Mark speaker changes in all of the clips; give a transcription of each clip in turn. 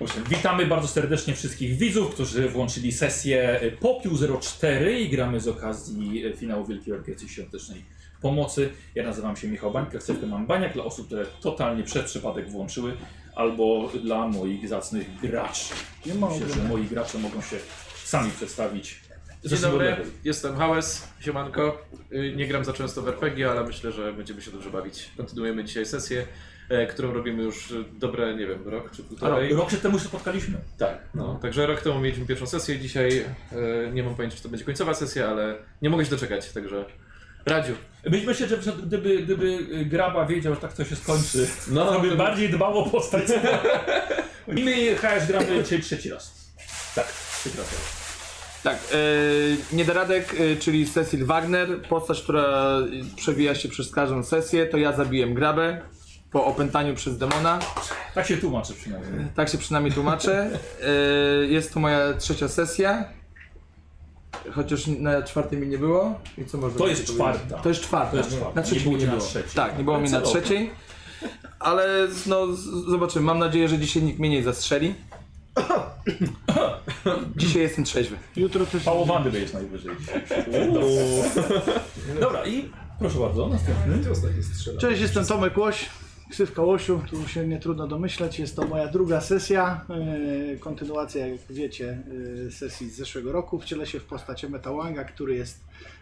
Speaker 1: Osiem. Witamy bardzo serdecznie wszystkich widzów, którzy włączyli sesję y, Popiół 04 i gramy z okazji y, finału Wielkiej Orkiestry Świątecznej Pomocy. Ja nazywam się Michał Bańka, ksywkę mam Baniak dla osób, które totalnie przez przypadek włączyły albo dla moich zacnych graczy.
Speaker 2: Nie
Speaker 1: Myślę, że moi gracze mogą się sami przedstawić.
Speaker 3: Dzień
Speaker 1: Zresztą
Speaker 3: dobry,
Speaker 1: level.
Speaker 3: jestem Hałes, siemanko. Y, Nie gram za często w RPG, ale myślę, że będziemy się dobrze bawić. Kontynuujemy dzisiaj sesję, e, którą robimy już y, dobre, nie wiem, rok czy
Speaker 1: A rok,
Speaker 3: półtorej.
Speaker 1: rok przed temu się spotkaliśmy.
Speaker 3: Tak, no. Także rok temu mieliśmy pierwszą sesję, dzisiaj e, nie mam pojęcia, czy to będzie końcowa sesja, ale nie mogę się doczekać, także... Radziu.
Speaker 1: Myś- Myślę, że przed- gdyby, gdyby y, Graba wiedział, że tak to się skończy,
Speaker 3: No,
Speaker 1: to by
Speaker 3: to-
Speaker 1: bardziej dbał o postać. My HS gramy trze- trzeci raz. Tak, trzeci raz.
Speaker 4: Tak, e, Niedoradek, e, czyli Cecil Wagner, postać, która e, przewija się przez każdą sesję, to ja zabiłem grabę po opętaniu przez demona.
Speaker 1: Tak się tłumaczy przynajmniej.
Speaker 4: Tak się przynajmniej tłumaczę. E, jest to moja trzecia sesja. Chociaż na czwartej mi nie było. I co można
Speaker 1: To jest
Speaker 4: powiedzieć?
Speaker 1: czwarta.
Speaker 4: To jest czwarta.
Speaker 1: To jest czwarta.
Speaker 4: Na
Speaker 1: Nie
Speaker 4: trzeciej
Speaker 1: było
Speaker 4: mi nie
Speaker 1: cię na
Speaker 4: było.
Speaker 1: trzeciej.
Speaker 4: Tak, nie było mnie na
Speaker 1: Celowo.
Speaker 4: trzeciej. Ale no, z- zobaczymy. Mam nadzieję, że dzisiaj nikt mnie nie zastrzeli. Dzisiaj jestem trzeźwy.
Speaker 2: Jutro też...
Speaker 1: Pałowany będziesz najwyżej. Dobra i proszę bardzo, następny.
Speaker 2: Cześć, jestem Tomek Łoś, ksywka Łosiu, tu się nie trudno domyślać. Jest to moja druga sesja, yy, kontynuacja, jak wiecie, yy, sesji z zeszłego roku. Wcielę się w postać Emeta Wanga, który jest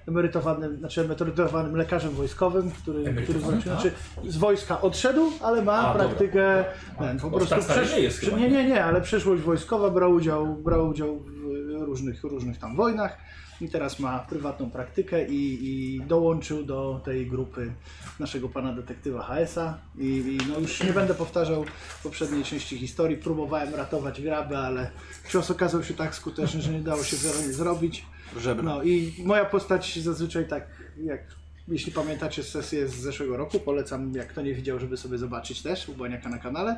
Speaker 2: emerytowanym, znaczy emerytowanym lekarzem wojskowym, który, który
Speaker 1: Emerytowanym, tak.
Speaker 2: znaczy, znaczy z wojska odszedł, ale ma
Speaker 1: A, dobra.
Speaker 2: praktykę, ten, po
Speaker 1: O,
Speaker 2: prostu
Speaker 1: tak stary nie jest chyba,
Speaker 2: nie, nie, nie, ale przeszłość wojskowa, brał udział, brał udział w e, różnych, różnych tam wojnach i teraz ma prywatną praktykę i, i dołączył do tej grupy naszego pana detektywa HS-a i, i no już nie będę powtarzał poprzedniej części historii, próbowałem ratować grabę, ale cios okazał się tak skuteczny, że nie dało się zero- zrobić.
Speaker 4: Żebra.
Speaker 2: No i moja postać zazwyczaj tak, jak jeśli pamiętacie sesję z zeszłego roku, polecam, jak kto nie widział, żeby sobie zobaczyć też u Baniaka na kanale.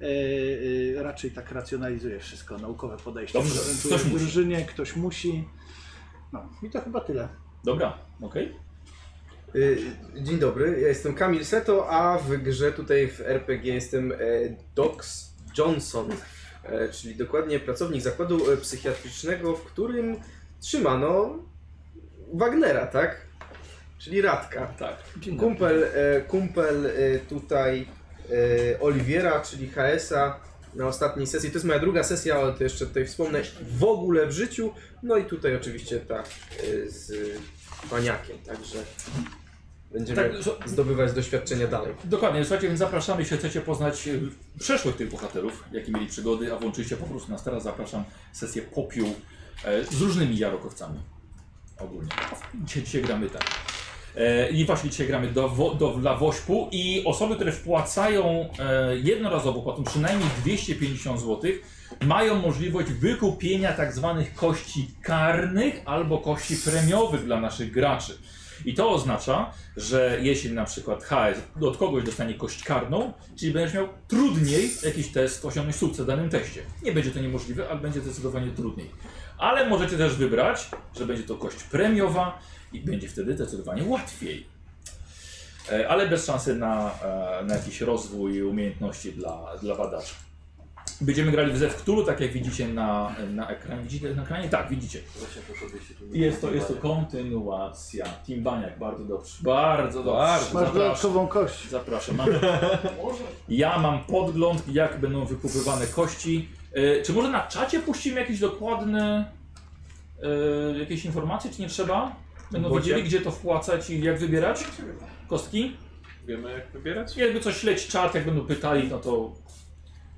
Speaker 2: Yy, yy, raczej tak racjonalizuje wszystko, naukowe podejście.
Speaker 1: Dobrze,
Speaker 2: Prezentuje
Speaker 1: ktoś
Speaker 2: w
Speaker 1: musi.
Speaker 2: drużynie, ktoś musi. No i to chyba tyle.
Speaker 1: Dobra, okej.
Speaker 5: Y, Dzień dobry, ja jestem Kamil Seto, a w grze tutaj w RPG jestem e, Docs Johnson, e, czyli dokładnie pracownik zakładu e, psychiatrycznego, w którym trzymano Wagnera, tak? Czyli Radka.
Speaker 1: Tak.
Speaker 5: Kumpel, e, kumpel e, tutaj e, Oliwiera, czyli HS-a na ostatniej sesji. To jest moja druga sesja, ale to jeszcze tutaj wspomnę w ogóle w życiu. No i tutaj oczywiście ta e, z paniakiem, także będziemy
Speaker 1: Tak, so-
Speaker 5: zdobywać doświadczenia dalej.
Speaker 1: Dokładnie, słuchajcie, więc zapraszamy, jeśli chcecie poznać e, przeszłych tych bohaterów, jakie mieli przygody, a włączyliście po prostu nas teraz, zapraszam sesję popiół e, z różnymi jarokowcami. Ogólnie. Dzisiaj, dzisiaj gramy tak. E, I właśnie dzisiaj gramy do, wo- do, dla Wośpu i osoby, które wpłacają e, jednorazowo, potem przynajmniej 250 zł, mają możliwość wykupienia tak zwanych kości karnych albo kości premiowych dla naszych graczy. I to oznacza, że jeśli na przykład HS od kogoś dostanie kość karną, czyli będziesz miał trudniej jakiś test osiągnąć sukces w danym teście. Nie będzie to niemożliwe, ale będzie zdecydowanie trudniej. Ale możecie też wybrać, że będzie to kość premiowa i będzie wtedy zdecydowanie łatwiej. E, Ale bez szansy na, e, na jakiś rozwój i umiejętności dla, dla badacza. Będziemy grali w Zewktulu, tak jak widzicie na, na ekranie. Widzicie na ekranie? Tak, widzicie. Jest to, jest to kontynuacja. Team Baniak, bardzo dobrze. Bardzo dobrze.
Speaker 2: Masz
Speaker 1: Zapraszam.
Speaker 2: dodatkową kość.
Speaker 1: Zapraszam. Mam... Ja mam podgląd, jak będą wykupywane kości. E, czy może na czacie puścimy jakieś dokładne e, jakieś informacje, czy nie trzeba? Będą
Speaker 5: Bocie.
Speaker 1: wiedzieli, gdzie to wpłacać i jak wybierać kostki?
Speaker 3: Wiemy jak wybierać?
Speaker 1: Jakby coś śledź czat, jak będą pytali, no to,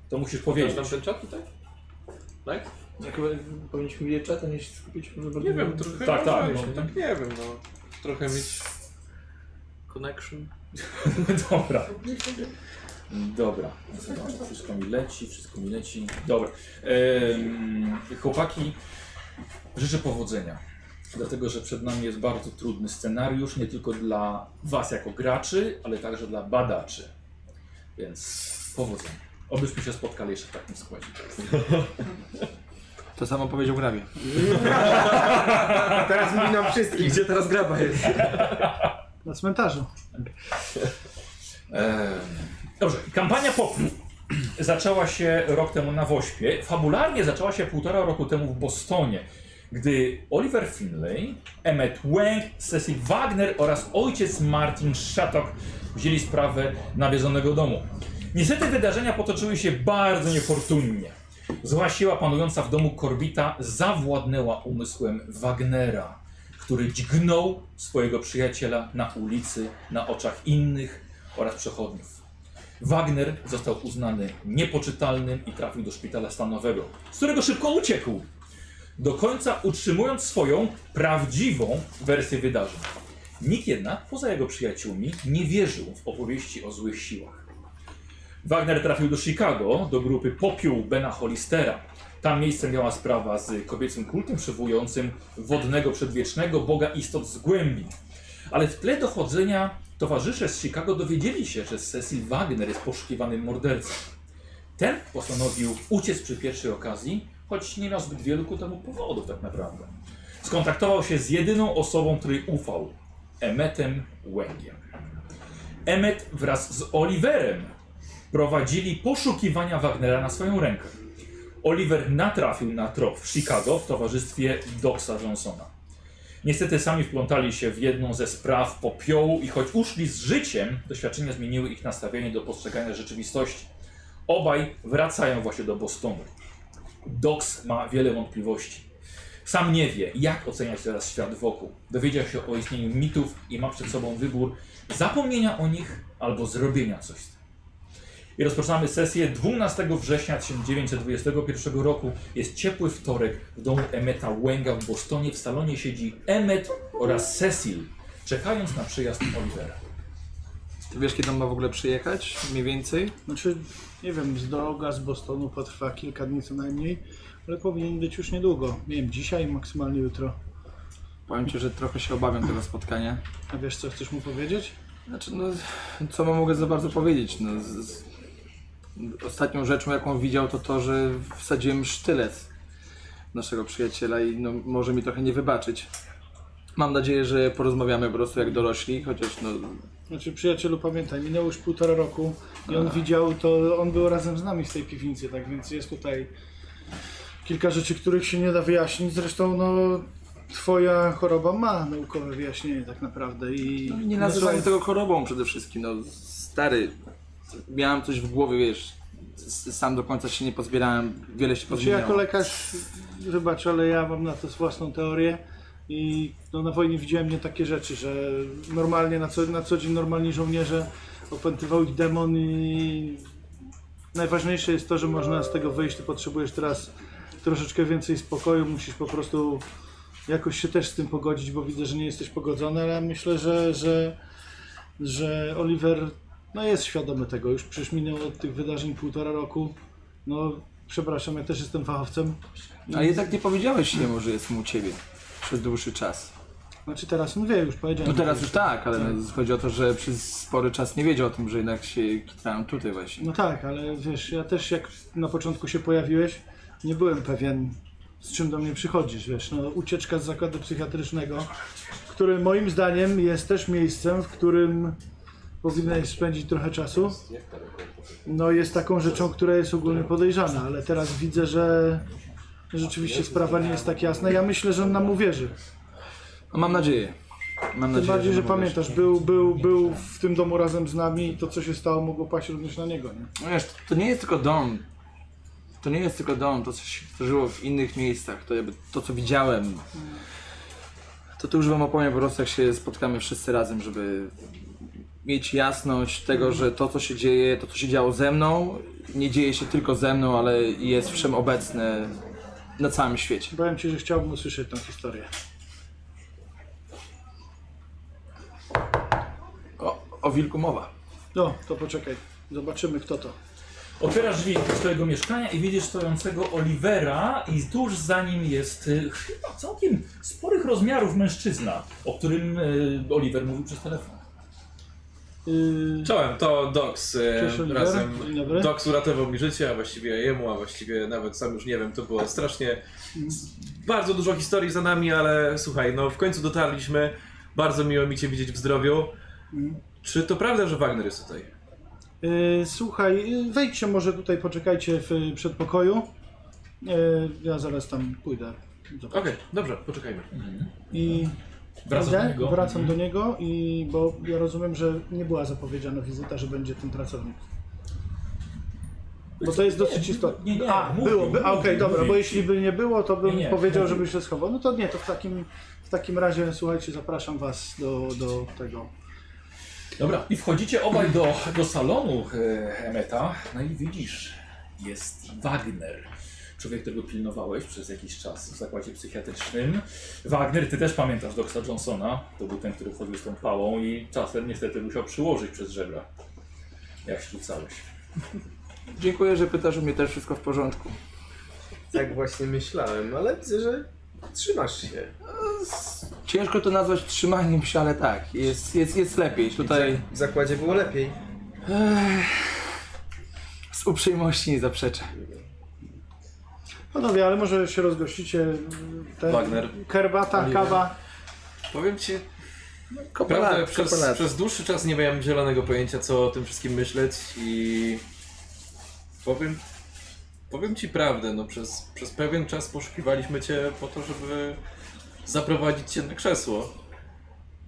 Speaker 1: to musisz powiedzieć.
Speaker 3: Znam ten czat tutaj? Tak?
Speaker 4: Jak powinniśmy wiedzieć czatem, jeśli skupić?
Speaker 3: Nie wiem, trochę
Speaker 1: Tak, tak,
Speaker 3: rozmawialiśmy,
Speaker 1: no.
Speaker 3: tak, nie wiem, no. Trochę mieć... Connection.
Speaker 1: Dobra. Dobra. Zobaczę, wszystko mi leci, wszystko mi leci. Dobra. Em, chłopaki, życzę powodzenia. Dlatego, że przed nami jest bardzo trudny scenariusz, nie tylko dla Was jako graczy, ale także dla badaczy. Więc powodzenia. Obyśmy się spotkali jeszcze w takim składzie.
Speaker 4: To samo powiedział grabie.
Speaker 5: A teraz mówi nam wszystkim.
Speaker 4: Gdzie teraz graba jest?
Speaker 2: Na cmentarzu.
Speaker 1: Em, Dobrze, kampania popiół. zaczęła się rok temu na Wośpie. Fabularnie zaczęła się półtora roku temu w Bostonie, gdy Oliver Finlay, Emmett Wang, Cecil Wagner oraz ojciec Martin Shattuck wzięli sprawę nawiedzonego domu. Niestety wydarzenia potoczyły się bardzo niefortunnie. Zła siła panująca w domu Korbita zawładnęła umysłem Wagnera, który dźgnął swojego przyjaciela na ulicy, na oczach innych oraz przechodniów. Wagner został uznany niepoczytalnym i trafił do szpitala stanowego, z którego szybko uciekł, do końca utrzymując swoją prawdziwą wersję wydarzeń. Nikt jednak, poza jego przyjaciółmi, nie wierzył w opowieści o złych siłach. Wagner trafił do Chicago, do grupy Popiół Bena Hollistera. Tam miejsce miała sprawa z kobiecym kultem przywołującym wodnego przedwiecznego boga istot z głębi. Ale w tle dochodzenia towarzysze z Chicago dowiedzieli się, że Cecil Wagner jest poszukiwanym mordercą. Ten postanowił uciec przy pierwszej okazji, choć nie miał zbyt wielu ku temu powodów tak naprawdę. Skontaktował się z jedyną osobą, której ufał, Emmetem Wengiem. Emmet wraz z Oliverem prowadzili poszukiwania Wagnera na swoją rękę. Oliver natrafił na trop w Chicago w towarzystwie Doxa Johnsona. Niestety sami wplątali się w jedną ze spraw popiołu i choć uszli z życiem, doświadczenia zmieniły ich nastawienie do postrzegania rzeczywistości. Obaj wracają właśnie do Bostonu. Dox ma wiele wątpliwości. Sam nie wie, jak oceniać teraz świat wokół. Dowiedział się o istnieniu mitów i ma przed sobą wybór zapomnienia o nich albo zrobienia coś z tym. I rozpoczynamy sesję 12 września 1921 roku. Jest ciepły wtorek w domu Emeta Łęga w Bostonie. W salonie siedzi Emmet oraz Cecil, czekając na przyjazd Olivera.
Speaker 4: Ty wiesz, kiedy on ma w ogóle przyjechać? Mniej więcej?
Speaker 2: Znaczy, nie wiem, z droga z Bostonu potrwa kilka dni co najmniej, ale powinien być już niedługo. Nie wiem, dzisiaj, maksymalnie jutro.
Speaker 4: Powiem ci, że trochę się obawiam tego spotkania.
Speaker 2: A wiesz, co chcesz mu powiedzieć?
Speaker 4: Znaczy, no, co mam mogę za bardzo powiedzieć? No, z, z, ostatnią rzeczą, jaką widział, to to, że wsadziłem sztylet w naszego przyjaciela i no, może mi trochę nie wybaczyć. Mam nadzieję, że porozmawiamy po prostu jak dorośli, chociaż no,
Speaker 2: Znaczy, przyjacielu, pamiętaj, minęło już półtora roku i on widział to, on był razem z nami w tej piwnicy, tak więc jest tutaj kilka rzeczy, których się nie da wyjaśnić. Zresztą, no, twoja choroba ma naukowe wyjaśnienie tak naprawdę i...
Speaker 4: no, nie nazywam
Speaker 2: Zresztą-
Speaker 4: tego chorobą przede wszystkim. No, stary, miałem coś w głowie, wiesz, s- sam do końca się nie pozbierałem, wiele się
Speaker 2: Znaczy, ja jako
Speaker 4: pozmieniało.
Speaker 2: lekarz, wybacz, ale ja mam na to własną teorię i no, na wojnie widziałem nie takie rzeczy, że normalnie, na co, na co dzień normalni żołnierze opętywał ich demon i najważniejsze jest to, że można z tego wyjść, ty potrzebujesz teraz troszeczkę więcej spokoju, musisz po prostu jakoś się też z tym pogodzić, bo widzę, że nie jesteś pogodzony, ale myślę, że, że, że Oliver no, jest świadomy tego, już przecież minęło od tych wydarzeń półtora roku, no przepraszam, ja też jestem fachowcem.
Speaker 4: Ale No, jednak nie powiedziałeś jemu, że jestem u ciebie przez dłuższy czas.
Speaker 2: Znaczy teraz on wie, już powiedziałem.
Speaker 4: No teraz już tak, ale no, chodzi o to, że przez spory czas nie wiedział o tym, że jednak się kitrałem tutaj właśnie.
Speaker 2: No tak, ale wiesz, ja też jak na początku się pojawiłeś, nie byłem pewien z czym do mnie przychodzisz, wiesz, no ucieczka z zakładu psychiatrycznego, który moim zdaniem jest też miejscem, w którym powinieneś spędzić trochę czasu. No jest taką rzeczą, która jest ogólnie podejrzana, ale teraz widzę, że rzeczywiście sprawa nie jest tak jasna. Ja myślę, że on nam uwierzy.
Speaker 4: No, mam nadzieję. Mam
Speaker 2: Tym
Speaker 4: nadzieję,
Speaker 2: bardziej, że
Speaker 4: nam uwierzy.
Speaker 2: pamiętasz, był, był, był w tym domu razem z nami i to, co się stało, mogło paść również na niego, nie?
Speaker 4: No Wiesz, to nie jest tylko dom. To nie jest tylko dom, to co się zdarzyło w innych miejscach, to jakby to co widziałem. To tu już wam opowiem po prostu jak się spotkamy wszyscy razem, żeby mieć jasność tego, że to co się dzieje, to co się działo ze mną, nie dzieje się tylko ze mną, ale jest wszechobecne na całym świecie.
Speaker 2: Powiem ci, że chciałbym usłyszeć tę historię.
Speaker 4: O, o wilku mowa.
Speaker 2: No, to poczekaj. Zobaczymy kto to.
Speaker 1: Otwierasz drzwi do swojego mieszkania i widzisz stojącego Olivera i tuż za nim jest y, chyba całkiem sporych rozmiarów mężczyzna, o którym y, Oliver mówił przez telefon.
Speaker 2: Yy,
Speaker 3: Czołem, to Dox e,
Speaker 2: Cześć, Oliver.
Speaker 3: razem.
Speaker 2: Dzień dobry.
Speaker 3: Dox uratował mi życie, a właściwie jemu, a właściwie nawet sam już nie wiem, to było strasznie.
Speaker 2: Mm.
Speaker 3: Bardzo dużo historii za nami, ale słuchaj, no w końcu
Speaker 2: Mm.
Speaker 3: dotarliśmy. Bardzo miło mi Cię widzieć w zdrowiu. Czy to prawda, że Wagner jest tutaj?
Speaker 2: Y, Słuchaj, y, wejdźcie może tutaj, poczekajcie w y, przedpokoju. Y, Ja zaraz tam pójdę. Zobacz.
Speaker 3: Okej, dobrze, poczekajmy.
Speaker 2: I
Speaker 1: Wracasz
Speaker 2: idę,
Speaker 1: do niego?
Speaker 2: wracam
Speaker 1: Mhm.
Speaker 2: do niego i bo ja rozumiem, że nie była zapowiedziana wizyta, że będzie ten pracownik. Bo to jest dosyć
Speaker 1: nie,
Speaker 2: istotne.
Speaker 1: nie, nie,
Speaker 2: A,
Speaker 1: mówi,
Speaker 2: byłoby. A,
Speaker 1: mówi,
Speaker 2: Okej, dobra,
Speaker 1: mówi.
Speaker 2: bo jeśli by nie było, to bym
Speaker 1: Nie, nie,
Speaker 2: powiedział,
Speaker 1: mówi.
Speaker 2: żeby się schował. No to nie, to w takim, w takim razie, słuchajcie, zapraszam was do, do tego.
Speaker 1: Dobra, i wchodzicie obaj do, do salonu e, Emeta, no i widzisz, jest Wagner. Człowiek, którego pilnowałeś przez jakiś czas w zakładzie psychiatrycznym. Wagner, ty też pamiętasz Doxa Johnsona. To był ten, który chodził z tą pałą i czasem niestety musiał przyłożyć przez żebra. Jak rzucałeś.
Speaker 4: Dziękuję, że pytasz u mnie też wszystko w porządku.
Speaker 5: Tak właśnie myślałem, ale widzę, że trzymasz się.
Speaker 4: Ciężko to nazwać trzymaniem się, ale tak, jest, jest, jest lepiej. Tutaj
Speaker 5: W zakładzie było lepiej.
Speaker 4: z uprzejmości nie zaprzeczę.
Speaker 2: Panowie, ale może się rozgościcie. Te
Speaker 3: Wagner.
Speaker 2: Herbata,
Speaker 4: Oliwia.
Speaker 2: kawa.
Speaker 3: Powiem ci,
Speaker 4: Kopela-
Speaker 3: Prawda, przez,
Speaker 4: kopelat.
Speaker 3: przez dłuższy czas nie miałem zielonego pojęcia, co o tym wszystkim myśleć i powiem, powiem ci prawdę, no przez, przez pewien czas poszukiwaliśmy cię po to, żeby zaprowadzić cię na krzesło,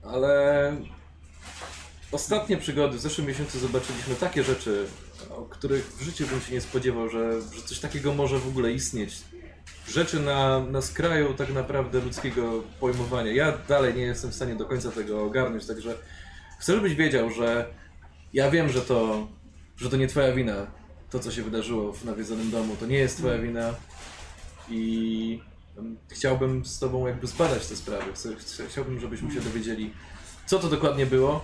Speaker 3: ale ostatnie przygody w zeszłym miesiącu zobaczyliśmy takie rzeczy, o których w życiu bym się nie spodziewał, że, że coś takiego może w ogóle istnieć. Rzeczy na, na skraju tak naprawdę ludzkiego pojmowania. Ja dalej nie jestem w stanie do końca tego ogarnąć, także chcę, żebyś wiedział, że ja wiem, że to, że to nie twoja wina, to co się wydarzyło w nawiedzonym domu, to nie jest twoja wina i em, chciałbym z tobą jakby zbadać te sprawy. Chcę, chcę, chciałbym, żebyśmy się dowiedzieli, co to dokładnie było,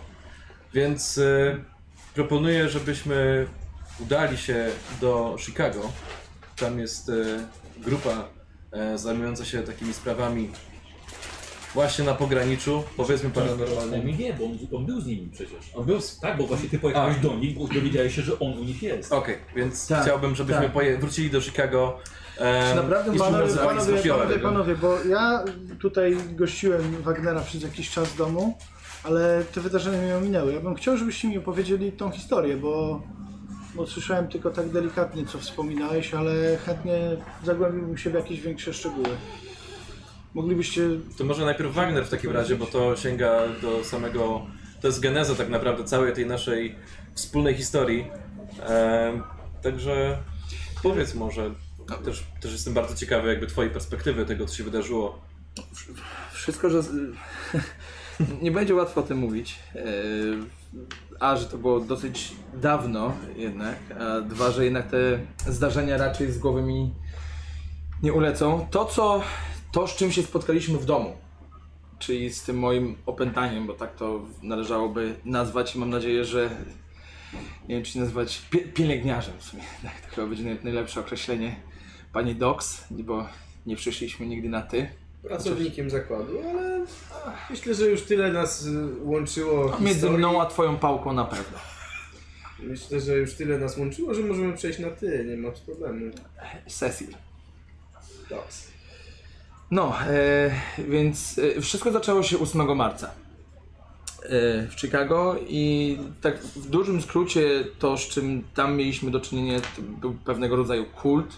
Speaker 3: więc y, proponuję, żebyśmy udali się do Chicago. Tam jest y, grupa y, zajmująca się takimi sprawami właśnie na pograniczu, powiedzmy paranormalnymi.
Speaker 1: On nie, bo on, on był z nimi przecież.
Speaker 3: On był z
Speaker 1: Tak, bo właśnie ty pojechałeś do nich, bo dowiedziałeś się, że on u nich jest.
Speaker 3: Okej, więc
Speaker 4: Tak,
Speaker 3: chciałbym, żebyśmy
Speaker 4: tak.
Speaker 3: poje- wrócili do Chicago. em,
Speaker 4: naprawdę
Speaker 3: i
Speaker 4: mamy-
Speaker 2: Panowie,
Speaker 3: współpracowali z
Speaker 2: panowie,
Speaker 3: kościołem.
Speaker 2: panowie, panowie, bo ja tutaj gościłem Wagnera przez jakiś czas w domu, ale te wydarzenia mnie ominęły. Ja bym chciał, żebyście mi opowiedzieli tą historię, bo, bo słyszałem tylko tak delikatnie, co wspominałeś, ale chętnie zagłębiłbym się w jakieś większe szczegóły. Moglibyście...
Speaker 3: To może najpierw Wagner w takim razie, bo to sięga do samego. To jest geneza tak naprawdę całej tej naszej wspólnej historii. Em, także powiedz może. Też, też jestem bardzo ciekawy jakby twojej perspektywy tego, co się wydarzyło.
Speaker 4: Wszystko, że. Nie będzie łatwo o tym mówić. Eee, A, że to było dosyć dawno jednak, a dwa, że jednak te zdarzenia raczej z głowy mi nie ulecą. To, co, to z czym się spotkaliśmy w domu, czyli z tym moim opętaniem, bo tak to należałoby nazwać i mam nadzieję, że nie wiem, czy nazwać pie- pielęgniarzem w sumie, tak, to chyba będzie naj- najlepsze określenie pani Docs, bo nie przyszliśmy nigdy na ty.
Speaker 5: Pracownikiem zakładu, ale ach, myślę, że już tyle nas y, łączyło.
Speaker 4: Między
Speaker 5: historii.
Speaker 4: mną a twoją pałką na pewno.
Speaker 5: Myślę, że już tyle nas łączyło, że możemy przejść na ty, nie masz problemu.
Speaker 4: Cecil.
Speaker 5: Doks.
Speaker 4: No, e, więc e, wszystko zaczęło się 8 marca e, w Chicago i tak w dużym skrócie to, z czym tam mieliśmy do czynienia, to był pewnego rodzaju kult,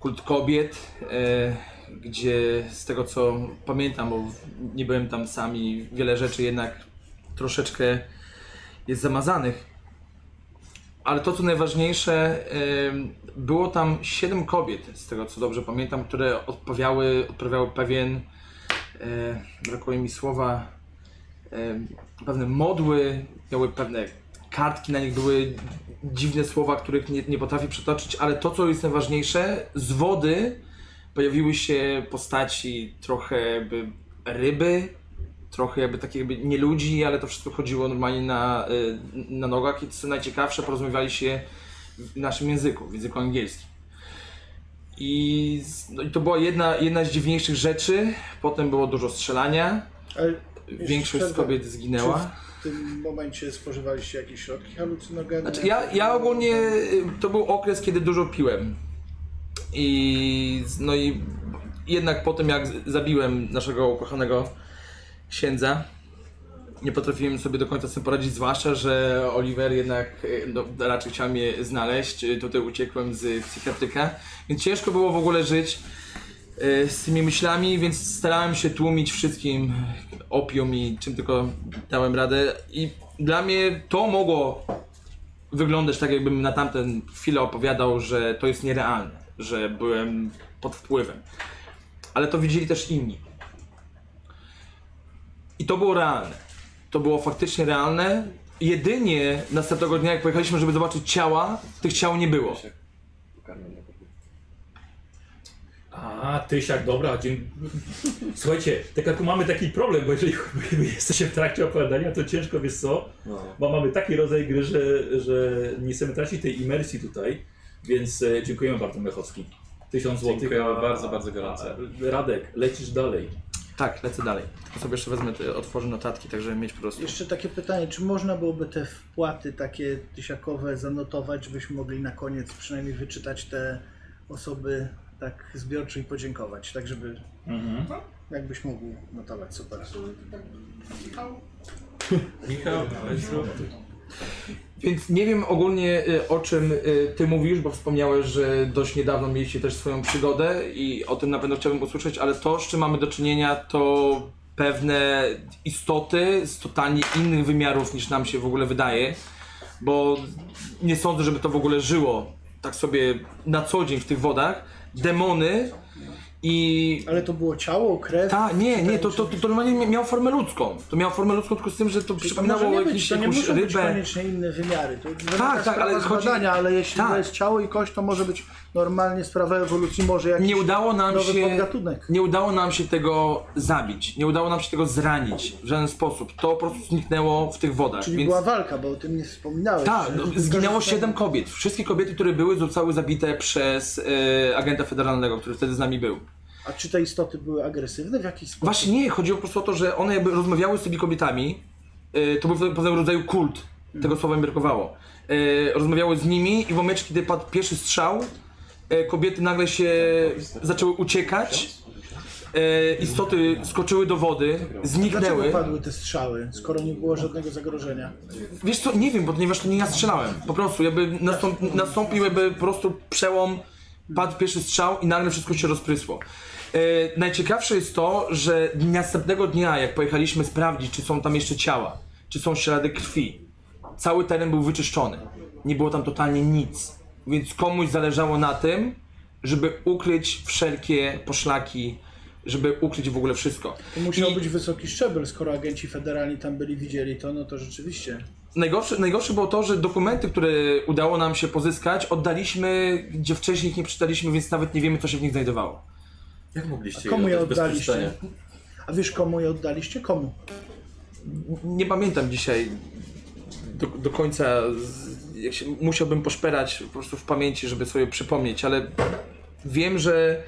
Speaker 4: kult kobiet, e, gdzie z tego co pamiętam, bo nie byłem tam sami, wiele rzeczy jednak troszeczkę jest zamazanych. Ale to co najważniejsze, em, było tam 7 kobiet, z tego co dobrze pamiętam, które odprawiały, odprawiały pewien, e, brakuje mi słowa, em, pewne modły, miały pewne kartki, na nich były dziwne słowa, których nie, nie potrafię przytoczyć, ale to co jest najważniejsze, z wody pojawiły się postaci trochę jakby ryby, trochę jakby takich jakby nie ludzi, ale to wszystko chodziło normalnie na, y, na nogach i co najciekawsze porozumiewali się w naszym języku, w języku angielskim. I, z- no i to była jedna, jedna z dziwniejszych rzeczy, potem było dużo strzelania,
Speaker 2: Ale
Speaker 4: większość z
Speaker 2: przerwę.
Speaker 4: kobiet zginęła.
Speaker 2: Czy w tym momencie spożywaliście jakieś środki halucynogenne?
Speaker 4: Znaczy, ja, ja ogólnie y, to był okres, kiedy dużo piłem. I z- no i jednak po tym, jak z- zabiłem naszego ukochanego księdza, nie potrafiłem sobie do końca z tym poradzić, zwłaszcza, że Oliver jednak e, no, raczej chciał mnie znaleźć, E, tutaj uciekłem z psychiatryka, więc ciężko było w ogóle żyć e, z tymi myślami, więc starałem się tłumić wszystkim opium i czym tylko dałem radę i dla mnie to mogło wyglądać tak, jakbym na tamten chwilę opowiadał, że to jest nierealne, że byłem pod wpływem. Ale to widzieli też inni. I to było realne. To było faktycznie realne. Jedynie następnego dnia, jak pojechaliśmy, żeby zobaczyć ciała, tych ciał nie było.
Speaker 1: A, Tysiak, dobra, dzień... Słuchajcie, tylko tu mamy taki problem, bo jeżeli jesteście w trakcie opowiadania, to ciężko, wiesz co,
Speaker 3: No.
Speaker 1: bo mamy taki rodzaj gry, że, że nie chcemy tracić tej imersji tutaj, więc e, dziękujemy bardzo Mechowski. Tysiąc złotych.
Speaker 3: Dziękujemy
Speaker 1: a-
Speaker 3: bardzo, bardzo gorąco.
Speaker 1: a- Radek, lecisz dalej.
Speaker 4: Tak, lecę dalej. Tylko sobie jeszcze wezmę, te, otworzę notatki, tak żeby mieć po prostu.
Speaker 2: Jeszcze takie pytanie, czy można byłoby te wpłaty takie tysiakowe zanotować, żebyśmy mogli na koniec przynajmniej wyczytać te osoby tak zbiorczo i podziękować, tak żeby
Speaker 4: Mhm.
Speaker 2: jakbyś mógł notować, super.
Speaker 3: Michał, weź zrób.
Speaker 4: Więc nie wiem ogólnie y, o czym y, ty mówisz, bo wspomniałeś, że dość niedawno mieliście też swoją przygodę i o tym na pewno chciałbym usłyszeć, ale to, z czym mamy do czynienia, to pewne istoty z totalnie innych wymiarów niż nam się w ogóle wydaje, bo nie sądzę, żeby to w ogóle żyło tak sobie na co dzień w tych wodach. Demony i
Speaker 2: Ale to było ciało, krew?
Speaker 4: ta, nie, nie, to, to, to, to normalnie miało formę ludzką. To miało formę ludzką tylko z tym, że
Speaker 2: Czyli to
Speaker 4: to
Speaker 2: może
Speaker 4: przypominało
Speaker 2: nie
Speaker 4: jakieś,
Speaker 2: być, to nie
Speaker 4: jakąś
Speaker 2: muszą być
Speaker 4: rybę.
Speaker 2: koniecznie inne wymiary. To
Speaker 4: tak, ale
Speaker 2: ale
Speaker 4: chodzi-
Speaker 2: badania, ale jeśli
Speaker 4: tak.
Speaker 2: to jest ciało i kość, to może być normalnie sprawa ewolucji, może jakiś
Speaker 4: Nie udało nam
Speaker 2: nowy
Speaker 4: się...
Speaker 2: podgatunek.
Speaker 4: Nie udało nam się tego zabić, nie udało nam się tego zranić w żaden sposób. To po prostu zniknęło w tych wodach.
Speaker 2: Czyli
Speaker 4: więc...
Speaker 2: była walka, bo o tym nie wspomniałeś.
Speaker 4: Tak,
Speaker 2: że-
Speaker 4: no,
Speaker 2: że-
Speaker 4: zginęło
Speaker 2: że-
Speaker 4: siedem kobiet. Wszystkie kobiety, które były, zostały zabite przez e, agenta federalnego, który wtedy z nami był.
Speaker 2: A czy te istoty były agresywne w jakiś sposób?
Speaker 4: Właśnie nie, chodziło po prostu o to, że one jakby rozmawiały z tymi kobietami. e, to był pewnego rodzaju kult,
Speaker 2: Mhm.
Speaker 4: tego słowa mi brakowało. E, rozmawiały z nimi i w momencie, kiedy padł pierwszy strzał, e, kobiety nagle się zaczęły uciekać. E, istoty skoczyły do wody,
Speaker 2: Dlaczego
Speaker 4: zniknęły.
Speaker 2: padły te strzały, skoro nie było żadnego zagrożenia?
Speaker 4: Wiesz co, nie wiem, ponieważ to nie ja strzelałem. Po prostu jakby nastąp, nastąpił jakby po prostu przełom, padł pierwszy strzał i nagle wszystko się rozprysło. E, najciekawsze jest to, że następnego dnia jak pojechaliśmy sprawdzić, czy są tam jeszcze ciała, czy są ślady krwi, cały teren był wyczyszczony. Nie było tam totalnie nic. Więc komuś zależało na tym, żeby ukryć wszelkie poszlaki, żeby ukryć w ogóle wszystko.
Speaker 2: To musiał
Speaker 4: I-
Speaker 2: być wysoki szczebel, skoro agenci federalni tam byli, widzieli to, no to rzeczywiście.
Speaker 4: Najgorsze, najgorsze było to, że dokumenty, które udało nam się pozyskać, oddaliśmy, gdzie wcześniej ich nie przeczytaliśmy, więc nawet nie wiemy, co się w nich znajdowało.
Speaker 3: Jak mogliście
Speaker 2: Komu je
Speaker 3: oddać bez
Speaker 2: oddaliście?
Speaker 3: przeczytania?
Speaker 2: A wiesz komu je oddaliście? Komu?
Speaker 4: N- Nie pamiętam dzisiaj do, do końca, z- jak się, musiałbym poszperać po prostu w pamięci, żeby sobie przypomnieć, ale wiem, że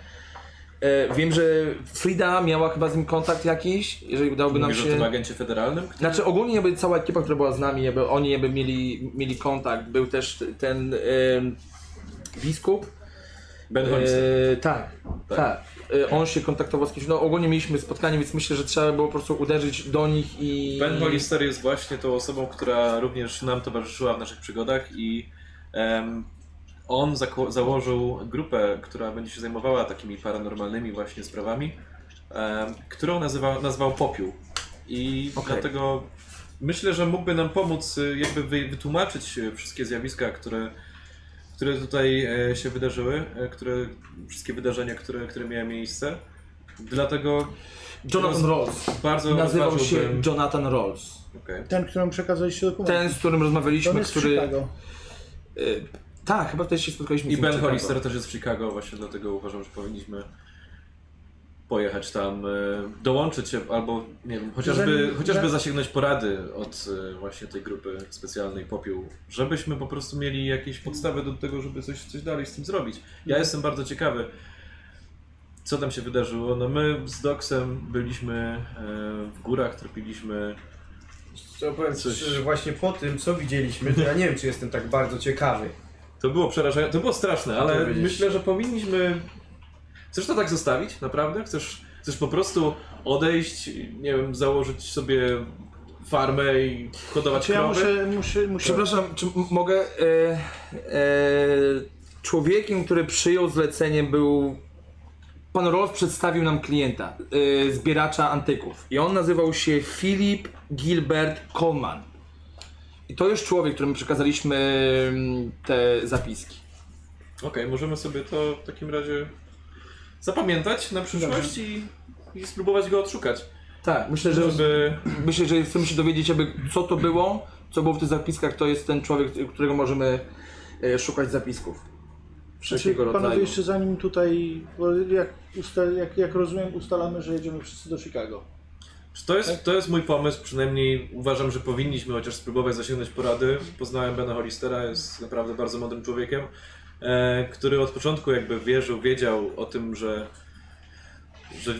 Speaker 4: e, wiem, że Frida miała chyba z nim kontakt jakiś, jeżeli udałoby nam
Speaker 3: Mówisz o tym
Speaker 4: się...
Speaker 3: agencie federalnym?
Speaker 4: Znaczy ogólnie jakby cała ekipa, która była z nami, jakby oni jakby mieli, mieli kontakt, był też ten em, biskup,
Speaker 3: Ben Hollister.
Speaker 4: Eee, tak, tak. Eee, on się kontaktował z kimś. No ogólnie mieliśmy spotkanie, więc myślę, że trzeba było po prostu uderzyć do nich i.
Speaker 3: Ben Hollister jest właśnie tą osobą, która również nam towarzyszyła w naszych przygodach i em, on zako- założył grupę, która będzie się zajmowała takimi paranormalnymi właśnie sprawami, em, którą nazywa, nazwał Popiół. I
Speaker 4: Okej.
Speaker 3: dlatego myślę, że mógłby nam pomóc y, jakby wy- wytłumaczyć y, wszystkie zjawiska, które, które tutaj e, się wydarzyły, e, które, wszystkie wydarzenia, które, które miały miejsce. Dlatego
Speaker 4: Jonathan Rolls.
Speaker 3: bardzo
Speaker 4: Nazywał się
Speaker 3: rozważyłbym-
Speaker 4: Jonathan Rolls.
Speaker 3: Okej.
Speaker 2: Ten, któremu przekazaliście dokument.
Speaker 4: Ten, z którym
Speaker 2: to
Speaker 4: rozmawialiśmy,
Speaker 2: jest
Speaker 4: który.
Speaker 2: który... Chicago.
Speaker 4: Eee, tak, chyba też się spotkaliśmy
Speaker 3: I
Speaker 4: z nim
Speaker 3: Ben
Speaker 4: w Chicago.
Speaker 3: Hollister też jest w Chicago, właśnie dlatego uważam, że powinniśmy pojechać tam, e, dołączyć się albo, nie wiem, chociażby,
Speaker 2: Zanim-
Speaker 3: chociażby
Speaker 2: za-
Speaker 3: zasięgnąć porady od e, właśnie tej grupy specjalnej Popiół, żebyśmy po prostu mieli jakieś podstawy do tego, żeby coś, coś dalej z tym zrobić. Ja jestem bardzo ciekawy, co tam się wydarzyło. No my z Doksem byliśmy e, w górach, tropiliśmy
Speaker 5: Co powiem
Speaker 3: Coś-
Speaker 5: szczerze, właśnie po tym, co widzieliśmy, to ja nie wiem, czy jestem tak bardzo ciekawy.
Speaker 3: To było przerażające, to było straszne,
Speaker 5: To
Speaker 3: ale
Speaker 5: powiedzieć.
Speaker 3: myślę, że powinniśmy... Chcesz to tak zostawić, naprawdę? Chcesz, chcesz po prostu odejść, nie wiem, założyć sobie farmę i hodować
Speaker 2: Czy Znaczy, ja
Speaker 3: krowy?
Speaker 2: muszę, muszę, muszę...
Speaker 4: Przepraszam, czy m- mogę. E, e, człowiekiem, który przyjął zlecenie, był. Pan Rolf przedstawił nam klienta, e, zbieracza antyków. I on nazywał się Filip Gilbert Coleman. I to już człowiek, któremu przekazaliśmy mm, te zapiski.
Speaker 3: Okej, możemy sobie to w takim razie zapamiętać na przyszłość i, i spróbować go odszukać.
Speaker 4: Tak, myślę, że,
Speaker 3: Żeby...
Speaker 4: myślę, że chcemy się dowiedzieć, jakby, co to było, co było w tych zapiskach. To jest ten człowiek, którego możemy e, szukać zapisków.
Speaker 2: Znaczy,
Speaker 4: Wszelkiego
Speaker 2: panowie,
Speaker 4: rodzaju.
Speaker 2: jeszcze zanim tutaj, bo jak, usta, jak, jak rozumiem, ustalamy, że jedziemy wszyscy do Chicago.
Speaker 3: To jest, to jest mój pomysł, przynajmniej uważam, że powinniśmy chociaż spróbować zasięgnąć porady. Poznałem Bena Hollistera, jest naprawdę bardzo mądrym człowiekiem, e, który od początku jakby wierzył, wiedział o tym, że, że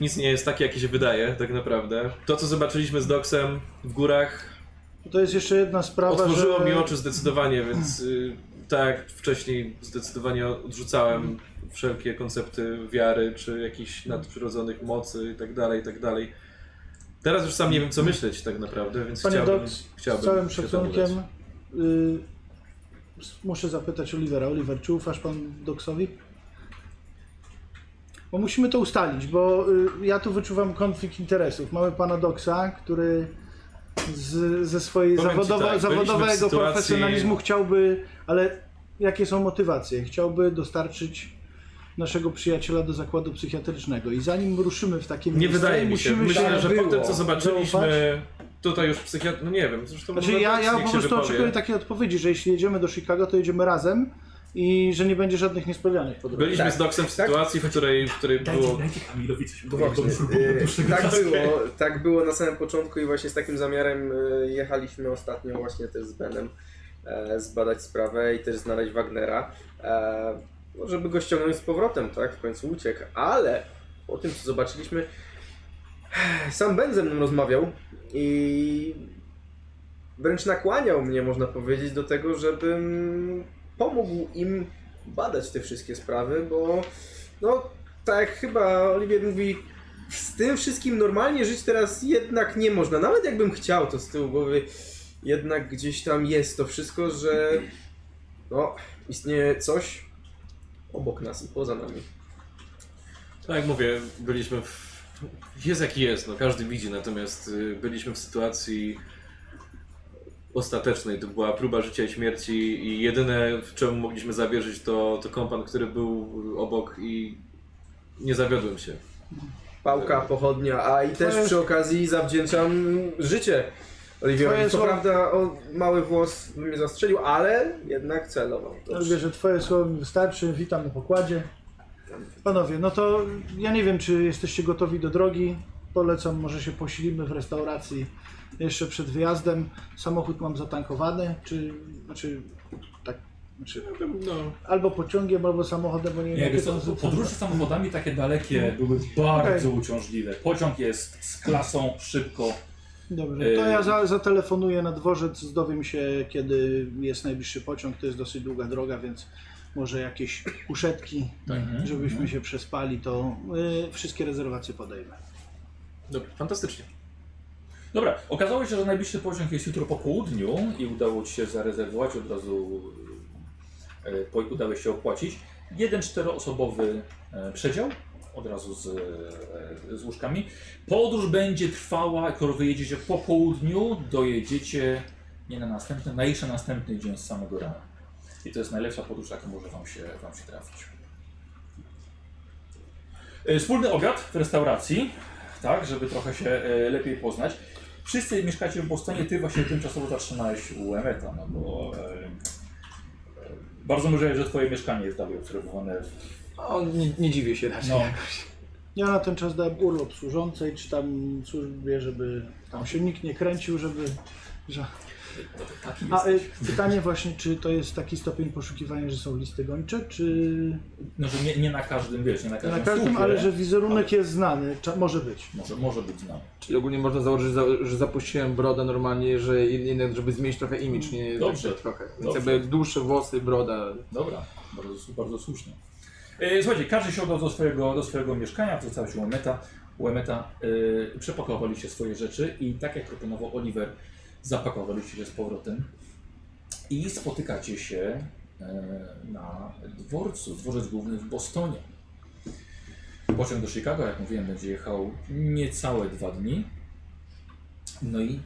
Speaker 3: nic nie jest takie, jakie się wydaje tak naprawdę. To, co zobaczyliśmy z Doksem w górach,
Speaker 2: To jest jeszcze jedna sprawa,
Speaker 3: Otworzyło
Speaker 2: że...
Speaker 3: mi oczy zdecydowanie, więc y, tak jak wcześniej zdecydowanie odrzucałem wszelkie koncepty wiary czy jakichś nadprzyrodzonych mocy i tak dalej, i tak dalej. Teraz już sam nie wiem co myśleć tak naprawdę, więc
Speaker 2: Panie
Speaker 3: chciałbym,
Speaker 2: Doc, z
Speaker 3: chciałbym
Speaker 2: całym
Speaker 3: się temu dać.
Speaker 2: szacunkiem y, s- muszę zapytać Olivera. Oliver, czy ufasz pan Doksowi? Bo musimy to ustalić, bo y, ja tu wyczuwam konflikt interesów. Mamy pana Doksa, który z, ze swojej
Speaker 3: Powiem ci
Speaker 2: zawodowa,
Speaker 3: tak, byliśmy w
Speaker 2: zawodowego
Speaker 3: sytuacji-
Speaker 2: profesjonalizmu chciałby, ale jakie są motywacje? Chciałby dostarczyć naszego przyjaciela do zakładu psychiatrycznego i zanim ruszymy w takie
Speaker 3: Nie
Speaker 2: miejsce,
Speaker 3: wydaje mi się,
Speaker 2: musimy
Speaker 3: myślę,
Speaker 2: się
Speaker 3: że po
Speaker 2: było
Speaker 3: tym co
Speaker 2: zaufać.
Speaker 3: zobaczyliśmy tutaj już psychiatra, no nie wiem, zresztą
Speaker 2: Znaczy
Speaker 3: może
Speaker 2: ja,
Speaker 3: Doc
Speaker 2: ja
Speaker 3: niech
Speaker 2: po
Speaker 3: się
Speaker 2: prostu
Speaker 3: wypowie.
Speaker 2: oczekuję takiej odpowiedzi, że jeśli jedziemy do Chicago, to jedziemy razem i że nie będzie żadnych niespodzianek po drodze.
Speaker 3: Byliśmy
Speaker 5: Tak,
Speaker 3: z Doksem w
Speaker 5: tak.
Speaker 3: sytuacji, w której, w której
Speaker 1: Dajcie,
Speaker 3: było...
Speaker 1: dajcie Kamilowi coś
Speaker 5: No właśnie, e, tak było, tak było na samym początku i właśnie z takim zamiarem e, jechaliśmy ostatnio właśnie też z Benem e, zbadać sprawę i też znaleźć Wagnera, e, no, żeby go ściągnąć z powrotem, tak? W końcu uciekł, ale po tym co zobaczyliśmy, sam Ben ze mną rozmawiał i wręcz nakłaniał mnie, można powiedzieć, do tego, żebym pomógł im badać te wszystkie sprawy, bo no tak jak chyba Oliwier mówi, z tym wszystkim normalnie żyć teraz jednak nie można. Nawet jakbym chciał to z tyłu głowy, jednak gdzieś tam jest to wszystko, że no, istnieje coś obok nas i poza nami.
Speaker 3: Tak jak mówię, byliśmy w... Jest jaki jest, no każdy widzi, natomiast y, byliśmy w sytuacji ostatecznej, to była próba życia i śmierci i jedyne w czemu mogliśmy zawierzyć to, to kompan, który był y, obok i nie zawiodłem się.
Speaker 5: Pałka, pochodnia, a i też przy okazji zawdzięczam życie Oliwierowi.
Speaker 2: Twoje
Speaker 5: Co
Speaker 2: słowa-
Speaker 5: prawda o mały włos by mnie zastrzelił, ale jednak celował. To
Speaker 2: Dobrze, że twoje słowo mi wystarczy. Witam na pokładzie. Panowie, no to ja nie wiem, czy jesteście gotowi do drogi. Polecam, może się posilimy w restauracji jeszcze przed wyjazdem. Samochód mam zatankowany, czy... Znaczy, tak, znaczy,
Speaker 3: No,
Speaker 2: albo pociągiem, albo samochodem, bo nie wiem,
Speaker 1: Nie, wiesz
Speaker 2: jakie
Speaker 1: co,
Speaker 2: są zasady.
Speaker 1: podróże samochodami takie dalekie były bardzo uciążliwe. Pociąg jest z klasą, szybko.
Speaker 2: Dobrze, to
Speaker 1: Y-
Speaker 2: ja za, zatelefonuję na dworzec, dowiem się kiedy jest najbliższy pociąg, to jest dosyć długa droga, więc może jakieś uszetki,
Speaker 1: Mhm.
Speaker 2: żebyśmy się przespali, to y, wszystkie rezerwacje podejmę.
Speaker 3: dobra, No, fantastycznie.
Speaker 1: Dobra, okazało się, że najbliższy pociąg jest jutro po południu i udało Ci się zarezerwować od razu, e, po- udało się opłacić. Jeden czteroosobowy e, przedział, od razu z, e, z łóżkami. Podróż będzie trwała, skoro wyjedziecie po południu, dojedziecie nie na następny, na jeszcze następny dzień z samego rana. I to jest najlepsza podróż, jaka może Wam się, wam się trafić. E, Wspólny obiad w restauracji, tak, żeby trochę się e, lepiej poznać. Wszyscy mieszkacie w Bostonie, ty właśnie tymczasowo zatrzymałeś u Emeta, no bo e, e, bardzo możliwe, że twoje mieszkanie jest dalej obserwowane.
Speaker 4: O, nie, nie dziwię się raczej.
Speaker 1: No.
Speaker 2: Ja na ten czas dałem urlop służącej, czy tam służbie, żeby tam się nikt nie kręcił, żeby... Że...
Speaker 1: Taki
Speaker 2: A
Speaker 1: jest.
Speaker 2: y, pytanie właśnie, czy to jest taki stopień poszukiwania, że są listy gończe, czy
Speaker 1: No, że nie, nie na każdym, wiesz, nie na każdym,
Speaker 2: na każdym,
Speaker 1: słupie.
Speaker 2: ale że wizerunek jest znany, cza- może być.
Speaker 1: Może, może być znany.
Speaker 4: Czyli ogólnie można założyć, że za- że zapuściłem brodę normalnie, że inny, żeby zmienić trochę imidż, nie
Speaker 1: Dobrze.
Speaker 4: tak trochę. Więc
Speaker 1: Dobrze.
Speaker 4: jakby dłuższe włosy, broda.
Speaker 1: Dobra, bardzo, bardzo słusznie. E, Słuchajcie, każdy się udał do swojego, do swojego mieszkania, wrzucała się meta. Łemeta, y, przepakowaliście swoje rzeczy i tak jak proponował Oliver, zapakowaliście się z powrotem i spotykacie się y, na dworcu, dworzec główny w Bostonie. Pociąg do Chicago, jak mówiłem, będzie jechał niecałe dwa dni. No i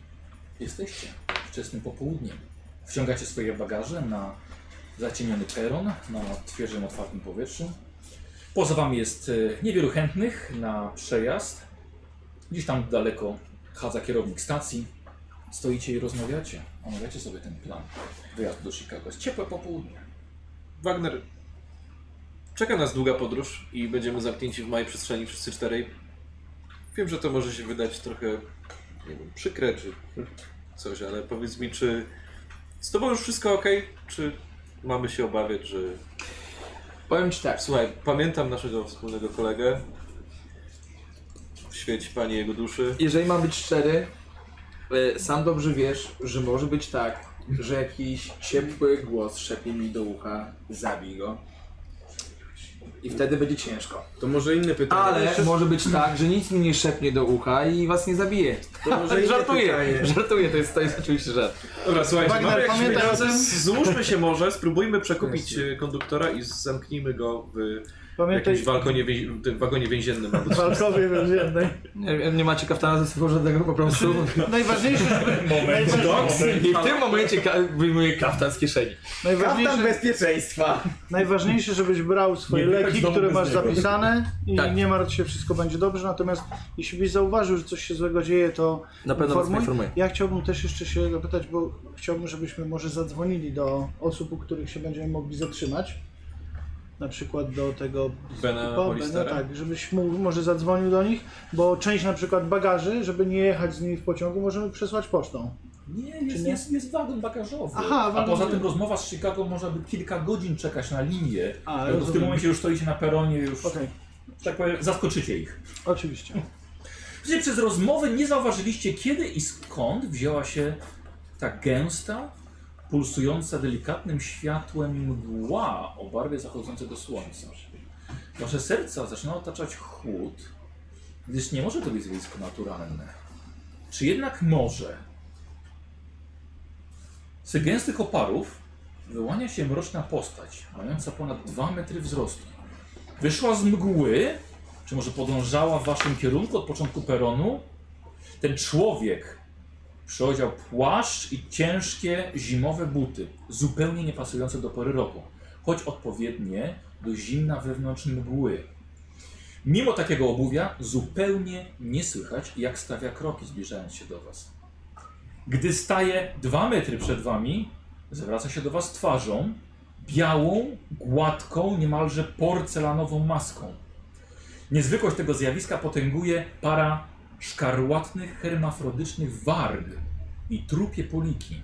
Speaker 1: jesteście wczesnym popołudniem. Wciągacie swoje bagaże na zacieniony peron, na świeżym, otwartym powietrzu. Poza wami jest e, niewielu chętnych na przejazd. Gdzieś tam daleko chadza kierownik stacji. Stoicie i rozmawiacie. Omawiacie sobie ten plan wyjazdu do Chicago. Jest ciepłe popołudnie.
Speaker 3: Wagner, czeka nas długa podróż i będziemy zamknięci w małej przestrzeni wszyscy czterej. Wiem, że to może się wydać trochę nie wiem, przykre czy coś, ale powiedz mi, czy z tobą już wszystko ok? Czy mamy się obawiać, że...
Speaker 4: Powiem ci tak,
Speaker 3: Słuchaj, pamiętam naszego wspólnego kolegę. Świeć Pani jego duszy.
Speaker 4: jeżeli mam być szczery, e, sam dobrze wiesz, że może być tak, że jakiś ciepły głos szepnie mi do ucha, zabij go. I wtedy będzie ciężko.
Speaker 5: To może inne pytanie.
Speaker 4: Ale może być tak, że nic mi nie szepnie do ucha i was nie zabije.
Speaker 5: To może inne
Speaker 4: Żartuję,
Speaker 5: pytanie.
Speaker 4: żartuję, to jest, to jest oczywiście żart.
Speaker 3: Dobra, słuchajcie,
Speaker 2: Wagner,
Speaker 3: mamy jakiś
Speaker 2: pamiętaj o
Speaker 3: pieniądze,
Speaker 2: tym.
Speaker 3: złóżmy się może, spróbujmy przekupić e, konduktora i zamknijmy go w
Speaker 2: Pamiętaj,
Speaker 3: jakimś balkonie, więzi- w tym wagonie więziennym. albo coś.
Speaker 2: walkowie więziennej.
Speaker 4: Nie, nie macie kaftana ze sobą żadnego po prostu.
Speaker 2: Najważniejsze,
Speaker 1: Moment,
Speaker 2: doks.
Speaker 4: I w tym momencie ka- wyjmuję kaftan z kieszeni.
Speaker 5: Kaptan
Speaker 2: najważniejsze,
Speaker 5: bezpieczeństwa.
Speaker 2: najważniejsze, żebyś brał swoje
Speaker 1: Nie wychodź z
Speaker 2: leki,
Speaker 1: domu
Speaker 2: które
Speaker 1: bez
Speaker 2: masz
Speaker 1: niego.
Speaker 2: zapisane i
Speaker 4: Tak.
Speaker 2: nie martw się, wszystko będzie dobrze. Natomiast jeśli byś zauważył, że coś się złego dzieje, to
Speaker 4: Na pewno was poinformuję.
Speaker 2: Ja chciałbym też jeszcze się zapytać, bo chciałbym, żebyśmy może zadzwonili do osób, u których się będziemy mogli zatrzymać. Na przykład do tego
Speaker 3: Bena
Speaker 2: Bo- no
Speaker 3: Polistera.
Speaker 2: tak, żebyś mógł, może zadzwonił do nich, bo część na przykład bagaży, żeby nie jechać z nimi w pociągu, możemy przesłać pocztą.
Speaker 1: Nie,
Speaker 2: Czy
Speaker 1: jest,
Speaker 2: nie?
Speaker 1: jest, jest wagon bagażowy.
Speaker 2: Aha,
Speaker 1: A
Speaker 2: wagon-
Speaker 1: poza tym rozmowa z Chicago może by kilka godzin czekać na linię. E,
Speaker 2: A,
Speaker 1: bo w
Speaker 2: rozumiem.
Speaker 1: tym momencie już stoicie na peronie, już
Speaker 2: Okej,
Speaker 1: tak powiem, zaskoczycie ich.
Speaker 2: oczywiście.
Speaker 1: Przecież przez rozmowę nie zauważyliście, kiedy i skąd wzięła się ta gęsta, pulsująca delikatnym światłem mgła o barwie zachodzącego słońca. Wasze serca zaczyna otaczać chłód, gdyż nie może to być zjawisko naturalne. Czy jednak może? Z gęstych oparów wyłania się mroczna postać, mająca ponad 2 metry wzrostu. Wyszła z mgły czy może podążała w waszym kierunku od początku peronu? Ten człowiek przyodział płaszcz i ciężkie zimowe buty, zupełnie niepasujące do pory roku, choć odpowiednie do zimna wewnątrz mgły. Mimo takiego obuwia zupełnie nie słychać, jak stawia kroki zbliżając się do was. Gdy staje dwa metry przed wami, zwraca się do was twarzą, białą, gładką, niemalże porcelanową maską. Niezwykłość tego zjawiska potęguje para szkarłatnych, hermafrodycznych warg i trupie poliki.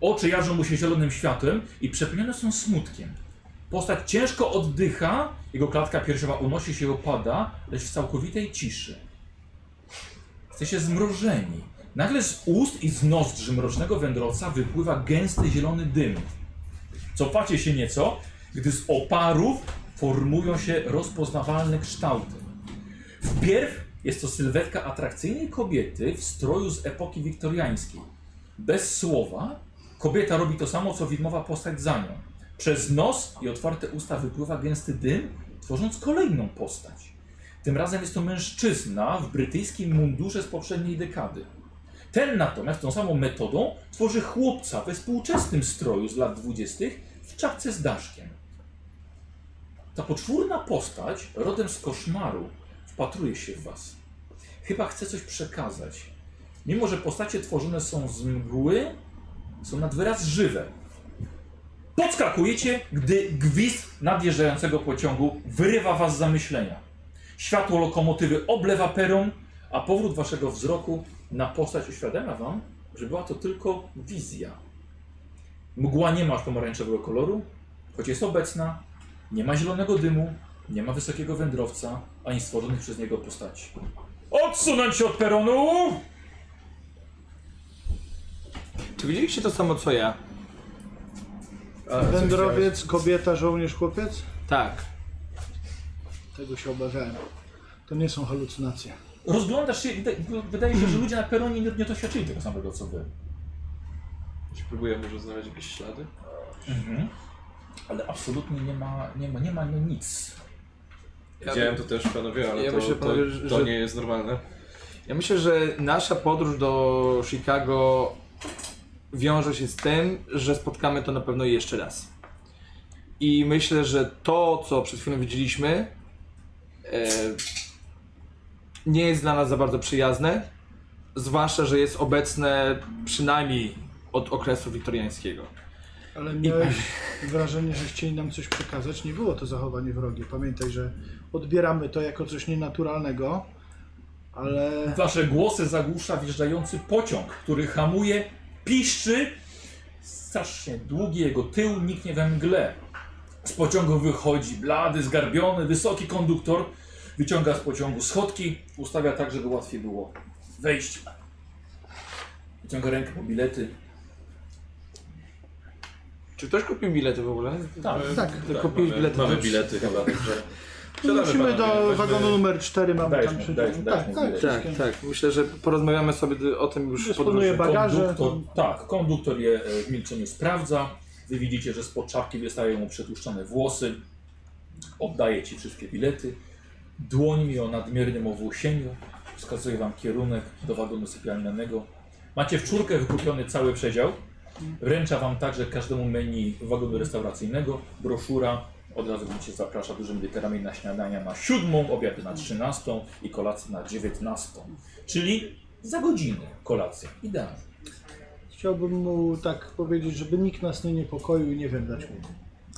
Speaker 1: Oczy jarzą mu się zielonym światłem i przepełnione są smutkiem. Postać ciężko oddycha, jego klatka piersiowa unosi się i opada, lecz w całkowitej ciszy. Jesteście zmrożeni. Nagle z ust i z nozdrzy mrocznego wędrowca wypływa gęsty zielony dym. Cofacie się nieco, gdy z oparów formują się rozpoznawalne kształty. Wpierw jest to sylwetka atrakcyjnej kobiety w stroju z epoki wiktoriańskiej. Bez słowa kobieta robi to samo, co widmowa postać za nią. Przez nos i otwarte usta wypływa gęsty dym, tworząc kolejną postać. Tym razem jest to mężczyzna w brytyjskim mundurze z poprzedniej dekady. Ten natomiast tą samą metodą tworzy chłopca we współczesnym stroju z lat 20. w czapce z daszkiem. Ta poczwórna postać, rodem z koszmaru, wpatruje się w was. Chyba chce coś przekazać. Mimo, że postacie tworzone są z mgły, są nad wyraz żywe. Podskakujecie, gdy gwizd nadjeżdżającego pociągu wyrywa was z zamyślenia. Światło lokomotywy oblewa peron, a powrót waszego wzroku na postać uświadamia wam, że była to tylko wizja. Mgła nie ma pomarańczowego koloru, choć jest obecna, nie ma zielonego dymu, nie ma wysokiego wędrowca, ani stworzonych przez niego postaci. Odsunąć się od peronu!
Speaker 4: Czy widzieliście to samo co ja?
Speaker 2: Wędrowiec, kobieta, żołnierz, chłopiec?
Speaker 4: Tak.
Speaker 2: Tego się obawiałem. To nie są halucynacje.
Speaker 1: Rozglądasz się, wyda- wydaje się, że ludzie na peronie nie, nie doświadczyli tego samego co wy.
Speaker 3: Czy próbuję może znaleźć jakieś ślady?
Speaker 1: Ale absolutnie nie ma, nie ma, nie ma nie nic.
Speaker 4: Ja-
Speaker 3: Widziałem to też, panowie, ale
Speaker 4: Ja
Speaker 3: to,
Speaker 4: myślę,
Speaker 3: to,
Speaker 4: panowie,
Speaker 3: to
Speaker 4: że-
Speaker 3: nie jest normalne.
Speaker 4: Ja myślę, że nasza podróż do Chicago wiąże się z tym, że spotkamy to na pewno jeszcze raz. I myślę, że to, co przed chwilą widzieliśmy, e, nie jest dla nas za bardzo przyjazne. Zwłaszcza, że jest obecne przynajmniej od okresu wiktoriańskiego.
Speaker 2: Ale miałeś wrażenie, że chcieli nam coś przekazać. Nie było to zachowanie wrogie. Pamiętaj, że odbieramy to jako coś nienaturalnego, ale
Speaker 1: Wasze głosy zagłusza wjeżdżający pociąg, który hamuje, piszczy. Strasznie długi jego tył niknie we mgle. Z pociągu wychodzi blady, zgarbiony, wysoki konduktor. Wyciąga z pociągu schodki, ustawia tak, żeby łatwiej było wejść. Wyciąga rękę po bilety.
Speaker 4: Czy ktoś kupił bilety w ogóle?
Speaker 1: Tak,
Speaker 2: tak.
Speaker 4: kupiłeś
Speaker 3: mamy,
Speaker 4: bilety
Speaker 3: Mamy
Speaker 4: też.
Speaker 3: bilety chyba, także... Siadamy,
Speaker 2: Musimy
Speaker 3: panowie,
Speaker 2: do
Speaker 3: weźmy-
Speaker 2: wagonu numer 4, mamy
Speaker 1: Dajesz
Speaker 2: tam
Speaker 1: mu,
Speaker 2: przy-
Speaker 1: dajesz mu, dajesz
Speaker 2: Tak,
Speaker 1: mu
Speaker 2: tak,
Speaker 1: bilet.
Speaker 4: Tak, tak. Myślę, że porozmawiamy sobie o tym już w
Speaker 2: Dysponuję
Speaker 4: podróży.
Speaker 2: bagaże.
Speaker 1: Konduktor, tak, konduktor je e, w milczeniu sprawdza. Wy widzicie, że z podczapki wystają mu przetłuszczone włosy. Oddaje ci wszystkie bilety. Dłońmi o nadmiernym owłosieniu wskazuje wam kierunek do wagonu sypialnego. Macie w czwórkę wykupiony cały przedział. Wręcza wam także każdemu menu wagonu restauracyjnego. Broszura od razu widzicie zaprasza dużymi literami na śniadania na siódmą, obiady na trzynastą i kolację na dziewiętnastą. Czyli za godzinę kolacja. Idealnie.
Speaker 2: Chciałbym mu tak powiedzieć, żeby nikt nas nie niepokoił i nie wiem, dać mu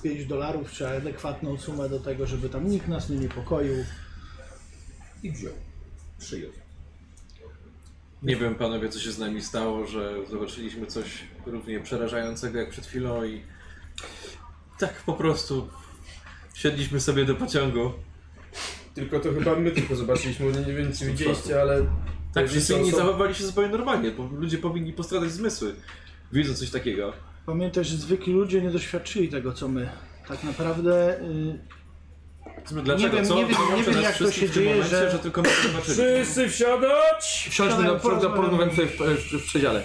Speaker 2: 5 dolarów czy adekwatną sumę do tego, żeby tam nikt nas nie niepokoił.
Speaker 1: I wziął. Przyjął.
Speaker 3: Nie wiem, panowie, co się z nami stało, że zobaczyliśmy coś równie przerażającego jak przed chwilą i... Tak po prostu... Siedliśmy sobie do pociągu.
Speaker 5: Tylko to chyba my tylko zobaczyliśmy, nie, nie wiem czy widzieliście, ale...
Speaker 3: Tak, wszyscy inni
Speaker 5: osoby-
Speaker 3: zachowywali się zupełnie normalnie, bo ludzie powinni postradać zmysły. Widzą coś takiego.
Speaker 2: Pamiętaj, że zwykli ludzie nie doświadczyli tego, co my. Tak naprawdę y,
Speaker 3: Dlaczego?
Speaker 2: wiem,
Speaker 3: Co
Speaker 2: nie wiem-
Speaker 3: łączy
Speaker 2: nie wiem,
Speaker 3: nas
Speaker 2: jak to
Speaker 3: wszystkich
Speaker 2: się
Speaker 3: w tym
Speaker 2: dzieje,
Speaker 3: momencie,
Speaker 2: że-
Speaker 3: że tylko my to zobaczyliśmy?
Speaker 1: Wszyscy wsiadać!
Speaker 4: Siądźmy na przykład,
Speaker 2: Porozmawiamy.
Speaker 4: porozmawiamy sobie w, w, w przedziale.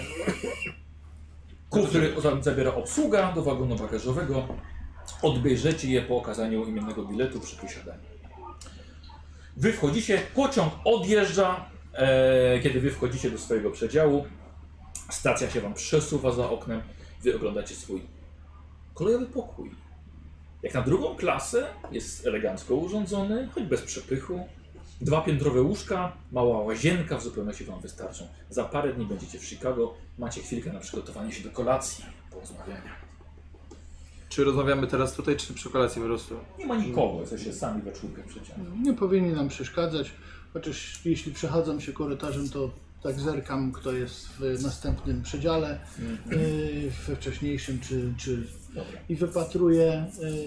Speaker 1: Kufry za- zabiera obsługa do wagonu bagażowego. Odbierzecie je po okazaniu imiennego biletu przy posiadaniu. Wy wchodzicie, pociąg odjeżdża. E, kiedy wy wchodzicie do swojego przedziału, stacja się wam przesuwa za oknem. Wy oglądacie swój kolejowy pokój. Jak na drugą klasę, jest elegancko urządzony, choć bez przepychu. Dwa piętrowe łóżka, mała łazienka w zupełności Wam wystarczą. Za parę dni będziecie w Chicago, macie chwilkę na przygotowanie się do kolacji, porozmawiania.
Speaker 4: Czy rozmawiamy teraz tutaj, czy przy kolacji po prostu?
Speaker 1: Nie ma nikogo, jesteście sami we czwórkę przecież.
Speaker 2: nie powinni nam przeszkadzać. Chociaż jeśli przechadzam się korytarzem, to tak zerkam, kto jest w następnym przedziale, y, we wcześniejszym czy, czy,
Speaker 1: Mhm. Dobra.
Speaker 2: i wypatruję.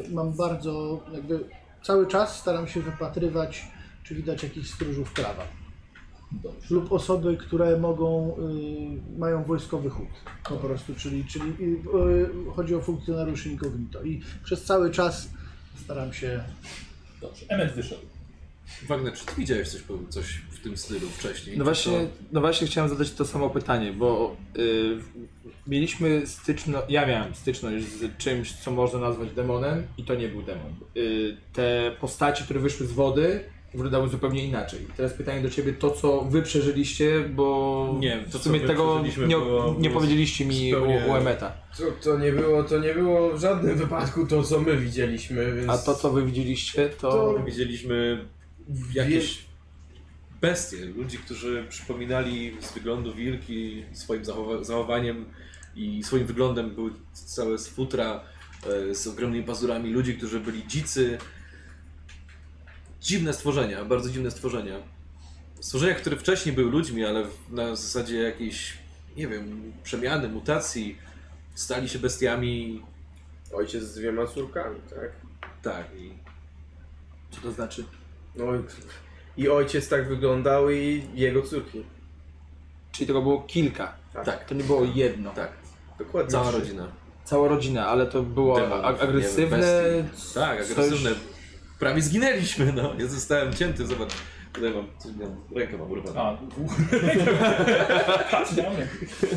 Speaker 2: y, Mam bardzo, jakby cały czas staram się wypatrywać, czy widać jakichś stróżów prawa
Speaker 1: Dobrze.
Speaker 2: lub osoby, które mogą, y, mają wojskowy chód po prostu, czyli, czyli y, y, chodzi o funkcjonariuszy inkognito. I przez cały czas staram się.
Speaker 1: Dobrze. Emmet wyszedł.
Speaker 3: Wagner, czy ty widziałeś coś, po- coś w tym stylu wcześniej?
Speaker 4: No
Speaker 3: Czy
Speaker 4: właśnie,
Speaker 3: to-
Speaker 4: no właśnie chciałem zadać to samo pytanie, bo y, mieliśmy styczność, ja miałem styczność z czymś, co można nazwać demonem i to nie był demon. Y, te postaci, które wyszły z wody, wyglądały zupełnie inaczej. Teraz pytanie do Ciebie, to co Wy przeżyliście, bo
Speaker 3: Nie, to,
Speaker 4: w sumie
Speaker 3: co my
Speaker 4: tego
Speaker 3: przeżyliśmy,
Speaker 4: nie,
Speaker 3: było-
Speaker 4: nie powiedzieliście mi
Speaker 3: zupełnie-
Speaker 4: u, u Emeta.
Speaker 5: To, to nie było, to nie było w żadnym wypadku to, co my widzieliśmy, więc...
Speaker 4: A to co Wy widzieliście, to...
Speaker 5: To-
Speaker 3: Widzieliśmy jakieś bestie, ludzi, którzy przypominali z wyglądu wilki, swoim zachowa- zachowaniem i swoim wyglądem były całe z futra, e, z ogromnymi pazurami, ludzi, którzy byli dzicy. Dziwne stworzenia, bardzo dziwne stworzenia. Stworzenia, które wcześniej były ludźmi, ale w- na zasadzie jakiejś, nie wiem, przemiany, mutacji, stali się bestiami.
Speaker 5: Ojciec z dwiema córkami, tak?
Speaker 3: Tak, i
Speaker 4: Co to znaczy?
Speaker 5: No i- i ojciec tak wyglądał i jego córki.
Speaker 4: Czyli tego było kilka,
Speaker 5: Tak,
Speaker 3: Tak.
Speaker 4: to nie było jedno.
Speaker 3: tak,
Speaker 5: dokładnie.
Speaker 3: cała rodzina.
Speaker 4: Cała rodzina, ale to było
Speaker 3: Demonów,
Speaker 4: ag- agresywne,
Speaker 3: nie wiem, bestii. Tak,
Speaker 4: coś-
Speaker 3: agresywne. prawie zginęliśmy, no. Ja zostałem cięty, zobacz. Tutaj mam, coś miałem, rękę mam urwaną.
Speaker 1: A, patrz na mnie.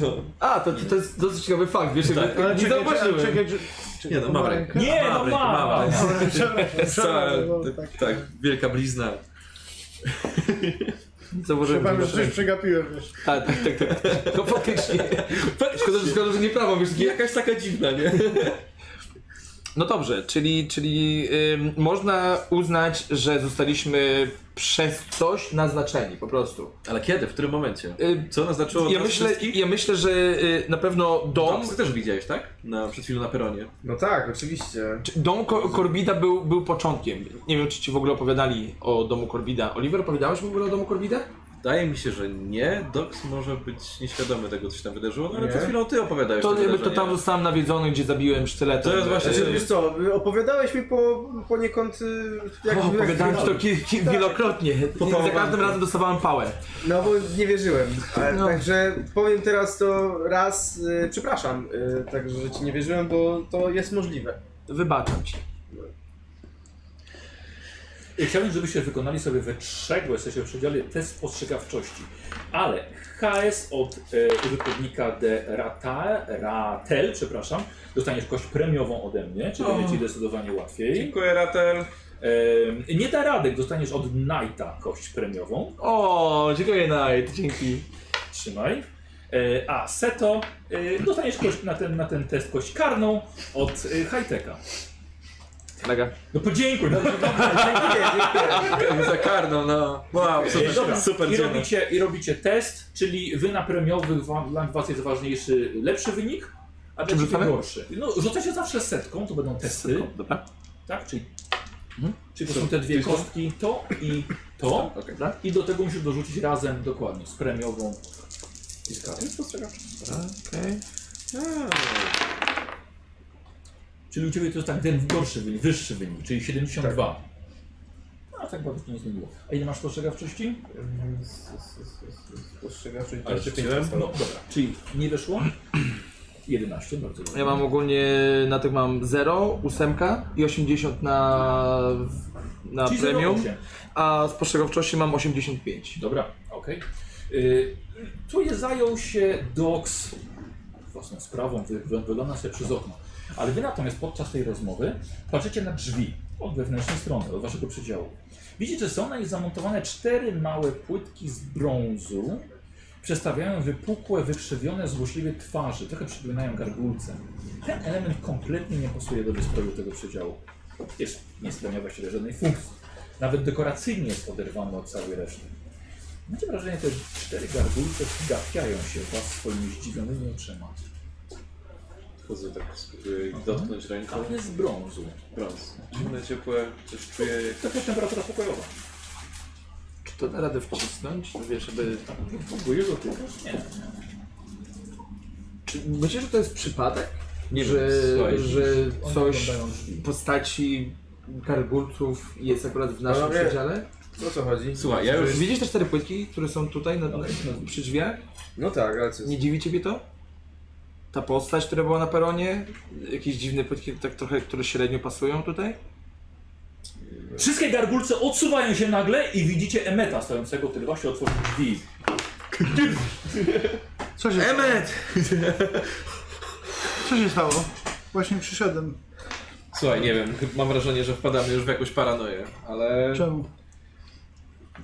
Speaker 3: No.
Speaker 4: A, to, to, to jest dosyć ciekawy fakt, wiesz,
Speaker 3: Tak.
Speaker 4: jakby-
Speaker 2: Ale
Speaker 4: nie
Speaker 2: czekaj, czekaj,
Speaker 4: zauważyłem.
Speaker 2: czekaj, czekaj,
Speaker 3: Nie no, mam rękę.
Speaker 1: Nie,
Speaker 3: mam
Speaker 1: no
Speaker 3: rękę,
Speaker 1: mam.
Speaker 3: mam, ale- Cała,
Speaker 2: tak.
Speaker 3: tak, wielka blizna.
Speaker 4: Zauważyłem,
Speaker 2: Chyba
Speaker 4: że
Speaker 2: już coś przegapiłem, wiesz.
Speaker 4: Tak, tak, tak, tak. No faktycznie. Szkoda, że, szkoda, że nie prawo, wiesz, nie?
Speaker 3: Jakaś taka dziwna, nie?
Speaker 4: No dobrze, czyli, czyli ym, można uznać, że zostaliśmy przez coś naznaczeni, po prostu.
Speaker 3: Ale kiedy? W którym momencie?
Speaker 4: Ym,
Speaker 3: Co naznaczyło
Speaker 4: ja,
Speaker 3: nas
Speaker 4: myślę,
Speaker 3: wszystkich?
Speaker 4: ja myślę, że y, na pewno dom,
Speaker 3: Tom, ty też widziałeś, tak? Na, przed chwilą na peronie.
Speaker 5: No tak, oczywiście.
Speaker 4: czy- dom Ko- Korbida był, był początkiem. Nie wiem, czy ci w ogóle opowiadali o domu Korbida. Oliver, opowiadałeś w ogóle o domu Korbida?
Speaker 3: Wydaje mi się, że nie. Dox może być nieświadomy tego, co się tam wydarzyło, no ale
Speaker 5: Nie.
Speaker 3: przed chwilą ty opowiadałeś
Speaker 4: To
Speaker 3: te
Speaker 4: jakby to tam
Speaker 3: wydarzenia.
Speaker 4: zostałem nawiedzony, gdzie zabiłem sztyletem.
Speaker 3: To jest właśnie-
Speaker 4: Yy.
Speaker 5: Znaczy, wiesz co, opowiadałeś mi po, poniekąd y, jak...
Speaker 4: O,
Speaker 5: jak-
Speaker 4: opowiadałem ci to ki- ki- wielokrotnie. Za każdym razem dostawałem pałę.
Speaker 5: No bo nie wierzyłem. A,
Speaker 4: No.
Speaker 5: Także powiem teraz to raz, y, przepraszam, y, także że ci nie wierzyłem, bo to jest możliwe.
Speaker 4: Wybaczam ci.
Speaker 1: Chciałbym, żebyście wykonali sobie we trzech, bo jesteście w przedziale, test spostrzegawczości. Ale HS od e, użytkownika de Rata, Ratel, przepraszam, dostaniesz kość premiową ode mnie, czyli będzie ci zdecydowanie łatwiej.
Speaker 3: Dziękuję, Ratel.
Speaker 1: E, nie da radek, dostaniesz od Knighta kość premiową.
Speaker 4: O, dziękuję Knight, dzięki.
Speaker 1: Trzymaj. E, a Seto, e, dostaniesz kość na ten, na ten test kość karną od e, Highteka.
Speaker 4: Mega.
Speaker 1: No podziękuj, no,
Speaker 5: Dziękuję, dziękuję.
Speaker 3: Za karną, no. Wow,
Speaker 1: E, dobra.
Speaker 3: super, super
Speaker 1: I,
Speaker 3: dzień.
Speaker 1: robicie, I robicie test, czyli wy na premiowych wam- dla was jest ważniejszy lepszy wynik, a dla
Speaker 4: Czym
Speaker 1: ciebie
Speaker 4: rzucamy?
Speaker 1: gorszy. No rzucacie zawsze setką, to będą testy,
Speaker 4: Dobra.
Speaker 1: tak? Czyli,
Speaker 4: Mhm.
Speaker 1: czyli to są te dwie kostki, to i to.
Speaker 3: Okej.
Speaker 1: I do tego musisz dorzucić razem dokładnie z premiową. I z kartą.
Speaker 4: Okej.
Speaker 1: Czyli u ciebie to jest tak ten gorszy wynik, wyższy wynik, czyli 72. A tak bardzo to nie zmieniło. A ile masz spostrzegawczości?
Speaker 5: Spostrzegawczość
Speaker 1: Ale
Speaker 5: 25
Speaker 1: rzuciłem? No
Speaker 5: zostało.
Speaker 1: dobra, czyli nie wyszło? 11, bardzo dobrze.
Speaker 4: Ja mam ogólnie na tych mam 0, 8 i 80 na, na
Speaker 1: Czyli
Speaker 4: premium,
Speaker 1: 08.
Speaker 4: a spostrzegawczości mam 85.
Speaker 1: Dobra, okej. Y, Tu je zajął się Dox własną sprawą, wy- wy- wygląda sobie przez okno. Ale wy natomiast podczas tej rozmowy patrzycie na drzwi od wewnętrznej strony, od waszego przedziału. Widzicie, że są na nich zamontowane cztery małe płytki z brązu. Przestawiają wypukłe, wykrzywione, złośliwe twarze. Trochę przypominają gargulce. Ten element kompletnie nie pasuje do wystroju tego przedziału. Jest nie spełnia właściwie żadnej funkcji. Nawet dekoracyjnie jest oderwany od całej reszty. Macie wrażenie, że te cztery gargulce gapiają się w was swoimi zdziwionymi oczyma.
Speaker 3: Chodzę tak, spróbuję ich dotknąć ręką.
Speaker 1: Tam jest brązu.
Speaker 3: Brąz. Zimne, ciepłe, coś czuję. jak-
Speaker 1: Taka jest temperatura pokojowa.
Speaker 4: Czy to da radę wcisnąć? No Wiesz, żeby...
Speaker 1: Pokoju dotykasz? Nie.
Speaker 4: Czy myślisz, że to jest przypadek?
Speaker 3: Nie
Speaker 4: że,
Speaker 3: wiem, słuchaj,
Speaker 4: że
Speaker 1: One
Speaker 4: coś
Speaker 1: wyglądają drzwi.
Speaker 4: w postaci kargulców jest akurat w naszym
Speaker 5: Panowie.
Speaker 4: przedziale?
Speaker 5: O co chodzi?
Speaker 3: Słuchaj, ja już
Speaker 4: Widzisz te cztery płytki, które są tutaj na, na, przy drzwiach?
Speaker 5: No tak, ale co jest?
Speaker 4: Nie dziwi ciebie to? Ta postać, która była na peronie? Jakieś dziwne płytki, tak trochę, które średnio pasują tutaj?
Speaker 1: Wszystkie gargulce odsuwają się nagle i widzicie Emeta stojącego, który właśnie otworzył drzwi.
Speaker 2: Co się,
Speaker 3: Emet!
Speaker 2: co się stało? Właśnie przyszedłem.
Speaker 3: Słuchaj, nie wiem, mam wrażenie, że wpadamy już w jakąś paranoję, ale...
Speaker 2: Czemu?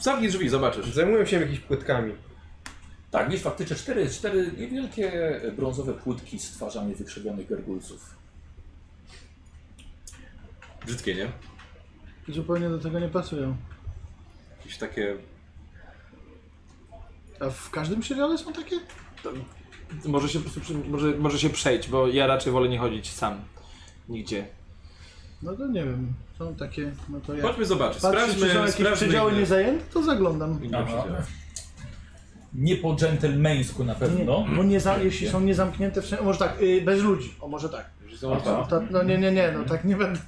Speaker 3: Zamknij drzwi, zobaczysz.
Speaker 5: Zajmują się jakimiś płytkami.
Speaker 1: Tak, widzisz faktycznie cztery, cztery niewielkie brązowe płytki z twarzami wykrzywionych gargulców.
Speaker 3: Brzydkie, nie?
Speaker 2: Zupełnie do tego nie pasują.
Speaker 3: Jakieś takie...
Speaker 2: A w każdym serialu są takie?
Speaker 4: Może się, po prostu przy- może, może się przejść, bo ja raczej wolę nie chodzić sam. Nigdzie.
Speaker 2: No to nie wiem. Są takie, no to ja.
Speaker 3: Chodźmy zobaczyć,
Speaker 2: Patrzę, czy są
Speaker 3: sprawdźmy,
Speaker 2: jakieś
Speaker 3: sprawdźmy No.
Speaker 2: przedziały
Speaker 3: inne-
Speaker 2: niezajęte, to zaglądam.
Speaker 3: inne
Speaker 1: Aha.
Speaker 3: przedziały.
Speaker 1: Nie po dżentelmeńsku na
Speaker 2: Nie,
Speaker 3: No.
Speaker 1: pewno.
Speaker 2: bo nie za, jeśli są niezamknięte, w sensie, może tak, y, bez ludzi, o może tak.
Speaker 1: Aha. No, tak.
Speaker 2: Ta, no nie, nie, nie, no tak nie będę.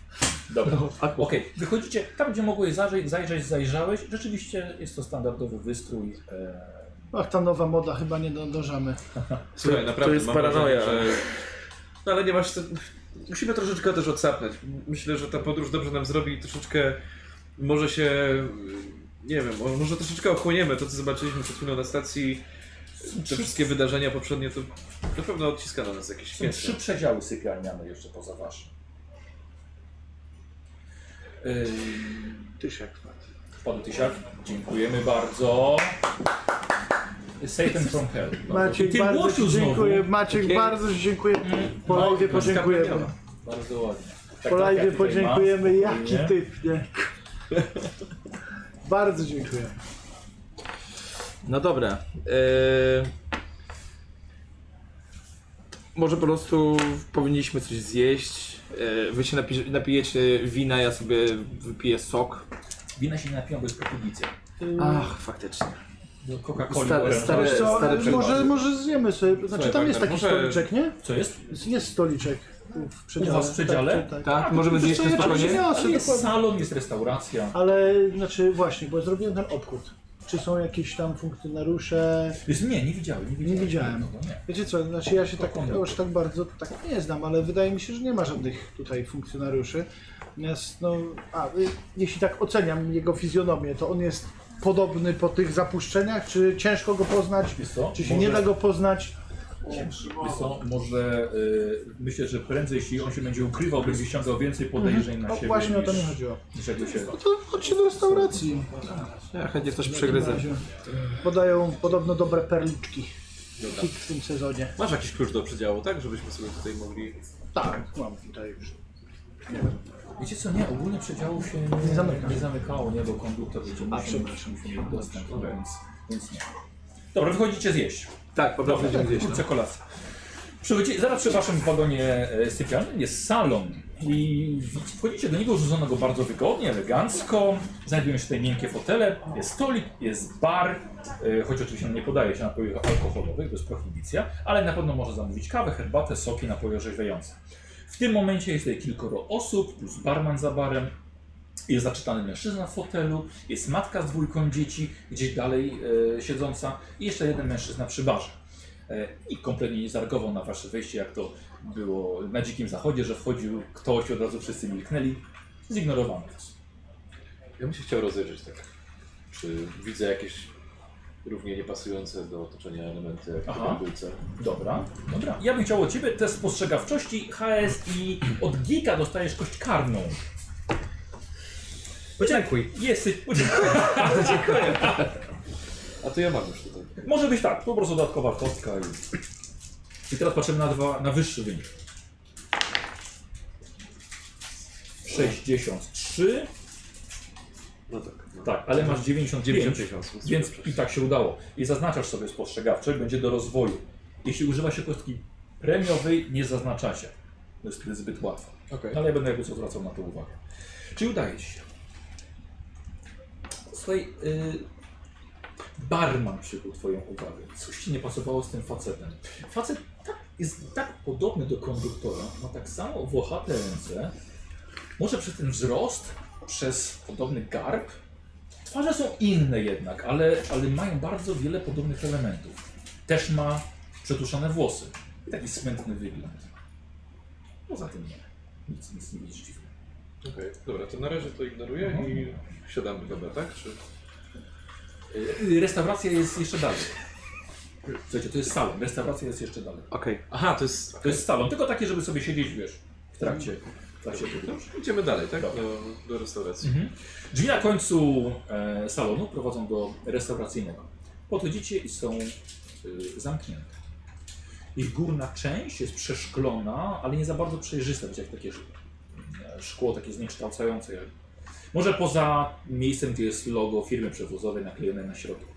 Speaker 1: Dobra. Okej, wychodzicie tam, gdzie mogłeś zajrzeć, zajrzeć, zajrzałeś. Rzeczywiście jest to standardowy wystrój. E...
Speaker 2: Ach, ta nowa moda, chyba nie dążamy.
Speaker 3: Słuchaj, naprawdę,
Speaker 4: jest
Speaker 3: mam
Speaker 4: paranoja.
Speaker 3: Wrażenie, że... No ale nie masz... Co... Musimy troszeczkę też odsapnąć. Myślę, że ta podróż dobrze nam zrobi i troszeczkę Może się, nie wiem, mo- może troszeczkę ochłoniemy to, co zobaczyliśmy przed chwilą na stacji. Te wszystkie wydarzenia poprzednie to na pewno odciska na nas jakieś
Speaker 1: Są trzy
Speaker 3: piętno.
Speaker 1: przedziały sypialniane jeszcze poza waszym. Ym,
Speaker 2: Tysiak wpadł.
Speaker 1: Panu Tysiak, dziękujemy bardzo. Satan from Hell. I
Speaker 2: Maciek,
Speaker 1: No, ty
Speaker 2: bardzo
Speaker 1: młodziu
Speaker 2: ci dziękuję.
Speaker 1: znowu.
Speaker 2: Maciek,
Speaker 4: Takie-
Speaker 2: bardzo ci dziękuję. Po
Speaker 1: no,
Speaker 2: live podziękujemy.
Speaker 3: skapniała.
Speaker 1: Bardzo ładnie. Tak,
Speaker 2: Po live
Speaker 1: tutaj ma.
Speaker 2: podziękujemy. Jaki
Speaker 1: Nie?
Speaker 2: typ, nie? Bardzo dziękuję.
Speaker 4: No dobra. Yy... Może po prostu powinniśmy coś zjeść. Yy, wy się napi- napijecie wina, ja sobie wypiję sok.
Speaker 1: Wina się nie napiją, bo jest po publicy.
Speaker 4: Ach, faktycznie.
Speaker 1: Do Coca-Coli.
Speaker 4: Stare-
Speaker 1: oranżowej.
Speaker 4: stare-
Speaker 2: Wiesz co,
Speaker 4: stary
Speaker 2: może,
Speaker 4: przykład.
Speaker 2: może zjemy sobie. Znaczy
Speaker 3: Słuchaj,
Speaker 1: tak,
Speaker 2: tam jest taki
Speaker 3: Wagner, może-
Speaker 2: stoliczek, nie?
Speaker 1: Co jest?
Speaker 2: Jest stoliczek w przedziale.
Speaker 1: U was w przedziale?
Speaker 2: Tak, tak, tak.
Speaker 4: Tak? Możemy
Speaker 2: Wiesz
Speaker 4: zjeść
Speaker 2: co,
Speaker 4: na
Speaker 2: ja to
Speaker 4: spokojnie?
Speaker 2: przyniosę,
Speaker 1: Ale jest
Speaker 2: dokładnie.
Speaker 1: salon, jest restauracja.
Speaker 2: Ale znaczy właśnie, bo zrobiłem ten obchód. Czy są jakieś tam funkcjonariusze?
Speaker 1: Jest, nie, nie widziałem. Nie widziałem.
Speaker 2: widziałem.
Speaker 1: No, no, nie.
Speaker 2: Wiecie co, znaczy ja się tak
Speaker 1: Dokładnie.
Speaker 2: już tak bardzo tak nie znam, ale wydaje mi się, że nie ma żadnych tutaj funkcjonariuszy. Natomiast no, a, y, jeśli tak oceniam jego fizjonomię, to on jest podobny po tych zapuszczeniach, czy ciężko go poznać?
Speaker 1: Wiesz co?
Speaker 2: Czy się
Speaker 1: Może-
Speaker 2: nie da go poznać?
Speaker 1: Wiesz co, może y, myślę, że prędzej, jeśli on się będzie ukrywał, będzie ściągał więcej podejrzeń na
Speaker 2: O,
Speaker 1: siebie
Speaker 2: No właśnie o
Speaker 1: niż,
Speaker 2: to mi chodziło.
Speaker 1: niż jakby się...
Speaker 2: No to chodźcie do restauracji.
Speaker 4: Ja chętnie coś przegryzę.
Speaker 2: Podają podobno dobre perliczki
Speaker 3: Dobra.
Speaker 2: hit w tym sezonie.
Speaker 3: Masz jakiś klucz do przedziału, tak? Żebyśmy sobie tutaj mogli...
Speaker 2: Tak, mam tutaj już.
Speaker 1: Wiecie co, nie, ogólnie przedziału się nie, nie,
Speaker 2: zamyka.
Speaker 1: zamykało, nie, bo konduktor będzie musiał mieć-
Speaker 2: przepraszam.
Speaker 1: musi mieć dostęp, więc, więc nie. Dobra, wychodzicie zjeść.
Speaker 4: Tak, po prostu idziemy gdzieś.
Speaker 1: Kurczę, kolacja. Przychodzicie, zaraz przy waszym wagonie e, sypialnym jest salon i wchodzicie do niego urządzonego bardzo wygodnie, elegancko. Znajdują się tutaj miękkie fotele, jest stolik, jest bar, e, choć oczywiście nie podaje się napojów alkoholowych, to jest prohibicja, ale na pewno może zamówić kawę, herbatę, soki, napoje orzeźwiające. W tym momencie jest tutaj kilkoro osób, plus barman za barem, jest zaczytany mężczyzna w fotelu, jest matka z dwójką dzieci, gdzieś dalej e, siedząca i jeszcze jeden mężczyzna przy barze. E, I kompletnie nie zareagował na wasze wejście, jak to było na dzikim zachodzie, że wchodził ktoś, od razu wszyscy milknęli. Zignorowano was.
Speaker 6: Ja bym się chciał rozejrzeć tak. Czy widzę jakieś równie niepasujące do otoczenia elementy jak
Speaker 1: Aha.
Speaker 6: w trójce?
Speaker 1: Dobra, dobra. Ja bym chciał od ciebie test spostrzegawczości, HS i od gika dostajesz kość karną.
Speaker 5: Podziękuj.
Speaker 1: Jesteś...
Speaker 6: A to ja mam już tutaj.
Speaker 1: Może być tak, po prostu dodatkowa kostka i... I teraz patrzymy na, dwa, na wyższy wynik. 63,
Speaker 6: No tak. No.
Speaker 1: tak, ale masz 95,
Speaker 6: 90.
Speaker 1: więc i tak się udało. I zaznaczasz sobie spostrzegawcze, będzie do rozwoju. Jeśli używa się kostki premiowej, nie zaznaczacie. To jest wtedy zbyt łatwo.
Speaker 3: Okej.
Speaker 1: No, Ale ja będę jakby co zwracał na to uwagę. Czy udaje ci się? Słuchaj, y, barman przykuł twoją uwagę. Coś ci nie pasowało z tym facetem. Facet tak, jest tak podobny do konduktora, ma tak samo włochate ręce. Może przez ten wzrost, przez podobny garb. Twarze są inne jednak, ale, ale mają bardzo wiele podobnych elementów. Też ma przetuszone włosy. I taki smętny wygląd. Poza tym nie. Nic, nic nie widzisz dziwnego.
Speaker 3: Okej, dobra, to na razie to ignoruję i siadamy chyba, tak? Czy...
Speaker 1: Y, Restauracja jest jeszcze dalej. Słuchajcie, to jest salon, restauracja jest jeszcze dalej.
Speaker 4: Okej.
Speaker 3: Aha, to jest...
Speaker 1: To jest salon, tylko takie, żeby sobie siedzieć, wiesz, w trakcie. W trakcie
Speaker 3: No, idziemy dalej, tak?
Speaker 1: Dobra.
Speaker 3: Do, do restauracji.
Speaker 1: Mhm. Drzwi na końcu e, salonu prowadzą do restauracyjnego. Podchodzicie i są y, zamknięte. Ich górna część jest przeszklona, ale nie za bardzo przejrzysta, wiecie, jak takie sz- e, szkło, takie zniekształcające. jak- Może poza miejscem, gdzie jest logo firmy przewozowej naklejone na środku.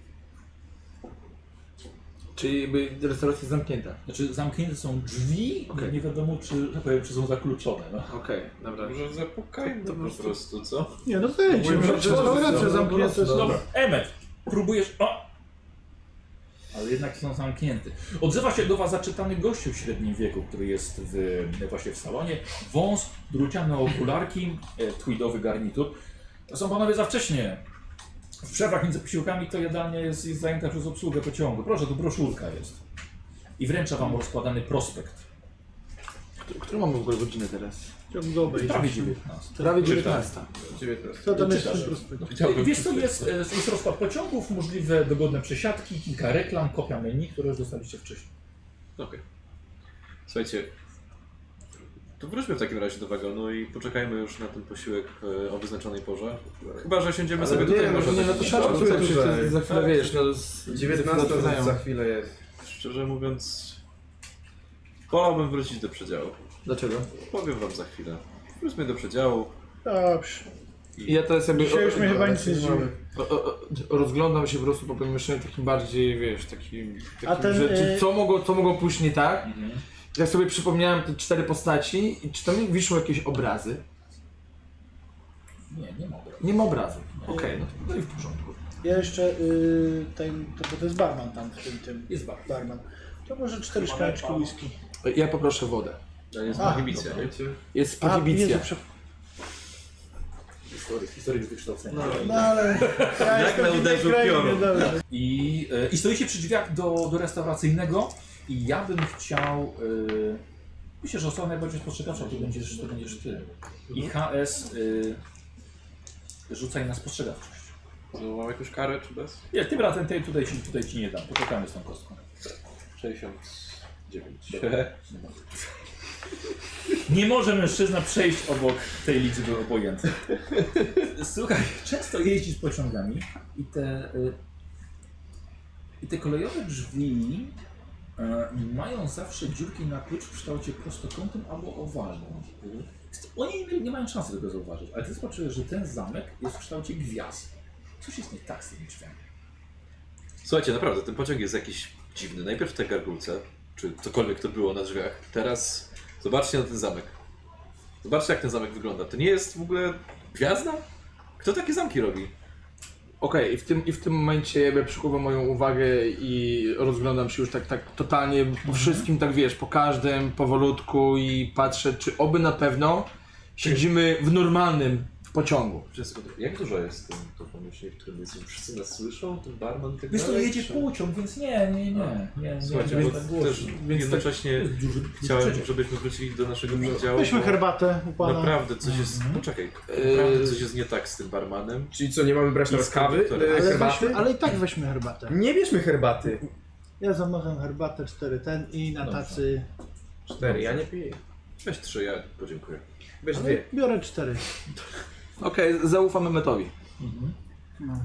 Speaker 4: Czyli jakby restauracja jest zamknięta.
Speaker 1: Znaczy zamknięte są drzwi,
Speaker 4: Okej.
Speaker 1: i nie wiadomo czy, że powiem, czy są zakluczone. No.
Speaker 4: Okej, dobra.
Speaker 3: Może zapukajmy
Speaker 4: To
Speaker 3: po
Speaker 4: po
Speaker 3: prostu, co?
Speaker 2: Nie, no to No, jedzie.
Speaker 4: Mówimy, że
Speaker 2: Restauracja
Speaker 4: to-
Speaker 2: zamknięta.
Speaker 4: to-
Speaker 1: Dobra, Emmet, próbujesz... O! Ale jednak są zamknięte. Odzywa się do was zaczytany gościu w średnim wieku, który jest w, właśnie w salonie. Wąs, druciane okularki, e, tweedowy garnitur. To są panowie za wcześnie. W przerwach między posiłkami to jadalnia jest, jest zajęta przez obsługę pociągu. Proszę, tu broszurka jest. I wręcza wam rozkładany prospekt.
Speaker 4: Któ- Którą mamy w ogóle godzinę teraz?
Speaker 2: Chciałbym go obejrzeć.
Speaker 1: Prawie 19.
Speaker 4: Prawie 19.
Speaker 5: 19.
Speaker 2: Co tam jest w
Speaker 1: Czytasz.
Speaker 2: tym prospekcie?
Speaker 1: Wiesz co, jest, e, jest rozkład pociągów, możliwe dogodne przesiadki, kilka reklam, kopia menu, które już dostaliście wcześniej.
Speaker 3: Okej. Słuchajcie, to wróćmy w takim razie do wagonu i poczekajmy już na ten posiłek e, o wyznaczonej porze. Chyba, że siędziemy
Speaker 5: Ale
Speaker 3: sobie
Speaker 5: nie,
Speaker 3: tutaj
Speaker 5: no
Speaker 3: może
Speaker 5: nie,
Speaker 3: na
Speaker 5: no to
Speaker 3: jakiś
Speaker 5: siadł.
Speaker 3: bar.
Speaker 5: Pracuję
Speaker 4: Pracujesz,
Speaker 5: tutaj.
Speaker 4: to za chwilę wiesz, no... z-
Speaker 5: 19
Speaker 4: za chwilę
Speaker 5: za, za
Speaker 4: zaczynają.
Speaker 5: chwilę jest.
Speaker 3: Szczerze mówiąc, wolałbym wrócić do przedziału.
Speaker 4: Dlaczego?
Speaker 3: Powiem wam za chwilę. Wróćmy do przedziału.
Speaker 2: Dobrze.
Speaker 4: I ja teraz jakby...
Speaker 2: Dzisiaj już mnie chyba nic nie
Speaker 5: Znaczy,
Speaker 2: zdziwi.
Speaker 4: O, o, o, rozglądam się po prostu po pomieszczeniu takim bardziej, wiesz, takim, takim
Speaker 2: A ten,
Speaker 4: że, czy
Speaker 2: y-
Speaker 4: co, mogło, co mogło pójść nie tak. Jak sobie przypomniałem te cztery postaci, i czy tam wiszą jakieś obrazy?
Speaker 1: Nie, nie ma obrazu.
Speaker 4: Nie ma obrazu. Okej, no
Speaker 1: No i w porządku.
Speaker 2: Ja jeszcze y, ten, to, bo to jest barman tam w tym, tym.
Speaker 1: Jest bar.
Speaker 2: Barman. To może cztery szklaneczki whisky.
Speaker 4: to ja poproszę wodę.
Speaker 3: To jest
Speaker 2: A,
Speaker 3: prohibicja, nie?
Speaker 4: Jest
Speaker 2: A,
Speaker 4: prohibicja.
Speaker 2: Jezu, prze-
Speaker 1: Historyk, historyk z wykształcenia.
Speaker 2: No ale ja jestem w innej
Speaker 3: uderzył
Speaker 2: krainie,
Speaker 3: piorun.
Speaker 2: dobrze.
Speaker 1: I, e, I stoicie przy drzwiach do, do restauracyjnego i ja bym chciał... E, myślę, że osoba najbardziej spostrzegawcza to będziesz, to będziesz ty. I HS e, rzucaj na spostrzegawczość.
Speaker 3: To mam jakąś karę czy bez?
Speaker 1: Nie, tym razem tej tutaj ci, tutaj ci nie dam. Poczekamy z tą kostką.
Speaker 3: 69.
Speaker 1: Nie może mężczyzna przejść obok tej liczby obojętnie. Słuchaj, często jeździsz pociągami i te, y, i te kolejowe drzwi y, mają zawsze dziurki na klucz w kształcie prostokątnym albo owalnym. Jest- Oni nie- nie mają szansy tego zauważyć, ale ty zobaczyłeś, że ten zamek jest w kształcie gwiazd. Coś jest nie tak z tymi drzwiami.
Speaker 3: Słuchajcie, naprawdę, ten pociąg jest jakiś dziwny. Najpierw te gargulce, czy cokolwiek to było na drzwiach. Teraz zobaczcie na ten zamek. Zobaczcie, jak ten zamek wygląda. To nie jest w ogóle gwiazda? Kto takie zamki robi?
Speaker 4: Okej, i, w tym, i w tym momencie jakby przykuwa moją uwagę i rozglądam się już tak, tak totalnie
Speaker 2: Mhm.
Speaker 4: po wszystkim, tak wiesz, po każdym, powolutku i patrzę, czy oby na pewno siedzimy w normalnym pociągu.
Speaker 6: Wszystko, jak dużo jest tym, to pomieszczenie, w którym jesteśmy? Wszyscy nas słyszą? Ten barman i tak
Speaker 1: Wiesz co,
Speaker 6: dalej,
Speaker 1: jedzie
Speaker 6: czy-
Speaker 1: pociąg, więc nie, nie, nie. nie, nie
Speaker 3: No, Słuchajcie,
Speaker 1: nie
Speaker 3: bo
Speaker 1: jest tak głośno.
Speaker 3: też jednocześnie
Speaker 1: Jest duży- duży
Speaker 3: chciałem,
Speaker 1: przeciek.
Speaker 3: żebyśmy wrócili do naszego
Speaker 6: No.
Speaker 3: przedziału.
Speaker 2: Weźmy
Speaker 3: bo
Speaker 2: herbatę u pana.
Speaker 3: Naprawdę, coś jest...
Speaker 1: Mhm.
Speaker 3: Poczekaj.
Speaker 6: Eee.
Speaker 4: Yy.
Speaker 3: Naprawdę coś jest nie tak z tym barmanem.
Speaker 5: Czyli co, nie mamy brać
Speaker 3: I
Speaker 5: teraz
Speaker 3: z
Speaker 5: kawy?
Speaker 3: kondytorem.
Speaker 5: e,
Speaker 2: ale,
Speaker 5: herbaty?
Speaker 2: weźmy, ale i tak weźmy herbatę.
Speaker 5: Nie bierzmy herbaty.
Speaker 2: Ja zamawiam herbatę, cztery ten i na
Speaker 1: Dobrze.
Speaker 2: tacy...
Speaker 5: Cztery, ja nie piję.
Speaker 3: Weź trzy, ja podziękuję.
Speaker 5: Weź
Speaker 2: Ale
Speaker 5: dwie.
Speaker 2: biorę cztery.
Speaker 4: Okej, zaufamy metowi.
Speaker 2: No.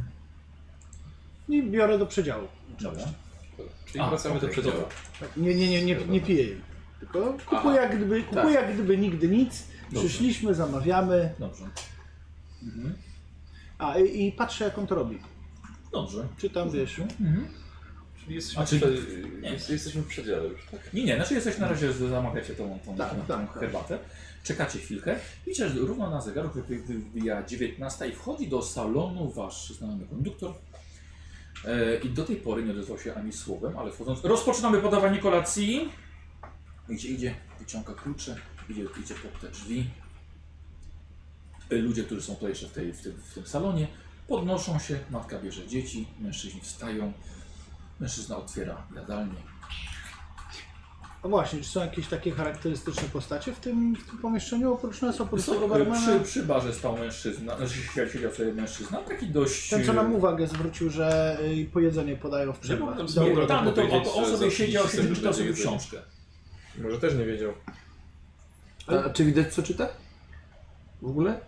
Speaker 2: I biorę do przedziału.
Speaker 1: Dobra.
Speaker 6: Czyli
Speaker 1: A,
Speaker 6: wracamy do
Speaker 1: okej,
Speaker 6: przedziału.
Speaker 1: dobra.
Speaker 2: Tak, Nie, nie, nie, nie, nie piję jej. Tylko kupuję jak gdyby, kupuję jak gdyby nigdy nic. Przyszliśmy, zamawiamy.
Speaker 1: Dobrze.
Speaker 2: A i, i patrzę jak on to robi.
Speaker 1: Dobrze.
Speaker 2: Czy tam wiesz?
Speaker 6: Czyli jesteśmy,
Speaker 1: A, czyli-
Speaker 6: prze-
Speaker 1: nie.
Speaker 6: jest- jesteśmy w przedziale już, tak?
Speaker 1: Nie, nie, znaczy jesteś na razie, że zamawiacie tą, tą,
Speaker 2: Tak,
Speaker 1: tą, tą
Speaker 2: tak, tak.
Speaker 1: herbatę. Czekacie chwilkę. Widzicie, że równo na zegarku wy- wy- wybija 19 i wchodzi do salonu wasz znany konduktor. E, I do tej pory nie odezwał się ani słowem, ale wchodząc... Rozpoczynamy podawanie kolacji. Idzie, idzie, wyciąga klucze, idzie, idzie pod te drzwi. E, Ludzie, którzy są tutaj jeszcze w, tej, w, tym, w tym salonie, podnoszą się, matka bierze dzieci, mężczyźni wstają. Mężczyzna otwiera jadalnię.
Speaker 2: A No właśnie, czy są jakieś takie charakterystyczne postacie w tym, w tym pomieszczeniu oprócz nas, oprócz
Speaker 1: Co,
Speaker 2: tego
Speaker 1: No, e, przy,
Speaker 2: barmana?
Speaker 1: przy barze stał mężczyzna, znaczy siedział- siedział sobie mężczyzna, taki dość...
Speaker 2: Ten, co nam
Speaker 1: e,
Speaker 2: uwagę zwrócił, że y, po jedzenie podają w
Speaker 1: Nie, bo tam
Speaker 2: przerwach.
Speaker 1: sobie,
Speaker 3: Dobra,
Speaker 1: tam, no
Speaker 3: to
Speaker 1: to, to,
Speaker 3: powiedzieć,
Speaker 1: on
Speaker 3: że
Speaker 1: sobie
Speaker 3: za
Speaker 1: siedział,
Speaker 3: 30
Speaker 1: siedział, czytał
Speaker 3: będzie
Speaker 1: sobie
Speaker 3: jedzenie.
Speaker 1: książkę.
Speaker 5: Może też nie wiedział.
Speaker 4: A, czy widać co czyta? W ogóle?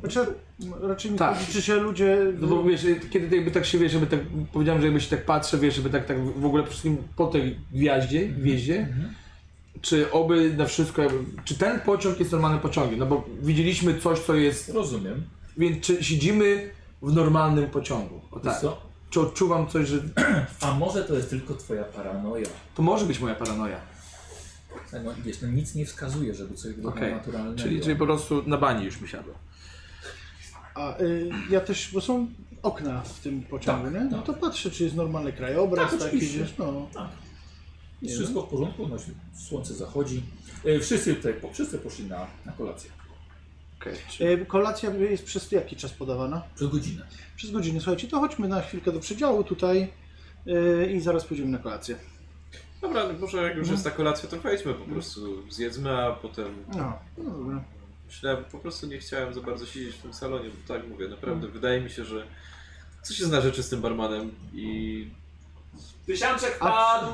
Speaker 2: Znaczy, m, raczej mi
Speaker 4: Tak.
Speaker 2: chodzi, czy się ludzie...
Speaker 4: No bo wiesz, kiedy ty jakby tak się wiesz, żeby tak powiedziałem, że jakby się tak patrzę, wiesz, żeby tak, tak w ogóle przede wszystkim po tej gwiaździe, gwieździe, czy oby na wszystko jakby, czy ten pociąg jest normalnym pociągiem? No bo widzieliśmy coś, co jest,
Speaker 1: Rozumiem.
Speaker 4: więc czy siedzimy w normalnym pociągu? O
Speaker 1: Wiesz
Speaker 4: tak.
Speaker 1: Co?
Speaker 4: Czy odczuwam coś, że
Speaker 1: A może to jest tylko twoja paranoja?
Speaker 4: to może być moja paranoja?
Speaker 1: No, wiesz, no, nic nie wskazuje, żeby coś było
Speaker 4: Okej.
Speaker 1: naturalnego.
Speaker 4: Czyli, czyli po prostu na bani już mi siadło.
Speaker 2: A y, ja też, bo są okna w tym pociągu,
Speaker 1: Tak,
Speaker 2: nie? No
Speaker 1: tak.
Speaker 2: to patrzę, czy jest normalny
Speaker 1: Tak,
Speaker 2: krajobraz, tak, taki
Speaker 1: oczywiście.
Speaker 2: wiesz, no.
Speaker 1: Tak. Jest wszystko w porządku, no, słońce zachodzi. E, Wszyscy tutaj, po- wszyscy poszli na, na kolację.
Speaker 4: Okej. Czy-
Speaker 2: Y, Kolacja jest przez jaki czas podawana?
Speaker 1: Przez godzinę.
Speaker 2: Przez e, godzinę, słuchajcie, to chodźmy na chwilkę do przedziału tutaj y, i zaraz pójdziemy na kolację.
Speaker 3: Dobra, no może jak już jest ta kolacja, to wejdźmy po prostu, zjedzmy, a potem...
Speaker 2: No, no dobra.
Speaker 3: Myślałem, po prostu nie chciałem za bardzo siedzieć w tym salonie, bo tak mówię, naprawdę wydaje mi się, że coś się zna rzeczy z tym barmanem i...
Speaker 7: Tysiączek padł!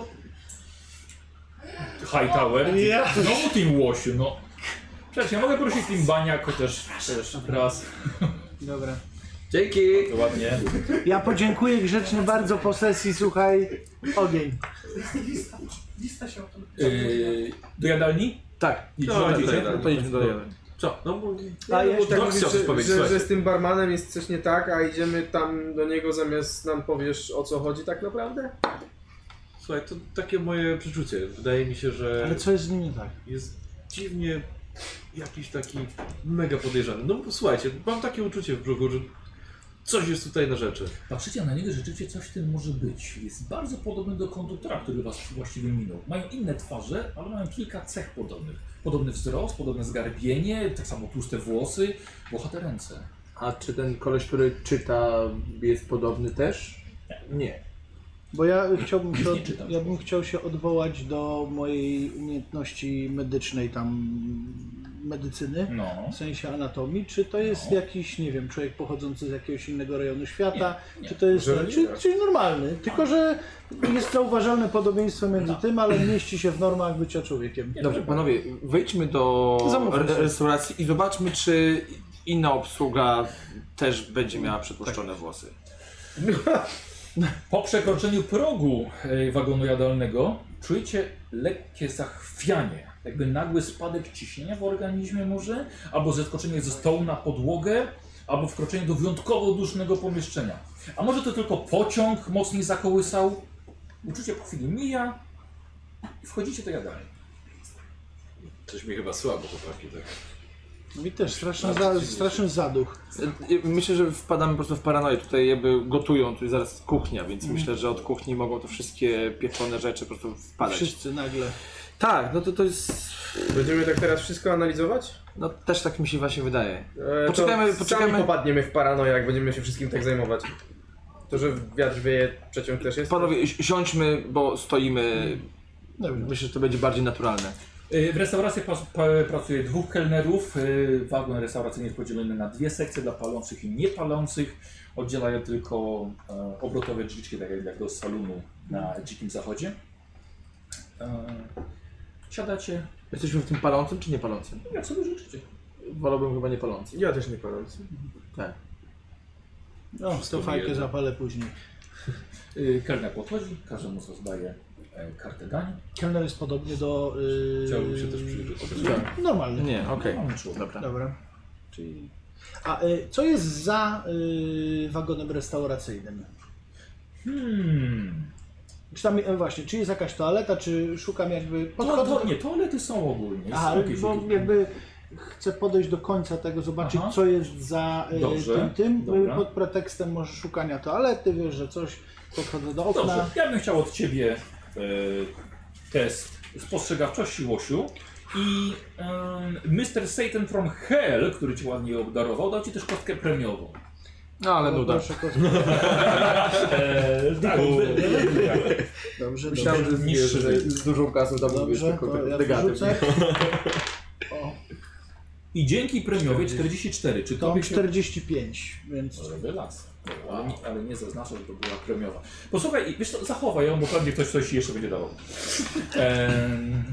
Speaker 1: Hightower.
Speaker 2: Ja.
Speaker 1: Znowu Team Łosiu, no. Przecież ja mogę prosić Team Baniak chociaż też raz.
Speaker 2: Dobra.
Speaker 3: Dzięki!
Speaker 1: To ładnie.
Speaker 2: Ja podziękuję grzecznie bardzo po sesji, słuchaj, ogień.
Speaker 1: Yy, do jadalni?
Speaker 4: Tak,
Speaker 1: Idź,
Speaker 3: No,
Speaker 1: idziecie?
Speaker 3: tak, tak.
Speaker 4: no, powinniśmy do jadalni.
Speaker 3: Co? No, bo...
Speaker 2: A
Speaker 5: bo
Speaker 2: jeszcze
Speaker 5: tak
Speaker 3: Doc
Speaker 5: mówisz,
Speaker 3: chciał coś
Speaker 5: że,
Speaker 3: powiedzieć,
Speaker 5: że, że
Speaker 3: słuchajcie.
Speaker 5: z tym barmanem jest coś nie tak, a idziemy tam do niego zamiast nam powiesz o co chodzi tak naprawdę?
Speaker 3: Słuchaj, to takie moje przeczucie. Wydaje mi się, że
Speaker 2: Ale co jest z nim nie tak?
Speaker 3: jest dziwnie jakiś taki mega podejrzany. No bo słuchajcie, mam takie uczucie w brzuchu, że coś jest tutaj na rzeczy.
Speaker 1: Patrzycie na niego, rzeczywiście coś w tym może być. Jest bardzo podobny do konduktora, który was właściwie minął. Mają inne twarze, ale mają kilka cech podobnych. Podobny wzrost, podobne zgarbienie, tak samo tłuste włosy, włochate ręce.
Speaker 4: A czy ten koleś, który czyta jest podobny też? Nie.
Speaker 2: Bo ja chciałbym się,
Speaker 1: Nie czytam.
Speaker 2: od, ja bym chciał się odwołać do mojej umiejętności medycznej tam medycyny.
Speaker 1: No.
Speaker 2: W sensie anatomii, czy to jest
Speaker 1: No.
Speaker 2: jakiś, nie wiem, człowiek pochodzący z jakiegoś innego rejonu świata,
Speaker 1: nie.
Speaker 2: czy to jest,
Speaker 5: Może nie,
Speaker 2: czy,
Speaker 5: tak.
Speaker 2: czy normalny, tylko że jest zauważalne podobieństwo między
Speaker 1: No.
Speaker 2: tym, ale mieści się w normach bycia człowiekiem.
Speaker 4: Dobrze, panowie, wejdźmy do
Speaker 2: Zamówmy
Speaker 4: re-
Speaker 2: sobie.
Speaker 4: restauracji i zobaczmy, czy inna obsługa też będzie miała przypuszczone włosy.
Speaker 1: Po przekroczeniu progu e, wagonu jadalnego czujecie lekkie zachwianie, jakby nagły spadek ciśnienia w organizmie może, albo zeskoczenie ze stołu na podłogę, albo wkroczenie do wyjątkowo dusznego pomieszczenia. A może to tylko pociąg mocniej zakołysał? Uczucie po chwili mija i wchodzicie do jadalni.
Speaker 6: Coś mi chyba słabo, chłopaki, tak.
Speaker 2: I No też
Speaker 1: No,
Speaker 2: straszny, za, straszny zaduch.
Speaker 4: Y, Myślę, że wpadamy po prostu w paranoję. Tutaj jakby gotują, tu jest zaraz kuchnia, więc myślę, że od kuchni mogą to wszystkie pieczone rzeczy po prostu wpadać.
Speaker 2: Wszyscy nagle.
Speaker 4: Tak, no to to jest...
Speaker 5: Będziemy tak teraz wszystko analizować?
Speaker 4: No też tak mi się właśnie wydaje.
Speaker 5: E, to
Speaker 4: Poczekajmy,
Speaker 5: Sami
Speaker 4: poczekajmy.
Speaker 5: popadniemy w paranoję, jak będziemy się wszystkim tak zajmować. To, że wiatr wieje, przeciąg też jest.
Speaker 4: Panowie, si- siądźmy, bo stoimy.
Speaker 2: Dobra.
Speaker 4: Myślę, że to będzie bardziej naturalne.
Speaker 1: E, W restauracji pas- pa- pracuje dwóch kelnerów. E, Wagon restauracyjny jest podzielony na dwie sekcje dla palących i niepalących. Oddzielają tylko e, obrotowe drzwiczki, tak jak- jak do salonu na
Speaker 2: Mhm.
Speaker 1: dzikim zachodzie. E, siadacie,
Speaker 4: Jesteśmy w tym palącym czy nie palącym?
Speaker 1: jak sobie życzycie.
Speaker 4: Wolałbym chyba nie palący.
Speaker 5: Ja też nie paląc.
Speaker 4: Tak.
Speaker 2: No, to fajkę zapalę później.
Speaker 1: E, kelner podchodzi, każdemu rozdaje e, kartę dań.
Speaker 2: Kelner jest podobnie do... Yy...
Speaker 6: Chciałbym się też przyjrzeć.
Speaker 2: Normalny.
Speaker 4: Nie, okej.
Speaker 1: No, Mamy człowiek.
Speaker 4: Dobra.
Speaker 2: Dobra. Czyli... A y, co jest za y, wagonem restauracyjnym?
Speaker 1: Hmm.
Speaker 2: Czy tam, e, właśnie, czy jest jakaś toaleta, czy szukam jakby...
Speaker 1: To,
Speaker 2: podchodzę-
Speaker 1: to, nie, toalety są ogólnie.
Speaker 2: Aha,
Speaker 1: są jakieś
Speaker 2: bo
Speaker 1: takie-
Speaker 2: jakby chcę podejść do końca tego, zobaczyć
Speaker 1: Aha.
Speaker 2: co jest za e,
Speaker 1: Dobrze,
Speaker 2: tym, tym
Speaker 1: dobra.
Speaker 2: pod pretekstem może szukania toalety, wiesz, że coś, podchodzę do okna.
Speaker 1: Dobrze, ja bym chciał od ciebie e, test spostrzegawczości, Łosiu. I em, Mr. Satan from Hell, który ci ładnie obdarował, dał ci też kostkę premiową.
Speaker 4: No ale
Speaker 2: O,
Speaker 4: nuda.
Speaker 2: proszę, kosmos.
Speaker 1: E, tak, by-
Speaker 2: Dobrze,
Speaker 4: Myślałem,
Speaker 2: dobrze.
Speaker 4: że,
Speaker 1: Niższy
Speaker 4: z- że z dużą kasą tam mówisz
Speaker 2: Dobrze,
Speaker 4: tylko
Speaker 2: to ja
Speaker 4: degatem.
Speaker 2: wyrzucę. O,
Speaker 1: I dzięki premiowej 44. Czy
Speaker 2: to
Speaker 1: to
Speaker 2: mam
Speaker 1: się...
Speaker 2: 45, więc
Speaker 1: Rewelacja. Ale nie- Ale nie zaznacza, że to była premiowa. Posłuchaj, i wiesz co, zachowaj ją, bo pewnie ktoś coś jeszcze będzie dawał. Em,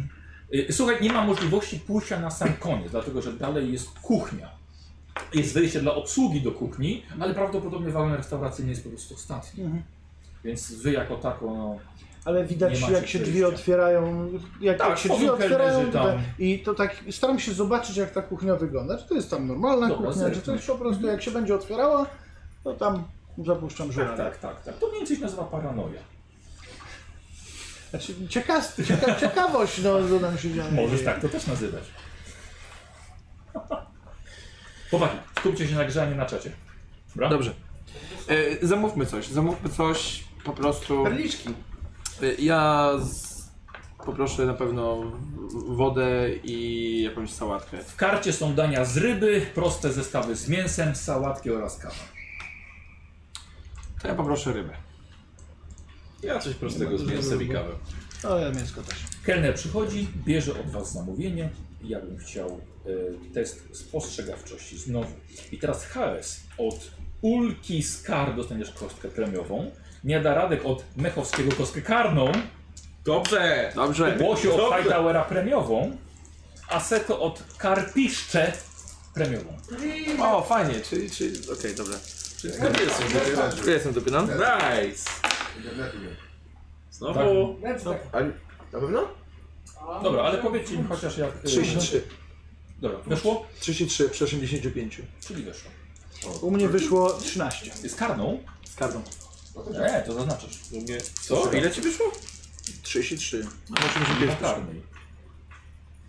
Speaker 1: y, Słuchaj, nie ma możliwości pójścia na sam koniec, dlatego że dalej jest kuchnia. Jest wejście dla obsługi do kuchni, ale prawdopodobnie wagon restauracyjny jest po prostu ostatni.
Speaker 2: Mhm.
Speaker 1: Więc wy jako tako, no,
Speaker 2: Ale
Speaker 1: Nie
Speaker 2: widać,
Speaker 1: macie
Speaker 2: jak się drzwi
Speaker 1: przejścia.
Speaker 2: otwierają. Jak,
Speaker 1: Tak,
Speaker 2: jak się drzwi
Speaker 1: powiem,
Speaker 2: otwierają.
Speaker 1: kelnerzy tam.
Speaker 2: Tam. I to tak staram się zobaczyć, jak ta kuchnia wygląda. Czy to jest tam normalna
Speaker 1: Dobra,
Speaker 2: kuchnia, czy to
Speaker 1: zerknij.
Speaker 2: jest po prostu, jak się będzie otwierała, to tam zapuszczam
Speaker 1: tak,
Speaker 2: żurawie.
Speaker 1: tak, tak, tak. To mniej więcej się nazywa paranoja.
Speaker 2: Znaczy, ciekaw, cieka, ciekawość, no, co nam się dzieje.
Speaker 1: Możesz tak to też nazywać. Chłopaki, skupcie się na grzaniu na czacie. Dobra?
Speaker 4: Dobrze. E, zamówmy coś, zamówmy coś po prostu.
Speaker 5: Perliczki.
Speaker 4: E, ja z... poproszę na pewno w- wodę i jakąś sałatkę.
Speaker 1: W karcie są dania z ryby, proste zestawy z mięsem, sałatki oraz kawa.
Speaker 4: To ja poproszę rybę.
Speaker 3: Ja coś prostego z mięsem i kawę.
Speaker 2: Ale mięsko też.
Speaker 1: Kelner przychodzi, bierze od Was zamówienie. Ja bym chciał e, test spostrzegawczości znowu. I teraz HS od Ulki Skar dostaniesz kostkę premiową. Miadaradek od Mechowskiego kostkę karną.
Speaker 3: Dobrze!
Speaker 4: Dobrze.
Speaker 1: Łosio od Hightowera premiową. Aseto od Karpiszcze premiową.
Speaker 4: O, fajnie, czyli, czyli okej, dobra.
Speaker 3: Ciekawy jesteś, Daniel.
Speaker 4: Ja jestem no? dopiero.
Speaker 3: Nice!
Speaker 6: Internetu nie.
Speaker 3: Znowu.
Speaker 4: Tak.
Speaker 5: A, na pewno?
Speaker 1: Dobra, ale powiedzcie mi chociaż jak... e,
Speaker 4: 33.
Speaker 1: Dobra, weszło?
Speaker 4: 33 przy 85.
Speaker 1: Czyli weszło.
Speaker 2: U mnie wyszło 13.
Speaker 1: Z karną?
Speaker 4: Z kartą.
Speaker 1: Nie, to zaznaczasz.
Speaker 3: No nie.
Speaker 4: Tak.
Speaker 3: Co? Ile ci wyszło?
Speaker 4: 33.
Speaker 1: Na karnej.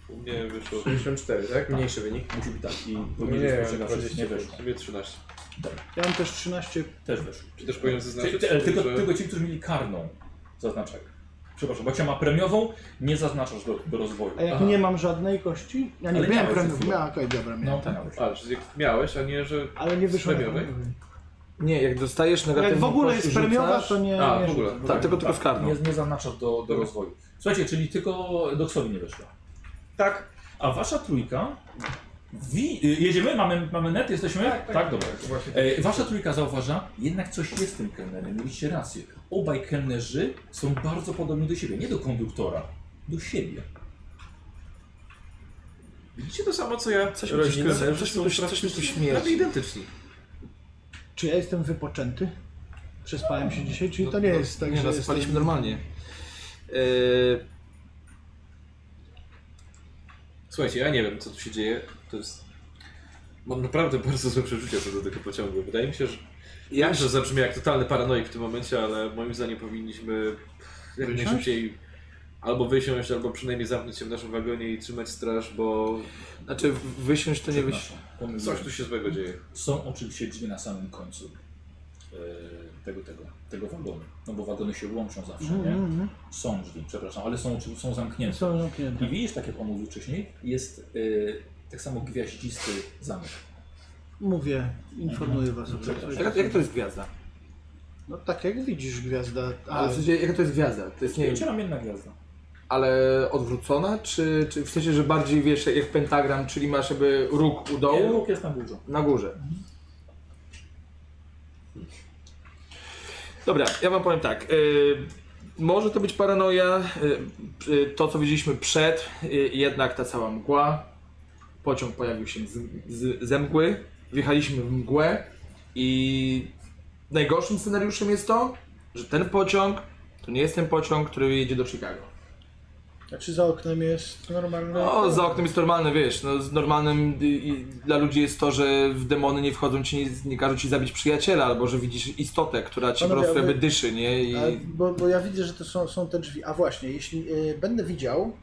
Speaker 3: U mnie wyszło.
Speaker 5: 54, tak? Mniejszy wynik.
Speaker 1: Musi być tak i
Speaker 5: Nie,
Speaker 1: powinieneś
Speaker 5: dwadzieścia
Speaker 1: spostrzegawczość nie
Speaker 5: pięć.
Speaker 1: weszło.
Speaker 3: U mnie 13.
Speaker 2: Ja mam też 13.
Speaker 1: Też weszło.
Speaker 3: Czy też powinienem
Speaker 1: Czyli,
Speaker 3: zaznaczyć?
Speaker 1: Znaczy, ty, ale tylko,
Speaker 3: że-
Speaker 1: tylko ci, którzy mieli karną zaznaczek. Przepraszam, bo cię ma premiową, nie zaznaczasz do, do rozwoju.
Speaker 2: A jak
Speaker 1: Aha.
Speaker 2: nie mam żadnej kości? Ja nie
Speaker 1: Ale
Speaker 2: miałem
Speaker 1: miałeś
Speaker 2: premium.
Speaker 1: przed chwilą.
Speaker 2: Miałem, okej, dobra, miałem.
Speaker 1: No, tak. miałeś.
Speaker 3: A, czyli jak miałeś, a nie, że...
Speaker 2: Ale nie wyszło.
Speaker 3: Premiowej?
Speaker 4: Nie, jak dostajesz negatywną
Speaker 2: Jak w ogóle jest
Speaker 4: kość i
Speaker 2: premiowa,
Speaker 4: rzucasz-
Speaker 2: to nie.
Speaker 3: A,
Speaker 2: nie
Speaker 3: w ogóle. Mhm.
Speaker 2: rzucam.
Speaker 4: Tak, tylko, tylko z kartą.
Speaker 1: Nie, nie zaznaczasz do, do rozwoju. Słuchajcie, czyli tylko Doksowi nie weszło.
Speaker 5: Tak.
Speaker 1: A wasza trójka. Wi- y, jedziemy? Mamy, mamy net? Jesteśmy? Tak, dobra.
Speaker 5: Właśnie.
Speaker 3: tak.
Speaker 1: E, wasza trójka zauważa, jednak coś jest z tym kelnerem. Mieliście rację. Obaj kelnerzy są bardzo podobni do siebie. Nie do konduktora, do siebie.
Speaker 3: Widzicie to samo, co ja?
Speaker 4: Coś mi tu
Speaker 3: Rodzice
Speaker 4: śmierdzi. Coś mi tu-
Speaker 3: są
Speaker 4: coś mi tu
Speaker 3: praktycznie
Speaker 4: śmierdzi.
Speaker 3: prawie identyczni.
Speaker 2: Czy ja jestem wypoczęty? Przespałem się dzisiaj, czyli to nie
Speaker 4: No,
Speaker 2: jest tak,
Speaker 4: Nie,
Speaker 2: że
Speaker 4: no,
Speaker 2: jestem...
Speaker 4: spaliśmy normalnie. Yy,
Speaker 3: Słuchajcie, ja nie wiem, co tu się dzieje. To jest... Mam naprawdę bardzo złe przeczucia co do tego pociągu. Wydaje mi się, że... Ja
Speaker 4: ja,
Speaker 3: wiem, że zabrzmi jak totalny paranoik w tym momencie, ale moim zdaniem powinniśmy jak
Speaker 2: Wysiąść?
Speaker 3: najszybciej albo wysiąść, albo przynajmniej zamknąć się w naszym wagonie i trzymać straż, bo
Speaker 4: znaczy wysiąść to nie wysiąść.
Speaker 1: Pomyliłem.
Speaker 3: coś tu się złego dzieje.
Speaker 1: Są oczywiście drzwi na samym końcu e, tego, tego, tego wagonu. No bo wagony się łączą zawsze, nie?
Speaker 2: Mhm,
Speaker 1: Są drzwi, przepraszam, ale są, oczy- są
Speaker 2: mhm.
Speaker 1: zamknięte.
Speaker 2: Są zamknięte.
Speaker 1: I widzisz, tak jak on mówił wcześniej, jest e, tak samo gwiaździsty zamek.
Speaker 2: Mówię, informuję was o
Speaker 1: Przepraszam.
Speaker 4: Jaka, jaka to jest gwiazda?
Speaker 2: No tak jak widzisz gwiazda. A,
Speaker 4: Ale w sensie, jaka to jest gwiazda? To jest, nie wiem,
Speaker 1: Wiecie, ramienna gwiazda.
Speaker 4: ale odwrócona? Czy, czy w sensie, że bardziej wiesz jak pentagram, czyli masz jakby róg u
Speaker 1: Nie,
Speaker 4: dołu
Speaker 1: Łuk jest na górze.
Speaker 4: na górze? Dobra, ja wam powiem tak. yy, może to być paranoja. yy, yy, to co widzieliśmy przed, yy, jednak ta cała mgła. Pociąg pojawił się z, z, ze mgły. Wjechaliśmy w mgłę i najgorszym scenariuszem jest to, że ten pociąg to nie jest ten pociąg, który jedzie do Chicago.
Speaker 2: a czy za oknem jest normalne?
Speaker 4: No, za oknem jest normalne, wiesz, no, z normalnym y, i, dla ludzi jest to, że w demony nie wchodzą ci, nie, nie każą ci zabić przyjaciela, albo że widzisz istotę, która ci po
Speaker 2: Panowie,
Speaker 4: prostu
Speaker 2: a wy-
Speaker 4: jakby dyszy, nie? I...
Speaker 2: A, bo, bo ja widzę, że to są, są te drzwi. A właśnie, jeśli y, będę widział,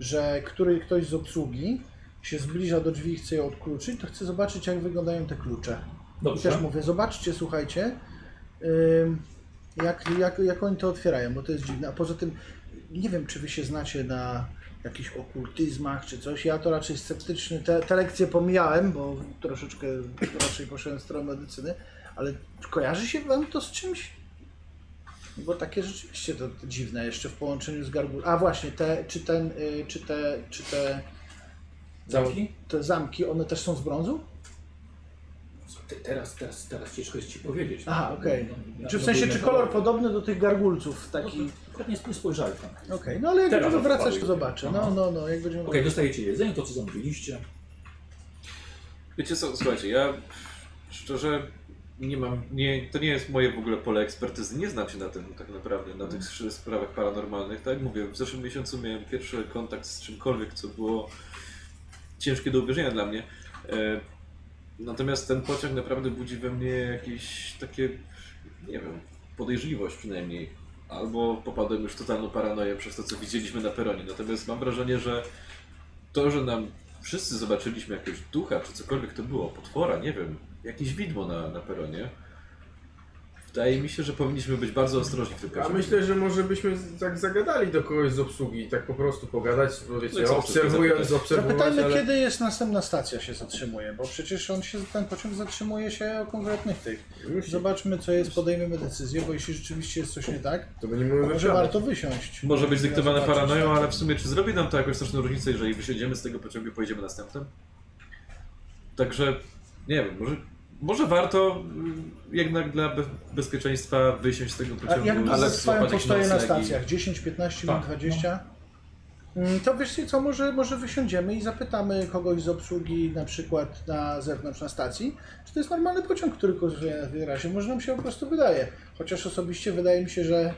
Speaker 2: że który, ktoś z obsługi się zbliża do drzwi i chce je odkluczyć, to chcę zobaczyć, jak wyglądają te klucze. I
Speaker 1: Dobrze.
Speaker 2: też mówię, zobaczcie, słuchajcie, ym, jak, jak, jak oni to otwierają, bo to jest dziwne. A poza tym, nie wiem, czy wy się znacie na jakichś okultyzmach czy coś. Ja to raczej sceptyczny, te, te lekcje pomijałem, bo troszeczkę raczej poszedłem w stronę medycyny, ale kojarzy się wam to z czymś? Bo takie rzeczywiście to dziwne jeszcze w połączeniu z gargulą. A właśnie, te, czy, ten, y, czy, te, czy te,
Speaker 1: Zamki?
Speaker 2: te zamki, one też są z brązu?
Speaker 1: Te- Teraz, teraz, teraz ciężko jest ci powiedzieć. No,
Speaker 2: Aha, okej.
Speaker 1: Na-
Speaker 2: Czy w
Speaker 1: na
Speaker 2: sensie,
Speaker 1: górne
Speaker 2: czy kolor
Speaker 1: kolory.
Speaker 2: podobny do tych gargulców taki?
Speaker 1: No, to- nie nie spojrzałem tam.
Speaker 2: Okej, no ale jak
Speaker 1: Teraz
Speaker 2: będziemy wracać, to
Speaker 1: odpalił.
Speaker 2: zobaczę. No, no, no, jak będziemy...
Speaker 1: tak. Okej, dostajecie jedzenie, to co zamówiliście.
Speaker 3: Wiecie co, słuchajcie, ja szczerze nie mam, nie, to nie jest moje w ogóle pole ekspertyzy, nie znam się na tym tak naprawdę, na tych sz- sprawach paranormalnych, tak jak mówię, w zeszłym miesiącu miałem pierwszy kontakt z czymkolwiek, co było ciężkie do uwierzenia dla mnie, e, natomiast ten pociąg naprawdę budzi we mnie jakieś takie, nie wiem, podejrzliwość przynajmniej, albo popadłem już w totalną paranoję przez to, co widzieliśmy na peronie, natomiast mam wrażenie, że to, że nam wszyscy zobaczyliśmy jakiegoś ducha, czy cokolwiek to było, potwora, nie wiem, jakieś widmo na, na peronie. Wydaje mi się, że powinniśmy być bardzo ostrożni w tym
Speaker 5: A
Speaker 3: każdym.
Speaker 5: myślę, że może byśmy z- tak zagadali do kogoś z obsługi, tak po prostu pogadać, bo
Speaker 3: No i
Speaker 5: wiecie,
Speaker 3: co, wszystkie
Speaker 5: obserwując,
Speaker 3: zapytać?
Speaker 5: obserwować,
Speaker 2: Zapytajmy,
Speaker 5: ale...
Speaker 2: kiedy jest następna stacja się zatrzymuje, bo przecież on się, ten pociąg zatrzymuje się o konkretnych tych. Zobaczmy, co jest, podejmiemy decyzję, bo jeśli rzeczywiście jest coś nie tak,
Speaker 5: To będziemy
Speaker 2: to
Speaker 5: mówić
Speaker 2: może warto wysiąść.
Speaker 3: Może być
Speaker 2: Ja
Speaker 3: dyktowane
Speaker 2: zobaczę,
Speaker 3: paranoją,
Speaker 2: tak.
Speaker 3: ale w sumie czy zrobi nam to jakąś straszną różnicę, jeżeli wysiądziemy z tego pociągu i pojedziemy następnym? Także, nie wiem, może, może warto mm, jednak dla be bezpieczeństwa wysiąść z tego
Speaker 2: A
Speaker 3: pociągu.
Speaker 2: jak długo
Speaker 3: złapać
Speaker 2: trwają
Speaker 3: jakiś
Speaker 2: postoje na
Speaker 3: nocleg i-
Speaker 2: stacjach? 10, 15 minut,
Speaker 1: Tak,
Speaker 2: 20? Mm, To wiesz co, może, może wysiądziemy i zapytamy kogoś z obsługi na przykład na zewnątrz na stacji, czy to jest normalny pociąg, który korzystuje na tej razie. Może nam się po prostu wydaje. Chociaż osobiście wydaje mi się, że,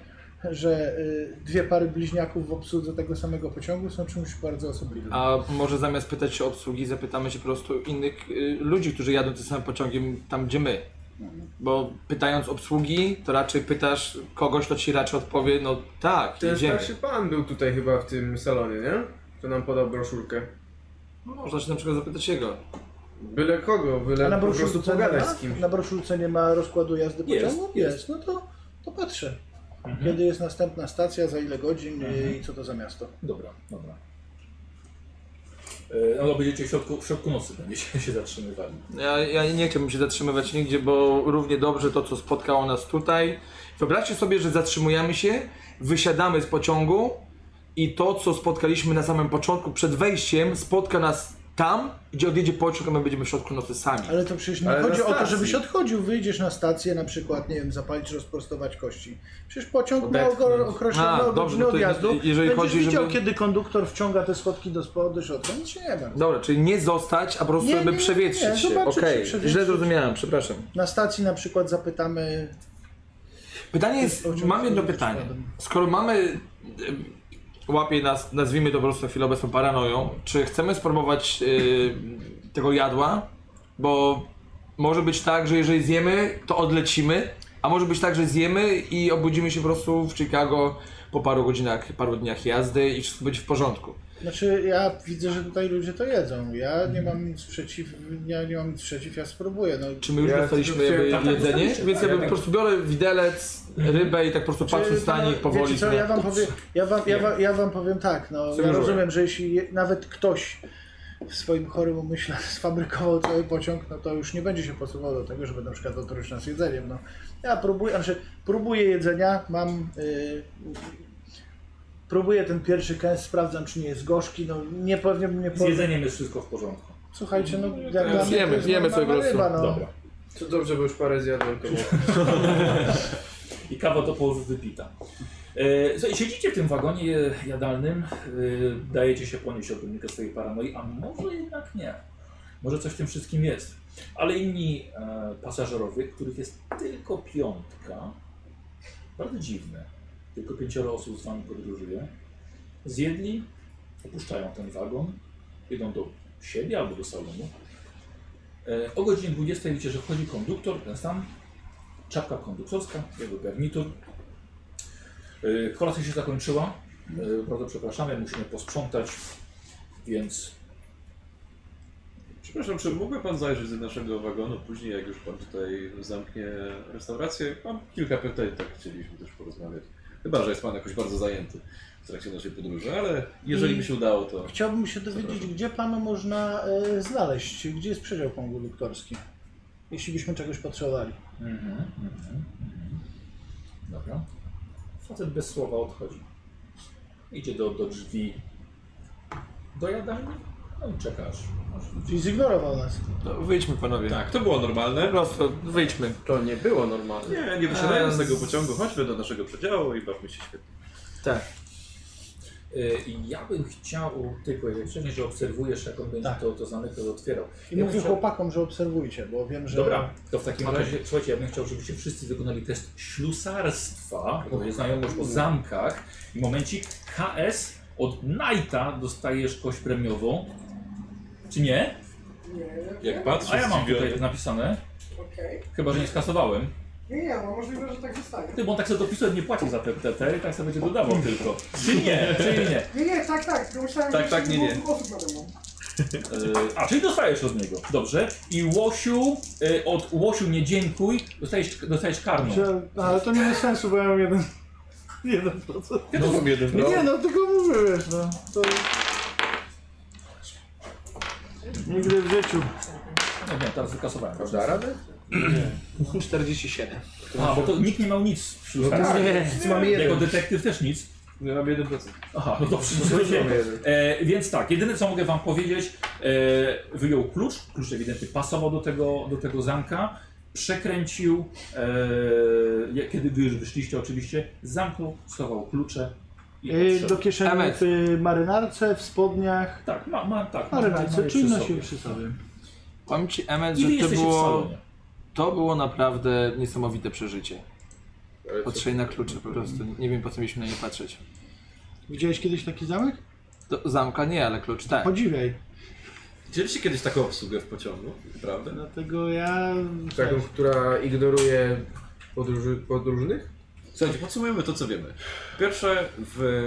Speaker 2: że y, dwie pary bliźniaków w obsłudze tego samego pociągu są czymś bardzo osobliwym.
Speaker 4: A może zamiast pytać się obsługi, zapytamy się po prostu innych y, ludzi, którzy jadą tym samym pociągiem tam, gdzie my. Bo pytając obsługi, to raczej pytasz kogoś, to ci raczej odpowie, no tak,
Speaker 5: Ten
Speaker 4: idziemy.
Speaker 5: starszy pan był tutaj chyba w tym salonie, nie? To nam podał broszurkę.
Speaker 4: No, Można się na przykład zapytać jego.
Speaker 5: Byle kogo, byle po prostu
Speaker 2: nie
Speaker 5: pogadać
Speaker 2: ma?
Speaker 5: z kimś.
Speaker 2: Na broszurce nie ma rozkładu jazdy
Speaker 5: Jest,
Speaker 2: pociągu? Jest, no to, to patrzę.
Speaker 4: Mhm.
Speaker 2: Kiedy jest następna stacja, za ile godzin y, i co to za miasto.
Speaker 1: Dobra, dobra. E, No to będziecie w środku, w środku nocy będziecie się zatrzymywali.
Speaker 4: Ja, ja nie chciałbym się zatrzymywać nigdzie, bo równie dobrze to, co spotkało nas tutaj. Wyobraźcie sobie, że zatrzymujemy się, wysiadamy z pociągu i to, co spotkaliśmy na samym początku, przed wejściem, spotka nas tam, gdzie odjedzie pociąg, a my będziemy w środku nocy sami.
Speaker 2: Ale to przecież nie
Speaker 5: Ale na
Speaker 2: chodzi o to,
Speaker 5: stacji.
Speaker 2: żebyś odchodził. Wyjdziesz na stację, na przykład, nie wiem, zapalić, rozprostować kości. Przecież pociąg ma
Speaker 5: Odetchnąć.
Speaker 4: A,
Speaker 2: określone
Speaker 4: dobrze,
Speaker 2: godzinę
Speaker 4: no to je-
Speaker 2: odjazdu.
Speaker 4: jeżeli
Speaker 2: Będziesz
Speaker 4: chodzi,
Speaker 2: widział,
Speaker 4: żeby-
Speaker 2: kiedy konduktor wciąga te schodki do spodu, do środka. Nic się nie ma.
Speaker 4: Dobra, czyli nie zostać, a po prostu
Speaker 2: Nie,
Speaker 4: jakby
Speaker 2: nie, nie,
Speaker 4: przewietrzyć
Speaker 2: nie,
Speaker 4: się.
Speaker 2: zobaczyć się,
Speaker 4: Okej,
Speaker 2: przewietrzyć.
Speaker 4: źle zrozumiałem, przepraszam.
Speaker 2: Na stacji na przykład zapytamy...
Speaker 4: Pytanie jest,
Speaker 2: O czym
Speaker 4: mam jedno
Speaker 2: mówisz,
Speaker 4: pytanie.
Speaker 2: Adam?
Speaker 4: Skoro mamy, em, łapie nas, nazwijmy to po prostu na chwilę obecną paranoją, czy chcemy spróbować y, tego jadła? Bo może być tak, że jeżeli zjemy, to odlecimy, a może być tak, że zjemy i obudzimy się po prostu w Chicago po paru godzinach, paru dniach jazdy i wszystko będzie w porządku.
Speaker 2: Znaczy, ja widzę, że tutaj ludzie to jedzą. Ja
Speaker 4: Mhm.
Speaker 2: nie mam nic przeciw, ja nie mam nic przeciw, ja spróbuję. No,
Speaker 4: Czy my już
Speaker 5: Ja
Speaker 4: dostaliśmy
Speaker 5: tylko
Speaker 4: jakby
Speaker 5: chciałem- tak,
Speaker 4: jedzenie?
Speaker 1: dostaliście,
Speaker 4: Więc
Speaker 1: tak,
Speaker 4: ja
Speaker 1: ja
Speaker 4: bym po prostu biorę widelec, rybę i tak po prostu patrzę
Speaker 2: Czy,
Speaker 4: w stanie
Speaker 2: no,
Speaker 4: ich powoli.
Speaker 2: Wiecie co, ja wam, powiem, ja, wam, ja,
Speaker 4: Nie.
Speaker 2: wam, ja wam powiem tak, no, ja
Speaker 4: Symuluję.
Speaker 2: rozumiem, że jeśli je, nawet ktoś w swoim chorym umyśle sfabrykował cały pociąg, no to już nie będzie się posuwał do tego, żeby na przykład otruć nas jedzeniem. No. Ja próbuję, znaczy próbuję jedzenia, mam... Yy, próbuję ten pierwszy kęs, sprawdzam czy nie jest gorzki, no nie pewnie nie
Speaker 1: Z jedzeniem jest wszystko w porządku.
Speaker 2: Słuchajcie, no jak dla mnie
Speaker 4: Wiemy,
Speaker 2: to jest
Speaker 4: wiemy, co
Speaker 2: normalna
Speaker 4: po prostu.
Speaker 2: ryba, no.
Speaker 1: Dobra.
Speaker 5: To dobrze, bo już parę zjadłem. koło.
Speaker 1: I kawa do połowy wypita. E, słuchaj, siedzicie w tym wagonie jadalnym, e, dajecie się ponieść odrobinkę swojej paranoi, a może jednak nie. Może coś w tym wszystkim jest. Ale inni e, pasażerowie, których jest tylko piątka, bardzo dziwne, tylko pięcioro osób z wami podróżuje, zjedli, opuszczają ten wagon, idą do siebie albo do salonu. E, o godzinie 20 widzicie, że wchodzi konduktor, ten sam, czapka konduktorska, jego garnitur. Yy, Kolacja się zakończyła. Yy, Bardzo przepraszamy, musimy posprzątać, więc
Speaker 3: Przepraszam, czy mógłby pan zajrzeć do naszego wagonu później, jak już pan tutaj zamknie restaurację? Mam kilka pytań, tak chcieliśmy też porozmawiać. Chyba, że jest pan jakoś bardzo zajęty w trakcie naszej podróży, ale jeżeli
Speaker 2: I-
Speaker 3: by się udało, to...
Speaker 2: Chciałbym się dowiedzieć,
Speaker 3: Zapraszam.
Speaker 2: gdzie panu można e, znaleźć, gdzie jest przedział konduktorski, jeśli byśmy czegoś potrzebowali.
Speaker 1: Mhm, mhm, mhm. Dobra. Facet bez słowa odchodzi. Idzie do, do drzwi. Dojadam. No i czekasz.
Speaker 2: Czyli zignorował nas.
Speaker 4: No, wyjdźmy panowie.
Speaker 3: Tak, to było normalne.
Speaker 4: Po prostu wyjdźmy.
Speaker 5: To nie było normalne.
Speaker 3: Nie, nie wysiadając
Speaker 4: A,
Speaker 3: z tego
Speaker 4: z-
Speaker 3: pociągu, chodźmy do naszego przedziału i bawmy się świetnie.
Speaker 4: Tak.
Speaker 1: Yy, Ja bym chciał, ty powiedziałeś wcześniej, że obserwujesz, jak on będzie
Speaker 2: Tak.
Speaker 1: to, to zamykał, otwierał.
Speaker 2: I
Speaker 1: Ja bym
Speaker 2: mówił
Speaker 1: chciał-
Speaker 2: chłopakom, że obserwujcie, bo wiem, że...
Speaker 1: Dobra, to w takim razie, słuchajcie, ja bym chciał, żebyście wszyscy wykonali test ślusarstwa, bo jest znajomość o zamkach. I momencik, KS od Knighta dostajesz kość premiową. Czy nie?
Speaker 8: Nie, nie,
Speaker 3: Jak patrzę,
Speaker 1: A ja mam
Speaker 3: zdziwiony.
Speaker 1: tutaj napisane.
Speaker 8: okej.
Speaker 1: Chyba, że nie skasowałem.
Speaker 8: Nie, nie, no możliwe, że tak zostanie.
Speaker 1: Ty, bo on tak sobie dopisuje, nie płaci za te TT i tak sobie będzie dodawał tylko. Czy nie, czy nie.
Speaker 8: Nie, nie, tak, tak, tylko myślałem,
Speaker 3: Tak,
Speaker 8: że
Speaker 3: tak, nie, nie.
Speaker 8: osób na demo.
Speaker 1: E, A, czyli dostajesz od niego. Dobrze. I Łosiu, e, od Łosiu nie dziękuj, dostajesz, dostajesz karną.
Speaker 2: Że, no, ale to nie ma sensu, bo ja mam jeden. Jeden procent.
Speaker 6: Ja też mam jeden
Speaker 2: Nie no, tylko mówię, wiesz, no. To... Nigdy w życiu.
Speaker 1: No nie, teraz wykasowałem.
Speaker 5: Da radę?
Speaker 4: 47.
Speaker 1: A, bo to nikt nie miał nic wśród
Speaker 5: tak.
Speaker 4: Nie.
Speaker 5: Wszyscy mamy
Speaker 1: Jako
Speaker 5: jeden.
Speaker 1: detektyw też nic.
Speaker 3: Ja mam 1%.
Speaker 1: Aha, no dobrze, no to
Speaker 5: Mamy
Speaker 1: nie.
Speaker 5: jeden.
Speaker 1: E, więc tak, jedyne co mogę wam powiedzieć, e, wyjął klucz, klucz ewidentnie pasował do tego, do tego zamka, przekręcił, e, jak- kiedy wy już wyszliście oczywiście, zamknął, schował klucze i
Speaker 2: Yy,
Speaker 1: odszedł.
Speaker 2: do kieszeni
Speaker 4: Emet.
Speaker 2: w y, marynarce, w spodniach.
Speaker 1: Tak, ma, ma, tak. ma- ma
Speaker 2: Marynarce,
Speaker 1: je
Speaker 2: czyli
Speaker 1: przy
Speaker 2: nosił
Speaker 1: sobie.
Speaker 2: przy sobie.
Speaker 4: Powiem ci, Emmet,
Speaker 1: I wy
Speaker 4: że to
Speaker 1: jesteście w
Speaker 4: było,
Speaker 1: salonie.
Speaker 4: to było naprawdę niesamowite przeżycie.
Speaker 5: Ale co-
Speaker 4: Patrzę na klucze po prostu. Nie wiem, po co mieliśmy na nie patrzeć.
Speaker 2: Widziałeś kiedyś taki zamek?
Speaker 4: Do zamka nie, ale klucz tak.
Speaker 2: Podziwiaj.
Speaker 3: Widzieliście kiedyś taką obsługę w pociągu? Prawda?
Speaker 4: No.
Speaker 2: Dlatego ja...
Speaker 1: Tak,
Speaker 5: Taką, która ignoruje podróży, podróżnych?
Speaker 3: Słuchajcie, podsumujmy to, co wiemy. Pierwsze, w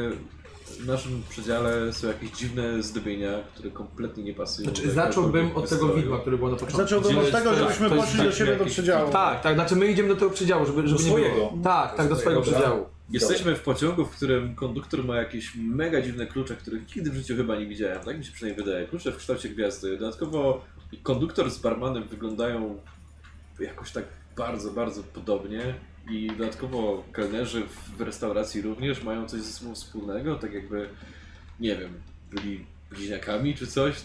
Speaker 3: naszym przedziale są jakieś dziwne zdobienia, które kompletnie nie pasują.
Speaker 4: Znaczy,
Speaker 3: do
Speaker 4: zacząłbym
Speaker 3: jakiegokolwiek
Speaker 4: od tego
Speaker 3: nastroju.
Speaker 4: widma, które było na początku.
Speaker 2: Zacząłbym od
Speaker 3: Gdzie
Speaker 2: znaczy, tego,
Speaker 3: jest-
Speaker 2: żebyśmy
Speaker 3: to jest
Speaker 2: poszli do
Speaker 3: taki
Speaker 2: siebie do
Speaker 3: jakiś-
Speaker 2: przedziału.
Speaker 4: Tak, tak, znaczy my idziemy do tego przedziału, żeby, żeby nie
Speaker 1: swojego.
Speaker 4: było. Tak, tak, do swojego
Speaker 5: Dobra.
Speaker 4: przedziału.
Speaker 3: Jesteśmy w pociągu, w którym konduktor ma jakieś mega dziwne klucze, których nigdy w życiu chyba nie widziałem. Tak mi się przynajmniej wydaje. Klucze w kształcie gwiazdy. Dodatkowo konduktor z barmanem wyglądają jakoś tak bardzo, bardzo podobnie. I dodatkowo kelnerzy w- w restauracji również mają coś ze sobą wspólnego, tak jakby, nie wiem, byli bliźniakami czy coś.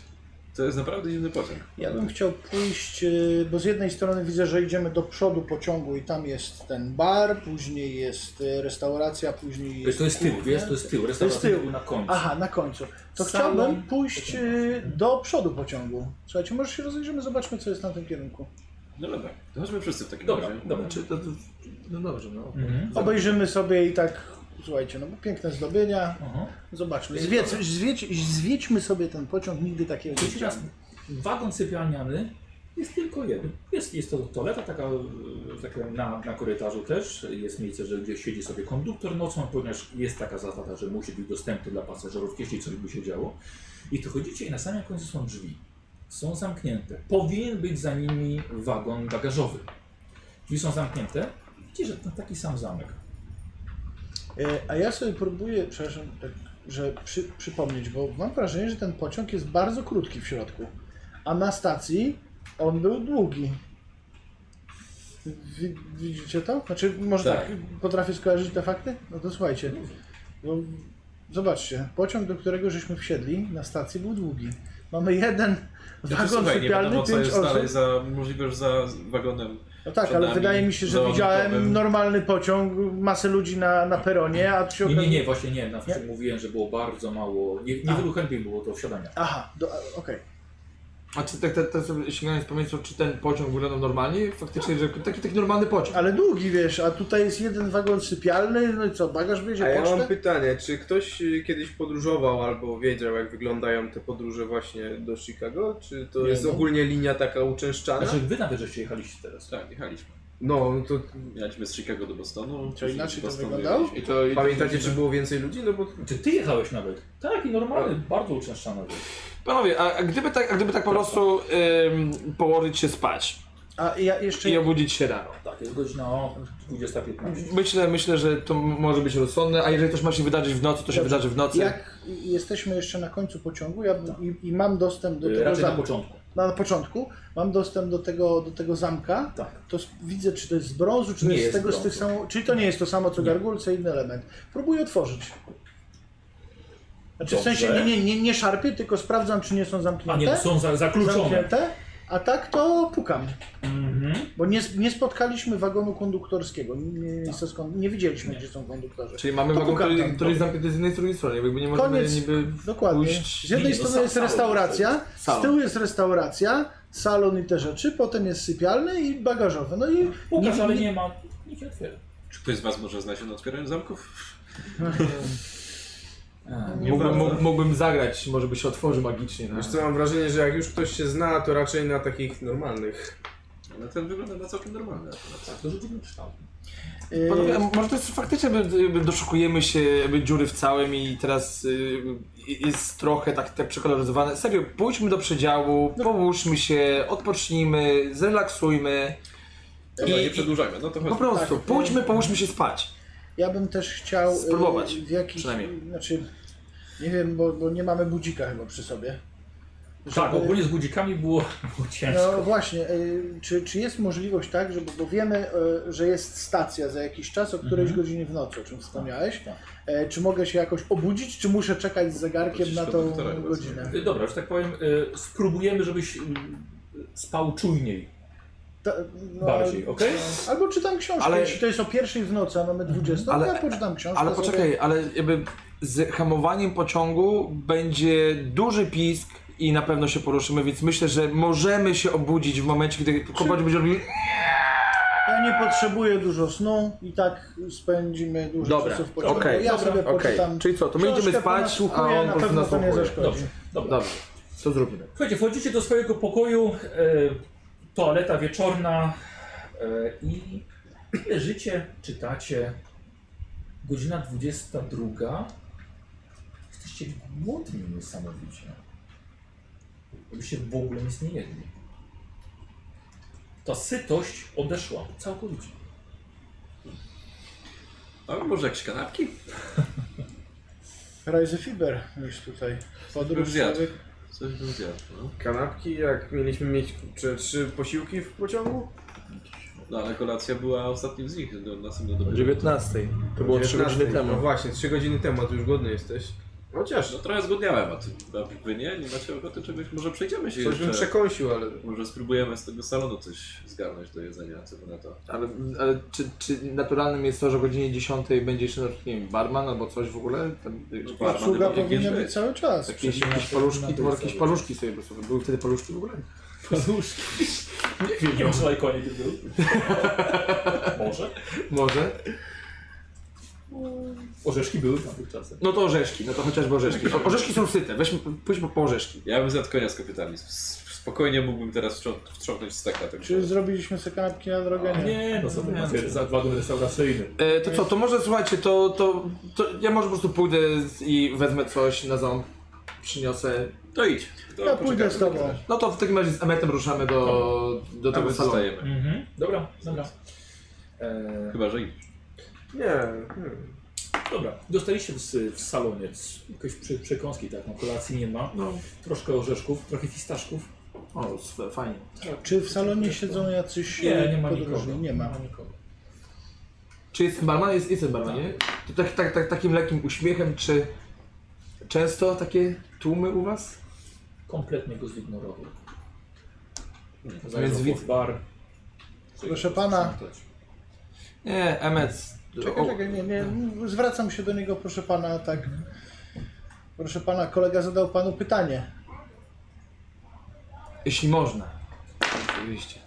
Speaker 3: To jest naprawdę dziwny pociąg.
Speaker 2: Ja bym chciał pójść, y, bo z jednej strony widzę, że idziemy do przodu pociągu i tam jest ten bar, później jest y, restauracja, później jest...
Speaker 1: To jest tył,
Speaker 2: kuchnia.
Speaker 1: wiesz, to jest tył.
Speaker 2: To jest
Speaker 1: Restauracja
Speaker 2: tył.
Speaker 1: był na końcu.
Speaker 2: Aha, na końcu. To
Speaker 1: Salon.
Speaker 2: chciałbym pójść y, do przodu pociągu. Słuchajcie, może się rozejrzymy, zobaczmy co jest na tym kierunku.
Speaker 3: No dobra, to chodźmy wszyscy w takim
Speaker 1: Dobra,
Speaker 3: razie.
Speaker 1: dobra.
Speaker 4: Znaczy, to, to, no dobrze, no.
Speaker 1: Mhm.
Speaker 2: Obejrzymy sobie i tak, słuchajcie, no bo piękne zdobienia,
Speaker 1: Aha.
Speaker 2: zobaczmy. Zwiedź, zwiedź, zwiedźmy sobie ten pociąg, nigdy takiego nie
Speaker 1: Jeszcze raz,
Speaker 2: widziałem.
Speaker 1: wagon sypialniany jest tylko jeden. Jest, jest to toaleta taka, e, taka na, na korytarzu też. Jest miejsce, że gdzieś siedzi sobie konduktor nocą, ponieważ jest taka zasada, że musi być dostępny dla pasażerów, jeśli coś by się działo. I tu chodzicie i na samym końcu są drzwi. Są zamknięte. Powinien być za nimi wagon bagażowy. Drzwi są zamknięte. Widzicie, że to taki sam zamek.
Speaker 2: Y, A ja sobie próbuję, przepraszam, tak, że przy, przypomnieć, bo mam wrażenie, że ten pociąg jest bardzo krótki w środku, a na stacji on był długi. Wi- Widzicie to? Znaczy, może tak.
Speaker 3: Tak.
Speaker 2: potrafię skojarzyć te fakty? No to słuchajcie. Bo zobaczcie, pociąg, do którego żeśmy wsiedli na stacji był długi. Mamy jeden
Speaker 3: Znaczy,
Speaker 2: wagon
Speaker 3: słuchaj, nie
Speaker 2: sypialny,
Speaker 3: wiadomo co
Speaker 2: pięć
Speaker 3: jest dalej
Speaker 2: osób.
Speaker 3: za, możliwe, że za wagonem
Speaker 2: No tak,
Speaker 3: przed
Speaker 2: ale
Speaker 3: nami,
Speaker 2: wydaje mi się, że
Speaker 3: za
Speaker 2: widziałem
Speaker 3: odlotowym.
Speaker 2: normalny pociąg, masę ludzi na, na peronie, a tu się
Speaker 1: Nie, nie,
Speaker 2: okazuje-
Speaker 1: nie, właśnie nie. Na wczoraj mówiłem, że było bardzo mało. Nie, nie wielu chętnych było do wsiadania.
Speaker 2: Aha, do- okej.
Speaker 4: A czy tak, tak, tak sobie sięgając pamięcią, czy ten pociąg wyglądał normalnie? Faktycznie, że taki, taki normalny pociąg.
Speaker 2: Ale długi, wiesz, a tutaj jest jeden wagon sypialny, no i co, bagaż
Speaker 5: A
Speaker 2: będzie
Speaker 5: ja mam
Speaker 2: pocztę?
Speaker 5: pytanie, czy ktoś y, kiedyś podróżował albo wiedział jak wyglądają te podróże właśnie do Chicago? Czy to
Speaker 2: Nie,
Speaker 5: jest
Speaker 2: no.
Speaker 5: ogólnie linia taka uczęszczana?
Speaker 1: Znaczy wy nawet żeście jechaliście teraz.
Speaker 3: Tak, jechaliśmy.
Speaker 5: No, no to
Speaker 3: Jechaliśmy z Chicago do Bostonu.
Speaker 2: Czy inaczej
Speaker 3: z
Speaker 2: to
Speaker 3: Bostonu
Speaker 2: wyglądało?
Speaker 3: jechaliśmy-
Speaker 4: I to, i to-
Speaker 5: pamiętacie czy było więcej ludzi? No bo
Speaker 1: Ty, ty jechałeś nawet. Tak, i normalny, bardzo uczęszczany był.
Speaker 4: Panowie, a, a, gdyby tak, a gdyby tak po prostu ym, położyć się spać
Speaker 2: A ja jeszcze...
Speaker 4: i obudzić się rano?
Speaker 1: Tak, jest godzina o 20.15.
Speaker 4: Myślę, myślę, że to m- może być rozsądne, a jeżeli też ma się wydarzyć w nocy, to się
Speaker 2: Dobrze.
Speaker 4: wydarzy w nocy.
Speaker 2: Jak jesteśmy jeszcze na końcu pociągu ja, i, i mam dostęp do
Speaker 1: Y,
Speaker 2: tego
Speaker 1: Raczej na
Speaker 2: zamku,
Speaker 1: początku.
Speaker 2: na, na początku, mam dostęp do tego, do tego zamka,
Speaker 1: Tak.
Speaker 2: to z, widzę, czy to jest z brązu, czy to
Speaker 1: Nie
Speaker 2: jest z
Speaker 1: jest
Speaker 2: tego, z
Speaker 1: brązu.
Speaker 2: tych samo, czyli to nie jest to samo, co gargulce, inny element. Próbuję otworzyć. Znaczy w
Speaker 1: Dobrze.
Speaker 2: sensie nie, nie, nie, nie szarpię, tylko sprawdzam, czy nie są
Speaker 1: A
Speaker 2: zamknięte.
Speaker 1: nie, to są za, zakluczone.
Speaker 2: zamknięte, a tak to pukam.
Speaker 1: Mhm.
Speaker 2: Bo nie, nie spotkaliśmy wagonu konduktorskiego. Nie, nie, skąd, nie widzieliśmy, gdzie są konduktorzy.
Speaker 4: Czyli mamy
Speaker 2: To
Speaker 4: wagon,
Speaker 2: pukam
Speaker 4: który,
Speaker 2: tam.
Speaker 4: który jest zamknięty z jednej i z drugiej strony, jakby nie możemy
Speaker 2: Koniec.
Speaker 4: niby...
Speaker 2: Dokładnie.
Speaker 4: Pójść-
Speaker 2: Z jednej
Speaker 1: nie, no,
Speaker 2: strony
Speaker 1: sa-
Speaker 2: jest
Speaker 1: salon
Speaker 2: restauracja, z
Speaker 4: Salon.
Speaker 2: tyłu jest restauracja, salon i te rzeczy, potem jest sypialny i bagażowy. No i
Speaker 1: Łukasz, ale nie ma. Nikt nie otwiera.
Speaker 3: Czy ktoś z Was może zna się na otwieraniu zamków?
Speaker 4: Mógłbym, mógł- mógłbym zagrać, może by się otworzy magicznie. No.
Speaker 5: wiesz co, mam wrażenie, że jak już ktoś się zna, to raczej na takich normalnych.
Speaker 3: Ale ten wygląda na całkiem normalny.
Speaker 1: Tak, to rzucimy kształt.
Speaker 2: Yy,
Speaker 4: Panowie, a może to jest faktycznie, jakby, jakby doszukujemy się jakby dziury w całym i teraz y, jest trochę tak, tak przekoloryzowane. Serio, pójdźmy do przedziału,
Speaker 2: No.
Speaker 4: połóżmy się, odpocznijmy, zrelaksujmy.
Speaker 3: Dobra, nie przedłużajmy, no to
Speaker 4: Po
Speaker 3: chodź.
Speaker 4: prostu,
Speaker 2: Tak.
Speaker 4: pójdźmy, połóżmy się spać.
Speaker 2: Ja bym też chciał. y,
Speaker 4: Spróbować,
Speaker 2: W jakiś,
Speaker 4: przynajmniej.
Speaker 2: Znaczy, nie wiem, bo, bo nie mamy budzika chyba przy sobie.
Speaker 1: Tak,
Speaker 2: Żeby-
Speaker 1: ogólnie z budzikami było, było ciężko.
Speaker 2: No właśnie, y, czy, czy jest możliwość tak, żeby, bo wiemy, y, że jest stacja za jakiś czas o którejś
Speaker 4: Mhm.
Speaker 2: godzinie w nocy, o czym wspomniałeś.
Speaker 1: tak.
Speaker 2: E, Czy mogę się jakoś obudzić, czy muszę czekać z zegarkiem
Speaker 3: Wrócić
Speaker 2: na
Speaker 3: do
Speaker 2: tą
Speaker 3: doktora chyba,
Speaker 2: godzinę?
Speaker 1: Y, Dobra, że tak powiem, y, spróbujemy, żebyś y, spał czujniej,
Speaker 2: Ta- no,
Speaker 1: bardziej, okej?
Speaker 2: Albo czytam książkę,
Speaker 4: Ale- Mhm.
Speaker 2: jeśli to jest o pierwszej w nocy, a mamy 20,
Speaker 4: Ale-
Speaker 2: to ja poczytam książkę.
Speaker 4: Ale
Speaker 2: sobie.
Speaker 4: poczekaj, ale jakby z hamowaniem pociągu będzie duży pisk i na pewno się poruszymy, więc myślę, że możemy się obudzić w momencie, kiedy kopać będzie robił...
Speaker 2: Ja nie potrzebuję dużo snu i tak spędzimy dużo
Speaker 4: Dobra,
Speaker 2: czasu w pociągu.
Speaker 4: okej,
Speaker 2: ja
Speaker 4: dobra,
Speaker 2: sobie
Speaker 4: okej.
Speaker 2: poczytam.
Speaker 4: Czyli co, to my
Speaker 2: książkę,
Speaker 4: idziemy spać, a
Speaker 2: ponasłuchuję,
Speaker 4: on po
Speaker 2: na
Speaker 4: prostu
Speaker 2: pewno to nie
Speaker 4: nasłuchuje.
Speaker 2: zaszkodzi.
Speaker 1: Dobrze, dobra.
Speaker 4: Dobrze, to zróbmy.
Speaker 1: Słuchajcie, wchodzicie do swojego pokoju, e, toaleta wieczorna e, i leżycie, czytacie. Godzina 22. Jesteście głodni niesamowicie. Jakbyście w ogóle nic nie jedli. Ta sytość odeszła całkowicie.
Speaker 3: A może jakieś kanapki?
Speaker 2: Rise Fiber już tutaj. Podróż
Speaker 3: zjadł.
Speaker 2: człowiek.
Speaker 3: Coś bym zjadł, no.
Speaker 5: Kanapki, jak mieliśmy mieć czy trzy posiłki w pociągu?
Speaker 3: no ale kolacja była ostatnim z nich, no, do następnego do
Speaker 4: 19. To było 3
Speaker 5: 19.
Speaker 4: godziny
Speaker 5: No
Speaker 4: temu.
Speaker 5: właśnie, trzy godziny temu, a ty już głodny jesteś. Chociaż,
Speaker 3: No trochę zgodniałem, a, ty, a No, wy nie? Nie macie ochoty czegoś? Może przejdziemy się
Speaker 5: coś bym
Speaker 3: jeszcze.
Speaker 5: przekąsił, ale...
Speaker 3: Może spróbujemy z tego salonu coś zgarnąć do jedzenia, co by na to.
Speaker 4: Ale, ale czy, czy naturalnym jest to, że o godzinie 10 będzie jeszcze, nie wiem, barman albo coś w ogóle? Tam,
Speaker 3: No, barman
Speaker 2: Obsługa
Speaker 3: będzie
Speaker 2: powinna
Speaker 3: giętać.
Speaker 2: być cały czas.
Speaker 4: jakieś, jakieś paluszki, to może jakieś paluszki sobie po prostu. Były wtedy paluszki w ogóle?
Speaker 1: Nie wiem, czy lajkonie był. Może.
Speaker 4: Może.
Speaker 1: Orzeszki były w tamtych czasach.
Speaker 4: No to orzeszki, no to chociażby orzeszki. O, orzeszki są syte, weźmy, pójdźmy po orzeszki.
Speaker 3: Ja bym zjadł konia z kopytami. S- Spokojnie mógłbym teraz wcią- wciągnąć steka. Tak
Speaker 2: Czy zrobiliśmy sobie kanapki na drogę? Nie.
Speaker 1: Nie, no co ty macie, zakładu restauracyjny.
Speaker 4: E, to co, to może słuchajcie, to, to, to ja może po prostu pójdę z- i wezmę coś na ząb, przyniosę.
Speaker 3: To idź.
Speaker 1: no,
Speaker 3: To
Speaker 2: Ja pójdę z
Speaker 3: poczekamy.
Speaker 2: tobą.
Speaker 4: No to w takim razie z Emetem ruszamy do, do
Speaker 3: A
Speaker 4: tego
Speaker 3: my
Speaker 4: salonu.
Speaker 3: zostajemy.
Speaker 1: Mhm. Dobra, dobra. E,
Speaker 3: Chyba, że idziesz.
Speaker 5: Nie, hmm.
Speaker 1: Dobra, dostaliście w, w salonie c- jakieś przy, przekąski, tak, no kolacji nie ma.
Speaker 4: No,
Speaker 1: Troszkę orzeszków, trochę fistaszków.
Speaker 4: o, s- fajnie.
Speaker 2: Czy w salonie siedzą jacyś e,
Speaker 1: Nie, nie ma
Speaker 2: podróżni?
Speaker 1: nikogo.
Speaker 2: Tak.
Speaker 1: No.
Speaker 2: Nie ma.
Speaker 1: nikogo.
Speaker 4: Czy jest barman? Jest, jest ten barman, nie? To tak, tak, tak, takim lekkim uśmiechem, czy często takie tłumy u was?
Speaker 1: Kompletnie go zignorował.
Speaker 4: Więc
Speaker 1: Zajął
Speaker 4: widz-
Speaker 1: pod bar.
Speaker 2: Proszę pana.
Speaker 4: Nie, Emet.
Speaker 2: Czekaj, czekaj, nie, nie. Zwracam się do niego, proszę pana, tak. Proszę pana, kolega zadał panu pytanie.
Speaker 4: Jeśli można. Oczywiście.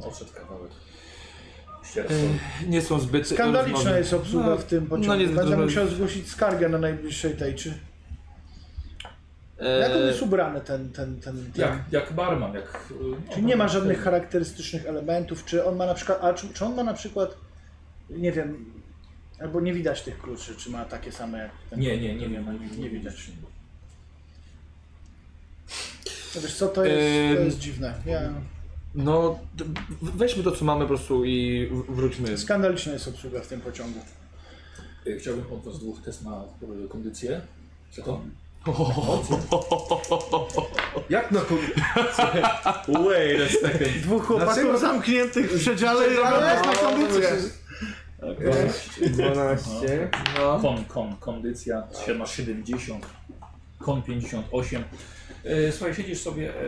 Speaker 1: Odszedł kawałek.
Speaker 2: E,
Speaker 1: Ścierstwo.
Speaker 2: tak.
Speaker 4: Ech, Nie są zbyt
Speaker 2: Skandaliczna
Speaker 4: rozmowni.
Speaker 2: jest obsługa
Speaker 4: No,
Speaker 2: w tym
Speaker 4: no
Speaker 2: pociągu.
Speaker 4: niezbyt
Speaker 2: Będę
Speaker 4: rozmowni.
Speaker 2: musiał zgłosić skargę na najbliższej tejczy.
Speaker 4: E,
Speaker 2: Jak on jest ubrany ten, ten, ten, ten?
Speaker 1: Jak, jak barman, jak... y,
Speaker 2: Czy nie ma żadnych charakterystycznych elementów? Czy on ma na przykład, a czy, czy on ma na przykład, nie wiem, albo nie widać tych kluczy, czy ma takie same jak ten?
Speaker 1: Nie, nie, nie wiem,
Speaker 2: Nie widać. No Wiesz co, to jest, to
Speaker 4: Ym.
Speaker 2: jest dziwne. Ja,
Speaker 4: No, d- weźmy to, co mamy po prostu i w- wróćmy.
Speaker 2: skandaliczna jest obsługa w tym pociągu.
Speaker 1: Y, Chciałbym od was dwóch test na y, kondycję. Co to?
Speaker 5: Jak na to...
Speaker 3: Wait a second.
Speaker 2: Dwóch chłopaków
Speaker 4: Znaczy,
Speaker 5: Dlaczego?
Speaker 2: zamkniętych w przedziale i robią test na kondycję.
Speaker 1: E,
Speaker 5: 12.
Speaker 4: No.
Speaker 1: Kon, kon, kondycja, się masz 70, kon 58. E, słuchaj, siedzisz sobie, e,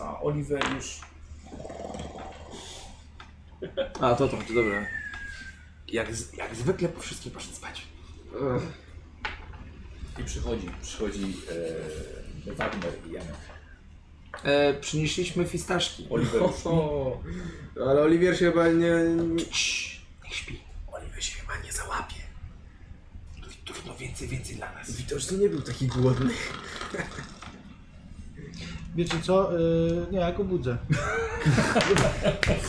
Speaker 1: a Oliver już...
Speaker 4: A, to to chodzi, dobra. Jak, z, jak zwykle po wszystkim poszedł spać.
Speaker 5: Ech.
Speaker 1: I przychodzi, przychodzi e, Wagner i Janek.
Speaker 4: E, przynieśliśmy fistaszki.
Speaker 1: Oliver już
Speaker 5: O, ale Oliwier się chyba nie...
Speaker 4: Cii, niech śpi. Oliver się chyba nie załapie. Tu, tu no więcej, więcej dla nas.
Speaker 5: Widocznie nie był taki głodny.
Speaker 2: Wiecie co? Yy, nie, ja go budzę.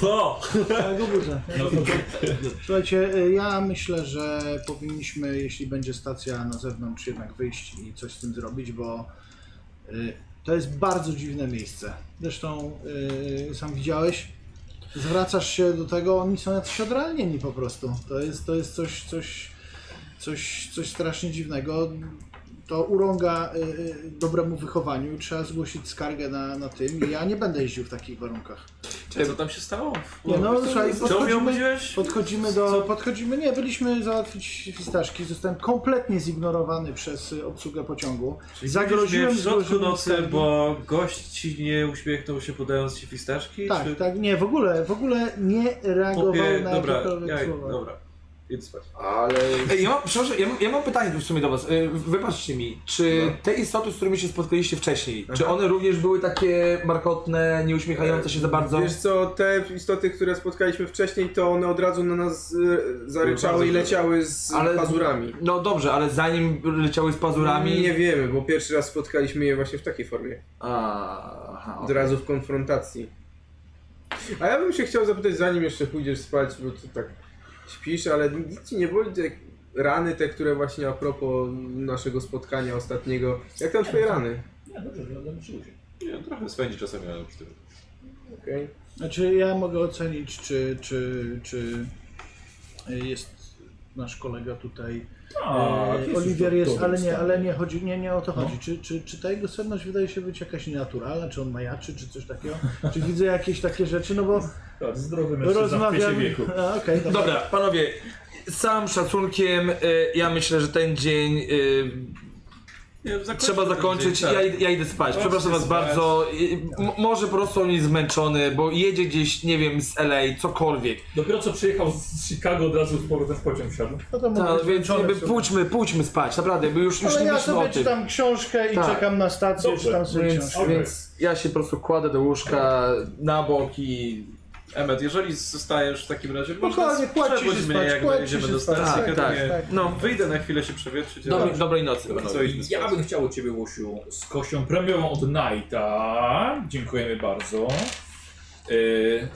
Speaker 7: Co?
Speaker 2: Ja go budzę. Ja go budzę. Słuchajcie, y, ja myślę, że powinniśmy, jeśli będzie stacja na zewnątrz, jednak wyjść i coś z tym zrobić, bo y, to jest bardzo dziwne miejsce. Zresztą y, sam widziałeś, zwracasz się do tego, oni są jacyś odrealnieni po prostu. To jest, to jest coś, coś, coś, coś strasznie dziwnego. To urąga y, y, dobremu wychowaniu i trzeba zgłosić skargę na, na tym i ja nie będę jeździł w takich warunkach.
Speaker 3: Co tam się stało?
Speaker 2: Nie, no, słuchaj,
Speaker 3: Co mnie
Speaker 2: podchodzimy-
Speaker 3: obudziłeś?
Speaker 2: Podchodzimy do. Podchodzimy, nie, byliśmy załatwić fistaszki. Zostałem kompletnie zignorowany przez y, obsługę pociągu.
Speaker 3: Zagroziłem w środku
Speaker 2: złożyłem
Speaker 3: nocy,
Speaker 2: skargi.
Speaker 3: bo gość ci nie uśmiechnął się podając ci fistaszki?
Speaker 2: Tak,
Speaker 3: czy...
Speaker 2: tak, nie, w ogóle, w ogóle nie reagował
Speaker 3: Popie...
Speaker 2: na
Speaker 3: e, Dobra,
Speaker 2: jakiekolwiek
Speaker 3: jaj,
Speaker 2: słowa.
Speaker 3: dobra. Idź spać.
Speaker 5: Ale
Speaker 4: Ej, E, ja mam, przepraszam, ja, mam- ja mam pytanie w sumie do was. E, Wybaczcie mi, czy te istoty, z którymi się spotkaliście wcześniej, czy one również były takie markotne, nieuśmiechające się za bardzo?
Speaker 5: Wiesz co, te istoty, które spotkaliśmy wcześniej, to one od razu na nas y, zaryczały i leciały z
Speaker 4: Ale-
Speaker 5: pazurami.
Speaker 4: No dobrze, ale zanim leciały z pazurami...
Speaker 5: Nie wiemy, bo pierwszy raz spotkaliśmy je właśnie w takiej formie.
Speaker 4: A, aha,
Speaker 5: Od razu w konfrontacji. A ja bym się chciał zapytać, zanim jeszcze pójdziesz spać, bo ty tak śpisz, ale nic ci nie boli te rany, te, które właśnie a propos naszego spotkania ostatniego. Jak tam twoje rany?
Speaker 1: Nie, dobrze, wyglądam przyjdzie.
Speaker 6: Nie, trochę spędzi czasami, ale przy tym.
Speaker 5: Okej.
Speaker 2: Znaczy ja mogę ocenić, czy, czy, czy jest nasz kolega tutaj.
Speaker 1: Tak,
Speaker 2: e,
Speaker 1: jest już
Speaker 2: Oliwier
Speaker 1: w
Speaker 2: jest,
Speaker 1: dobrym
Speaker 2: ale nie,
Speaker 1: stanie.
Speaker 2: ale nie chodzi, nie, nie o to
Speaker 1: No.
Speaker 2: chodzi. Czy, czy, czy ta jego senność wydaje się być jakaś nienaturalna, czy on majaczy, czy coś takiego? Czy widzę jakieś takie rzeczy, no bo
Speaker 1: Tak, zdrowy mężczyzna w
Speaker 2: rozmawiam.
Speaker 1: piesie wieku.
Speaker 2: A, okej, dobra.
Speaker 4: Dobra, panowie, sam szacunkiem, e, ja myślę, że ten dzień e,
Speaker 3: Nie, zakończmy
Speaker 4: trzeba
Speaker 3: ten
Speaker 4: zakończyć.
Speaker 3: dzień,
Speaker 4: Ja,
Speaker 3: tak.
Speaker 4: id- ja idę spać.
Speaker 3: Chodźcie
Speaker 4: Przepraszam was
Speaker 3: spać.
Speaker 4: bardzo. E, m- Może po prostu on jest zmęczony, bo jedzie gdzieś, nie wiem, z LA, cokolwiek.
Speaker 1: Dopiero co przyjechał z Chicago, od razu z powrotem w pociąg wsiadł.
Speaker 2: No to
Speaker 4: Tak,
Speaker 2: może
Speaker 4: więc
Speaker 2: być
Speaker 4: jakby
Speaker 2: wieczorem sobie.
Speaker 4: pójdźmy, pójdźmy spać, naprawdę, bo już, już
Speaker 2: Ale
Speaker 4: nie
Speaker 2: ja
Speaker 4: myślmy o
Speaker 2: sobie
Speaker 4: tym.
Speaker 2: czytam książkę i
Speaker 4: Tak.
Speaker 2: czekam na stację,
Speaker 1: Dobrze,
Speaker 2: czytam sobie
Speaker 4: Więc,
Speaker 2: książkę.
Speaker 4: więc ja się po prostu kładę do łóżka na bok i...
Speaker 3: Tak. Emet, jeżeli zostajesz w takim razie,
Speaker 2: Spokojnie, kładźcie się
Speaker 3: przewódź
Speaker 2: spać,
Speaker 3: mnie, jak
Speaker 2: kładźcie
Speaker 3: dojedziemy
Speaker 2: się
Speaker 3: do
Speaker 2: spać.
Speaker 3: stacji,
Speaker 4: Tak,
Speaker 3: kiedy
Speaker 4: tak,
Speaker 3: mnie-
Speaker 2: tak.
Speaker 3: No, wyjdę na chwilę się przewietrzyć. ale-
Speaker 4: Dobrej, dobrej nocy.
Speaker 3: Co, idźmy spać.
Speaker 1: Ja bym chciał od Ciebie, Łosiu, z kością premiową od Knighta. Dziękujemy bardzo. Yy,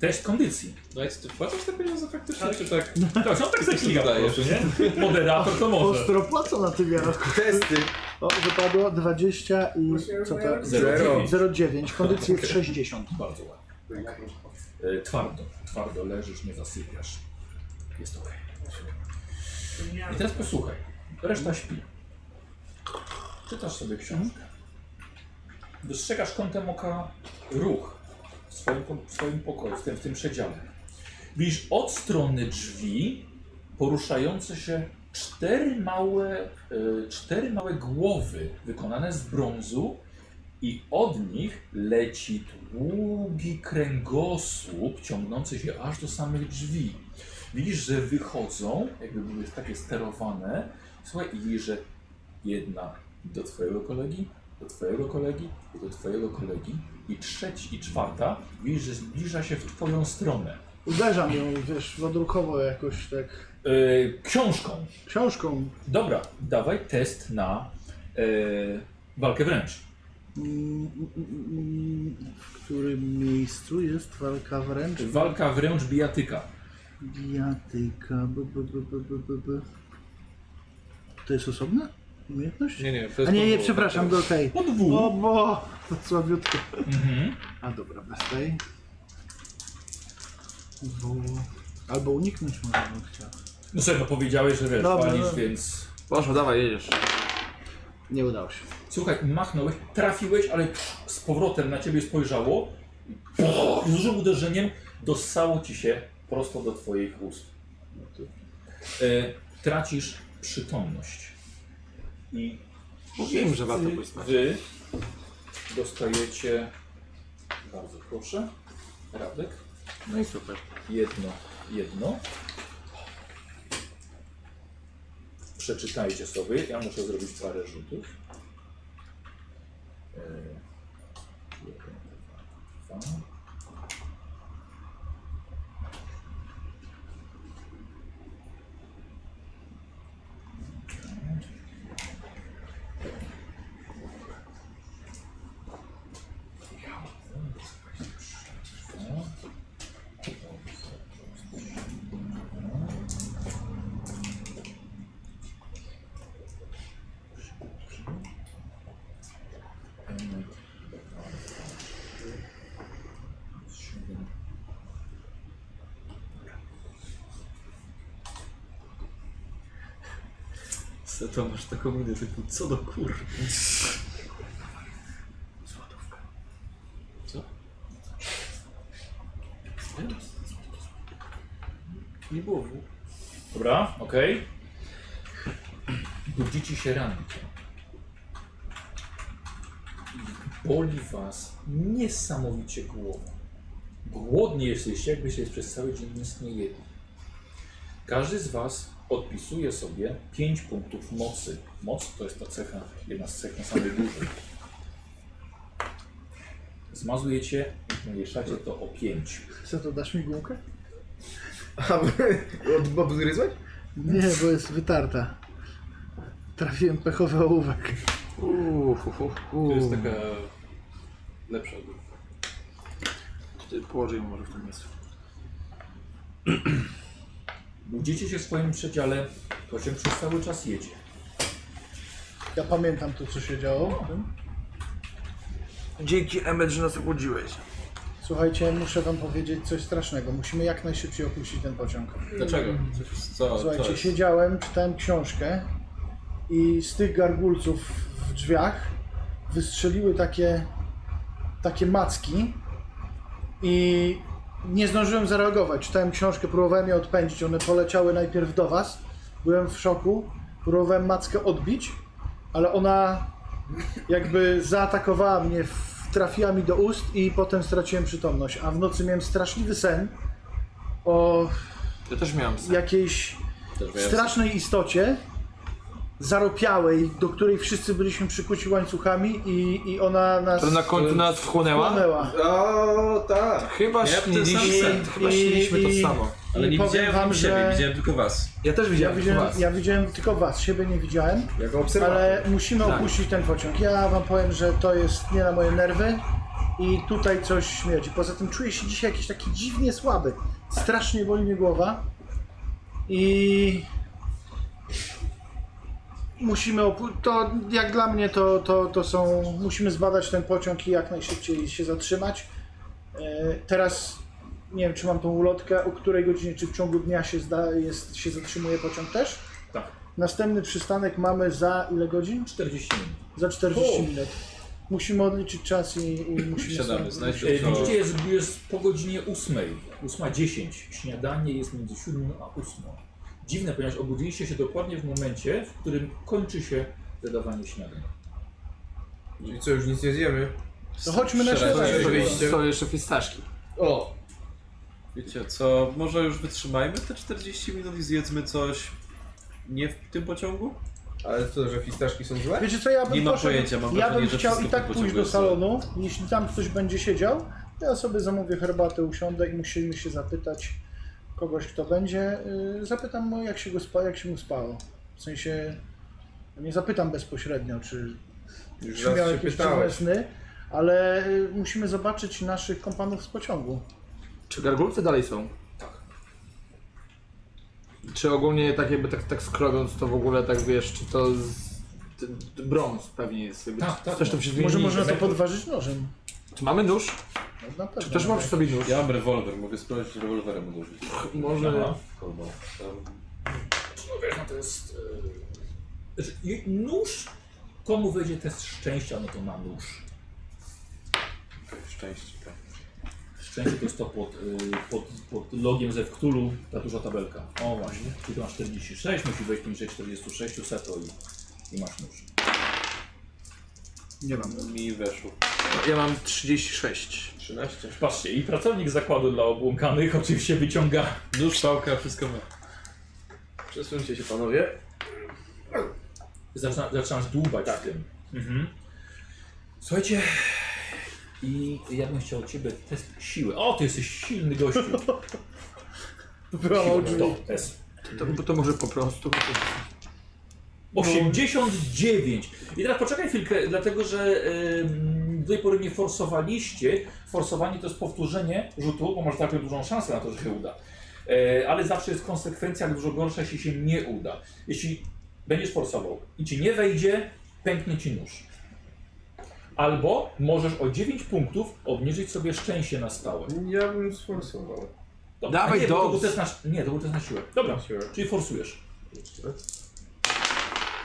Speaker 1: test kondycji.
Speaker 3: Dajcie, No ty płacisz te pieniądze faktycznie, czy tak?
Speaker 2: No.
Speaker 1: Tak, są tak zakliga po
Speaker 3: Dajesz.
Speaker 1: prostu, nie? Moderator to może.
Speaker 2: Ostro płacą na tym jarosku.
Speaker 5: Testy.
Speaker 2: O, wypadło 20 i
Speaker 8: Właśnie
Speaker 2: co
Speaker 8: rozmawiamy.
Speaker 2: to?
Speaker 1: Zero.
Speaker 5: Zero.
Speaker 2: 0,9, kondycji jest 60.
Speaker 1: Bardzo ładnie. Yy, twardo, twardo leżysz, nie zasypiasz. Jest okej. I teraz posłuchaj. Reszta śpi. Czytasz sobie książkę. Dostrzegasz kątem oka ruch w swoim, po- w swoim pokoju, w tym, w tym przedziale. Widzisz od strony drzwi poruszające się cztery małe, e, cztery małe głowy wykonane z brązu i od nich leci długi kręgosłup ciągnący się aż do samych drzwi. Widzisz, że wychodzą, jakby były takie sterowane. Słuchaj, i widzisz, że jedna do twojego kolegi, do twojego kolegi, i do twojego kolegi i trzeci i czwarta. Widzisz, że zbliża się w twoją stronę.
Speaker 2: Uderzam ją, wiesz, wodrukowo jakoś tak
Speaker 1: Yy, książką.
Speaker 2: książką.
Speaker 1: Dobra, dawaj test na yy, walkę wręcz.
Speaker 2: Mm, mm, mm, W którym miejscu jest walka wręcz?
Speaker 1: Walka wręcz bijatyka.
Speaker 2: Bijatyka. B, b, b, b, b, b, b. To jest osobna umiejętność?
Speaker 3: Nie, nie, to
Speaker 2: A
Speaker 3: jest
Speaker 2: nie, nie,
Speaker 3: podwójne.
Speaker 2: przepraszam, do tej. O
Speaker 1: Podwór.
Speaker 2: bo, to słabiutko.
Speaker 1: Mhm.
Speaker 2: A dobra, bez tej. Bo... Albo uniknąć może bym chciał.
Speaker 1: No sobie no powiedziałeś, że wiesz,
Speaker 2: Dobra,
Speaker 1: palisz,
Speaker 2: dobra.
Speaker 1: więc...
Speaker 4: Poszło, dawaj, jedziesz.
Speaker 2: Nie udało się.
Speaker 1: Słuchaj, machnąłeś, trafiłeś, ale z powrotem na ciebie spojrzało. Z dużym uderzeniem dosało ci się prosto do twoich ust. E, tracisz przytomność. I
Speaker 4: Mówiłem, No że warto
Speaker 1: wszyscy
Speaker 4: pójść spać.
Speaker 1: Wy dostajecie, bardzo proszę, Radek,
Speaker 4: No i super.
Speaker 1: jedno, jedno. Przeczytajcie sobie, ja muszę zrobić parę rzutów. E, jeden, dwa, dwa.
Speaker 3: Matce to masz taką minę typu, co do kur... Nie było w
Speaker 1: Dobra, okej. Budzicie się rankiem. I Boli was niesamowicie głowa. Głodni jesteście, jakbyście przez cały dzień nic nie jedli. Każdy z was odpisuje sobie 5 punktów mocy. Moc to jest ta cecha, jedna z cech na samej górze. Zmazujecie i zmniejszacie to o 5.
Speaker 2: Co to, dasz mi gumkę?
Speaker 5: A, od, odgryzłeś?
Speaker 2: Nie, bo jest wytarta. Trafiłem pechowy ołówek.
Speaker 4: Uuu, hu, hu, hu.
Speaker 3: To jest taka lepsza grupa.
Speaker 4: Ty Położę ją może w tym miejscu.
Speaker 1: Budzicie się w swoim przedziale, pociąg przez cały czas jedzie.
Speaker 2: Ja pamiętam to, co się działo.
Speaker 4: Dzięki Emmet, że nas obudziłeś.
Speaker 2: Słuchajcie, muszę wam powiedzieć coś strasznego. Musimy jak najszybciej opuścić ten pociąg.
Speaker 3: Dlaczego? Coś, co, co
Speaker 2: Słuchajcie,
Speaker 3: jest?
Speaker 2: siedziałem, czytałem książkę i z tych gargulców w drzwiach wystrzeliły takie, takie macki i nie zdążyłem zareagować. Czytałem książkę, próbowałem je odpędzić, one poleciały najpierw do was. Byłem w szoku, próbowałem mackę odbić, ale ona jakby zaatakowała mnie, w- trafiła mi do ust i potem straciłem przytomność. A w nocy miałem straszliwy sen o
Speaker 4: Ja też miałem sen.
Speaker 2: jakiejś strasznej istocie, zaropiałej, do której wszyscy byliśmy przykuci łańcuchami i, i ona nas
Speaker 4: To na końcu nas wchłonęła?
Speaker 2: wchłonęła.
Speaker 5: O, tak.
Speaker 4: Chyba
Speaker 3: Ja ten sam
Speaker 4: śniliśmy,
Speaker 3: sen.
Speaker 4: chyba śniliśmy
Speaker 2: I- i-
Speaker 4: to samo.
Speaker 3: Ale
Speaker 2: I
Speaker 3: nie
Speaker 2: powiem
Speaker 3: widziałem
Speaker 2: wam,
Speaker 3: wam siebie,
Speaker 2: że-
Speaker 3: widziałem tylko was.
Speaker 4: Ja też
Speaker 2: Ja
Speaker 4: widziałem
Speaker 2: widziałem,
Speaker 4: was.
Speaker 2: ja widziałem tylko was, siebie nie widziałem,
Speaker 5: Jako obserwator.
Speaker 2: ale musimy
Speaker 4: Tak.
Speaker 2: opuścić ten pociąg. Ja wam powiem, że to jest nie na moje nerwy i tutaj coś śmierdzi. Poza tym czuję się dzisiaj jakiś taki dziwnie słaby. Strasznie boli mnie głowa i musimy opu- to jak dla mnie to, to, to są musimy zbadać ten pociąg i jak najszybciej się zatrzymać E, teraz nie wiem czy mam tą ulotkę o której godzinie czy w ciągu dnia się, zda, jest, się zatrzymuje pociąg też
Speaker 1: Tak.
Speaker 2: następny przystanek mamy za ile godzin?
Speaker 1: 40 minut.
Speaker 2: za 40
Speaker 1: O.
Speaker 2: minut musimy odliczyć czas i, i musimy
Speaker 3: Siadamy,
Speaker 2: stąd-
Speaker 3: znajdźmy
Speaker 1: E,
Speaker 3: co...
Speaker 1: Widzicie, jest, jest po godzinie 8, 8.10. Śniadanie jest między 7 a 8. Dziwne, ponieważ obudziliście się dokładnie w momencie, w którym kończy się zadawanie śniadań.
Speaker 5: I co, już nic nie zjemy?
Speaker 2: to No chodźmy na
Speaker 3: Strzelać.
Speaker 2: śniadanie.
Speaker 5: Oczywiście.
Speaker 4: Są jeszcze fistaszki.
Speaker 5: O,
Speaker 3: Wiecie co, może już wytrzymajmy te 40 minut i zjedzmy coś nie w tym pociągu?
Speaker 5: ale co, że fistaszki są złe?
Speaker 2: Wiecie co, ja bym
Speaker 3: Nie mam
Speaker 2: poszedł-
Speaker 3: pojęcia, mam
Speaker 2: Ja
Speaker 3: wrażenie,
Speaker 2: bym
Speaker 3: że
Speaker 2: chciał i
Speaker 3: wszystko
Speaker 2: tak
Speaker 3: po
Speaker 2: pójść
Speaker 3: pociągu
Speaker 2: do
Speaker 3: jest
Speaker 2: salonu. Jeśli tam ktoś będzie siedział, ja sobie zamówię herbatę, usiądę i musimy się zapytać kogoś, kto będzie. Yy, Zapytam, mu, jak się, go spa, jak się mu spało. W sensie, no, nie zapytam bezpośrednio, czy,
Speaker 5: Już
Speaker 2: czy miał
Speaker 5: raz się
Speaker 2: jakieś
Speaker 5: pytałeś.
Speaker 2: dziwne sny, ale yy, musimy zobaczyć naszych kompanów z pociągu.
Speaker 4: Czy gargulce dalej są? Tak. Czy ogólnie tak jakby tak, tak skrobiąc to w ogóle tak wiesz, czy to z... t- t- brąz pewnie jest jakby
Speaker 1: Tak, tak,
Speaker 4: coś
Speaker 1: no.
Speaker 4: tam się zmieni.
Speaker 2: Może można to podważyć nożem.
Speaker 4: Czy mamy nóż?
Speaker 2: No, na pewno.
Speaker 4: Czy też mam przy sobie nóż?
Speaker 6: Ja mam rewolwer, mogę spróbować rewolwerem uderzyć.
Speaker 4: Może...
Speaker 6: Albo tam
Speaker 1: No to jest... e, znaczy, i- Nóż? Komu wejdzie test szczęścia, no to ma nóż.
Speaker 6: szczęście. Tak.
Speaker 1: Szczęście to jest to pod, y, pod, pod logiem ze Wktulu, ta duża tabelka. O właśnie, tu masz 46, musi wejść poniżej 46, seto i, i masz nóż.
Speaker 2: Nie mam.
Speaker 3: No
Speaker 6: Mi weszło.
Speaker 4: Ja mam 36.
Speaker 5: 13.
Speaker 1: Patrzcie, i pracownik zakładu dla obłąkanych oczywiście wyciąga
Speaker 3: Nóż, pałka, wszystko ma.
Speaker 5: Przesuńcie się panowie.
Speaker 1: Zaczyna, zaczynasz dłubać w tym. Mhm. Słuchajcie. I ja bym chciał od ciebie test siły. O, ty jesteś silny gościu.
Speaker 2: Wyłamał drzwi.
Speaker 1: To jest
Speaker 4: To, bo to może po prostu...
Speaker 1: 89. I teraz poczekaj chwilkę, dlatego że ym, do tej pory nie forsowaliście. Forsowanie to jest powtórzenie rzutu, bo masz taką dużą szansę na to, że się uda. E, ale zawsze jest konsekwencja dużo gorsza, jeśli się nie uda. Jeśli będziesz forsował i ci nie wejdzie, pęknie ci nóż. Albo możesz o 9 punktów obniżyć sobie szczęście na stałe.
Speaker 5: Ja bym sforsował.
Speaker 1: Dobra,
Speaker 4: Dawaj,
Speaker 1: nie, bo to
Speaker 4: dos.
Speaker 1: był test na, nie, to był test na siłę. Dobra,
Speaker 5: Siłę.
Speaker 1: czyli forsujesz.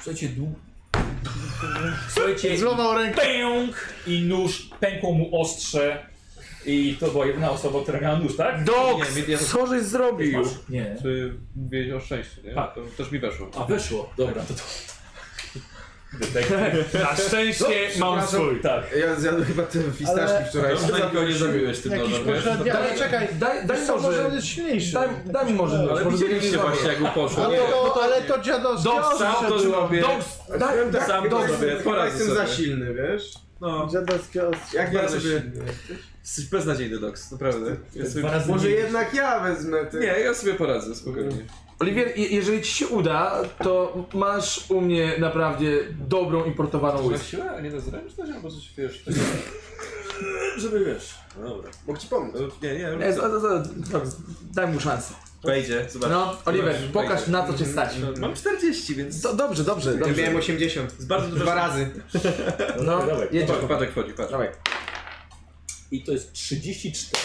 Speaker 1: Słuchajcie, dłu... Słuchajcie,
Speaker 2: Złamał rękę.
Speaker 1: pęk! I nóż, pękło mu ostrze. I to była jedna osoba, która miała nóż, tak?
Speaker 3: Nie, mi- ja to-
Speaker 4: Co żeś zrobił?
Speaker 1: Nie.
Speaker 3: Czy mówiłeś o szczęściu, nie?
Speaker 1: Tak.
Speaker 3: To też mi weszło.
Speaker 1: A weszło, dobra. To, to...
Speaker 9: Na szczęście
Speaker 4: No,
Speaker 9: mam swój.
Speaker 1: Tak.
Speaker 5: Ja zjadłem chyba te fistaszki
Speaker 2: Ale-
Speaker 5: wczoraj.
Speaker 3: Dobrze, że No, nikogo nie zabiłeś tym
Speaker 2: Jakiś
Speaker 3: nożem, wiesz?
Speaker 2: pośredni, ale czekaj,
Speaker 4: Daj, daj
Speaker 2: wiesz co, może on
Speaker 4: może...
Speaker 2: jest silniejszy.
Speaker 4: Daj, daj mi może nóż,
Speaker 3: Ale
Speaker 4: może będzie
Speaker 3: widzieliście
Speaker 4: nie
Speaker 3: właśnie jak mu poszło.
Speaker 2: ale,
Speaker 3: Nie.
Speaker 2: No to, ale to dziadowskie
Speaker 3: Dobrze,
Speaker 2: ostrze
Speaker 3: to
Speaker 2: było.
Speaker 3: żłobie.
Speaker 4: Dobrze, daj,
Speaker 5: tak,
Speaker 4: daj,
Speaker 5: sam
Speaker 4: dobrze.
Speaker 5: dobrze, chyba
Speaker 3: poradzę
Speaker 5: jestem za
Speaker 3: sobie.
Speaker 5: silny, wiesz?
Speaker 3: No,
Speaker 2: Dziadowskie ostrze.
Speaker 5: Jak ja
Speaker 3: Bardzo
Speaker 5: sobie...
Speaker 3: silny. jesteś beznadziejny, Dox, naprawdę. Ja sobie...
Speaker 1: razy
Speaker 5: Może
Speaker 1: mniej.
Speaker 5: jednak ja wezmę te...
Speaker 3: Nie, ja sobie poradzę, spokojnie.
Speaker 4: Oliwier, je- jeżeli ci się uda, to masz u mnie naprawdę dobrą importowaną
Speaker 6: Na
Speaker 4: łyskę.
Speaker 6: siłę, a nie na zręczność, albo coś wiesz.
Speaker 1: Żeby wiesz.
Speaker 6: No dobra.
Speaker 5: Mogę ci pomóc.
Speaker 3: No, Nie, nie,
Speaker 4: Nie, E, za- za- za- dobrze, Daj mu szansę.
Speaker 3: wejdzie, zobacz.
Speaker 1: Tak.
Speaker 4: No, Oliver,
Speaker 3: Zobaczysz,
Speaker 4: pokaż
Speaker 3: wejdzie. No,
Speaker 4: na co cię stać.
Speaker 1: No.
Speaker 3: Mam 40, więc...
Speaker 4: Do, dobrze, dobrze,
Speaker 5: Ja miałem
Speaker 4: dobrze.
Speaker 5: 80.
Speaker 3: Z bardzo dużo...
Speaker 5: Dwa razy.
Speaker 4: No,
Speaker 1: Dawaj.
Speaker 4: jedziesz.
Speaker 3: Patrz, Patek wchodzi, patrz.
Speaker 4: Dawaj.
Speaker 1: I to jest 34.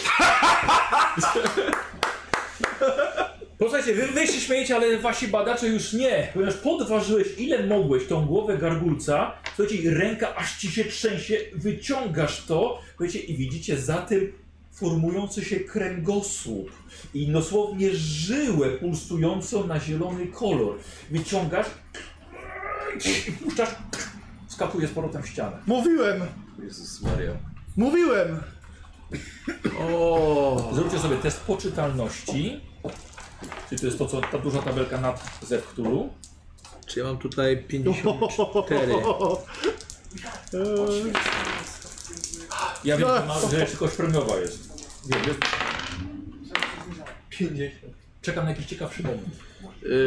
Speaker 1: Posłuchajcie, wy, wy się śmiejecie, ale wasi badacze już nie, ponieważ podważyłeś ile mogłeś tą głowę gargulca, słuchajcie, i ręka aż ci się trzęsie, wyciągasz to, słuchajcie, i widzicie za tym formujący się kręgosłup i dosłownie żyłę pulsującą na zielony kolor. Wyciągasz i puszczasz, skakuje z powrotem w ścianę.
Speaker 2: Mówiłem,
Speaker 6: Jezus Maria.
Speaker 2: mówiłem.
Speaker 4: O.
Speaker 1: Zróbcie sobie test poczytalności. Czyli to jest to, co ta duża tabelka nad Zepktulu.
Speaker 4: Czy ja mam tutaj 54?
Speaker 2: Eee,
Speaker 1: Ja wiem, że, ma, że tylko premiowa jest. Wiem, jest.
Speaker 5: 50.
Speaker 1: Czekam na jakiś ciekawszy moment.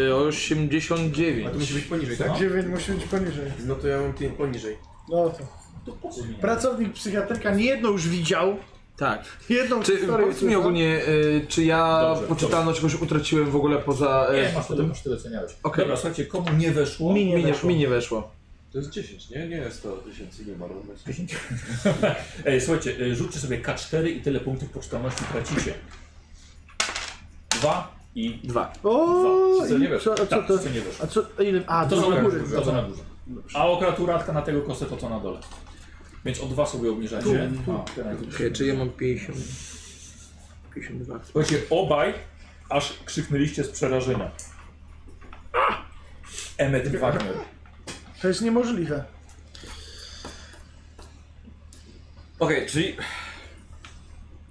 Speaker 4: Y, 89.
Speaker 5: A to musi być poniżej,
Speaker 1: Co?
Speaker 5: tak?
Speaker 2: 9 musi być poniżej.
Speaker 5: No to ja mam pię- poniżej.
Speaker 2: No to.
Speaker 1: To po co mi?
Speaker 2: Pracownik psychiatryka nie jedną już widział,
Speaker 4: Tak.
Speaker 2: jedną
Speaker 4: Czy
Speaker 2: historię
Speaker 4: powiedz mi
Speaker 2: słyszał.
Speaker 4: ogólnie, y, czy ja
Speaker 1: Dobrze,
Speaker 4: poczytalność jakoś utraciłem w ogóle poza... y,
Speaker 1: Nie, E, masz tyle, masz tyle, co miałeś.
Speaker 4: Okej.
Speaker 1: Dobra, słuchajcie, komu nie weszło?
Speaker 2: Mi nie
Speaker 4: mi, nie,
Speaker 2: weszło.
Speaker 4: mi nie weszło.
Speaker 6: To jest 10, nie? Nie jest to 1000 nie ma
Speaker 3: no,
Speaker 6: równo.
Speaker 1: Ej, słuchajcie, e, rzućcie sobie K4 i tyle punktów poczytalności tracicie. Dwa i...
Speaker 4: Dwa.
Speaker 2: O,
Speaker 1: Dwa.
Speaker 6: Co nie
Speaker 2: i co, a co
Speaker 1: Tak,
Speaker 2: to?
Speaker 1: co nie weszło.
Speaker 2: A co, a ile? A,
Speaker 1: To,
Speaker 2: to
Speaker 1: co
Speaker 2: na
Speaker 1: na
Speaker 2: górze.
Speaker 1: górze. To, co na górze. A okraturatka na tego kosę, to co na dole. Więc o dwa sobie obniżacie. tak. A, teraz-
Speaker 4: Okej, czy ja mam 50... 52.
Speaker 1: Słuchajcie, obaj aż krzyknęliście z przerażenia. Emmet i Wagner.
Speaker 2: To jest niemożliwe.
Speaker 3: Okej, czyli...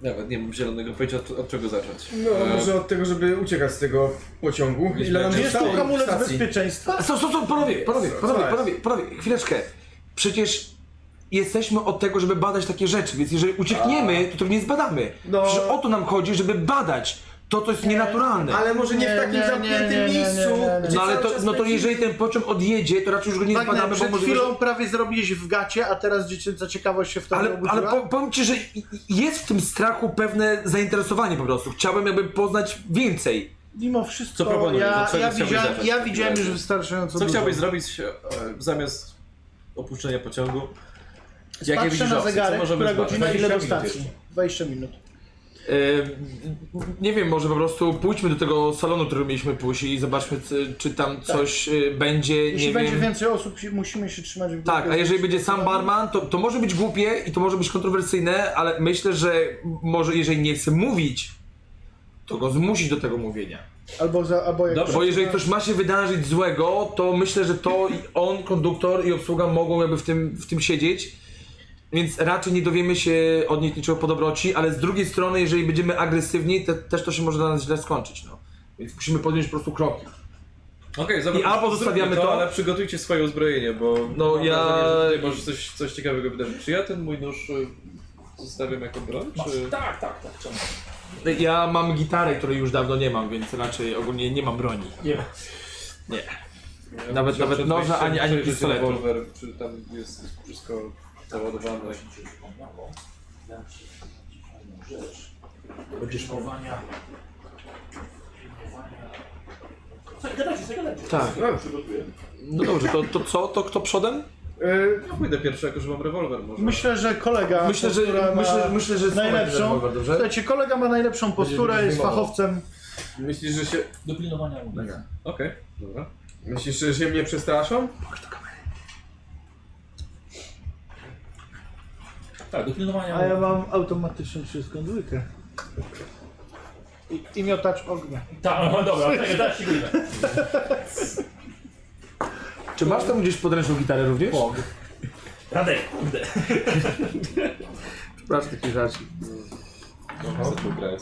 Speaker 3: Nawet nie mam zielonego pojęcia od, od czego zacząć.
Speaker 5: No,
Speaker 3: E,
Speaker 5: może od tego, żeby uciekać z tego pociągu.
Speaker 3: Gdzieś
Speaker 5: Ile nam
Speaker 3: będzie.
Speaker 2: Jest
Speaker 5: zostało
Speaker 2: to hamulec
Speaker 5: stacji?
Speaker 2: bezpieczeństwa?
Speaker 4: Stop, stop, stop, panowie, panowie,
Speaker 5: Co
Speaker 4: panowie,
Speaker 5: jest?
Speaker 4: panowie, panowie, chwileczkę. Przecież jesteśmy od tego, żeby badać takie rzeczy, więc jeżeli uciekniemy, to tego nie zbadamy.
Speaker 5: No.
Speaker 4: Przecież o to nam chodzi, żeby badać to, co jest nienaturalne.
Speaker 5: Ale może nie,
Speaker 2: Nie,
Speaker 5: w takim
Speaker 2: nie, nie,
Speaker 5: zamkniętym
Speaker 2: nie, nie, nie,
Speaker 5: miejscu.
Speaker 2: nie, nie.
Speaker 5: gdzie
Speaker 4: No ale
Speaker 5: cały
Speaker 4: to,
Speaker 5: czas
Speaker 4: no to
Speaker 5: będzie-
Speaker 4: jeżeli ten pociąg odjedzie, to raczej już go nie
Speaker 2: Wagner,
Speaker 4: zbadamy, bo
Speaker 2: przed
Speaker 4: może...
Speaker 2: chwilą prawie zrobiłeś w gacie, a teraz dziecięca ciekawość się w tobie
Speaker 4: Ale,
Speaker 2: obudziła.
Speaker 4: ale po- powiem ci, że i- jest w tym strachu pewne zainteresowanie po prostu. Chciałbym jakby poznać więcej.
Speaker 2: Mimo wszystko,
Speaker 3: Co proponujesz?
Speaker 2: ja,
Speaker 3: Od czego
Speaker 2: ja,
Speaker 3: chciałbyś
Speaker 2: widziałem,
Speaker 3: zacząć?
Speaker 2: ja widziałem już wystarczająco
Speaker 3: Co
Speaker 2: dużo.
Speaker 3: chciałbyś zrobić e, zamiast opuszczenia pociągu? Jakie
Speaker 2: Patrzę
Speaker 3: widzisz
Speaker 2: na
Speaker 3: opcje? Co
Speaker 2: zegarek,
Speaker 3: możemy
Speaker 2: która
Speaker 3: zbadać?
Speaker 2: godzina ile do
Speaker 1: 20 minut
Speaker 2: stacji? 20 minut.
Speaker 4: E, nie wiem, może po prostu pójdźmy do tego salonu, który mieliśmy pójść i zobaczmy, czy- czy
Speaker 5: Tak.
Speaker 4: tam coś e, będzie,
Speaker 2: Jeśli
Speaker 4: nie
Speaker 2: będzie
Speaker 4: wiem.
Speaker 2: więcej osób, si- musimy się trzymać w
Speaker 4: Tak,
Speaker 2: grupie.
Speaker 4: a jeżeli będzie sam barman, to, to może być głupie i to może być kontrowersyjne, ale myślę, że może jeżeli nie chce mówić, to go zmusić do tego mówienia.
Speaker 2: Albo, za, albo jak
Speaker 3: Dobrze.
Speaker 4: Bo jeżeli coś ma się wydarzyć złego, to myślę, że to i on, konduktor i obsługa mogą jakby w tym, w tym siedzieć. Więc raczej nie dowiemy się od nich niczego po dobroci, ale z drugiej strony, jeżeli będziemy agresywni, to też to się może dla nas źle skończyć. No. Więc musimy podjąć po prostu kroki.
Speaker 3: Okej, zobacz.
Speaker 4: I albo
Speaker 3: zróbmy
Speaker 4: zostawiamy to-
Speaker 3: ale przygotujcie swoje uzbrojenie, bo
Speaker 4: No,
Speaker 3: mam
Speaker 4: ja-
Speaker 3: wrażenie, że tutaj może coś, coś ciekawego wydarzyć. Czy ja ten mój nóż y, zostawiam jako broń,
Speaker 1: Masz.
Speaker 3: czy...
Speaker 1: Tak, tak, tak. czemu?
Speaker 4: Ja mam gitarę, której już dawno nie mam, więc raczej ogólnie nie mam broni.
Speaker 1: Nie.
Speaker 3: Ja
Speaker 4: Nawet-
Speaker 3: chciałem
Speaker 4: nawet
Speaker 3: przed
Speaker 4: noża,
Speaker 3: wejściem
Speaker 4: ani- ani
Speaker 3: przejrzeć
Speaker 4: pistoletu.
Speaker 3: Rewolwer, czy tam jest wszystko załadowane.
Speaker 1: Będziesz mowania. Słuchaj, gadajcie, sobie gadajcie.
Speaker 4: Tak.
Speaker 5: No,
Speaker 4: No dobrze, to, to co? To kto przodem?
Speaker 5: y,
Speaker 3: Ja No, pójdę pierwszy, jako że mam rewolwer może.
Speaker 2: Myślę, że kolega,
Speaker 4: Myślę, że,
Speaker 2: która ma
Speaker 4: myślę, myślę, że
Speaker 2: najlepszą...
Speaker 4: Dobra, dobrze?
Speaker 2: Słuchajcie, kolega ma najlepszą posturę,
Speaker 4: będzie
Speaker 2: jest
Speaker 4: zdejmował.
Speaker 2: fachowcem.
Speaker 5: Myślisz, że się...
Speaker 1: Do pilnowania ulicy.
Speaker 3: Okej, dobra.
Speaker 5: Myślisz, że się mnie przestraszą?
Speaker 1: Tak, do pilnowania.
Speaker 2: A ja mam automatyczną wszystką dwójkę. I, i miotacz ognia.
Speaker 1: Tak, no dobra, tak, dać ci glinę.
Speaker 4: Czy masz tam gdzieś podręczną gitarę również? O,
Speaker 1: Radek, kurde.
Speaker 4: przepraszam, taki żart. No,
Speaker 6: Zaczął grać.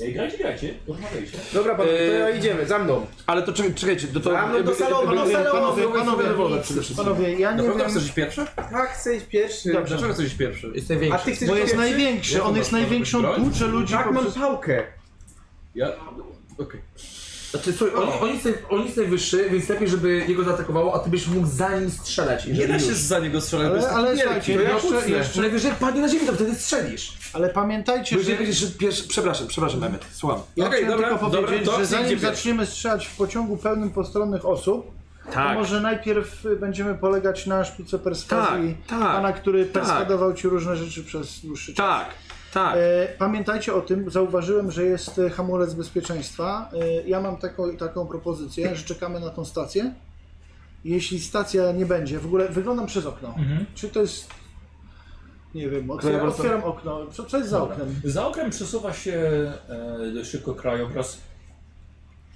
Speaker 1: Ej, grajcie, grajcie, rozmawiajcie.
Speaker 5: Dobra, pan, to
Speaker 4: Eee.
Speaker 5: ja idziemy, za mną.
Speaker 4: Ale to czekaj- czekajcie, do to...
Speaker 5: A, no do salonu, do salonu,
Speaker 4: Panowie,
Speaker 5: do
Speaker 4: panowie,
Speaker 5: salonu.
Speaker 4: przede wszystkim.
Speaker 2: Panowie, ja nie
Speaker 3: Na
Speaker 2: wiem,
Speaker 3: pewno chcesz iść pierwszy?
Speaker 5: Tak, chcę iść pierwszy.
Speaker 3: Dlaczego chcesz iść pierwszy?
Speaker 4: Jest
Speaker 5: A
Speaker 4: największy.
Speaker 5: ty chcesz
Speaker 2: bo
Speaker 5: iść
Speaker 2: jest
Speaker 5: pierwszy?
Speaker 2: największy, on jest
Speaker 3: Może być
Speaker 2: największą
Speaker 3: broń?
Speaker 2: tłucze ludzi
Speaker 5: Tak, mam
Speaker 2: poprzez...
Speaker 5: pałkę.
Speaker 3: Ja... Okej.
Speaker 4: Znaczy, słuchaj, on, on, jest, naj- on jest najwyższy, więc lepiej, żeby jego zaatakowało, a ty byś mógł za nim strzelać.
Speaker 3: Nie
Speaker 4: jeżeli
Speaker 3: da
Speaker 4: już.
Speaker 3: się za niego strzelać, bo
Speaker 2: Ale,
Speaker 3: jest
Speaker 6: tak-
Speaker 3: taki
Speaker 2: ale
Speaker 3: wielki.
Speaker 2: słuchajcie,
Speaker 5: to
Speaker 2: jeszcze,
Speaker 5: ja kucnę.
Speaker 2: jeszcze,
Speaker 4: Najwyżej padnie na ziemię, to wtedy strzelisz.
Speaker 2: ale pamiętajcie, że...
Speaker 4: Będzie pierwszy, pierwszy, przepraszam, przepraszam, Mehmet, słucham.
Speaker 2: Ja
Speaker 3: Okej,
Speaker 2: chciałem
Speaker 3: dobra,
Speaker 2: tylko
Speaker 3: dobra,
Speaker 2: powiedzieć,
Speaker 3: to
Speaker 2: że
Speaker 3: idzie
Speaker 2: zanim
Speaker 3: pierwszy.
Speaker 2: zaczniemy strzelać w pociągu pełnym postronnych osób, to
Speaker 4: Tak.
Speaker 2: może najpierw y, będziemy polegać na sztuce perswazji
Speaker 4: Tak, tak,
Speaker 2: pana, który
Speaker 4: tak.
Speaker 2: perswadował ci różne rzeczy przez dłuższy czas.
Speaker 4: Tak, tak.
Speaker 2: E, Pamiętajcie o tym, zauważyłem, że jest e, hamulec bezpieczeństwa. E, Ja mam taką, taką propozycję, że czekamy na tą stację. Jeśli stacja nie będzie, w ogóle wyglądam przez okno.
Speaker 1: Mhm.
Speaker 2: Czy to jest. Nie wiem, otwieram,
Speaker 4: Krajobraz-
Speaker 2: otwieram okno. Co, co jest za oknem?
Speaker 1: Za okrem przesuwa się e, dość szybko krajobraz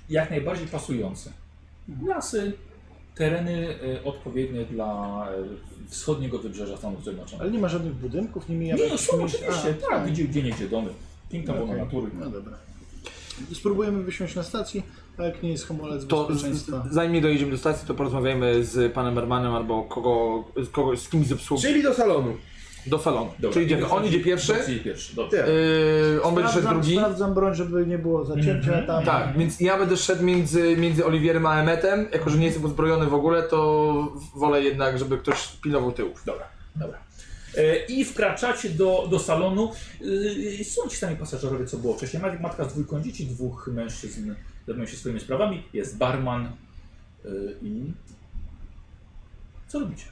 Speaker 1: jak najbardziej pasujący. Lasy, tereny e, odpowiednie dla e, wschodniego wybrzeża Stanów
Speaker 2: Ale
Speaker 1: Zjednoczonych.
Speaker 2: nie ma żadnych budynków, nie mijamy.
Speaker 1: Nie, no są
Speaker 2: jakimiś-
Speaker 1: oczywiście,
Speaker 2: A,
Speaker 1: tak, gdzie, gdzie nie gdzie domy. Piękna okay.
Speaker 2: okej.
Speaker 1: natury.
Speaker 2: No dobra. Spróbujemy wysiąść na stacji, a jak nie jest hamulec
Speaker 4: To z,
Speaker 2: bezpieczeństwa.
Speaker 4: zanim nie dojedziemy do stacji, to porozmawiajmy z panem Hermanem albo kogo, z kogo, z kimś z obsługi
Speaker 5: Czyli do salonu.
Speaker 4: do salonu.
Speaker 1: Dobra,
Speaker 4: Czyli idziemy. On idzie pierwszy,
Speaker 1: Dobrze, idzie pierwszy. Dobrze.
Speaker 5: Tak.
Speaker 4: yy, on będzie szedł
Speaker 2: Sprawdzam,
Speaker 4: drugi.
Speaker 2: sprawdzam broń, żeby nie było zacięcia
Speaker 1: Mhm.
Speaker 2: tam.
Speaker 4: Tak, więc ja będę szedł między, między Oliwierem a Emetem. Jako, że nie jestem uzbrojony w ogóle, to wolę jednak, żeby ktoś pilnował tyłów.
Speaker 1: Dobra, dobra. E, I wkraczacie do, do salonu. E, Są ci sami pasażerowie, co było wcześniej. Mat- Matka z dwójką dzieci, dwóch mężczyzn zajmują się swoimi sprawami. Jest barman. E, I. Co robicie?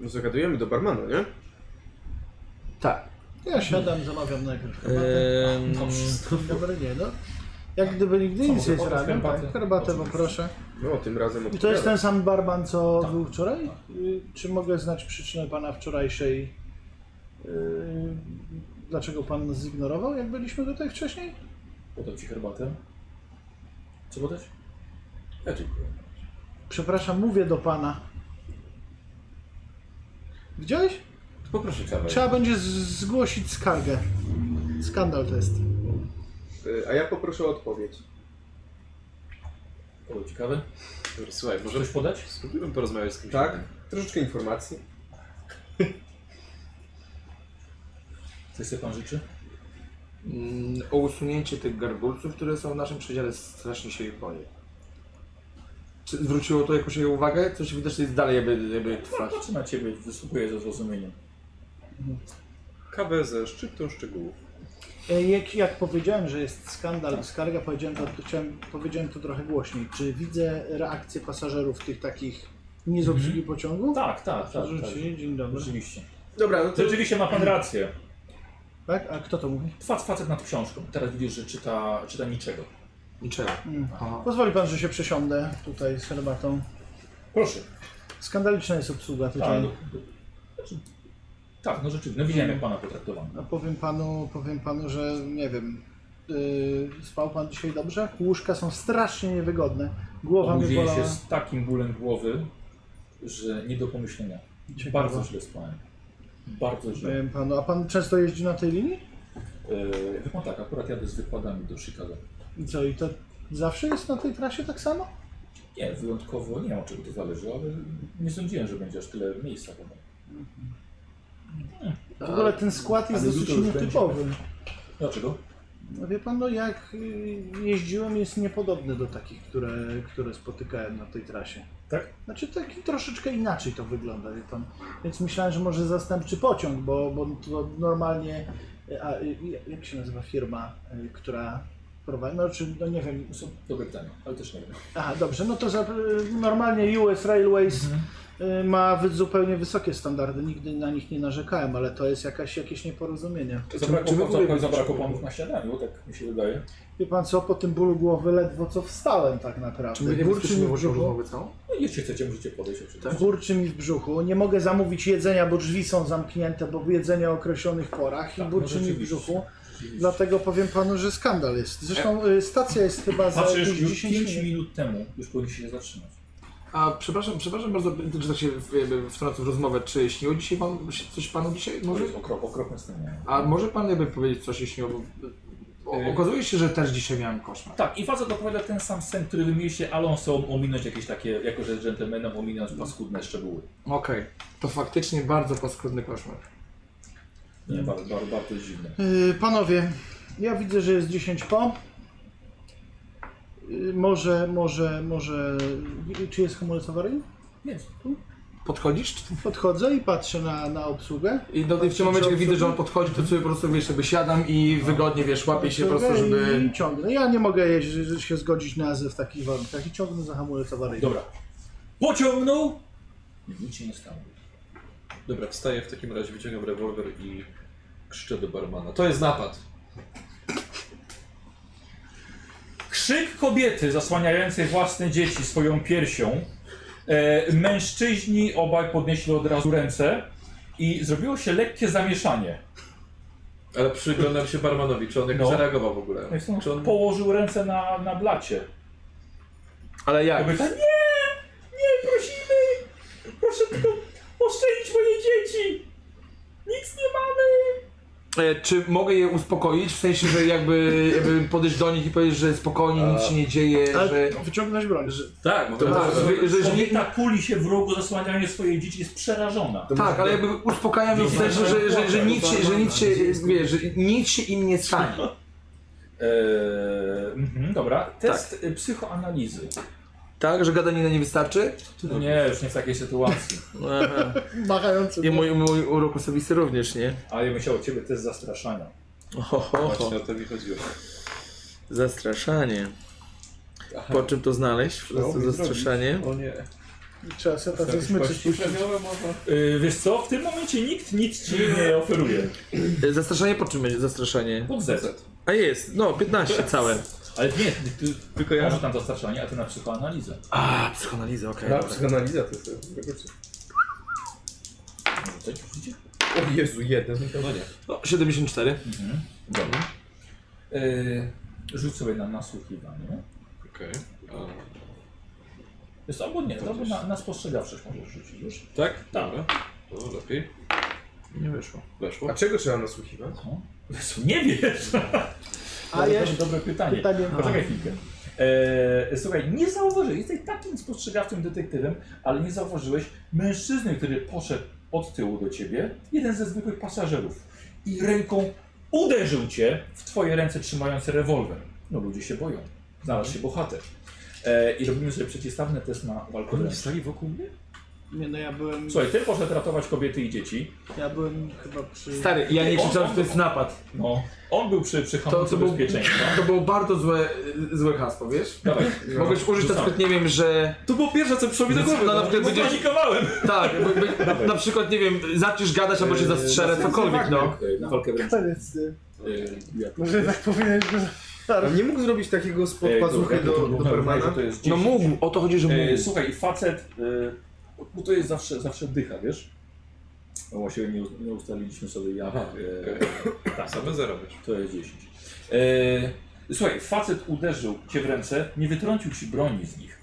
Speaker 5: No zagadujemy do barmana, nie?
Speaker 4: Tak.
Speaker 2: Ja siadam, zamawiam
Speaker 4: E,
Speaker 2: najpierw herbatę.
Speaker 3: Ehm,
Speaker 6: No
Speaker 2: Dobra, nie no. Jak gdyby nigdy nic nie
Speaker 1: Samochód,
Speaker 2: zrobiłem,
Speaker 1: herbatę.
Speaker 2: tak? Herbatę poproszę. Tak.
Speaker 5: No, tym razem
Speaker 2: I to jest
Speaker 5: odpowiadam.
Speaker 2: ten sam barman, co był wczoraj? Y, Czy mogę znać przyczynę pana wczorajszej... y, Dlaczego pan nas zignorował, jak byliśmy tutaj wcześniej?
Speaker 1: Podam ci herbatę. Co podać? Ja dziękuję.
Speaker 2: Przepraszam, mówię do pana. Widziałeś?
Speaker 6: Poproszę kawę.
Speaker 2: Trzeba będzie z- zgłosić skargę. Skandal to jest.
Speaker 5: Y, A ja poproszę o odpowiedź.
Speaker 1: Podam ci kawę.
Speaker 6: Dobra, Słuchaj, może
Speaker 1: Coś podać?
Speaker 6: spróbujmy porozmawiać z kimś.
Speaker 5: Tak?
Speaker 6: innym.
Speaker 5: Troszeczkę informacji.
Speaker 1: Coś sobie pan życzy?
Speaker 4: Mm, O usunięcie tych gargulców, które są w naszym przedziale, strasznie się ich boję. Czy zwróciło to jakoś jego uwagę? Coś widać, że jest dalej, jakby, jakby trwać.
Speaker 1: Patrzę na ciebie, wysłuchuję ze zrozumieniem.
Speaker 6: Kawę ze szczytą szczegółów.
Speaker 2: E, Jak, jak powiedziałem, że jest skandal, skarga, powiedziałem to, to chciałem, powiedziałem to trochę głośniej. Czy widzę reakcję pasażerów tych takich nie z obsługi pociągu?
Speaker 1: Tak, tak, tak. tak.
Speaker 2: Rzuci, dzień dobry.
Speaker 1: Rzeczywiście.
Speaker 5: Dobra, no to
Speaker 1: Rzeczywiście ma pan rację.
Speaker 2: Tak? A kto to mówi?
Speaker 1: Fac, facet nad książką. Teraz widzisz, że czyta, czyta niczego.
Speaker 4: Niczego.
Speaker 2: Pozwoli pan, że się przesiądę tutaj z herbatą.
Speaker 1: Proszę.
Speaker 2: Skandaliczna jest obsługa
Speaker 1: Tak,
Speaker 2: tutaj.
Speaker 1: no, znaczy, tak, no rzeczywiście. No widziałem jak pana potraktowano.
Speaker 2: A powiem panu, powiem panu, że nie wiem. Yy, spał pan dzisiaj dobrze? Łóżka są strasznie niewygodne. Głowa mi
Speaker 1: Obudziłem się
Speaker 2: bolała.
Speaker 1: z takim bólem głowy, że nie do pomyślenia.
Speaker 2: Ciekawe.
Speaker 1: Bardzo źle spałem. Bardzo źle.
Speaker 2: Powiem panu, a pan często jeździ na tej linii?
Speaker 1: Yy, no tak, akurat jadę z wykładami do Chicago.
Speaker 2: I co, i to zawsze jest na tej trasie tak samo?
Speaker 1: Nie, wyjątkowo nie wiem od czego to zależy, ale nie sądziłem, że będzie aż tyle miejsca. Chyba.
Speaker 2: W ogóle ten skład jest
Speaker 1: Ale
Speaker 2: dosyć
Speaker 1: jutro już
Speaker 2: nietypowy.
Speaker 1: Dlaczego?
Speaker 2: No wie pan, no jak y, jeździłem jest niepodobny do takich, które, które spotykałem na tej trasie.
Speaker 1: Tak?
Speaker 2: Znaczy taki troszeczkę inaczej to wygląda, wie pan. Więc myślałem, że może zastępczy pociąg, bo, bo to normalnie, a y, jak się nazywa firma, y, która prowadzi, no czy, no nie wiem,
Speaker 1: To są dobre pytania, ale też nie wiem.
Speaker 2: y, Aha, dobrze, no to za, normalnie US Railways y,
Speaker 1: Mhm.
Speaker 2: ma wy- zupełnie wysokie standardy, nigdy na nich nie narzekałem, ale to jest jakaś, jakieś nieporozumienie.
Speaker 1: Zabrakło,
Speaker 4: czy wy w ogóle
Speaker 1: zabrakło,
Speaker 4: wiecie,
Speaker 1: zabrakło
Speaker 4: czy-
Speaker 1: panów na śniadaniu, tak mi się wydaje.
Speaker 2: Wie pan co, po tym bólu głowy ledwo co wstałem tak naprawdę.
Speaker 4: Czy my nie
Speaker 2: Burczy mi
Speaker 4: wysłyszymy
Speaker 2: w
Speaker 4: może
Speaker 2: brzuchu.
Speaker 4: rozmowy całą?
Speaker 1: No, jeśli chcecie, możecie podejść oczywiście.
Speaker 2: Burczy mi w brzuchu. Nie mogę zamówić jedzenia, bo drzwi są zamknięte, bo jedzenie o określonych porach i
Speaker 1: Tak, no
Speaker 2: burczy mi w
Speaker 1: rzeczywiście.
Speaker 2: brzuchu. Dlatego powiem panu, że skandal jest. Zresztą y, stacja jest chyba za
Speaker 1: Patrzysz,
Speaker 2: jakieś
Speaker 1: już
Speaker 2: 10
Speaker 1: 5
Speaker 2: minut.
Speaker 1: minut temu już powinniście się zatrzymać.
Speaker 4: A przepraszam, przepraszam bardzo, że tak się jakby wtrącę w rozmowę. Czy śniło dzisiaj pan, coś panu dzisiaj?
Speaker 1: To
Speaker 4: Może?
Speaker 1: jest okrop, okropne scenie.
Speaker 4: A może pan jakby powiedzieć, co się śniło? Bo, o, okazuje się, że też dzisiaj miałem koszmar.
Speaker 1: Tak, i facet opowiada ten sam sen, który wy mieliście, ale on chce um, ominąć jakieś takie, jako że jest dżentelmenem, ominąć paskudne szczegóły.
Speaker 4: Okej, to faktycznie bardzo paskudny koszmar.
Speaker 1: Nie, bardzo, bardzo, bardzo dziwne.
Speaker 2: Y, Panowie, ja widzę, że jest 10 po. Y, Może, może, może. y, Czy jest hamulec awaryjny?
Speaker 1: Jest.
Speaker 4: Podchodzisz? Czy...
Speaker 2: Podchodzę i patrzę na, na obsługę.
Speaker 4: I do, i w tym momencie, jak widzę, że on podchodzi, to sobie po prostu wiesz, jakby siadam i wygodnie wiesz, łapię się po prostu,
Speaker 2: Obsługę
Speaker 4: żeby.
Speaker 2: I ciągnę. Ja nie mogę jeździć, że się zgodzić na azyl w takich warunkach i ciągnę za hamulec awaryjny.
Speaker 1: Dobra. Pociągnął! Nic się nie stało.
Speaker 6: Dobra, wstaję w takim razie, wyciągam rewolwer i krzyczę do barmana. To jest napad.
Speaker 1: Krzyk kobiety zasłaniającej własne dzieci swoją piersią. E, mężczyźni obaj podnieśli od razu ręce i zrobiło się lekkie zamieszanie.
Speaker 6: Ale przyglądam się barmanowi, czy on jak
Speaker 1: No.
Speaker 6: zareagował w ogóle. Czy on...
Speaker 1: Położył ręce na, na blacie.
Speaker 4: Ale jak?
Speaker 1: Kobieta, nie! Nie, prosimy! Proszę tylko oszczędzić moje dzieci! Nic nie mamy!
Speaker 4: E, czy mogę je uspokoić? W sensie, że jakby, jakby podejść do nich i powiedzieć, że spokojnie, nic się nie dzieje,
Speaker 2: Ale
Speaker 4: że.
Speaker 2: wyciągnąć broń.
Speaker 6: Tak, mówię,
Speaker 4: Tak,
Speaker 6: tak,
Speaker 4: że, że, że nie,
Speaker 1: Kobieta kuli się w rogu, zasłaniając swoje dzieci, jest przerażona.
Speaker 4: Tak, ale jakby uspokajam ją w sensie, że, że, że, nic, się- że, nic, się, wie, że nic się im nie stanie.
Speaker 1: Eee, mhm, dobra, test y, psychoanalizy.
Speaker 4: Tak, że gadanie nie wystarczy?
Speaker 1: Nie, już nie w takiej sytuacji.
Speaker 2: Machający.
Speaker 4: I mój, mój urok osobisty również, nie?
Speaker 1: A ja bym chciał od ciebie test zastraszania.
Speaker 4: Ho, ho, ho.
Speaker 6: właśnie o to mi chodziło.
Speaker 4: Zastraszanie. Po czym to znaleźć? Po prostu zastraszanie.
Speaker 6: O nie.
Speaker 2: Trzeba sobie tacy smyczyć.
Speaker 1: Yy, wiesz co, w tym momencie nikt nic ci nie oferuje.
Speaker 4: E, Zastraszanie po czym będzie zastraszanie?
Speaker 1: Pod Z.
Speaker 4: A jest, no 15 całe.
Speaker 1: Ale nie, ty, tylko ja. Może tam zastraszanie, a ty na psychoanalizę.
Speaker 4: A, psychoanaliza, okej.
Speaker 5: A,
Speaker 4: dobra.
Speaker 5: psychoanaliza No, to jest. e,
Speaker 1: Rzucać, rzucicie?
Speaker 5: O Jezu, jeden.
Speaker 4: No, 74.
Speaker 1: Dobra. Yy, rzuć sobie na nasłuchiwanie.
Speaker 6: Okej.
Speaker 1: Jest albo nie, albo na, na spostrzegawczość możesz rzucić już.
Speaker 6: A, Tak? Dobra. To lepiej.
Speaker 4: Nie wyszło.
Speaker 6: Weszło.
Speaker 5: A czego trzeba nasłuchiwać?
Speaker 1: No. Jezu, Nie wiesz!
Speaker 2: A
Speaker 1: To
Speaker 2: jeszcze
Speaker 1: jest dobre pytanie.
Speaker 2: pytanie.
Speaker 1: Poczekaj chwilkę. Eee, słuchaj, nie zauważyłeś, jesteś takim spostrzegawczym detektywem, ale nie zauważyłeś mężczyzny, który poszedł od tyłu do ciebie, jeden ze zwykłych pasażerów, i ręką uderzył cię w twoje ręce trzymając rewolwer. No ludzie się boją. Znalazł się bohater. Eee, I robimy sobie przeciwstawny test na walkę wręcz.
Speaker 6: stali wokół mnie?
Speaker 2: Nie no ja byłem.
Speaker 1: Słuchaj, ty poszedł ratować kobiety i dzieci.
Speaker 2: Ja byłem chyba przy.
Speaker 4: Stary, ja nie krzyczałem, że to jest napad.
Speaker 1: No, on był przy, przy
Speaker 4: To,
Speaker 1: hamulcu
Speaker 4: to, był,
Speaker 1: bezpieczeństwa.
Speaker 4: to było bardzo złe, złe hasło, wiesz?
Speaker 1: Dawaj,
Speaker 4: Mogłeś użyć na
Speaker 1: Rzucamy.
Speaker 4: przykład, nie wiem, że...
Speaker 6: No. To było pierwsze, co przyszło mi do głowy.
Speaker 4: No, na przykład będziesz,
Speaker 1: Panikowałem!
Speaker 4: tak, bo- bo- na przykład, nie wiem, zaczniesz gadać albo cię
Speaker 6: Eee,
Speaker 4: zastrzelę,
Speaker 6: tak,
Speaker 4: cokolwiek, no.
Speaker 1: Eee, Na walkę wręcz.
Speaker 2: Koniec, ty.
Speaker 1: Eee, jak-
Speaker 2: Może tak powinieneś go
Speaker 5: A nie mógł zrobić takiego spod
Speaker 1: Е,
Speaker 5: pazuchy do,
Speaker 1: Ну,
Speaker 5: do barmana?
Speaker 1: To jest
Speaker 4: No mógł, o to chodzi, że
Speaker 1: E,
Speaker 4: mógł.
Speaker 1: słuchaj, facet, e, bo to jest zawsze, zawsze dycha, wiesz? No właściwie nie, uz- nie ustaliliśmy sobie jak.
Speaker 6: Aha,
Speaker 1: E, tak,
Speaker 6: Same zarobić.
Speaker 1: to jest 10. E, słuchaj, facet uderzył cię w ręce, nie wytrącił ci broni z nich.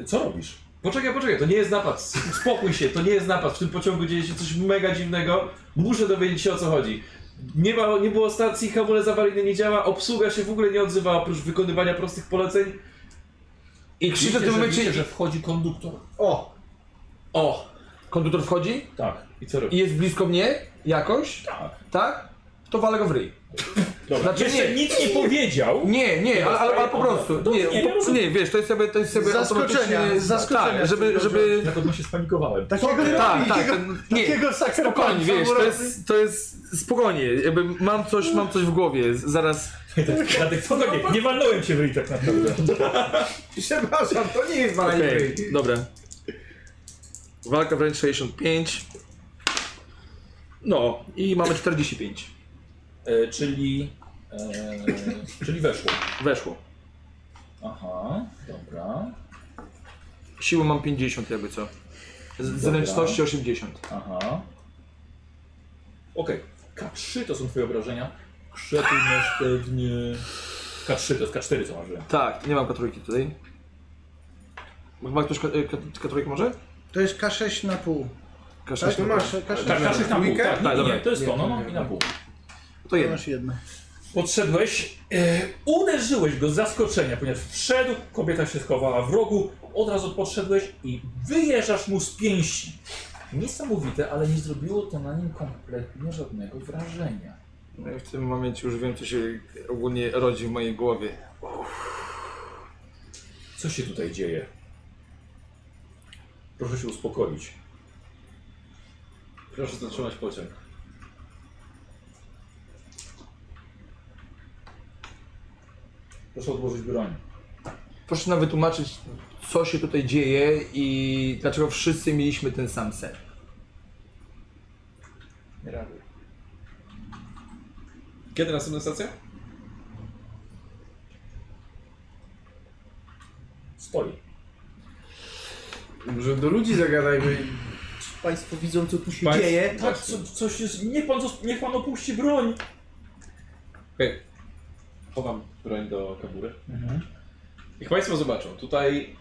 Speaker 1: E, co robisz?
Speaker 6: Poczekaj, poczekaj, to nie jest napad. Spokój się, to nie jest napad. W tym pociągu dzieje się coś mega dziwnego. Muszę dowiedzieć się o co chodzi. Nie, ma, nie było stacji, hamulec awaryjny nie działa, obsługa się w ogóle nie odzywa oprócz wykonywania prostych poleceń.
Speaker 4: I krzyczy w
Speaker 1: Widzicie,
Speaker 4: tym
Speaker 1: że-
Speaker 4: momencie...
Speaker 1: widzicie, że wchodzi konduktor.
Speaker 5: O!
Speaker 4: O! Konduktor wchodzi
Speaker 1: Tak.
Speaker 6: I co robi?
Speaker 4: i jest blisko mnie jakoś,
Speaker 1: Tak.
Speaker 4: tak? To walę go w ryj.
Speaker 1: Dobra.
Speaker 4: Znaczy
Speaker 1: Jeszcze
Speaker 4: nie.
Speaker 1: nic nie powiedział.
Speaker 4: Nie, nie, ale, ale, ale po prostu. Nie,
Speaker 1: nie,
Speaker 4: po, nie, wiesz, to jest sobie, to jest sobie
Speaker 2: Zaskoczenia,
Speaker 4: automatycznie-
Speaker 2: zaskoczenia
Speaker 4: Tak, żeby, żeby...
Speaker 1: Jak on się spanikowałem.
Speaker 2: Takiego nie
Speaker 4: Tak,
Speaker 2: robi,
Speaker 4: tak,
Speaker 2: takiego-
Speaker 4: ten, nie,
Speaker 2: Takiego sakra
Speaker 4: spokojnie,
Speaker 2: palca
Speaker 4: wiesz,
Speaker 2: mu
Speaker 4: to
Speaker 2: robi.
Speaker 4: jest, to jest, spokojnie, jakby mam coś, mam coś w głowie, z- zaraz...
Speaker 1: Dlatego spokojnie, nie walnąłem cię w ryj tak naprawdę.
Speaker 5: Przepraszam, to nie jest
Speaker 4: Okej,
Speaker 5: baranie.
Speaker 4: dobra. Walka wręcz 65. No, i mamy 45.
Speaker 1: E, czyli, e, czyli weszło.
Speaker 4: Weszło.
Speaker 1: Aha, dobra.
Speaker 4: Siły mam 50 jakby co. Z zręczności 80.
Speaker 1: Aha. Okej. K3 to są twoje obrażenia. Krzepił masz pewnie... K3 to jest K4 co masz. że-
Speaker 4: Tak, nie mam katrójki tutaj. Chyba ktoś ka- y, kat- katrójkę może?
Speaker 2: Tak, To jest K6 na pół.
Speaker 4: K6
Speaker 2: to
Speaker 4: na-
Speaker 2: masz K6
Speaker 1: Tak, K6 na pół. Tak,
Speaker 4: Tak,
Speaker 1: nie,
Speaker 4: dobra.
Speaker 1: nie, to jest to, no, no i na pół.
Speaker 4: To jedno.
Speaker 2: masz jedno.
Speaker 1: Podszedłeś, e, uderzyłeś go z zaskoczenia, ponieważ wszedł, kobieta się schowała w rogu, od razu podszedłeś i wyjeżdżasz mu z pięści. Niesamowite, ale nie zrobiło to na nim kompletnie żadnego wrażenia.
Speaker 4: No i w tym momencie już wiem co się ogólnie rodzi w mojej głowie.
Speaker 1: Co się tutaj dzieje? Proszę się uspokoić.
Speaker 6: Proszę zatrzymać pociąg.
Speaker 1: Proszę odłożyć broń.
Speaker 4: Proszę nam wytłumaczyć, co się tutaj dzieje i dlaczego wszyscy mieliśmy ten sam sen.
Speaker 1: Nie reaguj.
Speaker 3: Kiedy następna stacja?
Speaker 1: Stoi.
Speaker 5: Może do ludzi zagadajmy. Czy Państwo widzą, co tu się
Speaker 3: Państwo-
Speaker 5: dzieje?
Speaker 1: Tak, co, coś jest. Niech pan, zos- niech pan opuści broń.
Speaker 3: Chowam broń do kabury.
Speaker 1: Mhm.
Speaker 3: Niech Państwo zobaczą, tutaj...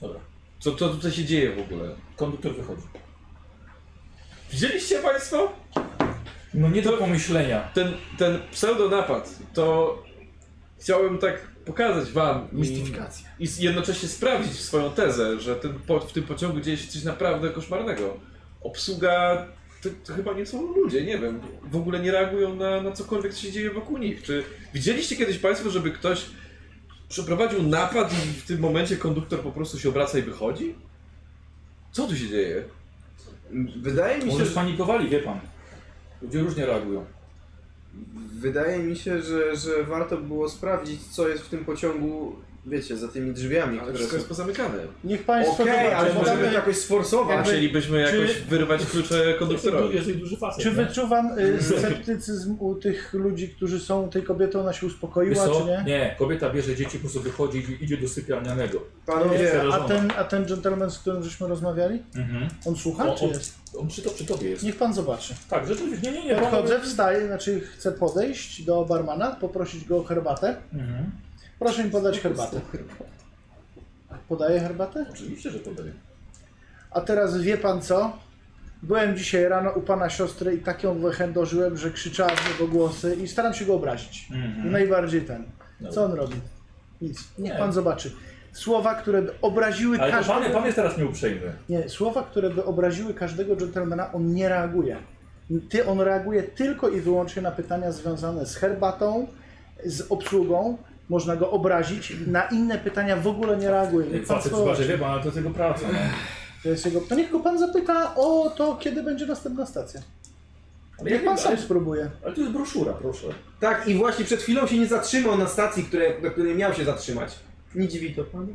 Speaker 1: Dobra.
Speaker 3: Co, co tutaj się dzieje w ogóle?
Speaker 1: Konduktor wychodzi.
Speaker 3: Widzieliście Państwo?
Speaker 1: No nie do pomyślenia.
Speaker 3: Ten, ten pseudonapad, to chciałem tak pokazać Wam i,
Speaker 2: Mistyfikacja.
Speaker 3: i jednocześnie sprawdzić swoją tezę, że ten po, w tym pociągu dzieje się coś naprawdę koszmarnego. Obsługa to, to chyba nie są ludzie, nie wiem. W ogóle nie reagują na, na cokolwiek, co się dzieje wokół nich. Czy widzieliście kiedyś Państwo, żeby ktoś przeprowadził napad i w tym momencie konduktor po prostu się obraca i wychodzi? Co tu się dzieje?
Speaker 5: Wydaje mi się,
Speaker 1: Może
Speaker 5: że,
Speaker 1: spanikowali, wie pan. Ludzie różnie reagują.
Speaker 5: wydaje mi się że, że warto było sprawdzić, co jest w tym pociągu, wiecie, za tymi drzwiami,
Speaker 3: Ale
Speaker 5: które
Speaker 3: wszystko
Speaker 5: są...
Speaker 3: jest pozamykane.
Speaker 2: Niech Państwo
Speaker 5: Okej, ale
Speaker 2: zobaczą,
Speaker 4: tak
Speaker 5: możemy to jakoś sforsować.
Speaker 3: Musielibyśmy jakoś wyrwać klucze konduktorowi.
Speaker 7: duży facet.
Speaker 2: Czy wyczuwam y, sceptycyzm u tych ludzi, którzy są tej kobietą, ona się
Speaker 1: Wiesz
Speaker 2: uspokoiła, czy
Speaker 1: co?
Speaker 2: nie?
Speaker 1: Nie, kobieta bierze dzieci, po prostu wychodzi i idzie do sypialnianego.
Speaker 5: Panowie,
Speaker 2: A ten, a ten gentleman, z którym żeśmy rozmawiali?
Speaker 1: Mhm.
Speaker 2: On słucha,
Speaker 1: O,
Speaker 2: Tak czy
Speaker 1: o-
Speaker 2: jest?
Speaker 1: On przy, to, przy tobie jest.
Speaker 2: Niech pan zobaczy.
Speaker 1: Tak, rzeczywiście. Nie, nie, nie. pan-
Speaker 2: Podchodzę, wstaję, znaczy chcę podejść do barmana, poprosić go o herbatę.
Speaker 1: Mhm.
Speaker 2: Proszę mi podać herbatę. Podaję herbatę?
Speaker 1: Oczywiście, że to daje.
Speaker 2: A teraz wie pan co? Byłem dzisiaj rano u pana siostry i tak ją wychędożyłem, że krzyczała z niego głosy i staram się go obrazić. Najbardziej ten. Co on robi? Nic. Niech
Speaker 1: Mhm. Nie.
Speaker 2: pan zobaczy. Słowa, które by obraziły
Speaker 1: Ale to
Speaker 2: każdego...
Speaker 1: pan, pan jest teraz nieuprzejmy.
Speaker 2: Nie, słowa, które by obraziły każdego dżentelmena, on nie reaguje. Ty, on reaguje tylko i wyłącznie na pytania związane z herbatą, z obsługą. Można go obrazić. Na inne pytania w ogóle nie reaguje. Niech pan
Speaker 1: Facet
Speaker 2: zobaczy.
Speaker 1: zobaczy, wie pan, ale to jest jego praca. No.
Speaker 2: To jest jego... To niech go pan zapyta o to, kiedy będzie następna stacja.
Speaker 1: Ale
Speaker 2: Niech
Speaker 1: jak
Speaker 2: pan sam
Speaker 1: ale,
Speaker 2: spróbuje.
Speaker 1: ale to jest broszura, proszę.
Speaker 5: tak i właśnie przed chwilą się nie zatrzymał na stacji, które, na której miał się zatrzymać. Nie dziwi to pan?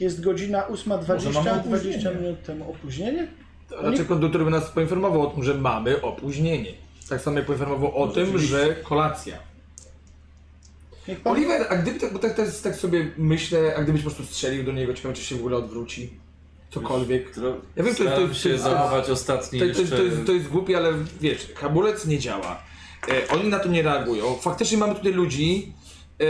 Speaker 2: Jest godzina 8.20,
Speaker 1: Może mamy
Speaker 2: 20
Speaker 1: opóźnienie.
Speaker 2: minut temu opóźnienie.
Speaker 4: Raczej Znaczy, konduktor by nas poinformował o tym, że mamy opóźnienie. Tak samo jak poinformował o tym, że kolacja.
Speaker 2: Niech pan...
Speaker 4: Oliver, a gdyby tak, bo tak, teraz tak sobie myślę, a gdybyś po prostu strzelił do niego, ciekawe czy się w ogóle odwróci. Cokolwiek.
Speaker 6: No,
Speaker 4: Ja wiem, to, to, to,
Speaker 3: Staram
Speaker 4: to,
Speaker 3: się zachować ostatni
Speaker 4: to, to,
Speaker 3: jeszcze...
Speaker 4: to, jest, to jest głupie, ale wiesz, hamulec nie działa. E, oni na to nie reagują. Faktycznie mamy tutaj ludzi, e,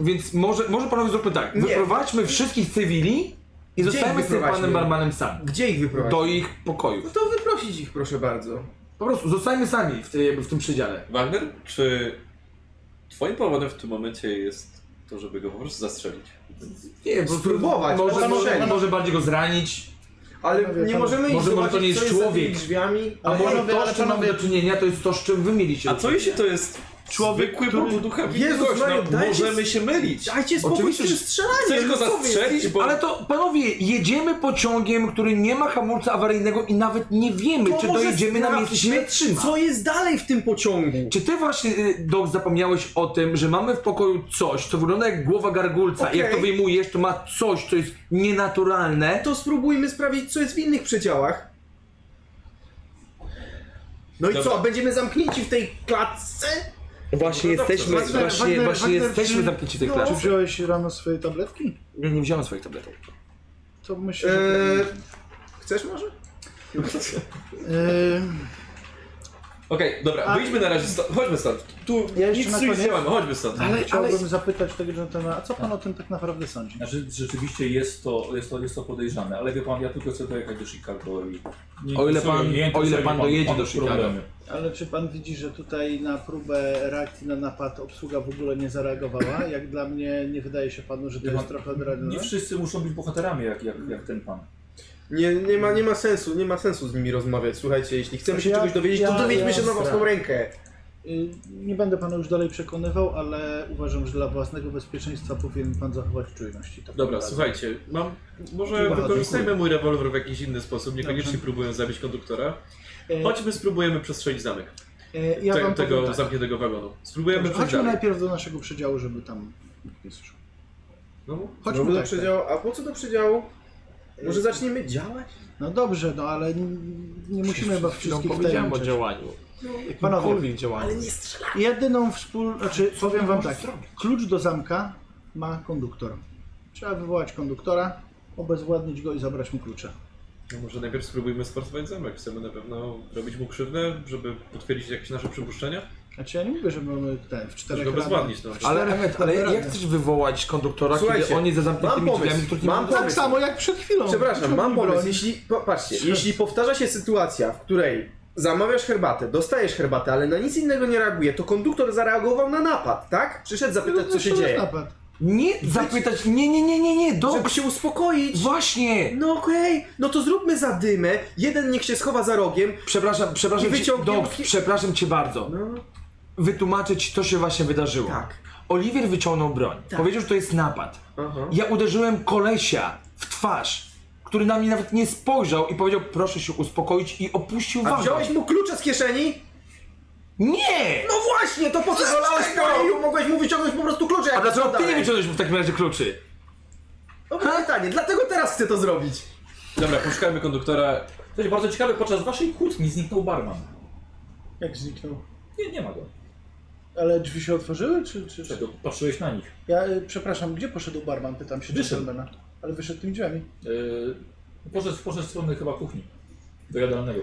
Speaker 4: więc może, może panowie zróbmy tak.
Speaker 5: Nie.
Speaker 4: Wyprowadźmy wszystkich cywili i zostajemy z tym
Speaker 5: wyprowadźmy?
Speaker 4: panem barmanem sam.
Speaker 5: Gdzie ich wyprowadzić?
Speaker 4: Do ich pokoju.
Speaker 5: No to wyprosić ich proszę bardzo.
Speaker 4: Po prostu zostajmy sami w, tej, jakby w tym przedziale.
Speaker 3: Wagner, czy twoim powodem w tym momencie jest to, żeby go po prostu zastrzelić?
Speaker 4: Nie, po prostu
Speaker 5: Spróbować,
Speaker 4: Może,
Speaker 5: panowie,
Speaker 4: może,
Speaker 5: panowie.
Speaker 4: może bardziej go zranić.
Speaker 5: Ale
Speaker 2: Panowie,
Speaker 5: nie
Speaker 2: panowie.
Speaker 5: możemy
Speaker 4: Może-
Speaker 5: iść
Speaker 4: może
Speaker 5: zobaczyć,
Speaker 4: to nie jest
Speaker 5: co jest za tymi
Speaker 4: człowiek.
Speaker 5: drzwiami.
Speaker 4: A może
Speaker 2: panowie,
Speaker 4: to,
Speaker 2: ale
Speaker 4: z czym mamy
Speaker 2: panowie-
Speaker 4: do czynienia, to jest to, z czym wy mieliście
Speaker 3: A
Speaker 4: do
Speaker 3: co
Speaker 4: czynienia.
Speaker 3: jeśli to jest
Speaker 2: Człowiek,
Speaker 6: Zwykły
Speaker 2: który-
Speaker 6: Bogu ducha
Speaker 5: Jezus
Speaker 6: Jezus,
Speaker 5: Maria,
Speaker 6: no,
Speaker 5: dajcie
Speaker 6: możemy się mylić.
Speaker 5: Dajcie spokój z
Speaker 4: Oczywiście,
Speaker 5: tym
Speaker 4: że-
Speaker 5: strzelaniem!
Speaker 6: Chcesz go
Speaker 5: no co wy
Speaker 6: zastrzelić, bo...
Speaker 4: Ale to, panowie, jedziemy pociągiem, który nie ma hamulca awaryjnego i nawet nie wiemy,
Speaker 5: To
Speaker 4: czy
Speaker 5: może
Speaker 4: dojedziemy na miejsce, czy
Speaker 5: sprawdźmy,
Speaker 4: nie trzyma.
Speaker 5: Co jest dalej w tym pociągu?
Speaker 4: Czy ty właśnie, y, Doc, zapomniałeś o tym, że mamy w pokoju coś, co wygląda jak głowa gargulca i jak to
Speaker 5: Okej.
Speaker 4: wyjmujesz, to ma coś, co jest nienaturalne?
Speaker 5: To spróbujmy sprawdzić, co jest w innych przedziałach. No i
Speaker 6: Dobra.
Speaker 5: co, będziemy zamknięci w tej klatce?
Speaker 4: Właśnie jesteśmy,
Speaker 2: No Wagner,
Speaker 4: właśnie,
Speaker 2: Wagner,
Speaker 4: właśnie
Speaker 2: Wagner,
Speaker 4: jesteśmy
Speaker 2: czy-
Speaker 4: zamknięci w tej
Speaker 2: no,
Speaker 4: klasie.
Speaker 2: Czy wziąłeś rano swoje tabletki?
Speaker 4: Ja nie wziąłem swoich tabletek.
Speaker 2: To myślę, że... tak.
Speaker 5: Eee, chcesz może?
Speaker 2: Eee,
Speaker 6: Okej, dobra,
Speaker 2: A-
Speaker 6: wyjdźmy na razie stąd. Chodźmy stąd. Tu
Speaker 2: Ja jeszcze na
Speaker 6: nic, nic
Speaker 2: koniec-
Speaker 6: nie mamy, chodźmy stąd.
Speaker 2: ale chciałbym zapytać tego Jonathana, a co pan o tym tak naprawdę sądzi?
Speaker 1: Znaczy, rzeczywiście jest to, jest, to, jest to podejrzane, ale wie pan, ja tylko chcę dojechać do Chicago i... nie-
Speaker 4: O ile
Speaker 1: sobie
Speaker 4: pan-
Speaker 1: nie
Speaker 4: o ile pan
Speaker 1: interesuje
Speaker 4: dojedzie
Speaker 1: panów
Speaker 4: do Chicago.
Speaker 1: problemy.
Speaker 2: Ale czy pan widzi, że tutaj na próbę reakcji na napad obsługa w ogóle nie zareagowała? Jak dla mnie nie wydaje się panu, że to
Speaker 1: Nie
Speaker 2: jest
Speaker 1: ma-
Speaker 2: trochę adrenalina?
Speaker 1: Nie wszyscy muszą być bohaterami, jak, jak, jak ten pan.
Speaker 5: Nie, nie, ma, nie ma sensu, nie ma sensu z nimi rozmawiać. Słuchajcie, jeśli chcemy się
Speaker 2: Ja-
Speaker 5: czegoś dowiedzieć,
Speaker 2: ja-
Speaker 5: to dowiedźmy się na
Speaker 2: jasne.
Speaker 5: własną rękę.
Speaker 2: Y, Nie będę pana już dalej przekonywał, ale uważam, że dla własnego bezpieczeństwa powinien pan zachować Tak czujność. i to
Speaker 6: Dobra,
Speaker 2: pomaga.
Speaker 6: słuchajcie, mam... Może
Speaker 2: Dobra,
Speaker 6: wykorzystajmy
Speaker 2: dziękuję.
Speaker 6: mój rewolwer w jakiś inny sposób, niekoniecznie
Speaker 2: Dobrze.
Speaker 6: próbując zabić konduktora.
Speaker 2: E,
Speaker 6: Chodźmy, spróbujemy przestrzelić zamek.
Speaker 2: e, ja
Speaker 6: Te-
Speaker 2: wam
Speaker 6: tego
Speaker 2: powiem tak.
Speaker 6: zamkniętego wagonu. Spróbujemy przejść
Speaker 2: Chodźmy
Speaker 6: dalej.
Speaker 2: najpierw do naszego przedziału, żeby tam... nie słyszał.
Speaker 6: No,
Speaker 2: Chodźmy
Speaker 5: do
Speaker 2: tak, tak.
Speaker 5: przedziału, a po co do przedziału?
Speaker 2: Y-
Speaker 5: Może zaczniemy działać?
Speaker 2: No dobrze, no ale n- nie musimy chyba wszystkich
Speaker 4: No, powiedziałem o
Speaker 2: wtajemniczać.
Speaker 4: działaniu.
Speaker 2: Panowie,
Speaker 4: działaniu.
Speaker 2: jedyną wspól... Znaczy, powiem wam tak. Klucz do zamka ma konduktor. Trzeba wywołać konduktora, obezwładnić go i zabrać mu klucze.
Speaker 6: no może najpierw spróbujmy sforsować zamek. Chcemy na pewno robić mu krzywdę, żeby potwierdzić jakieś nasze przypuszczenia.
Speaker 2: Znaczy ja nie mówię, że mamy ten, w
Speaker 6: Żeby
Speaker 2: czterech
Speaker 6: go
Speaker 2: ranach.
Speaker 6: bezładnić. No.
Speaker 4: Ale,
Speaker 2: Czterech
Speaker 4: Emet, ale
Speaker 2: operacji.
Speaker 4: jak chcesz wywołać konduktora,
Speaker 5: Słuchajcie,
Speaker 4: kiedy on jest za zamkniętymi
Speaker 5: mam pomysł,
Speaker 4: drzwiami, których nie
Speaker 5: mam
Speaker 4: ma-
Speaker 5: pomysł.
Speaker 2: Tak samo jak przed chwilą.
Speaker 5: Przepraszam,
Speaker 2: Klucz
Speaker 5: mam
Speaker 2: od
Speaker 5: pomysł.
Speaker 2: broni.
Speaker 5: Jeśli, po, patrzcie, jeśli powtarza się sytuacja, w której zamawiasz herbatę, dostajesz herbatę, ale na nic innego nie reaguje, to konduktor zareagował na napad, tak? Przyszedł zapytać, co się
Speaker 2: To jest
Speaker 5: dzieje.
Speaker 2: napad.
Speaker 4: Nie zapytać, nie, nie, nie, nie, nie,
Speaker 5: Żeby
Speaker 4: dobrze,
Speaker 5: się uspokoić.
Speaker 4: właśnie.
Speaker 5: No okej, no to zróbmy zadymę, jeden niech się schowa za rogiem.
Speaker 4: Przepraszam,
Speaker 5: I
Speaker 4: przepraszam cię,
Speaker 5: wyciągniemy-
Speaker 4: Doc, przepraszam cię bardzo.
Speaker 5: No,
Speaker 4: Wytłumaczę ci, co się właśnie wydarzyło.
Speaker 5: tak.
Speaker 4: Oliwier wyciągnął broń. Powiedział, że to jest napad.
Speaker 5: Aha.
Speaker 4: Ja uderzyłem kolesia w twarz, który na mnie nawet nie spojrzał i powiedział, proszę się uspokoić i opuścił
Speaker 5: A
Speaker 4: wagon.
Speaker 5: wziąłeś mu klucze z kieszeni?
Speaker 4: Nie!
Speaker 5: No właśnie, to po co wolałeś koleju? Mogłeś mu wyciągnąć po prostu klucze.
Speaker 4: A
Speaker 5: jak
Speaker 4: dlaczego
Speaker 5: wyszedł
Speaker 4: ty nie
Speaker 5: dalej.
Speaker 4: wyciągnąłeś mu w takim razie kluczy?
Speaker 5: Dobre pytanie, dlatego teraz chcę to zrobić.
Speaker 6: Dobra, poszukajmy konduktora.
Speaker 1: To jest bardzo ciekawe, podczas waszej kłótni zniknął barman.
Speaker 2: Jak zniknął?
Speaker 1: Nie, nie ma go.
Speaker 2: Ale drzwi się otworzyły, czy... czy, czy?
Speaker 1: Czego? Patrzyłeś na nich.
Speaker 2: Ja, y, przepraszam, gdzie poszedł barman? Pytam się
Speaker 1: Wyszedł.
Speaker 2: gentlemana. Ale wyszedł tymi drzwiami.
Speaker 1: Yy, E, poszedł, poszedł w stronę chyba kuchni. Do jadalnego.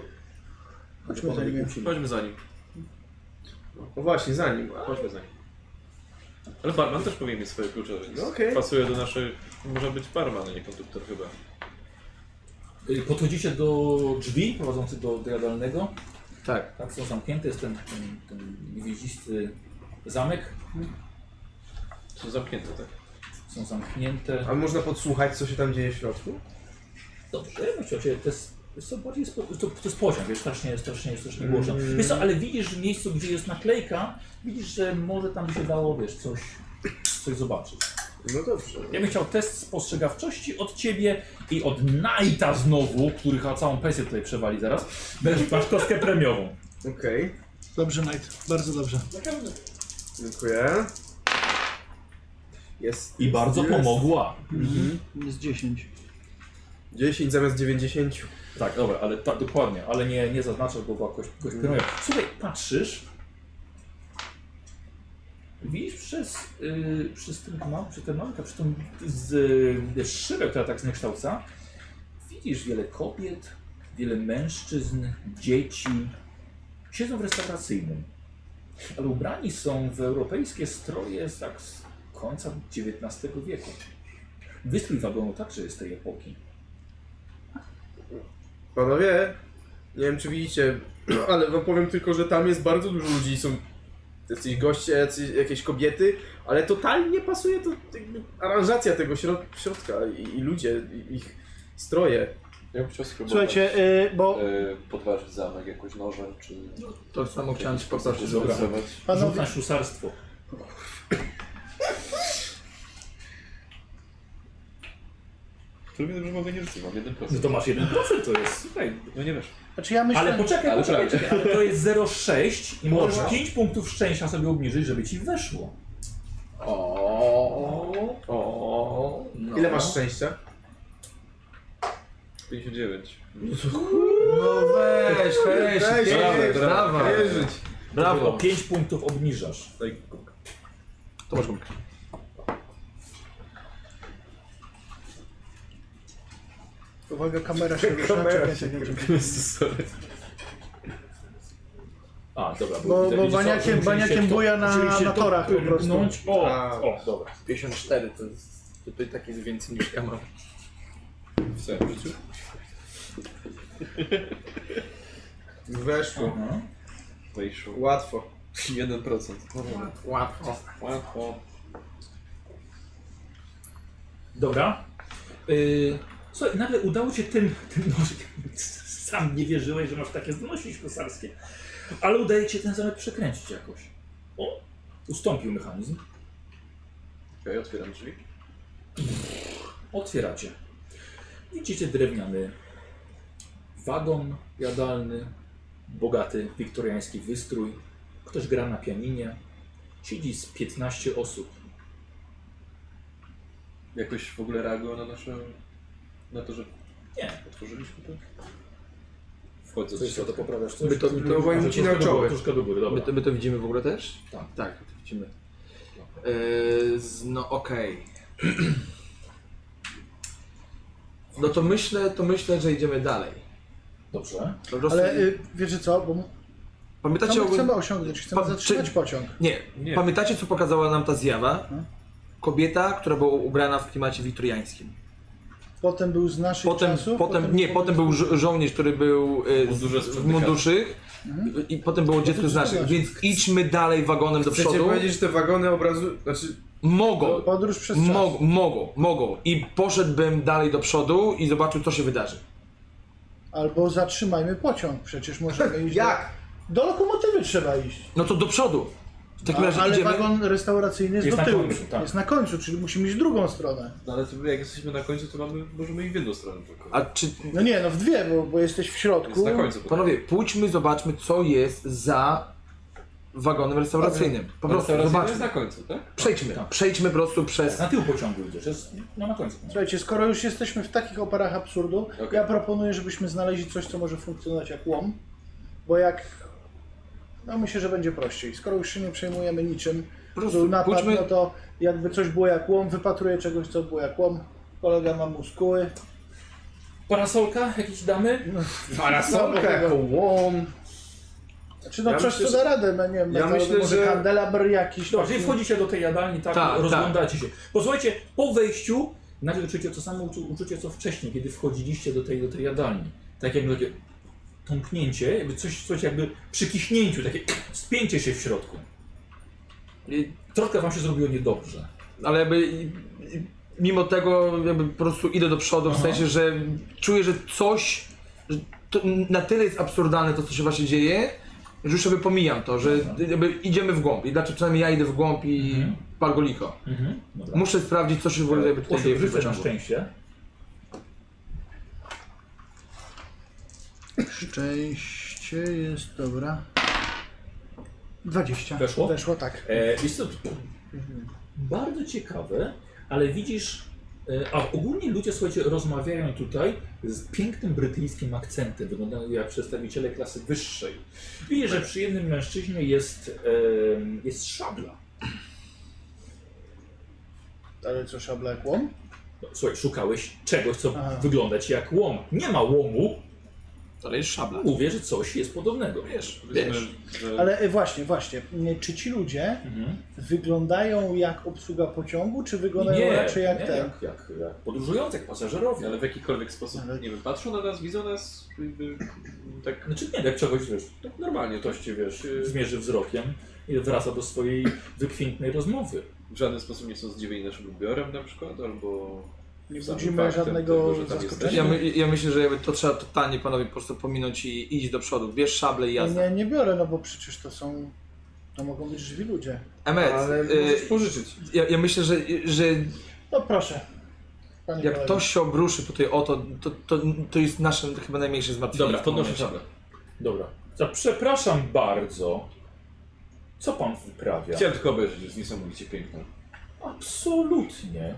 Speaker 2: Chodźmy za nim.
Speaker 6: Chodźmy za nim.
Speaker 5: No właśnie, za nim.
Speaker 6: Chodźmy za nim. Ale barman też powinien mieć swoje klucze, więc
Speaker 5: No okej.
Speaker 6: pasuje do naszych... Może być barman, a nie konduktor chyba.
Speaker 1: Yy, Podchodzicie do drzwi prowadzących do, do jadalnego.
Speaker 4: Tak.
Speaker 1: Tak, są zamknięte, jest ten, ten, ten gwieździsty zamek.
Speaker 6: Są zamknięte, tak?
Speaker 1: Są zamknięte.
Speaker 5: A można podsłuchać, co się tam dzieje w środku?
Speaker 1: Dobrze, ja bym chciał cię, to jest, jest to bardziej, spo, to, to jest poziom, jest strasznie, strasznie, strasznie głośno. Wiesz co, ale widzisz w miejscu, gdzie jest naklejka, widzisz, że może tam by się dało, wiesz, coś, coś zobaczyć.
Speaker 5: No dobrze.
Speaker 1: Ja bym chciał test spostrzegawczości od ciebie i od Knighta znowu, który chyba całą pensję tutaj przewali zaraz. Będziesz masz kostkę premiową.
Speaker 5: Okej,
Speaker 2: Dobrze, Knight. Bardzo dobrze.
Speaker 5: dziękuję. Jest.
Speaker 1: I bardzo
Speaker 5: jest.
Speaker 1: pomogła.
Speaker 2: Jest 10.
Speaker 5: 10 zamiast 90.
Speaker 1: Tak, dobra, ale tak, dokładnie, ale nie, nie zaznaczasz, bo była kość, kość premiowa. Słuchaj, patrzysz. Widzisz przez, yy, przez ten kanał, przez ten manka, przez tą z, y, szybę, która tak zniekształca, widzisz wiele kobiet, wiele mężczyzn, dzieci. Siedzą w restauracyjnym, ale ubrani są w europejskie stroje z, tak, z końca XIX wieku. Wystrój wagonu także jest tej epoki.
Speaker 5: Panowie, nie wiem czy widzicie, ale wam powiem tylko, że tam jest bardzo dużo ludzi. Są jacyś goście, jacyś, jakieś kobiety, ale totalnie pasuje to jakby aranżacja tego środ środka i, i ludzie, i ich stroje.
Speaker 3: Ja bym chciał spróbować
Speaker 2: Słuchajcie, y, bo
Speaker 3: e, podważyć zamek jakoś nożem, czy...
Speaker 4: To samo chciałem ci poprosić.
Speaker 1: Dobra.
Speaker 3: Rysować.
Speaker 1: Rzuć
Speaker 2: panowie,
Speaker 1: na ślusarstwo.
Speaker 3: Który wiem, że mogę nie rzucić, mam 1%.
Speaker 1: No to masz 1%, to jest. Słuchaj,
Speaker 3: No nie wiesz.
Speaker 2: znaczy ja myślę,
Speaker 1: Ale poczekaj,
Speaker 3: Ale tak.
Speaker 1: poczekaj,
Speaker 3: prawda.
Speaker 1: czekaj. To jest 0,6 i możesz
Speaker 2: Wow.
Speaker 1: 5 punktów szczęścia sobie obniżyć, żeby ci weszło.
Speaker 3: O, o,
Speaker 1: No.
Speaker 5: Ile masz szczęścia?
Speaker 3: 59.
Speaker 4: No weź, weź,
Speaker 5: Weź,
Speaker 4: weź,
Speaker 5: weź,
Speaker 4: brawo.
Speaker 5: Wierzyć.
Speaker 1: O
Speaker 4: Brawo.
Speaker 1: 5 punktów obniżasz.
Speaker 4: To masz gumkę.
Speaker 2: uwaga, kamera się rusza,
Speaker 5: Kamera
Speaker 2: czekaj,
Speaker 5: się
Speaker 2: czekaj, czekaj.
Speaker 1: A, dobra,
Speaker 2: Bo-
Speaker 1: widzę,
Speaker 2: bo
Speaker 1: widzę, co,
Speaker 2: baniakiem-
Speaker 1: musieli się
Speaker 2: baniakiem
Speaker 1: to-
Speaker 2: buja na-
Speaker 1: musieli się
Speaker 2: na
Speaker 1: to
Speaker 2: torach po prostu.
Speaker 1: rgnąć. O,
Speaker 5: A.
Speaker 1: o, dobra.
Speaker 4: 54 to jest... Tutaj tak jest więcej niż ja mam.
Speaker 3: W całym życiu?
Speaker 5: Weszło.
Speaker 3: Wejszło.
Speaker 5: Łatwo.
Speaker 3: 1%.
Speaker 4: Łatwo.
Speaker 3: Łatwo.
Speaker 1: Dobra. Yy, słuchaj, nagle udało cię tym, tym nożykiem. Sam nie wierzyłeś, że masz takie zdolności kosarskie. Ale udaje ci się ten zamek przekręcić jakoś. O, ustąpił mechanizm.
Speaker 3: Okej, otwieram drzwi.
Speaker 1: Otwieracie. Widzicie drewniany wagon jadalny, bogaty wiktoriański wystrój. Ktoś gra na pianinie. Siedzi z 15 osób.
Speaker 3: Jakoś w ogóle reagują na nasze... Na to, że
Speaker 1: Nie.
Speaker 3: otworzyliśmy to? Wchodzę do
Speaker 1: Coś co to
Speaker 3: środka.
Speaker 1: poprawiasz?
Speaker 4: My
Speaker 1: Coś?
Speaker 4: to- my to łamie
Speaker 1: Może troszkę
Speaker 4: ci na
Speaker 1: do góry,
Speaker 4: czoły.
Speaker 1: Troszkę do góry,
Speaker 4: My
Speaker 1: dobra.
Speaker 4: to, my to widzimy w ogóle też?
Speaker 1: Tak.
Speaker 4: Tak, to widzimy.
Speaker 5: E,
Speaker 4: Yy, z- no okej. No to myślę, to myślę, że idziemy dalej.
Speaker 1: Dobrze.
Speaker 4: Po prostu...
Speaker 2: Ale y, wiecie co, bo co
Speaker 4: Pamiętacie
Speaker 2: my
Speaker 4: o...
Speaker 2: chcemy osiągnąć? Chcemy
Speaker 4: Pa-
Speaker 2: zatrzymać
Speaker 4: czy-
Speaker 2: pociąg.
Speaker 4: Nie.
Speaker 3: Nie.
Speaker 4: Pamiętacie, co pokazała nam ta zjawa?
Speaker 2: Hmm?
Speaker 4: Kobieta, która była ubrana w klimacie wiktoriańskim.
Speaker 2: Potem był z naszych
Speaker 4: Potem,
Speaker 2: czasów.
Speaker 4: potem, nie, potem był żo- żołnierz, który był y,
Speaker 3: Mundurze z
Speaker 4: w munduszych i potem było dziecko z naszych, więc idźmy dalej wagonem do
Speaker 5: Chcecie
Speaker 4: przodu.
Speaker 5: powiedzieć, że te wagony obrazu... Znaczy,
Speaker 4: Mogą,
Speaker 2: Podróż przez No, czas.
Speaker 4: Mog, mogą, mogą. I poszedłbym dalej do przodu i zobaczył, co się wydarzy.
Speaker 2: Albo zatrzymajmy pociąg, przecież możemy iść.
Speaker 5: jak?
Speaker 2: Do, do lokomotywy trzeba iść.
Speaker 4: No to do przodu. W takim
Speaker 2: A,
Speaker 4: razie
Speaker 2: ale
Speaker 4: idziemy.
Speaker 2: wagon restauracyjny jest,
Speaker 1: Jest
Speaker 2: do
Speaker 1: na
Speaker 2: tyłu.
Speaker 1: końcu, tak.
Speaker 2: Jest na końcu, czyli musimy iść w drugą stronę.
Speaker 3: No ale to jak jesteśmy na końcu, to mamy, możemy i w jedną stronę tylko.
Speaker 4: A czy.
Speaker 2: No nie, no w dwie, bo, bo jesteś w
Speaker 3: Jest
Speaker 2: środku.
Speaker 3: na końcu. bo-
Speaker 4: Panowie, pójdźmy, zobaczmy, co jest za wagonem restauracyjnym. Po prostu
Speaker 3: Restauracja jest
Speaker 4: zobaczmy.
Speaker 3: na końcu, tak?
Speaker 4: Przejdźmy. Przejdźmy po prostu przez.
Speaker 1: Na tył pociągu idziesz, jest, no na końcu.
Speaker 2: Słuchajcie, skoro już jesteśmy w takich oparach absurdu, ja proponuję, żebyśmy znaleźli coś, co może funkcjonować jak łom, bo jak... No myślę, że będzie prościej. Skoro już się nie przejmujemy niczym,
Speaker 4: Po
Speaker 2: był
Speaker 4: prostu
Speaker 2: napad,
Speaker 4: pójdźmy.
Speaker 2: no to jakby coś było jak łom, wypatruję czegoś, co było jak łom. Kolega ma muskuły.
Speaker 1: Parasolka jakieś damy?
Speaker 4: No,
Speaker 5: Parasolka jako łom.
Speaker 2: Czy no
Speaker 5: Ja
Speaker 2: coś,
Speaker 5: myślę,
Speaker 2: co
Speaker 5: że-
Speaker 2: da radę, no nie wiem,
Speaker 5: ja
Speaker 2: metalowy,
Speaker 5: myślę,
Speaker 2: może
Speaker 5: że-
Speaker 2: kandelabr jakiś.
Speaker 1: Dobrze,
Speaker 2: no. taki-
Speaker 1: jeżeli wchodzicie do tej jadalni, tak,
Speaker 4: Tak,
Speaker 1: rozglądacie się. Posłuchajcie, po wejściu nagle czujecie to samo uczu- uczucie, co wcześniej, kiedy wchodziliście do tej, do tej jadalni. Tak jakby takie tąpnięcie, jakby coś, coś jakby przykiśnięciu, takie spięcie się w środku.
Speaker 4: I-
Speaker 1: Troszkę wam się zrobiło niedobrze.
Speaker 4: Ale jakby. i- i- Mimo tego, jakby po prostu idę do przodu, w
Speaker 1: Aha.
Speaker 4: sensie, że czuję, że coś. Że to na tyle jest absurdalne to, co się właśnie dzieje, że już sobie pomijam to, że jakby idziemy w głąb. I dlaczego przynajmniej ja idę w głąb i
Speaker 1: Mhm.
Speaker 4: mhm. pal go licho.
Speaker 1: Mhm. Dobra.
Speaker 4: Muszę sprawdzić, co się w ogóle jakby tutaj
Speaker 1: Osiem,
Speaker 4: dzieje w tym
Speaker 1: rzucę na
Speaker 4: pociągu.
Speaker 1: szczęście.
Speaker 2: Szczęście jest, dobra. 20.
Speaker 1: Weszło?
Speaker 2: Weszło, tak.
Speaker 1: E, wiesz co, bardzo ciekawe, ale widzisz, e, a ogólnie ludzie, słuchajcie, rozmawiają tutaj z pięknym brytyjskim akcentem, wyglądają jak przedstawiciele klasy wyższej. Widzisz, że przy jednym mężczyźnie jest, em, jest szabla.
Speaker 2: Ale co, szabla jak łom?
Speaker 1: No, Słuchaj, szukałeś czegoś, co
Speaker 2: Aha.
Speaker 1: wygląda ci jak łom. Nie ma łomu,
Speaker 4: To jest szabla.
Speaker 1: mówię, że coś jest podobnego.
Speaker 4: Wiesz,
Speaker 3: Wiesz,
Speaker 4: wiesz.
Speaker 3: że...
Speaker 2: Ale y, właśnie, właśnie. y, Czy ci ludzie
Speaker 1: Mhm.
Speaker 2: wyglądają jak obsługa pociągu, czy wyglądają
Speaker 1: Nie,
Speaker 2: raczej jak
Speaker 1: nie,
Speaker 2: ten?
Speaker 1: jak, jak, jak podróżujący, jak pasażerowie, ale
Speaker 3: Ale w jakikolwiek sposób,
Speaker 2: Ale-
Speaker 3: nie wiem, patrzą na nas, widzą nas, jakby, tak
Speaker 1: Znaczy nie, jak czegoś wiesz, tak normalnie ktoś cię wiesz, y, zmierzy wzrokiem i wraca do swojej wykwintnej rozmowy.
Speaker 3: w żaden sposób nie są zdziwieni naszym ubiorem na przykład, albo
Speaker 2: Nie
Speaker 6: Samym
Speaker 2: budzimy
Speaker 6: faktem
Speaker 2: żadnego
Speaker 6: tego, że tam
Speaker 2: zaskoczenia.
Speaker 4: Ja, my, ja myślę, że jakby to trzeba totalnie panowie po prostu pominąć i iść do przodu. Bierz szable i
Speaker 2: Ja
Speaker 4: jazda.
Speaker 2: nie, nie biorę, no bo przecież to są. To mogą być żywi ludzie.
Speaker 4: Emet,
Speaker 5: Ale
Speaker 4: y,
Speaker 5: możesz pożyczyć.
Speaker 4: ja, ja myślę, że, że
Speaker 2: No proszę. Panie
Speaker 4: jak
Speaker 2: kolego.
Speaker 4: ktoś się obruszy tutaj o to, to, to, to jest nasze chyba najmniejsze zmartwienie.
Speaker 6: Dobra,
Speaker 4: w tym
Speaker 6: podnoszę
Speaker 4: momencie.
Speaker 6: szablę.
Speaker 1: Dobra. Za- Przepraszam bardzo. Co pan wyprawia?
Speaker 6: Chciałem tylko obejrzeć, jest niesamowicie piękna.
Speaker 1: Absolutnie.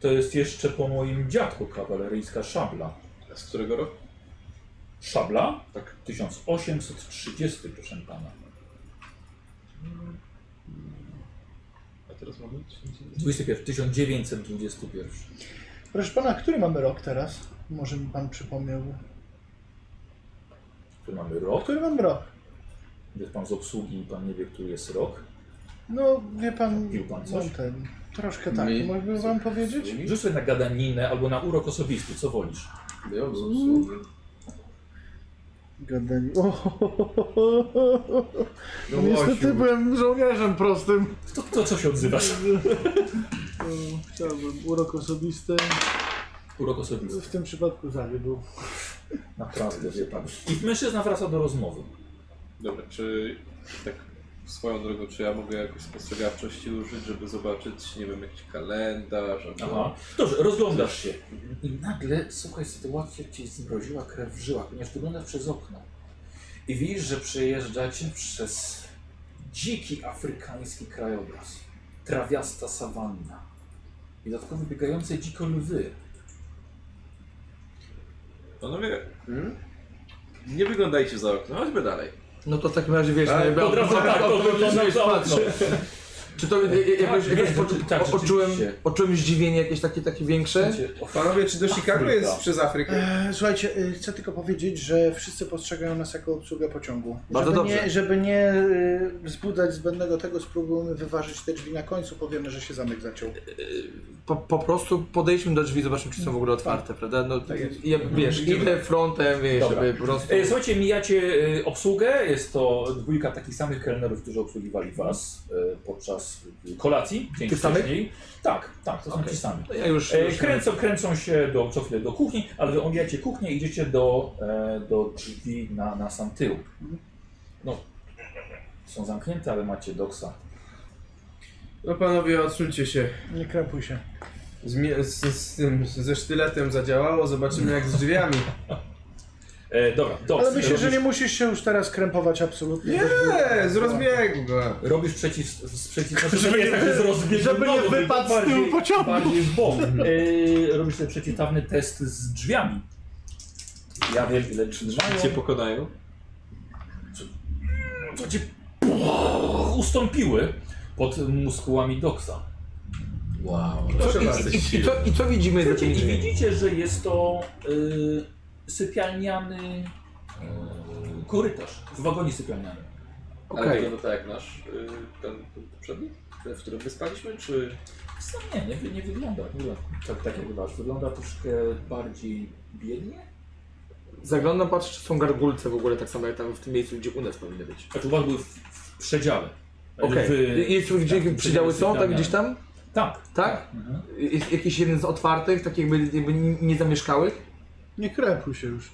Speaker 1: To jest jeszcze po moim dziadku kawaleryjska szabla.
Speaker 6: Z którego roku?
Speaker 1: Szabla?
Speaker 6: Tak.
Speaker 1: 1830, proszę pana.
Speaker 6: A teraz mamy?
Speaker 1: 21, 1921.
Speaker 2: Proszę pana, który mamy rok teraz? Może mi pan przypomniał.
Speaker 1: Tu mamy rok.
Speaker 2: Który mamy rok?
Speaker 1: Jest pan z obsługi i pan nie wie, który jest rok.
Speaker 2: No wie pan.
Speaker 1: Pił pan
Speaker 2: mam
Speaker 1: coś?
Speaker 2: ten. Troszkę tak.
Speaker 3: Mi-
Speaker 2: Mógłbym wam powiedzieć?
Speaker 1: Rzuć sobie na gadaninę albo na urok osobisty, co wolisz.
Speaker 3: Ja obsługi.
Speaker 2: Gadanie. O, ho, ho, ho, ho, ho, ho. No Niestety byłem żołnierzem prostym.
Speaker 1: To, to co się odzywasz?
Speaker 2: O, Chciałbym urok osobisty.
Speaker 1: Urok osobisty.
Speaker 2: W tym przypadku zawiódł.
Speaker 1: Naprawdę, wie pan. I mężczyzna wraca do rozmowy.
Speaker 3: Dobra, czy tak swoją drogą, czy ja mogę jakoś spostrzegawczości użyć, żeby zobaczyć, nie wiem, jakiś kalendarz albo...
Speaker 1: Aha. Dobrze, rozglądasz się. I nagle, słuchaj, sytuacja cię zmroziła krew w żyłach, ponieważ wyglądasz przez okno. I widzisz, że przejeżdżacie przez dziki afrykański krajobraz. Trawiasta sawanna. I dodatkowo biegające dziko lwy.
Speaker 3: Panowie,
Speaker 4: Hmm?
Speaker 3: nie wyglądajcie za okno, chodźmy dalej.
Speaker 4: No to w takim razie wiesz,
Speaker 1: Ale
Speaker 4: no, jakby
Speaker 1: od razu
Speaker 4: od-
Speaker 1: tak,
Speaker 4: od-
Speaker 1: to
Speaker 4: od- od-
Speaker 1: wygląda
Speaker 4: wiesz,
Speaker 1: za
Speaker 4: patrz. Czy to y- y- jakoś,
Speaker 1: Tak,
Speaker 4: jakoś
Speaker 1: wiem,
Speaker 4: poczu-
Speaker 1: tak,
Speaker 4: o- odczułem,
Speaker 1: rzeczywiście. Znaczy-
Speaker 4: odczułem zdziwienie jakieś takie, takie większe?
Speaker 5: Panowie, czy do Chicago
Speaker 1: Afryka.
Speaker 5: jest przez Afrykę?
Speaker 2: E, Słuchajcie, y, chcę tylko powiedzieć, że wszyscy postrzegają nas jako obsługę pociągu.
Speaker 4: Bardzo
Speaker 2: żeby
Speaker 4: dobrze.
Speaker 2: Nie, żeby nie y, wzbudzać zbędnego tego, spróbujmy wyważyć te drzwi na końcu, powiemy, że się zamek zaciął.
Speaker 4: Po, po prostu podejdźmy do drzwi, zobaczmy, czy są w
Speaker 1: Tak.
Speaker 4: ogóle otwarte, prawda? No, ja, wiesz, idę frontem, wiesz,
Speaker 1: Mhm. Dobra.
Speaker 4: żeby po prostu...
Speaker 1: E, Słuchajcie, mijacie e, obsługę. Jest to dwójka takich samych kelnerów, którzy obsługiwali was e, podczas e, kolacji. Dzień
Speaker 4: Tych samych?
Speaker 1: wcześniej. Tak, tak, to są
Speaker 4: Okej.
Speaker 1: ci sami.
Speaker 4: No ja już...
Speaker 1: E,
Speaker 4: już
Speaker 1: Kręcą, kręcą się do, co chwilę do kuchni, ale wy omijacie kuchnię i idziecie do, e, do drzwi na, na sam tył. No, są zamknięte, ale macie doksa.
Speaker 5: No panowie, odsuńcie się.
Speaker 2: Nie krępuj się.
Speaker 5: Z, mie- z, z tym, ze sztyletem zadziałało, zobaczymy jak z drzwiami.
Speaker 1: E, dobra, doks.
Speaker 2: Ale myślę, że
Speaker 1: robisz,
Speaker 2: nie musisz się już teraz krępować absolutnie.
Speaker 5: Nie,
Speaker 2: Żeby-
Speaker 5: z rozbiegu go.
Speaker 1: Robisz przeciw, sprzeciw, znaczy, żeby nie, tak, że z rozbiegu
Speaker 2: żeby nie
Speaker 1: nogu, tylko
Speaker 2: wypadł z tyłu
Speaker 1: bardziej-
Speaker 2: pociągu.
Speaker 1: Bardziej w bok. E, robisz sobie przeciwstawny test z drzwiami. Ja wiem, ile drzwi mają.
Speaker 3: Cię pokonają?
Speaker 1: To cię puch, ustąpiły pod muskułami doksa.
Speaker 3: Wow.
Speaker 4: I, i, i, co, I co widzimy za
Speaker 1: Słuchajcie,
Speaker 4: tymi
Speaker 1: I
Speaker 4: drzwiami?
Speaker 1: widzicie, że jest to y, sypialniany y, korytarz w wagonie sypialnianym.
Speaker 3: Ale
Speaker 4: Okej.
Speaker 3: wygląda tak jak nasz, y, ten poprzedni, ten, w którym wyspaliśmy, czy...
Speaker 1: Co nie, nie, wy- nie wygląda. Nie wygląda tak, tak jak wasz. Wygląda troszkę bardziej biednie.
Speaker 4: Zaglądam, patrzę, czy są gargulce w ogóle, tak samo jak tam w tym miejscu, gdzie u nas powinny być.
Speaker 1: Znaczy u was były w, w przedziale. E,
Speaker 4: Okej.
Speaker 1: Wy-
Speaker 4: Jest tu gdzie
Speaker 1: tak,
Speaker 4: przydziały są, tak
Speaker 1: sypialniane.
Speaker 4: gdzieś tam?
Speaker 1: Tak.
Speaker 4: Tak?
Speaker 1: Mhm.
Speaker 4: Jest jakiś jeden z otwartych, tak jakby, jakby niezamieszkałych?
Speaker 2: Nie krępuj się już.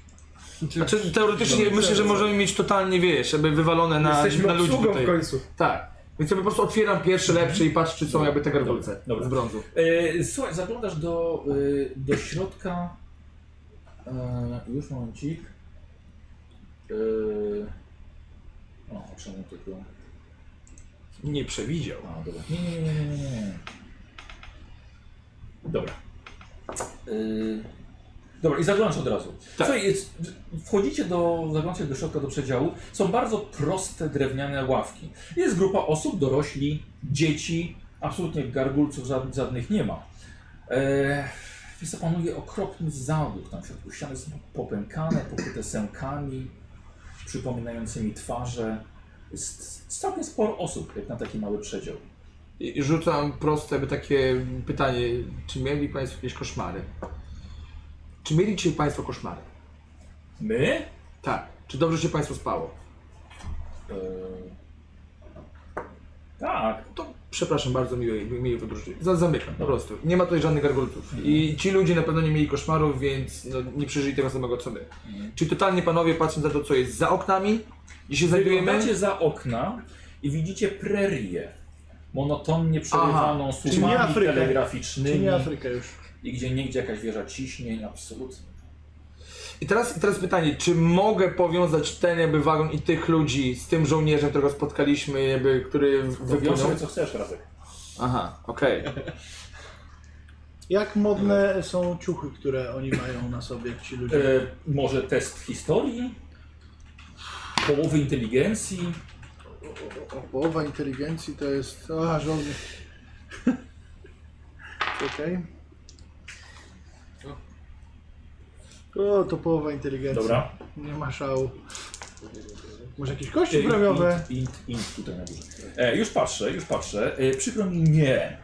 Speaker 4: Znaczy, teoretycznie myślę, że możemy mieć totalnie, wiesz, jakby wywalone na,
Speaker 5: Jesteśmy
Speaker 4: na ludzi
Speaker 5: obsługą
Speaker 4: tutaj.
Speaker 5: w końcu.
Speaker 4: Tak. Więc ja po prostu otwieram pierwszy lepszy i patrzę, czy są jakby te gargulce
Speaker 1: Dobra.
Speaker 4: z brązu.
Speaker 1: E, słuchaj, zaglądasz do, y, do środka. E, już momencik. E, o, czemu tylko.
Speaker 4: Nie przewidział.
Speaker 1: A, dobra. Nie, nie, nie, nie, nie, nie, nie. Dobra. Y, Dobra, i zaglądasz od razu.
Speaker 4: Tak.
Speaker 1: Słuchaj, jest, wchodzicie do, zaglądacie do środka, do przedziału. Są bardzo proste, drewniane ławki. Jest grupa osób, dorośli, dzieci. Absolutnie gargulców żadnych, żadnych nie ma. E, więc to panuje okropny zaduch tam w środku. Ściany są popękane, pokryte sękami, przypominającymi twarze. Jest całkiem sporo osób, jak na taki mały przedział.
Speaker 4: I i rzucam proste jakby takie pytanie, czy mieli Państwo jakieś koszmary? Czy mieli dzisiaj Państwo koszmary?
Speaker 1: My?
Speaker 4: Tak. Czy dobrze się Państwu spało?
Speaker 1: Tak.
Speaker 4: To Przepraszam bardzo, miłej, miłej podróży. Za- Zamykam, po prostu. Nie ma tutaj żadnych gargulców. I ci ludzie na pewno nie mieli koszmarów, więc no, nie przeżyli tego samego co my.
Speaker 5: Mhm.
Speaker 4: Czyli totalnie panowie, patrząc na to, co jest za oknami, gdzie się znajdujemy,
Speaker 1: Wyglądacie za okna i widzicie prerię. Monotonnie przerywaną
Speaker 2: Czyli nie
Speaker 1: słupami
Speaker 2: Afryka. Czy
Speaker 1: telegraficznymi
Speaker 2: nie Afryka już?
Speaker 1: i gdzie niegdzie jakaś wieża ciśnień, absolutnie.
Speaker 4: I teraz, i teraz pytanie, czy mogę powiązać ten jakby wagon i tych ludzi z tym żołnierzem, którego spotkaliśmy, jakby, który w-
Speaker 1: Wybiorę
Speaker 4: wypłynął?
Speaker 1: sobie co chcesz, Radek.
Speaker 4: Aha, okej.
Speaker 2: Jak modne są ciuchy, które oni mają na sobie, ci
Speaker 1: E,
Speaker 2: ludzie?
Speaker 1: może test historii? Połowy inteligencji?
Speaker 2: O, połowa inteligencji to jest... A, żołnierz. Okej. O, to połowa inteligencji.
Speaker 1: Dobra.
Speaker 2: Nie ma szału. Może jakieś kości
Speaker 1: Int,
Speaker 2: premiowe?
Speaker 1: int, int, int tutaj na górze. E, już patrzę, już patrzę. E, przykro mi, nie.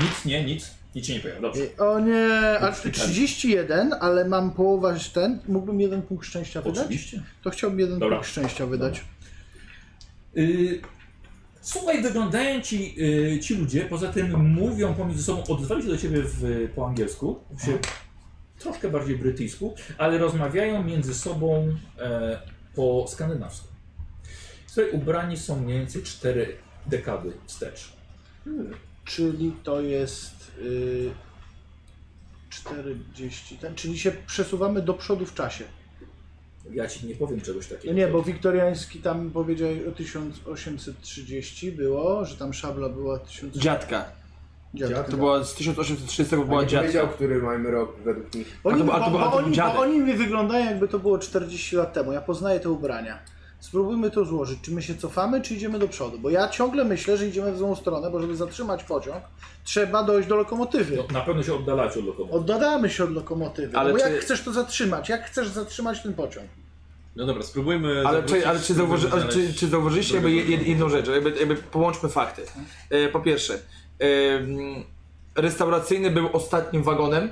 Speaker 1: Nic, nie, nic. Nic się nie pojawia. Dobrze.
Speaker 2: Ej, O nie, aż 31, ale mam połowę ten. Mógłbym jeden punkt szczęścia wydać?
Speaker 1: Oczywiście.
Speaker 2: To chciałbym jeden
Speaker 1: Dobra.
Speaker 2: punkt szczęścia wydać.
Speaker 1: Y, Słuchaj, wyglądają ci, y, ci ludzie, poza tym mówią pomiędzy sobą, odezwali się do ciebie w, po angielsku, się troszkę bardziej brytyjsku, ale rozmawiają między sobą e, po skandynawsku. Słuchaj, ubrani są mniej więcej 4 dekady wstecz.
Speaker 2: Czyli to jest y, 40. Ten, czyli się przesuwamy do przodu w czasie.
Speaker 1: Ja ci nie powiem czegoś takiego.
Speaker 2: No nie, bo wiktoriański tam powiedziałeś o 1830 było, że tam szabla była No. 1000.
Speaker 4: Dziadka.
Speaker 2: Dziadka.
Speaker 4: To była z 1830 była
Speaker 5: On nie
Speaker 4: dziadka.
Speaker 5: powiedział, który mamy rok według nich.
Speaker 2: Oni,
Speaker 4: A to-
Speaker 2: bo,
Speaker 4: a to- a to
Speaker 2: bo,
Speaker 4: był
Speaker 2: oni,
Speaker 4: dziadek.
Speaker 2: bo oni mi wyglądają jakby to było 40 lat temu. Ja poznaję te ubrania. Spróbujmy to złożyć. Czy my się cofamy, czy idziemy do przodu? Bo ja ciągle myślę, że idziemy w złą stronę, bo żeby zatrzymać pociąg, trzeba dojść do lokomotywy.
Speaker 1: No, na pewno się oddalacie od lokomotywy.
Speaker 2: Oddalamy się od lokomotywy.
Speaker 4: Ale
Speaker 2: Ale bo
Speaker 4: czy-
Speaker 2: jak chcesz to zatrzymać? Jak chcesz zatrzymać ten pociąg?
Speaker 3: No dobra, spróbujmy.
Speaker 4: Ale,
Speaker 3: zawrócić,
Speaker 4: czy, ale czy,
Speaker 3: spróbujmy
Speaker 4: zauważy, ale czy,
Speaker 3: znaleźć-
Speaker 4: czy zauważyliście jakby jed- jed- jedną rzecz, jakby, jakby połączmy fakty. E, po pierwsze, e, mm, restauracyjny był ostatnim wagonem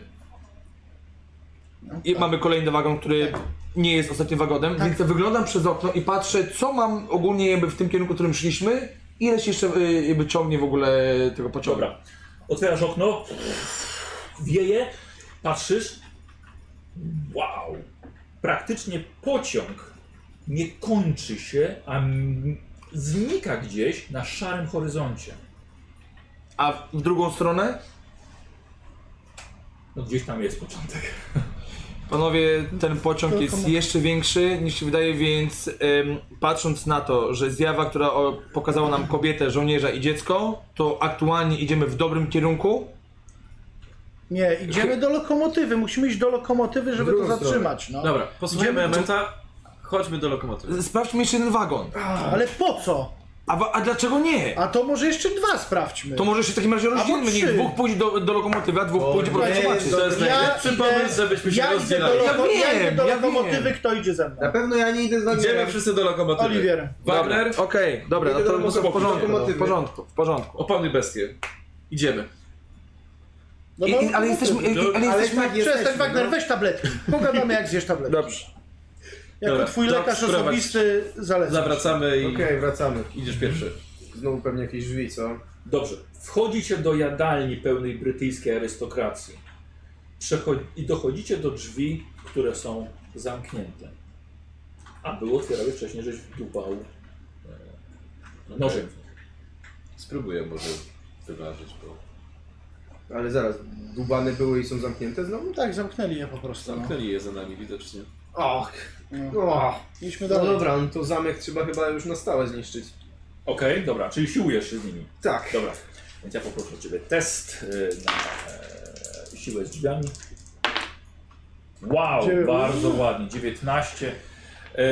Speaker 4: i mamy kolejny wagon, który nie jest ostatnim wagonem, więc wyglądam przez okno i patrzę, co mam ogólnie jakby w tym kierunku, którym szliśmy, ile się jeszcze e, jakby ciągnie w ogóle tego pociągu.
Speaker 1: Dobra. Otwierasz okno, wieje, patrzysz. Wow! Praktycznie pociąg nie kończy się, a m- znika gdzieś na szarym horyzoncie.
Speaker 4: A w drugą stronę,
Speaker 1: No gdzieś tam jest początek.
Speaker 4: panowie, ten pociąg jest jeszcze większy niż się wydaje, więc em, patrząc na to, że zjawa, która o, pokazała nam kobietę, żołnierza i dziecko, to aktualnie idziemy w dobrym kierunku.
Speaker 2: Nie, idziemy do lokomotywy. Musimy iść do lokomotywy, żeby to zatrzymać. No.
Speaker 3: Dobra, posłuchajmy
Speaker 2: Idziemy-
Speaker 3: Ementa, chodźmy do lokomotywy.
Speaker 4: Sprawdźmy jeszcze jeden wagon.
Speaker 2: Ale po co?
Speaker 4: A, wa- a dlaczego nie?
Speaker 2: A to może jeszcze dwa sprawdźmy.
Speaker 4: To może się w takim razie rozdzielmy,
Speaker 2: bo
Speaker 4: niech
Speaker 2: trzy.
Speaker 4: dwóch pójdzie do, do lokomotywy, a dwóch pójdzie po
Speaker 2: nie no,
Speaker 4: prostu
Speaker 2: jest
Speaker 4: zobaczyć.
Speaker 5: do-
Speaker 3: To jest
Speaker 2: Ja
Speaker 3: najlepszy
Speaker 2: idę-
Speaker 3: pomysł, żebyśmy się
Speaker 2: ja idę do,
Speaker 3: rozdzielali.
Speaker 4: Ja
Speaker 2: loko- ja
Speaker 4: wiem,
Speaker 2: idę do
Speaker 4: ja
Speaker 2: lokomotywy,
Speaker 4: wiem.
Speaker 2: kto idzie ze mną?
Speaker 5: Na pewno ja nie idę za
Speaker 3: Idziemy
Speaker 5: nim.
Speaker 3: wszyscy do lokomotywy.
Speaker 2: Oliwier.
Speaker 3: Wagner,
Speaker 4: Okej, dobra, no
Speaker 5: Idę do
Speaker 4: to w
Speaker 5: lokomotywy.
Speaker 4: porządku,
Speaker 5: Do
Speaker 4: w porządku, w porządku.
Speaker 3: opanuj bestię. Idziemy.
Speaker 2: No
Speaker 4: I,
Speaker 2: do
Speaker 4: i, ale
Speaker 2: lokomotywy.
Speaker 4: jesteśmy, i, i, ale
Speaker 5: Ale
Speaker 4: jesteśmy... no.
Speaker 5: tak
Speaker 2: Przestań,
Speaker 5: jesteśmy.
Speaker 2: Wagner, weź tabletki. Pogadamy, jak zjesz tabletki.
Speaker 4: Dobrze.
Speaker 2: Jako
Speaker 3: Dobra,
Speaker 2: twój
Speaker 3: to
Speaker 2: lekarz
Speaker 3: sprowadź.
Speaker 2: osobisty zalecam.
Speaker 3: Zawracamy i
Speaker 5: Okej, wracamy.
Speaker 3: idziesz pierwszy.
Speaker 5: Znowu pewnie jakieś drzwi, co?
Speaker 1: Dobrze. Wchodzicie do jadalni pełnej brytyjskiej arystokracji. Przecho- I dochodzicie do drzwi, które są zamknięte. A były otwierały wcześniej, żeś dubał e, nożem. w nich.
Speaker 6: Spróbuję może wyważyć, bo...
Speaker 5: Ale zaraz, dubany były i są zamknięte znowu?
Speaker 2: Tak, zamknęli je po prostu. No.
Speaker 6: Zamknęli je za nami widocznie.
Speaker 5: Och. No.
Speaker 2: Idźmy
Speaker 5: no
Speaker 2: dalej.
Speaker 5: dobra, no to zamek trzeba chyba już na stałe zniszczyć.
Speaker 1: Okej, dobra, czyli siłujesz się z nimi.
Speaker 5: Tak.
Speaker 1: Dobra, więc ja poproszę Ciebie test y, na e, siłę z drzwiami. Wow,
Speaker 2: Dziewię-
Speaker 1: bardzo ładnie, 19. E,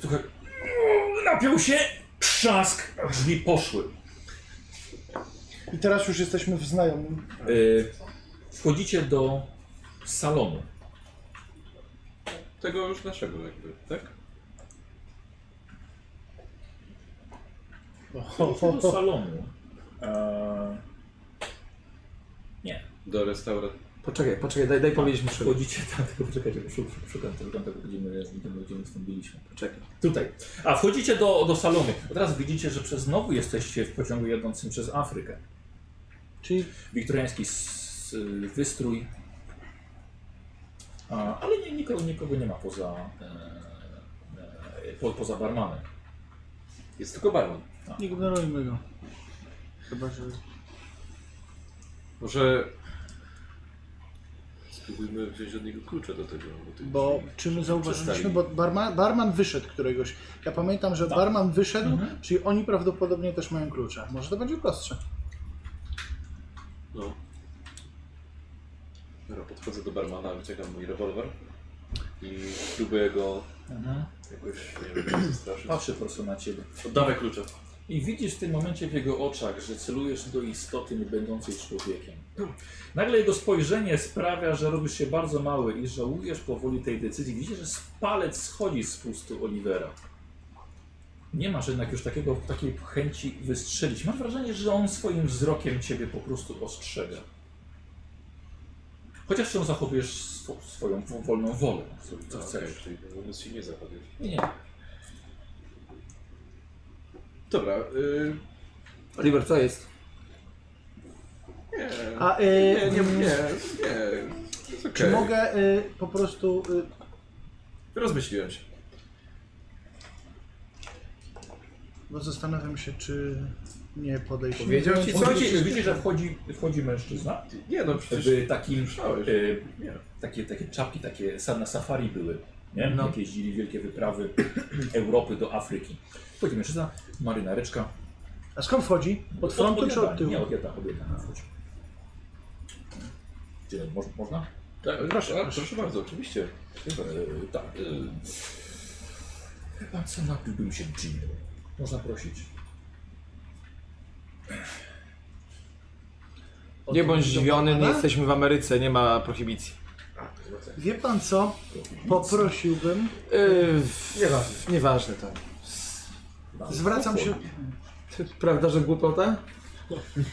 Speaker 1: słuchaj, uuu, napiął się, trzask, drzwi poszły.
Speaker 2: I teraz już jesteśmy w znajomym.
Speaker 1: E, wchodzicie do salonu.
Speaker 3: Tego już naszego jakby, tak?
Speaker 1: Wchodzicie do salonu. E, nie,
Speaker 3: Do restauracji.
Speaker 4: Poczekaj, poczekaj, daj, daj
Speaker 2: Tak.
Speaker 4: powiedzieć mu szybko.
Speaker 1: wchodzicie tam, tylko tak, poczekajcie, bo szukam, szukam tego, szukam tego, gdzie my, gdzie my, gdzie my stąd byliśmy.
Speaker 4: Poczekaj.
Speaker 1: Tutaj. A wchodzicie do, do salonu. Teraz widzicie, że przez znowu jesteście w pociągu jadącym przez Afrykę.
Speaker 2: Czyli
Speaker 1: Wiktoriański s- y, wystrój. A, ale nie, nikogo, nikogo nie ma poza, e, e, po, poza barmanem.
Speaker 6: Jest tylko barman.
Speaker 2: ignorujmy go. Chyba, że...
Speaker 3: Może... Spróbujmy wziąć od niego klucze do tego. do tych
Speaker 2: Bo
Speaker 3: drzwi.
Speaker 2: czy my zauważyliśmy,
Speaker 3: Przestali.
Speaker 2: bo barma, barman wyszedł któregoś. Ja pamiętam, że barman wyszedł, czyli oni prawdopodobnie też mają klucze. Może to będzie prostsze.
Speaker 3: No. Dobra, podchodzę do barmana, wyciągam mój rewolwer i próbuję go jakoś, nie wiem, zastraszyć.
Speaker 1: Patrzy po prostu na ciebie.
Speaker 3: Oddawaj klucze.
Speaker 1: I widzisz w tym momencie w jego oczach, że celujesz do istoty niebędącej człowiekiem. Nagle jego spojrzenie sprawia, że robisz się bardzo mały i żałujesz powoli tej decyzji. Widzisz, że palec schodzi z pustu Olivera. Nie masz jednak już takiego, takiej chęci wystrzelić. Masz wrażenie, że on swoim wzrokiem ciebie po prostu ostrzega. Chociaż się zachowujesz swo- swoją wo- wolną wolę, co- co
Speaker 3: No,
Speaker 1: chcesz.
Speaker 3: okej, czyli umysł się nie zachodzisz.
Speaker 1: Nie, nie.
Speaker 3: Dobra, y,
Speaker 4: Oliver, co jest?
Speaker 3: nie,
Speaker 2: A, y,
Speaker 3: nie, nie, nie, nie, jest
Speaker 2: Czy
Speaker 3: okej.
Speaker 2: mogę y, po prostu... Y,
Speaker 3: Rozmyśliłem się.
Speaker 2: bo no zastanawiam się, czy nie podejść...
Speaker 5: Powiedział ci co?
Speaker 1: Widzicie, widzicie, że wchodzi, wchodzi mężczyzna?
Speaker 3: Nie no, przecież...
Speaker 1: Jakby takim,
Speaker 3: Słyszałeś.
Speaker 1: y,
Speaker 3: Nie.
Speaker 1: takie, takie czapki, takie sa- na safari były, nie?
Speaker 4: No.
Speaker 1: jak jeździli wielkie wyprawy Europy do Afryki. Wchodzi mężczyzna, marynareczka.
Speaker 2: A skąd wchodzi? Od frontu czy od tyłu?
Speaker 1: Nie, od jedna, od jedna wchodzi. Gdzie, moż, można?
Speaker 3: Tak, proszę, a, proszę bardzo, oczywiście.
Speaker 1: E, tak. E, pan co, napiłbym się ginu. Można prosić.
Speaker 4: Nie bądź
Speaker 2: do
Speaker 4: zdziwiony, nie
Speaker 2: barmana?
Speaker 4: jesteśmy w Ameryce, nie ma prohibicji.
Speaker 2: Wie pan co? Poprosiłbym...
Speaker 4: Yy, nieważne. Nieważne to.
Speaker 2: Zwracam się...
Speaker 4: Prawda, że głupota?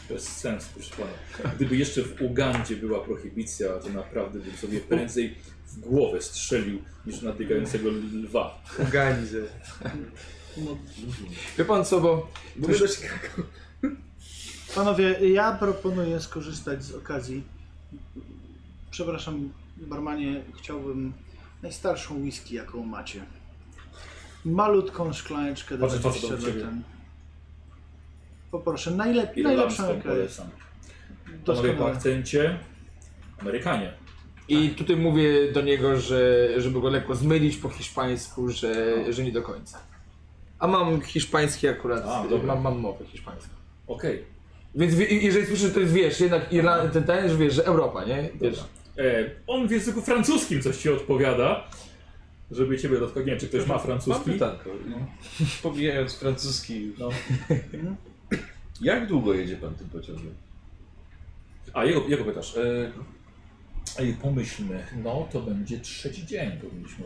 Speaker 1: Bez sensu, proszę pana. Gdyby jeszcze w Ugandzie była prohibicja, to naprawdę bym sobie prędzej w głowę strzelił niż natykającego lwa.
Speaker 5: Organizm.
Speaker 4: Wie pan co, bo
Speaker 5: Mówię do Chicago.
Speaker 2: Panowie, ja proponuję skorzystać z okazji. Przepraszam, barmanie, chciałbym najstarszą whisky, jaką macie. Malutką szklaneczkę
Speaker 1: Patrzę, patrzę do
Speaker 2: do
Speaker 1: ciebie.
Speaker 2: ten. Poproszę, najlep
Speaker 1: Irlandzką
Speaker 2: najlepszą jaka jest.
Speaker 1: polecam. Panowie tak. po
Speaker 2: Doskonale.
Speaker 1: akcencie Amerykanie.
Speaker 4: I tutaj mówię do niego, że żeby go lekko zmylić po hiszpańsku, że, że nie do końca. A mam hiszpański akurat,
Speaker 1: A, dobra.
Speaker 4: mam, mam mowę hiszpańską.
Speaker 1: Okej.
Speaker 4: Więc wi- jeżeli słyszysz, to jest wiesz, jednak Irland, ten, ten, że wiesz, że Europa, nie? Wiesz.
Speaker 1: E, On w języku francuskim coś ci odpowiada. Żeby ciebie dotknąć, nie wiem, czy ktoś ma
Speaker 3: Mam
Speaker 1: francuski.
Speaker 3: pytanko.
Speaker 1: No.
Speaker 3: Pomijając francuski już.
Speaker 1: No.
Speaker 3: Jak długo jedzie pan tym pociągiem?
Speaker 1: A jego, jego pytasz. E, Ej, pomyślmy, no to będzie trzeci dzień, powinniśmy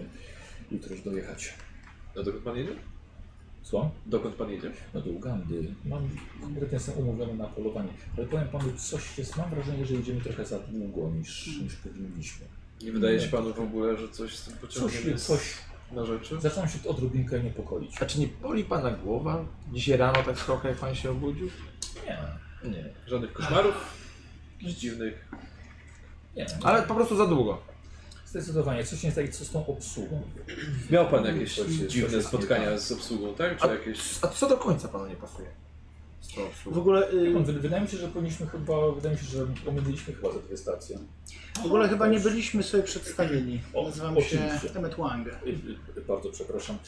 Speaker 1: jutro już dojechać.
Speaker 3: A dokąd pan jedzie?
Speaker 1: Słucham?
Speaker 3: Dokąd pan jedzie?
Speaker 1: No do Ugandy. Mam konkretnie jestem umówiony na polowanie. Ale powiem panu, coś jest. Mam wrażenie, że jedziemy trochę za długo niż, niż powinniśmy.
Speaker 3: Nie wydaje się panu w ogóle, że coś z tym pociągiem
Speaker 1: Coś,
Speaker 3: jest
Speaker 1: coś.
Speaker 3: na rzeczy?
Speaker 1: Zaczęłam się odrobinkę niepokoić.
Speaker 4: A czy nie boli pana głowa? Dzisiaj rano tak trochę, jak pan się obudził?
Speaker 1: Nie,
Speaker 4: Nie.
Speaker 3: Żadnych koszmarów? Jakichś dziwnych.
Speaker 1: nie. no,
Speaker 4: Ale po prostu za długo.
Speaker 1: Zdecydowanie, coś nie jest tak, co z tą obsługą.
Speaker 3: Miał pan jakieś
Speaker 1: coś
Speaker 3: dziwne
Speaker 1: jest nie
Speaker 3: spotkania z obsługą, tak? Czy jakieś...
Speaker 4: A co do końca panu nie pasuje?
Speaker 2: W ogóle, y,
Speaker 1: Wy- Wydaje mi się, że powinniśmy chyba, wydaje mi się, że omówiliśmy chyba za dwie stacje.
Speaker 2: w ogóle chyba nie byliśmy sobie przedstawieni.
Speaker 1: O,
Speaker 2: Nazywam się
Speaker 1: oczywiście.
Speaker 2: Emmet Wang.
Speaker 1: Y, y, Bardzo przepraszam.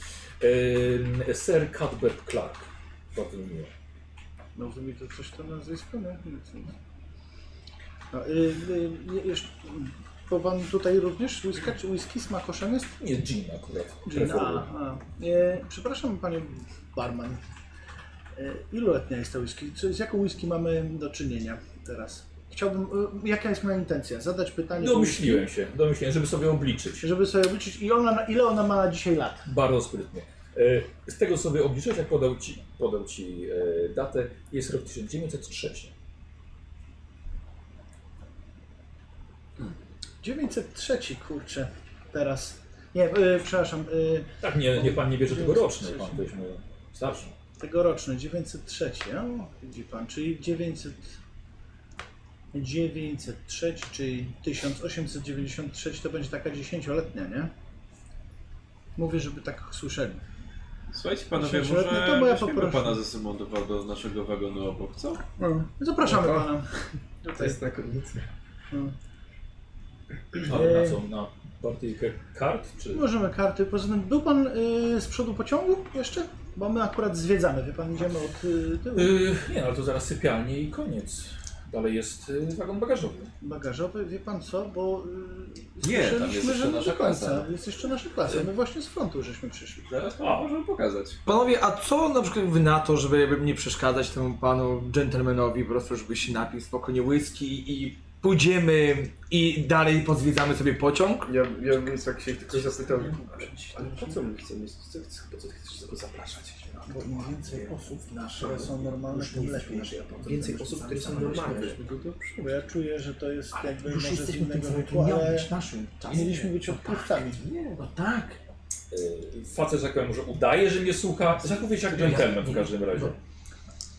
Speaker 1: Em, Sir Cuthbert Clark. Bardzo mi miło.
Speaker 2: No to mi to coś tam nazwisko, nie? No, y, y, y, jeszcze, bo pan tutaj również whisky, czy whisky z makoszem jest?
Speaker 1: Nie, Jean akurat.
Speaker 2: Gin, a,
Speaker 1: Preferuję.
Speaker 2: a. E, przepraszam panie barman, e, iluletnia jest ta whisky? Co, z jaką whisky mamy do czynienia teraz? Chciałbym, e, jaka jest moja intencja? Zadać pytanie, do
Speaker 1: Domyśliłem się, domyśliłem, żeby sobie obliczyć.
Speaker 2: żeby sobie obliczyć i ona, na- ile ona ma na dzisiaj lat.
Speaker 1: Bardzo sprytnie. E, Z tego co sobie obliczyłeś, jak podał ci, podał ci e, datę, jest rok 1903.
Speaker 2: 903, kurczę, teraz. Nie, e, przepraszam, e,
Speaker 1: Tak, nie, nie pan nie bierze tego roczny, pan weźmie starszy.
Speaker 2: Tegoroczny, 903, o, widzi pan, czyli 900, 903, czyli 1893 to będzie taka dziesięcioletnia, nie? Mówię, żeby tak słyszeli.
Speaker 3: Słuchajcie panowie,
Speaker 2: Myślę, że-
Speaker 3: może
Speaker 2: no to bo ja
Speaker 3: weźmiemy
Speaker 2: poproszę.
Speaker 3: pana zesymondowa do naszego wagonu obok, co?
Speaker 2: No, zapraszamy
Speaker 5: Aha.
Speaker 2: pana.
Speaker 5: To jest znakomicie.
Speaker 1: Ale na co? Na partyjkę kart? Czy...
Speaker 2: Możemy karty. Poza tym, był pan y, z przodu pociągu jeszcze? Bo my akurat zwiedzamy, wie pan, idziemy od y, tyłu.
Speaker 1: Yy, nie, no ale to zaraz sypialnie i koniec. Dalej jest yy, wagon bagażowy.
Speaker 2: Bagażowy, wie pan co, bo y,
Speaker 3: Nie, tam jest
Speaker 2: słyszeliśmy,
Speaker 3: jeszcze
Speaker 2: że nie
Speaker 3: nasza
Speaker 2: do końca.
Speaker 3: klasa.
Speaker 2: Jest jeszcze nasza klasa. My właśnie z frontu żeśmy przyszli.
Speaker 3: Zaraz panu możemy pokazać.
Speaker 4: Panowie, a co na przykład wy na to, żeby jakby nie przeszkadzać temu panu dżentelmenowi, po prostu żeby się napił spokojnie whisky i pójdziemy i dalej pozwiedzamy sobie pociąg?
Speaker 5: Ja, ja bym tak się tylko zapytał, ale po co my chcemy, co, co, po co ty chcesz go zapraszać?
Speaker 2: Bo im więcej osób, które są normalne,
Speaker 5: Już
Speaker 2: tym
Speaker 5: nie
Speaker 2: lepiej.
Speaker 5: Więcej osób, które są normalne.
Speaker 2: No Bo ja czuję, że to jest jakby może z innego wieku, ale
Speaker 4: naszym
Speaker 2: mieliśmy być odpływcami.
Speaker 4: No tak.
Speaker 1: Yy, facet, że tak powiem, że udaje, że mnie słucha. Zachowuje się jak dżentelmen w każdym razie.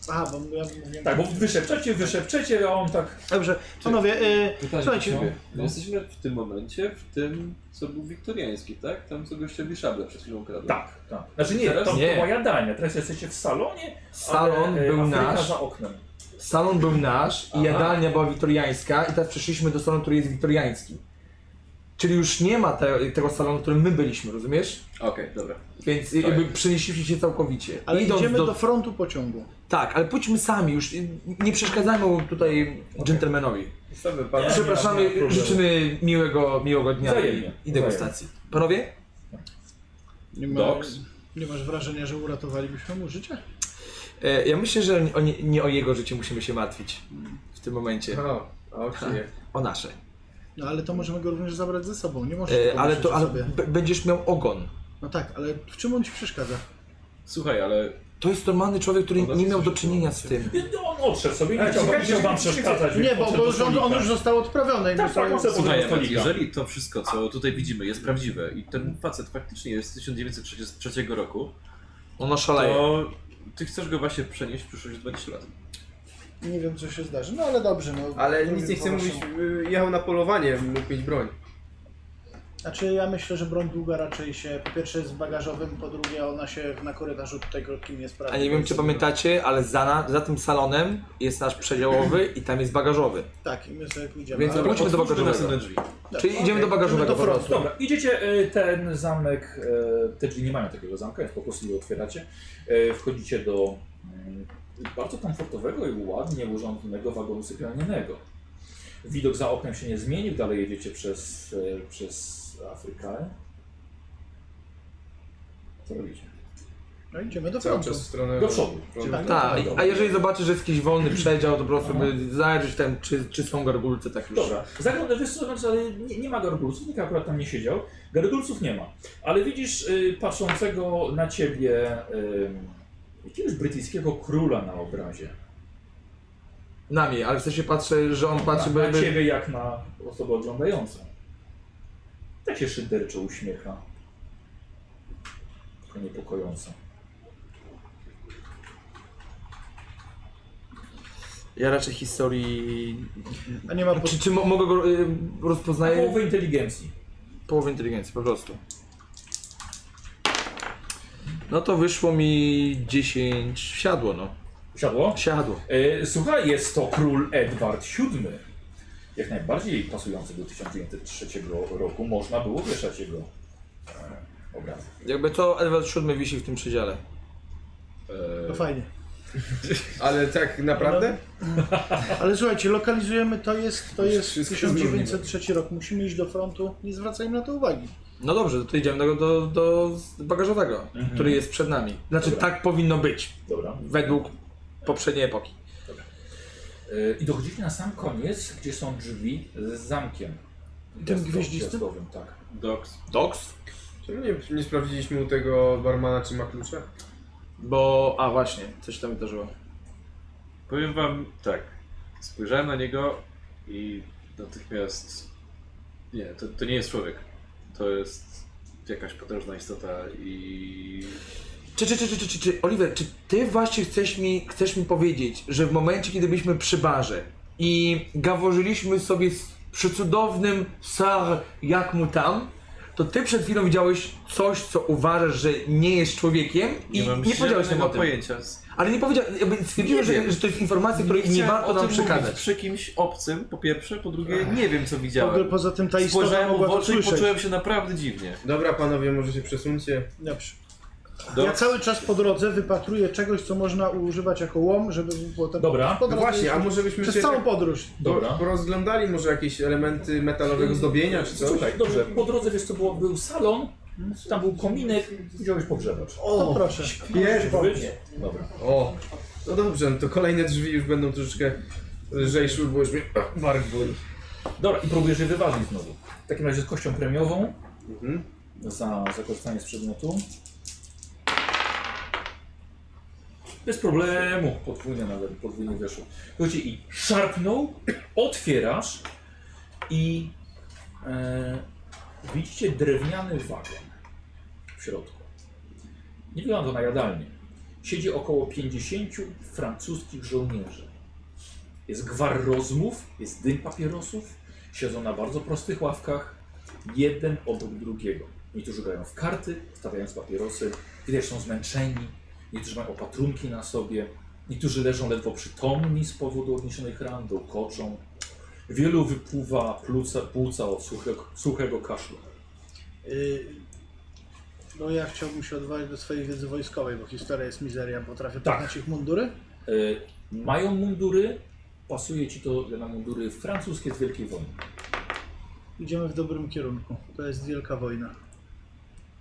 Speaker 2: Aha, bo ja mówiłem...
Speaker 1: Tak, bo wyszepczecie, wyszepczecie, a on tak...
Speaker 2: Dobrze, panowie, y,
Speaker 3: Pytanie
Speaker 2: Słuchajcie,
Speaker 3: do ciebie.
Speaker 2: no.
Speaker 3: Jesteśmy w tym momencie w tym, co był wiktoriański, tak? Tam co gościowi szablę przed chwilą kradł.
Speaker 1: Tak, tak. Znaczy nie,
Speaker 3: Teraz
Speaker 1: to,
Speaker 4: nie.
Speaker 1: to moja dania. Teraz jesteście w salonie,
Speaker 4: Salon
Speaker 1: ale, e,
Speaker 4: był
Speaker 1: Afryka
Speaker 4: nasz.
Speaker 1: za oknem.
Speaker 4: Salon był nasz i
Speaker 3: Aha.
Speaker 4: jadalnia była wiktoriańska i teraz przeszliśmy do salonu, który jest wiktoriański. Czyli już nie ma te, tego salonu, w którym my byliśmy, rozumiesz?
Speaker 3: Okej, dobra.
Speaker 4: Więc jakby przenieśliśmy się całkowicie.
Speaker 2: Tak. ale
Speaker 4: Idąc
Speaker 2: idziemy do frontu pociągu.
Speaker 4: Tak, ale pójdźmy sami, już y, nie przeszkadzajmy tutaj dżentelmenowi.
Speaker 5: Zostawmy pana.
Speaker 4: Przepraszamy, życzymy miłego, miłego dnia i,
Speaker 1: Wzajemnie.
Speaker 4: i degustacji. Panowie?
Speaker 2: Nie, ma,
Speaker 3: Doks.
Speaker 2: nie masz wrażenia, że uratowalibyśmy mu życie?
Speaker 4: E, ja myślę, że o nie, nie o jego życie musimy się martwić w tym momencie.
Speaker 5: O, a oczywiście.
Speaker 4: O E, nasze.
Speaker 2: No ale to możemy go również zabrać ze sobą, nie możesz
Speaker 4: E,
Speaker 2: tego
Speaker 4: ale
Speaker 2: myśleć
Speaker 4: to
Speaker 2: o
Speaker 4: ale
Speaker 2: sobie.
Speaker 4: b- będziesz miał ogon.
Speaker 2: No tak, ale w czym on ci przeszkadza?
Speaker 3: Słuchaj, ale
Speaker 4: To jest normalny człowiek, który
Speaker 3: Ona
Speaker 4: nie miał
Speaker 3: coś
Speaker 4: do czynienia z tym.
Speaker 1: No, on odszedł sobie, nie
Speaker 5: Ale
Speaker 1: chciał, nie
Speaker 5: czekajcie,
Speaker 1: chciał wam
Speaker 5: czekajcie,
Speaker 1: przeszkadzać.
Speaker 2: Nie,
Speaker 1: więc
Speaker 2: bo,
Speaker 1: odszedł
Speaker 2: bo
Speaker 1: do
Speaker 2: że on, on
Speaker 1: stolika.
Speaker 2: już został odprawiony. i
Speaker 1: Tak, tak,
Speaker 2: my sobie-
Speaker 1: on sobie poszedł
Speaker 3: Słuchaj,
Speaker 1: do
Speaker 3: Ewan,
Speaker 1: stolika.
Speaker 3: jeżeli to wszystko, co tutaj widzimy, jest prawdziwe i ten facet faktycznie jest z 1933 roku,
Speaker 4: Ono szaleje.
Speaker 3: to ty chcesz go właśnie przenieść w przyszłość 20 lat.
Speaker 2: Nie wiem, co się zdarzy, no ale dobrze. No,
Speaker 5: Ale
Speaker 2: Mówię
Speaker 5: nic nie chcę
Speaker 2: po
Speaker 5: mówić,
Speaker 2: waszemu.
Speaker 5: y, jechał na polowanie, mógł mieć broń.
Speaker 2: Znaczy, ja myślę, że broń długa raczej się, po pierwsze jest w bagażowym, po drugie ona się na korytarzu tutaj krótkim nie sprawdzi.
Speaker 4: A nie wiem, czy pamiętacie, ale za, na, za tym salonem jest nasz przedziałowy i tam jest bagażowy.
Speaker 2: Tak, i my sobie pójdziemy.
Speaker 4: Więc
Speaker 2: ale-
Speaker 4: dobra, pójdźmy do
Speaker 3: Otwórzmy następne
Speaker 4: bagażowego.
Speaker 3: drzwi.
Speaker 2: Dobra,
Speaker 4: Czyli idziemy
Speaker 2: okej,
Speaker 4: do bagażowego
Speaker 2: idziemy
Speaker 4: po prostu.
Speaker 2: frontu.
Speaker 1: Dobra, idziecie, y, ten zamek, y, te drzwi nie mają takiego zamka, więc po prostu je otwieracie. Y, Wchodzicie do y, bardzo komfortowego i ładnie urządzonego wagonu sypialnianego. Widok za oknem się nie zmienił, dalej jedziecie przez, y, przez Afrykę. Co robicie?
Speaker 2: No idziemy do
Speaker 5: Cały
Speaker 2: frontu.
Speaker 5: czas w stronę...
Speaker 1: Do przodu.
Speaker 5: przodu.
Speaker 4: Tak, a jeżeli zobaczysz, że jest jakiś wolny przedział, to po prostu by zajrzeć tam, czy, czy są gargulce tak już.
Speaker 1: Dobra, zaglądasz, wiesz co, znaczy, ale nie, nie ma gargulców, nikt akurat tam nie siedział. Gargulców nie ma, ale widzisz y, patrzącego na ciebie y, jakiegoś brytyjskiego króla na obrazie.
Speaker 4: Na mnie, ale w sensie patrzę, że on patrzy,
Speaker 1: na,
Speaker 4: Znaczy, by...
Speaker 1: na
Speaker 4: by...
Speaker 1: ciebie jak na osobę oglądającą. Tak się szyderczo uśmiecha. Tylko niepokojąco.
Speaker 4: Ja raczej historii...
Speaker 2: A nie ma po...
Speaker 4: Czy, czy mo mogę go y, rozpoznaję?
Speaker 1: Połowę inteligencji.
Speaker 4: Połowę inteligencji, po prostu. No to wyszło mi 10... siadło, no.
Speaker 1: Siadło?
Speaker 4: Siadło.
Speaker 1: E, Słuchaj, jest to król Edward VII. Jak najbardziej pasujący do 1903 roku. Można było wieszać jego e, obraz.
Speaker 4: Jakby to Edward VII wisi w tym przedziale.
Speaker 5: Znaczy-
Speaker 2: To fajnie.
Speaker 5: Ale tak naprawdę?
Speaker 2: Ale słuchajcie, lokalizujemy, to jest, to jest
Speaker 5: Wszystko
Speaker 2: 1903 rok, musimy iść do frontu, nie zwracajmy na to uwagi.
Speaker 4: No dobrze, to idziemy do, do, do bagażowego, który jest przed nami. Znaczy
Speaker 1: Dobra.
Speaker 4: tak powinno być,
Speaker 1: Dobra.
Speaker 4: według poprzedniej epoki.
Speaker 1: E, I dochodzicie na sam koniec, gdzie są drzwi z zamkiem.
Speaker 2: Tym
Speaker 1: Gwiazdo-
Speaker 2: gwieździstym?
Speaker 1: gwiazdowym, Tak.
Speaker 3: Doks.
Speaker 4: Doks?
Speaker 5: Czemu nie, nie sprawdziliśmy u tego barmana, czy ma klucze?
Speaker 4: Bo, a właśnie, coś tam wydarzyło.
Speaker 3: Powiem wam tak. Spojrzałem na niego i natychmiast. Nie, to, to nie jest człowiek. To jest jakaś potężna istota i.
Speaker 4: Czy, czy, czy, czy, czy, czy, czy, Oliver, czy ty właśnie chcesz mi, chcesz mi powiedzieć, że w momencie, kiedy byliśmy przy barze i gaworzyliśmy sobie z przecudownym Sar jak mu tam, to ty przed chwilą widziałeś coś, co uważasz, że nie jest człowiekiem i nie, powiedziałeś nam o tym.
Speaker 3: pojęcia.
Speaker 4: Ale nie powiedziałeś, jakby stwierdziłem,
Speaker 3: Nie wiem.
Speaker 4: że, że to jest informacja, której nie
Speaker 3: Chciałem
Speaker 4: warto
Speaker 3: o
Speaker 4: nam
Speaker 3: tym
Speaker 4: przekazać.
Speaker 3: mówić przy kimś obcym, po pierwsze, po drugie nie wiem co
Speaker 2: W ogóle
Speaker 4: Tak.
Speaker 3: widziałem.
Speaker 2: poza tym ta istota
Speaker 3: Spojrzałem mu
Speaker 2: mogła
Speaker 3: w
Speaker 2: to
Speaker 3: oczy i
Speaker 2: słyszeć.
Speaker 3: poczułem się naprawdę dziwnie.
Speaker 5: Dobra, panowie, może się przesuńcie.
Speaker 2: Dobrze.
Speaker 3: Do-
Speaker 2: Ja cały czas po drodze wypatruję czegoś, co można używać jako łom, żeby potem...
Speaker 1: Dobra.
Speaker 2: po
Speaker 5: No
Speaker 2: drodze
Speaker 5: właśnie, a
Speaker 2: jeździć.
Speaker 5: może byśmy
Speaker 2: Przez
Speaker 5: się
Speaker 2: całą
Speaker 5: tak
Speaker 2: podróż.
Speaker 5: po-
Speaker 1: Dobra.
Speaker 5: porozglądali może jakieś elementy metalowego zdobienia czy coś?
Speaker 1: Słuchaj, dobrze, po drodze wiesz co było, był salon, tam był kominek, wziąłeś pogrzebacz.
Speaker 2: To proszę.
Speaker 5: Wiesz,
Speaker 1: Nie, dobra.
Speaker 5: O, no dobrze, no to kolejne drzwi już będą troszeczkę lżejsze, bo już mnie bark boli.
Speaker 1: Dobra, i próbujesz je wyważyć znowu. W takim razie z kością premiową
Speaker 5: Mhm.
Speaker 1: za, za korzystanie z przedmiotu. Bez problemu, podwójnie nawet, podwójnie weszło. Słuchajcie, i szarpnął, otwierasz i e, widzicie drewniany wagon w środku. Nie wygląda na jadalnię. Siedzi około 50 francuskich żołnierzy. Jest gwar rozmów, jest dym papierosów, siedzą na bardzo prostych ławkach, jeden obok drugiego. Niektórzy grają w karty, stawiając papierosy, widać są zmęczeni, niektórzy mają opatrunki na sobie, niektórzy leżą ledwo przytomni z powodu odniesionych ran, koczą. Wielu wypływa płuca, płuca od suchego, suchego kaszlu.
Speaker 2: Y, No ja chciałbym się odwołać do swojej wiedzy wojskowej, bo historia jest mizeria. Potrafię
Speaker 1: Tak.
Speaker 2: poznać ich mundury?
Speaker 1: Y, mają mundury, pasuje ci to na mundury francuskie z Wielkiej Wojny.
Speaker 2: Idziemy w dobrym kierunku. To jest wielka wojna.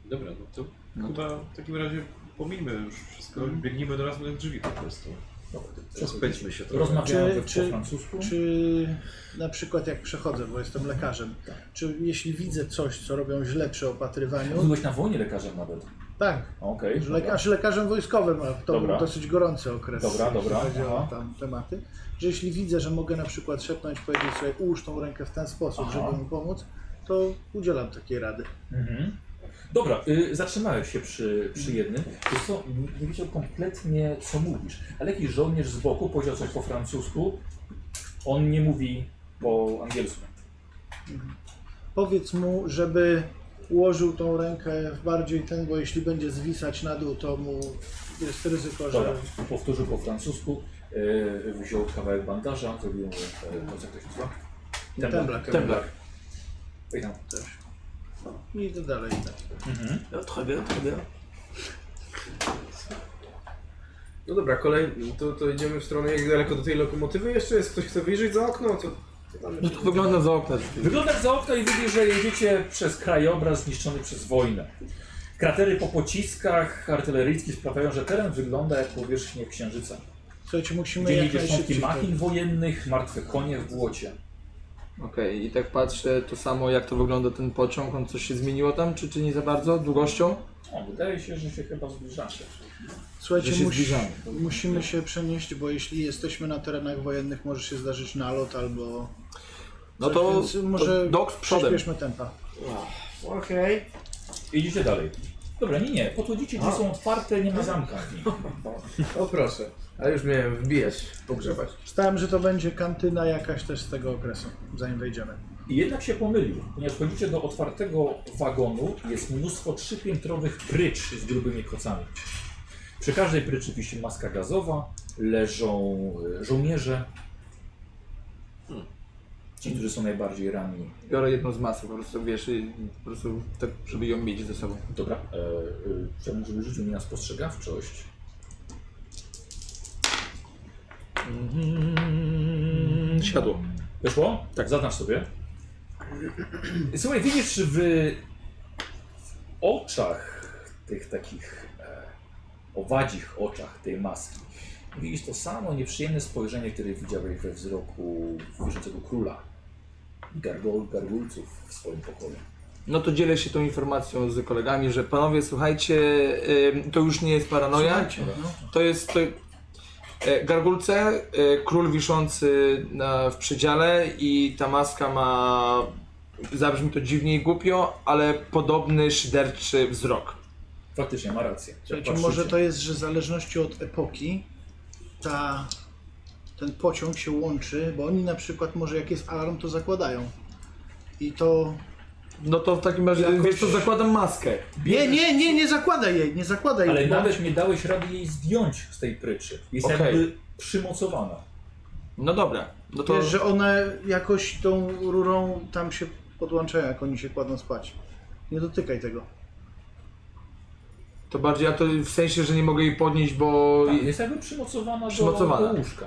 Speaker 3: Dobra, no to Mhm. chyba w takim razie pomijmy już wszystko, biegnijmy do razem drzwi po prostu. No, Rozpędźmy się trochę.
Speaker 1: Rozmawiają
Speaker 2: Czy-
Speaker 1: we-
Speaker 2: czy-
Speaker 1: po francusku.
Speaker 2: Czy na przykład jak przechodzę, bo jestem lekarzem, czy jeśli widzę coś, co robią źle przy opatrywaniu,
Speaker 1: Byłeś na wojnie lekarzem nawet.
Speaker 2: tak,
Speaker 1: Okej.
Speaker 2: Że
Speaker 1: dobra.
Speaker 2: lekarz, lekarzem wojskowym, a to
Speaker 1: Dobra.
Speaker 2: był dosyć gorący okres,
Speaker 1: Dobra, dobra,
Speaker 2: jeśli chodzi
Speaker 1: aha.
Speaker 2: o tam tematy, że jeśli widzę, że mogę na przykład szepnąć, powiedzieć sobie, ułóż tą rękę w ten sposób,
Speaker 1: Aha.
Speaker 2: żeby mu pomóc, to udzielam takiej rady.
Speaker 1: Mhm. Dobra, y, zatrzymałeś się przy, przy jednym. Wiesz co, nie- nie wiedział kompletnie co mówisz, ale jakiś żołnierz z boku powiedział coś po francusku, on nie mówi po angielsku.
Speaker 2: Powiedz mu, żeby ułożył tą rękę w bardziej ten, bo jeśli będzie zwisać na dół, to mu jest ryzyko,
Speaker 1: Dobra,
Speaker 2: że...
Speaker 1: powtórzył po francusku, y, wziął kawałek bandaża, zrobił mu, e, to, jak to się nazywa?
Speaker 2: Temblak.
Speaker 1: Temblak. Oj, tam.
Speaker 2: No I idę dalej. tak.
Speaker 1: Mhm.
Speaker 5: No dobra, kolej, to, to idziemy w stronę, jak daleko do tej lokomotywy jeszcze jest? Ktoś chce wyjrzeć za okno? Co, co tam
Speaker 4: No to wygląda za okna.
Speaker 1: Wygląda za okno i widzisz, że jedziecie przez krajobraz zniszczony przez wojnę. Kratery po pociskach artyleryjskich sprawiają, że teren wygląda jak powierzchnię księżyca.
Speaker 2: Słuchajcie, musimy
Speaker 1: Gdzie
Speaker 2: No, jak
Speaker 1: nie szczątki
Speaker 2: najszybciej... tak.
Speaker 1: machin wojennych, martwe konie w błocie.
Speaker 4: Okej, i tak patrzę to samo jak to wygląda ten pociąg, on coś się zmieniło tam, czy, czy nie za bardzo, długością?
Speaker 1: O, wydaje się, że się chyba zbliżacie.
Speaker 4: Że
Speaker 2: Słuchajcie,
Speaker 4: się
Speaker 2: musi,
Speaker 4: zbliżamy.
Speaker 2: musimy się przenieść, bo jeśli jesteśmy na terenach wojennych, może się zdarzyć nalot albo
Speaker 4: No
Speaker 2: Coś,
Speaker 4: to,
Speaker 2: więc
Speaker 4: może
Speaker 2: może
Speaker 4: to dok z przodem.
Speaker 2: Przyspieszmy tempa.
Speaker 8: Okej.
Speaker 1: Idziecie dalej. Dobra, nie, nie. Podchodzicie, gdzie są otwarte, nie ma zamka.
Speaker 5: O proszę, a już miałem wbijać, pogrzebać.
Speaker 2: Wstałem, że to będzie kantyna jakaś też z tego okresu, zanim wejdziemy.
Speaker 1: I jednak się pomylił, ponieważ wchodzicie do otwartego wagonu, jest mnóstwo trzypiętrowych prycz z grubymi kocami. Przy każdej pryczy wisi maska gazowa, leżą e, żołnierze. Ci, którzy są najbardziej ranni.
Speaker 4: Biorę jedną z masy, po prostu wiesz, i po prostu tak, żeby ją mieć ze sobą.
Speaker 1: Dobra, e, e, chciałbym, żeby rzucił mi na spostrzegawczość.
Speaker 4: Siadło.
Speaker 1: Wyszło? Tak. Zaznacz sobie. Słuchaj, widzisz w, w oczach tych takich e, owadzich oczach tej maski. Widzisz to samo nieprzyjemne spojrzenie, które widziałeś we wzroku wierzącego króla i gargol, gargulców w swoim pokoju.
Speaker 4: No to dzielę się tą informacją z kolegami, że panowie, słuchajcie, ym, to już nie jest paranoja,
Speaker 5: no.
Speaker 4: to jest... To, e, Gargulce, e, król wiszący na, w przedziale i ta maska ma, zabrzmi to dziwnie i głupio, ale podobny szyderczy wzrok.
Speaker 1: Faktycznie, ma rację. Jak
Speaker 2: Słuchajcie,
Speaker 1: patrzycie.
Speaker 2: może to jest, że w zależności od epoki ta, ten pociąg się łączy, bo oni na przykład może jak jest alarm, to zakładają. I to...
Speaker 4: No to w takim razie,
Speaker 2: Jakoś-
Speaker 4: wiesz co, zakładam maskę.
Speaker 2: Nie, nie, nie, nie zakładaj jej, nie zakładaj
Speaker 1: Ale
Speaker 2: jej. bo-
Speaker 1: nawet nie dałeś rady jej zdjąć z tej pryczy. Jest
Speaker 4: Okej.
Speaker 1: jakby przymocowana.
Speaker 4: No dobra, no to...
Speaker 2: Wiesz, że one jakoś tą rurą tam się podłączają, jak oni się kładą spać. Nie dotykaj tego.
Speaker 4: To bardziej, a to w sensie, że nie mogę jej podnieść, bo
Speaker 1: Tak, jest jakby przymocowana,
Speaker 4: Przymocowana.
Speaker 1: Do, do łóżka.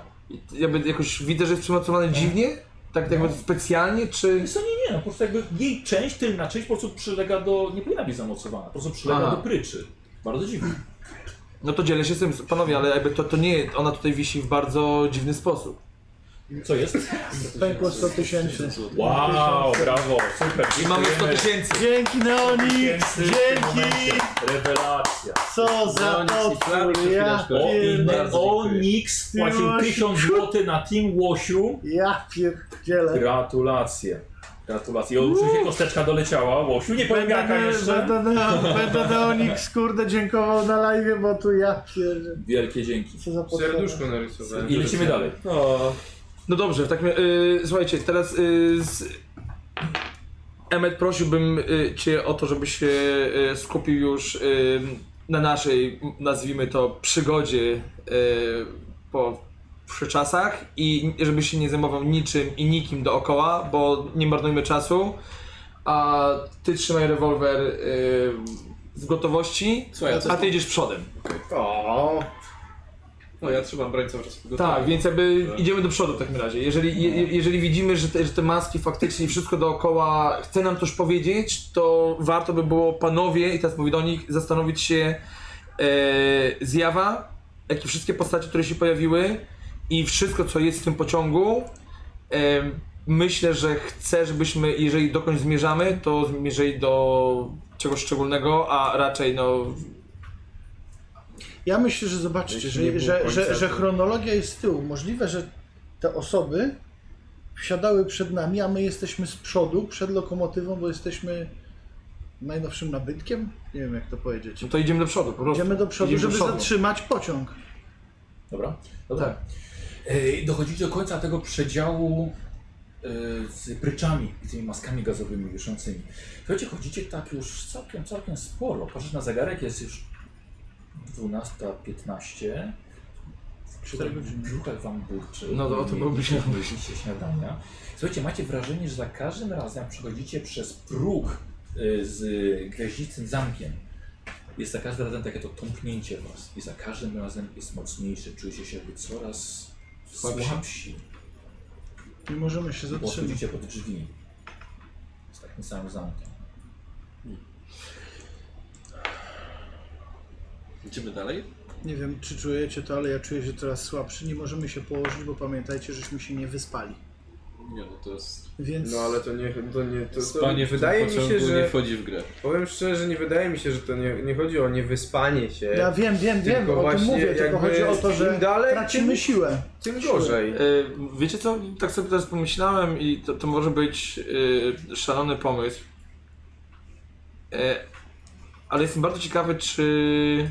Speaker 4: jakby jakoś widzę, że jest przymocowane dziwnie? Tak jakby specjalnie, czy...
Speaker 1: Więc to nie, nie, no po prostu jakby jej część, tylna część po prostu przylega do, nie powinna być zamocowana, po prostu przylega
Speaker 4: Aha.
Speaker 1: do pryczy. Bardzo dziwne.
Speaker 4: No to dzielę się z tym, panowie, ale jakby to, to nie, ona tutaj wisi w bardzo dziwny sposób.
Speaker 1: Co jest?
Speaker 2: Pękło 100 tysięcy.
Speaker 1: Wow, brawo, super.
Speaker 4: I mamy 100 tysięcy.
Speaker 2: Dzięki Neonix! Dzięki!
Speaker 1: Rewelacja.
Speaker 2: Co za
Speaker 4: Neonix i Flamix
Speaker 2: potwór!
Speaker 4: za
Speaker 2: Ja
Speaker 4: chwileczkę.
Speaker 1: O, i
Speaker 2: pierdolę!
Speaker 1: Neonix płacił
Speaker 2: Łosiu.
Speaker 1: 1000 zł na Team Łosiu.
Speaker 2: Ja pierdzielę.
Speaker 1: Gratulacje. Gratulacje. O, Oczywiście kosteczka doleciała. Łosiu, nie powiem jaka
Speaker 2: Będę,
Speaker 1: jeszcze.
Speaker 2: będę, Neo- będę Neonix kurde dziękował na live, bo tu ja pierdolę.
Speaker 1: Wielkie dzięki.
Speaker 2: Co za potwór.
Speaker 5: Serduszko narysowałem.
Speaker 1: I lecimy dalej. O,
Speaker 4: No dobrze, w takim y, Słuchajcie, teraz y, z... Emmet prosiłbym y, cię o to, żebyś się y, skupił już y, na naszej, m, nazwijmy to, przygodzie y, po przy czasach i żebyś się nie zajmował niczym i nikim dookoła, bo nie marnujmy czasu. A ty trzymaj rewolwer y, w gotowości,
Speaker 3: Słuchaj, a co-
Speaker 4: a ty idziesz przodem.
Speaker 5: O,
Speaker 3: No ja trzymam broń cały czas w
Speaker 4: Tak, więc jakby idziemy do przodu w takim razie. Jeżeli, je, je- jeżeli widzimy, że te, że te maski faktycznie i wszystko dookoła chce nam coś powiedzieć, to warto by było panowie, i teraz mówię do nich, zastanowić się e, zjawa, jakie wszystkie postacie, które się pojawiły i wszystko, co jest w tym pociągu. E, myślę, że chcę, żebyśmy, jeżeli dokąd zmierzamy, to zmierzali do czegoś szczególnego, a raczej no
Speaker 2: Ja myślę, że zobaczcie,
Speaker 5: Jeśli nie
Speaker 2: że,
Speaker 5: było
Speaker 2: że,
Speaker 5: końca,
Speaker 2: że, że
Speaker 5: to-
Speaker 2: chronologia jest z tyłu. Możliwe, że te osoby wsiadały przed nami, a my jesteśmy z przodu, przed lokomotywą, bo jesteśmy najnowszym nabytkiem. Nie wiem, jak to powiedzieć.
Speaker 4: no to idziemy do przodu po prostu.
Speaker 2: Idziemy do przodu,
Speaker 4: Idziemy
Speaker 2: żeby zatrzymać pociąg.
Speaker 1: Dobra, dobra. Tak. E, Dochodzicie do końca tego przedziału e, z pryczami i tymi maskami gazowymi wiszącymi. Słuchajcie, chodzicie tak już całkiem, całkiem sporo. Patrzysz na zegarek, jest już 12.15.
Speaker 2: Cztery godziny.
Speaker 1: Brzuchek wam burczy.
Speaker 4: No to o tym
Speaker 1: Nie-
Speaker 4: byłoby się
Speaker 1: nie jedliście śniadania. Słuchajcie, macie wrażenie, że za każdym razem jak przechodzicie przez próg e, z gwiaździcym zamkiem, jest za każdym razem takie to tąpnięcie was i za każdym razem jest mocniejsze. Czujecie się jakby coraz
Speaker 4: Słabsi.
Speaker 1: słabsi.
Speaker 2: Nie możemy się
Speaker 1: Bo
Speaker 2: zatrzymać.
Speaker 1: Podchodzicie pod drzwi z takim samym zamkiem.
Speaker 3: Idziemy dalej?
Speaker 2: Nie wiem, czy czujecie to, ale ja czuję się coraz słabszy. Nie możemy się położyć, bo pamiętajcie, żeśmy się nie wyspali.
Speaker 3: Nie, no to jest...
Speaker 2: Więc
Speaker 5: no ale to nie, to nie, to, to
Speaker 3: Spanie w tym
Speaker 5: wydaje mi
Speaker 3: pociągu
Speaker 5: się,
Speaker 3: nie
Speaker 5: że,
Speaker 3: wchodzi w grę.
Speaker 5: powiem szczerze, nie wydaje mi się, że to nie, nie chodzi o niewyspanie się,
Speaker 2: ja wiem, wiem, wiem,
Speaker 5: Tylko
Speaker 2: o tym
Speaker 5: właśnie
Speaker 2: mówię, tylko
Speaker 5: jakby
Speaker 2: chodzi o to,
Speaker 5: im
Speaker 2: że
Speaker 5: dalej,
Speaker 2: tracimy
Speaker 5: tym-
Speaker 2: siłę.
Speaker 5: tym gorzej.
Speaker 4: E, Wiecie co, tak sobie teraz pomyślałem i to, to może być e, szalony pomysł. E, Ale jestem bardzo ciekawy, czy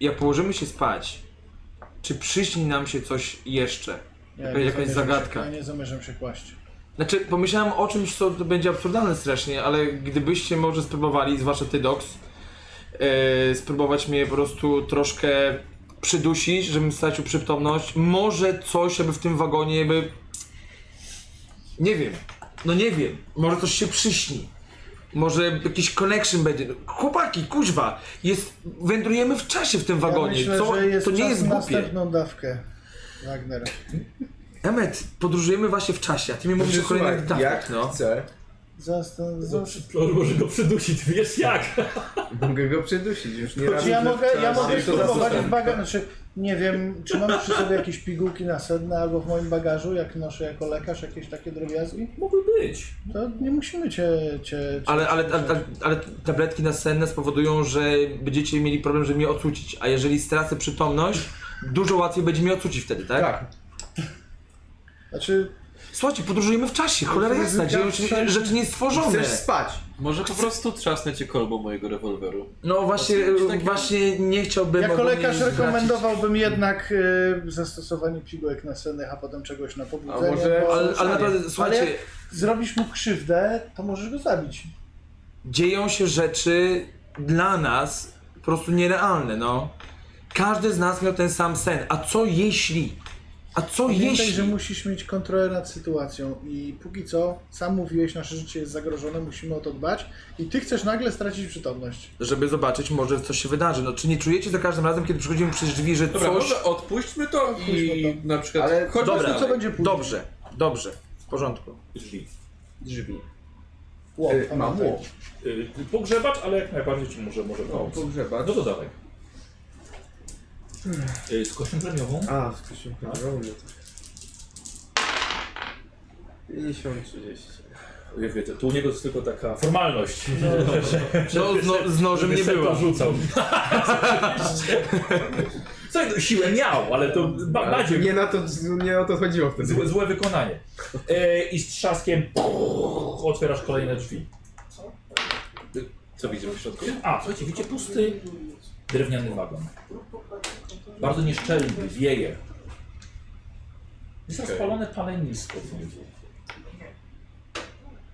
Speaker 4: jak położymy się spać, czy przyśni nam się coś jeszcze.
Speaker 2: Ja
Speaker 4: Jaka-
Speaker 2: nie
Speaker 4: jakaś
Speaker 2: zamierzam
Speaker 4: zagadka.
Speaker 2: Się, ja nie zamierzam się kłaść.
Speaker 4: Znaczy, pomyślałem o czymś, co to będzie absurdalne strasznie, ale gdybyście może spróbowali, zwłaszcza ty, Dox, e, spróbować mnie po prostu troszkę przydusić, żebym stracił przytomność. Może coś, aby w tym wagonie by... Nie wiem. No nie wiem. Może coś się przyśni. Może jakiś connection będzie. Chłopaki, kuźwa, jest, wędrujemy w czasie w tym wagonie.
Speaker 2: Ja myślę,
Speaker 4: co?
Speaker 2: że jest
Speaker 4: to nie
Speaker 2: czas
Speaker 4: jest
Speaker 2: na
Speaker 4: głupie.
Speaker 2: następną dawkę. Wagner.
Speaker 4: Emet, podróżujemy właśnie w czasie, a ty mi
Speaker 2: Znaczy,
Speaker 4: mówisz o kolejnych
Speaker 5: Słuchaj,
Speaker 4: dawkach,
Speaker 5: jak
Speaker 4: no.
Speaker 5: chcę,
Speaker 2: Zastan- zas-
Speaker 1: Może go przedusić, wiesz jak?
Speaker 5: mogę go przydusić, już
Speaker 4: No,
Speaker 5: nie raz
Speaker 2: Czy ja
Speaker 5: źle
Speaker 2: mogę, ja
Speaker 5: wczoraj.
Speaker 2: mogę
Speaker 5: To za
Speaker 2: spróbować
Speaker 5: zostań.
Speaker 2: w bagażu, znaczy nie wiem, czy mam przy sobie jakieś pigułki nasenne albo w moim bagażu, jak noszę jako lekarz jakieś takie drobiazgi,
Speaker 1: Mogły być.
Speaker 2: to nie musimy cię... cię, cię
Speaker 4: Ale, ale, ale, ale, ale tabletki nasenne spowodują, że będziecie mieli problem, żeby mnie ocucić. A jeżeli stracę przytomność, dużo łatwiej będzie mnie ocucić wtedy, tak?
Speaker 5: Tak,
Speaker 2: Znaczy,
Speaker 4: Słuchajcie, podróżujemy w czasie, cholera jasna, dzieją się rzeczy niestworzone.
Speaker 5: Chcesz spać.
Speaker 3: Może po prostu trzasnę cię kolbą mojego rewolweru.
Speaker 4: No właśnie,
Speaker 3: Coś takiego.
Speaker 4: właśnie nie chciałbym...
Speaker 2: Jako
Speaker 4: ogólnie
Speaker 2: lekarz
Speaker 4: zwracić-
Speaker 2: rekomendowałbym jednak y, zastosowanie pigułek nasennych, a potem czegoś na pobudzenie.
Speaker 5: A może-
Speaker 2: bo-
Speaker 4: Ale, ale naprawdę, słuchajcie,
Speaker 2: Ale jak zrobisz mu krzywdę, to możesz go zabić.
Speaker 4: dzieją się rzeczy dla nas po prostu nierealne, no. Każdy z nas miał ten sam sen, a co jeśli? A co
Speaker 2: Pamiętaj,
Speaker 4: jeśli?
Speaker 2: że musisz mieć kontrolę nad sytuacją i póki co, sam mówiłeś, nasze życie jest zagrożone, musimy o to dbać i ty chcesz nagle stracić przytomność.
Speaker 4: Żeby zobaczyć, może coś się wydarzy. No, czy nie czujecie za każdym razem, kiedy przychodzimy przez drzwi, że
Speaker 3: Dobra,
Speaker 4: coś...
Speaker 3: może odpuśćmy to i
Speaker 2: Odpuśćmy
Speaker 3: na przykład
Speaker 5: Ale-
Speaker 3: chodźmy
Speaker 4: Dobra,
Speaker 3: dalej.
Speaker 2: co będzie później?
Speaker 4: Dobrze, dobrze, w porządku.
Speaker 5: Drzwi.
Speaker 2: Łop,
Speaker 5: Y, Mam łop.
Speaker 1: Y, Pogrzebacz, ale jak najbardziej ci może, może pomóc.
Speaker 5: Pogrzebacz.
Speaker 1: No to dawaj. Y, Z kością premiową.
Speaker 5: A, w Krzysiu,
Speaker 4: no.
Speaker 5: prawo mnie to. 50, 30.
Speaker 1: Jak Y, wiecie, tu u niego jest tylko taka formalność.
Speaker 4: No, no, z nożem nie było.
Speaker 1: rzucał. Słuchaj, no, siłę miał, ale to ba- bardziej
Speaker 5: Nie, na to, nie o to chodziło wtedy.
Speaker 1: złe, złe wykonanie. E, I z trzaskiem otwierasz kolejne drzwi.
Speaker 3: Co widzimy w środku?
Speaker 1: A, słuchajcie, widzicie pusty drewniany wagon. Bardzo nieszczelny, wieje. Jest rozpalone palenisko w nim.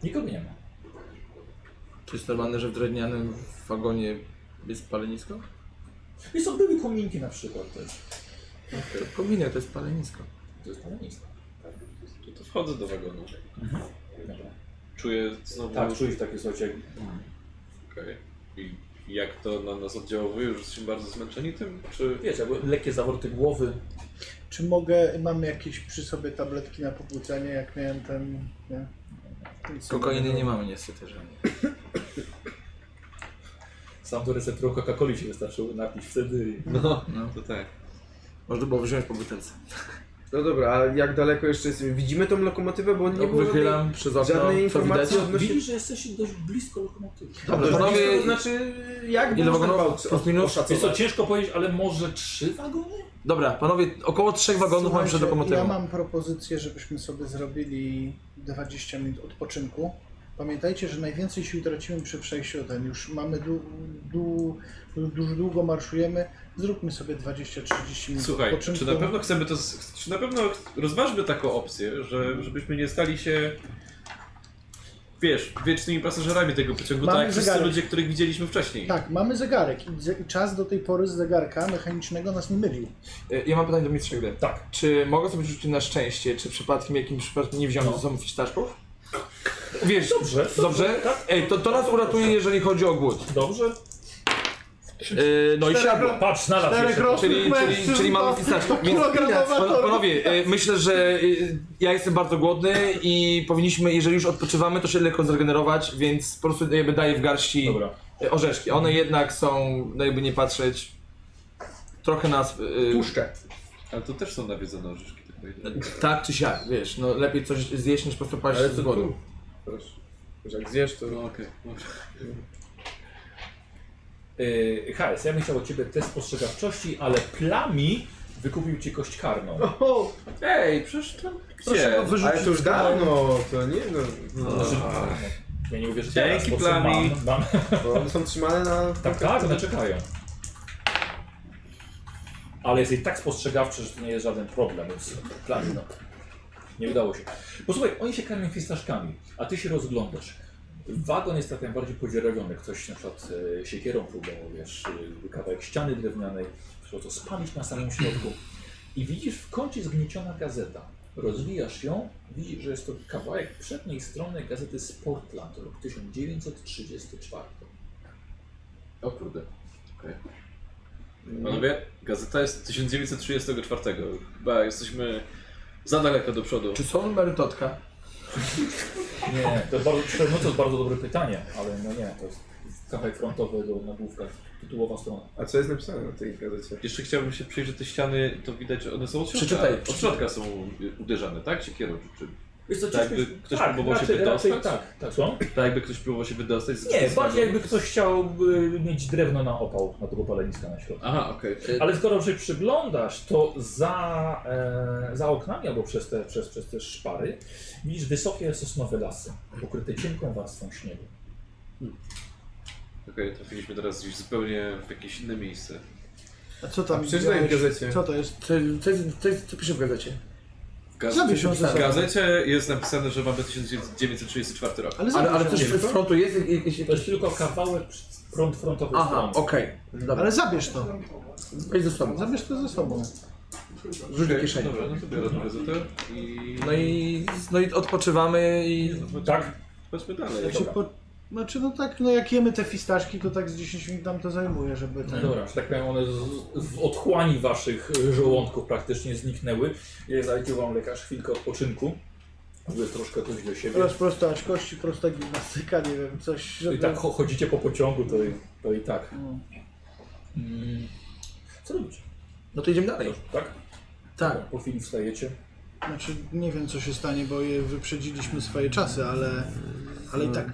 Speaker 1: Nikogo nie ma.
Speaker 4: Czy jest normalne, że w drewnianym wagonie jest palenisko?
Speaker 1: I są były kominki na przykład też.
Speaker 4: To kominek, to jest palenisko.
Speaker 1: To jest palenisko.
Speaker 3: To, to wchodzę do wagonu. Czuję znowu...
Speaker 1: Tak, czujesz takie, słuchajcie, jak
Speaker 3: Okej. I jak to na nas oddziałuje? Już jesteśmy bardzo zmęczeni tym? Czy...
Speaker 1: wiecie, jakby lekkie zawroty głowy.
Speaker 2: Czy mogę, mam jakieś przy sobie tabletki na pobudzenie, jak miałem ten... Nie? Nic
Speaker 4: Kokainy nie mamy niestety żadnej.
Speaker 1: Sam do receptoru Coca-Coli się wystarczyło napić wtedy.
Speaker 3: No, to tak.
Speaker 4: Można było wziąć po butelce.
Speaker 5: No dobra, a jak daleko jeszcze jesteśmy? Widzimy tą lokomotywę, bo nie
Speaker 4: No,
Speaker 5: było żadnej...
Speaker 4: wychylam przez okno,
Speaker 5: żadnej
Speaker 4: co widać?
Speaker 5: informacji odnośnie-
Speaker 1: no, Widzisz, że jesteś dość blisko lokomotywy.
Speaker 4: Dobra,
Speaker 5: To
Speaker 4: panowie,
Speaker 5: znaczy, jak
Speaker 4: No, ile
Speaker 5: było
Speaker 4: wagonów?
Speaker 5: pałce
Speaker 4: Plus minus?
Speaker 1: Wiesz co,
Speaker 5: oszacować?
Speaker 1: ciężko powiedzieć, ale może trzy wagony?
Speaker 4: dobra, panowie, około trzech wagonów mamy przed
Speaker 2: Słuchajcie,
Speaker 4: lokomotywą.
Speaker 2: Ja mam propozycję, żebyśmy sobie zrobili 20 minut odpoczynku. Pamiętajcie, że najwięcej sił tracimy przy przejściu ten. Już mamy du, du, dużo długo marszujemy. Zróbmy sobie 20-30 minut
Speaker 3: Słuchaj,
Speaker 2: odpoczynku.
Speaker 3: czy na pewno chcemy to... z- Czy na pewno rozważmy taką opcję, że, żebyśmy nie stali się... Wiesz, wiecznymi pasażerami tego pociągu,
Speaker 2: Mamy
Speaker 3: tak jak wszyscy
Speaker 2: zegarek.
Speaker 3: ludzie, których widzieliśmy wcześniej.
Speaker 2: Tak, mamy zegarek i, ze, i czas do tej pory z zegarka mechanicznego nas nie mylił.
Speaker 4: E, Ja mam pytanie do mistrza gry.
Speaker 1: Tak.
Speaker 4: Czy mogę sobie rzucić na szczęście, czy przypadkiem jakimś przypadkiem nie wziąłem ze sobą fisztaszków?
Speaker 5: Tak.
Speaker 4: Wiesz,
Speaker 1: Dobrze,
Speaker 4: dobrze?
Speaker 1: tak.
Speaker 4: Ej, to, to nas uratuje, jeżeli chodzi o głód.
Speaker 1: Dobrze.
Speaker 4: E, no i siadło.
Speaker 1: Patrz, na lat jeszcze.
Speaker 4: Czyli, czyli, czyli mamy fisztaszków. Więc, Pan- panowie, e, myślę, że e, ja jestem bardzo głodny i powinniśmy, jeżeli już odpoczywamy, to się lekko zregenerować, więc po prostu jakby daję w garści
Speaker 1: Dobra.
Speaker 4: e, orzeszki. One jednak są, no jakby nie patrzeć, trochę nas... e,
Speaker 5: Puszczę.
Speaker 3: Ale to też są nawiedzone orzeszki, tak powiem.
Speaker 4: Tak czy siak, wiesz, no lepiej coś zjeść niż po prostu paść
Speaker 5: Ale
Speaker 4: z
Speaker 5: to
Speaker 4: głodu.
Speaker 5: tu. Proszę. Że jak zjesz, to...
Speaker 3: No okej, dobrze.
Speaker 1: Yy, Hales, ja bym chciał od ciebie test spostrzegawczości, ale plami wykupił ci kość karną.
Speaker 5: O,
Speaker 3: Ej, przecież to...
Speaker 5: nie,
Speaker 3: Gdzie?
Speaker 5: ale to już dawno, to nie no.
Speaker 1: Znaczy, ja nie uwierzę
Speaker 3: Dzięki,
Speaker 1: bo co
Speaker 3: plami.
Speaker 1: Mam, mam.
Speaker 5: Bo one są trzymane na...
Speaker 1: Tak, tak, one czekają. Ale jesteś tak spostrzegawczy, że to nie jest żaden problem, więc plami, no. Nie udało się. Posłuchaj, oni się karmią fistaszkami, a ty się rozglądasz. Wagon jest tak najbardziej podzierawiony. Ktoś na przykład e, siekierą próbował, wiesz, e, kawałek ściany drewnianej, trzeba to spalić na samym środku. I widzisz w kącie zgnieciona gazeta. Rozwijasz ją, widzisz, że jest to kawałek przedniej strony gazety Sportland, rok 1934.
Speaker 3: O kurde. Okej. Panowie, gazeta jest 1934. Chyba jesteśmy za daleko do przodu.
Speaker 4: Czy są numery Totka?
Speaker 1: Nie, to bardzo, szczerze mówiąc, to jest bardzo dobre pytanie, ale no nie, to jest kawałek frontowy do nagłówka, tytułowa strona.
Speaker 5: A co jest napisane na tej gazecie?
Speaker 3: Jeszcze chciałbym się przyjrzeć, te ściany, to widać, że one są od środka.
Speaker 4: Przeczytaj.
Speaker 3: Od środka są y, uderzane, tak? Siekierą czy czym?
Speaker 7: Wiesz co,
Speaker 6: Tak,
Speaker 7: ciężko
Speaker 6: jakby
Speaker 7: jest-
Speaker 6: ktoś
Speaker 1: tak,
Speaker 6: próbował się
Speaker 1: raczej,
Speaker 6: wydostać?
Speaker 1: raczej tak, tak. Co?
Speaker 6: Tak jakby ktoś próbował się wydostać z
Speaker 1: Nie,
Speaker 6: z-
Speaker 1: bardziej jakby ktoś chciał y, mieć drewno na opał, na tego paleniska na środku.
Speaker 3: Aha, okej.
Speaker 6: Y-
Speaker 1: Ale skoro się przyglądasz, to za, e, za oknami albo przez te, przez, przez te szpary widzisz wysokie sosnowe lasy, pokryte cienką warstwą śniegu.
Speaker 6: Okej, trafiliśmy teraz gdzieś zupełnie w jakieś inne miejsce.
Speaker 2: A co tam
Speaker 5: Przeczytaj w
Speaker 2: widziałeś?
Speaker 5: gazecie.
Speaker 2: Co to jest?
Speaker 4: Co, co, co, co pisze w gazecie?
Speaker 2: Zabierz ją ze
Speaker 6: W
Speaker 2: sobą.
Speaker 6: gazecie jest napisane, że mamy 1934 rok.
Speaker 2: Ale,
Speaker 4: Ale,
Speaker 2: zabierz
Speaker 4: ale
Speaker 2: ją
Speaker 4: coś
Speaker 2: ze
Speaker 4: z
Speaker 2: sobą.
Speaker 4: frontu jest jakiś...
Speaker 1: To jest tylko kawałek front frontowy
Speaker 4: Aha,
Speaker 1: strony.
Speaker 4: okej. Dobra,
Speaker 2: Ale zabierz to.
Speaker 4: weź ze sobą.
Speaker 2: Zabierz to ze sobą.
Speaker 4: Rzuć do kieszeni.
Speaker 6: Dobra, no to biorę tą gazetę i...
Speaker 4: No i, no i odpoczywamy i...
Speaker 1: Tak?
Speaker 6: Chodźmy dalej.
Speaker 2: Czy po... Znaczy no tak, no jak jemy te fistaszki, to tak z 10 minut nam to zajmuje, żeby ten...
Speaker 1: Dobra, że tak powiem, one z, w otchłani waszych y, żołądków praktycznie zniknęły. Ja zaliczył wam lekarz chwilkę odpoczynku, żeby troszkę coś do siebie.
Speaker 2: Teraz prosto aż kości, prosta gimnastyka, nie wiem, coś, żeby... No.
Speaker 1: I tak cho- chodzicie po pociągu, to, i- to i tak. Mm. Co robicie?
Speaker 4: No to idziemy dalej.
Speaker 1: Tak?
Speaker 4: Tak.
Speaker 1: Po chwili wstajecie.
Speaker 2: Znaczy, nie wiem co się stanie, bo je wyprzedziliśmy swoje czasy, ale, ale i tak.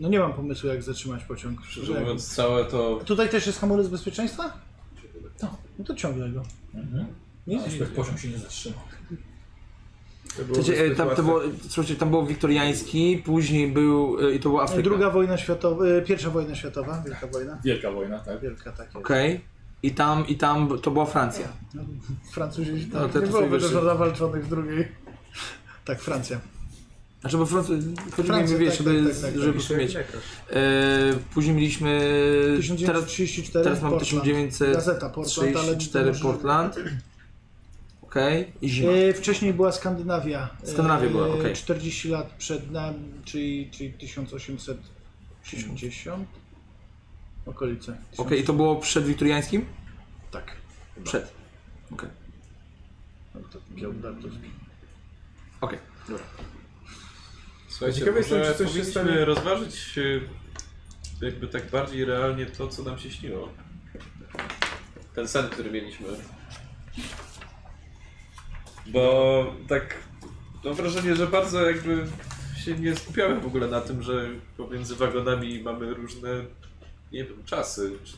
Speaker 2: No nie mam pomysłu, jak zatrzymać pociąg.
Speaker 3: Szczerze
Speaker 2: Jak-
Speaker 3: mówiąc, całe to...
Speaker 2: Tutaj też jest hamulec bezpieczeństwa?
Speaker 1: Tak.
Speaker 2: No to ciągle go.
Speaker 1: Nic, pociąg się nie zatrzymał.
Speaker 4: Słuchajcie, e, tam, to było, słuchajcie, tam był wiktoriański, później był... e, i to była Afryka.
Speaker 2: Druga wojna światowa, e, pierwsza wojna światowa, wielka wojna.
Speaker 1: Wielka wojna, tak?
Speaker 2: Wielka tak jest. No,
Speaker 4: Okej. I tam, i tam to była Francja.
Speaker 2: Francuzi
Speaker 4: No,
Speaker 2: tak,
Speaker 4: te
Speaker 2: nie
Speaker 4: to
Speaker 2: było
Speaker 4: są wyższe.
Speaker 2: dużo zawalczonych w drugiej. Tak, Francja.
Speaker 4: Znaczy, bo Francja,
Speaker 2: Francja,
Speaker 4: Francja wiesz,
Speaker 2: tak,
Speaker 4: żeby,
Speaker 2: tak, tak, tak,
Speaker 4: żeby mieć. E, później mieliśmy. Teraz,
Speaker 2: 1934,
Speaker 4: teraz mamy
Speaker 2: Portland.
Speaker 4: 1934
Speaker 2: Gazeta Portland, ale...
Speaker 4: Portland. Okej, i zima.
Speaker 2: E, wcześniej była Skandynawia. E,
Speaker 4: No. Skandynawia była, okej.
Speaker 2: 40 lat przed nami, czyli, czyli 1860. Okolice.
Speaker 4: Okej, i to było przed wiktoriańskim?
Speaker 2: Tak.
Speaker 4: Przed.
Speaker 2: No to Giełdartowski.
Speaker 4: Okej. E,
Speaker 3: Słuchajcie,
Speaker 5: Ciekawe jestem,
Speaker 3: może
Speaker 5: czy coś się
Speaker 3: powinniśmy
Speaker 5: stanie-
Speaker 3: rozważyć e, jakby tak bardziej realnie to, co nam się śniło. Ten sen, który mieliśmy. Bo tak mam wrażenie, że bardzo jakby się nie skupiamy w ogóle na tym, że pomiędzy wagonami mamy różne, nie wiem, czasy. Czy,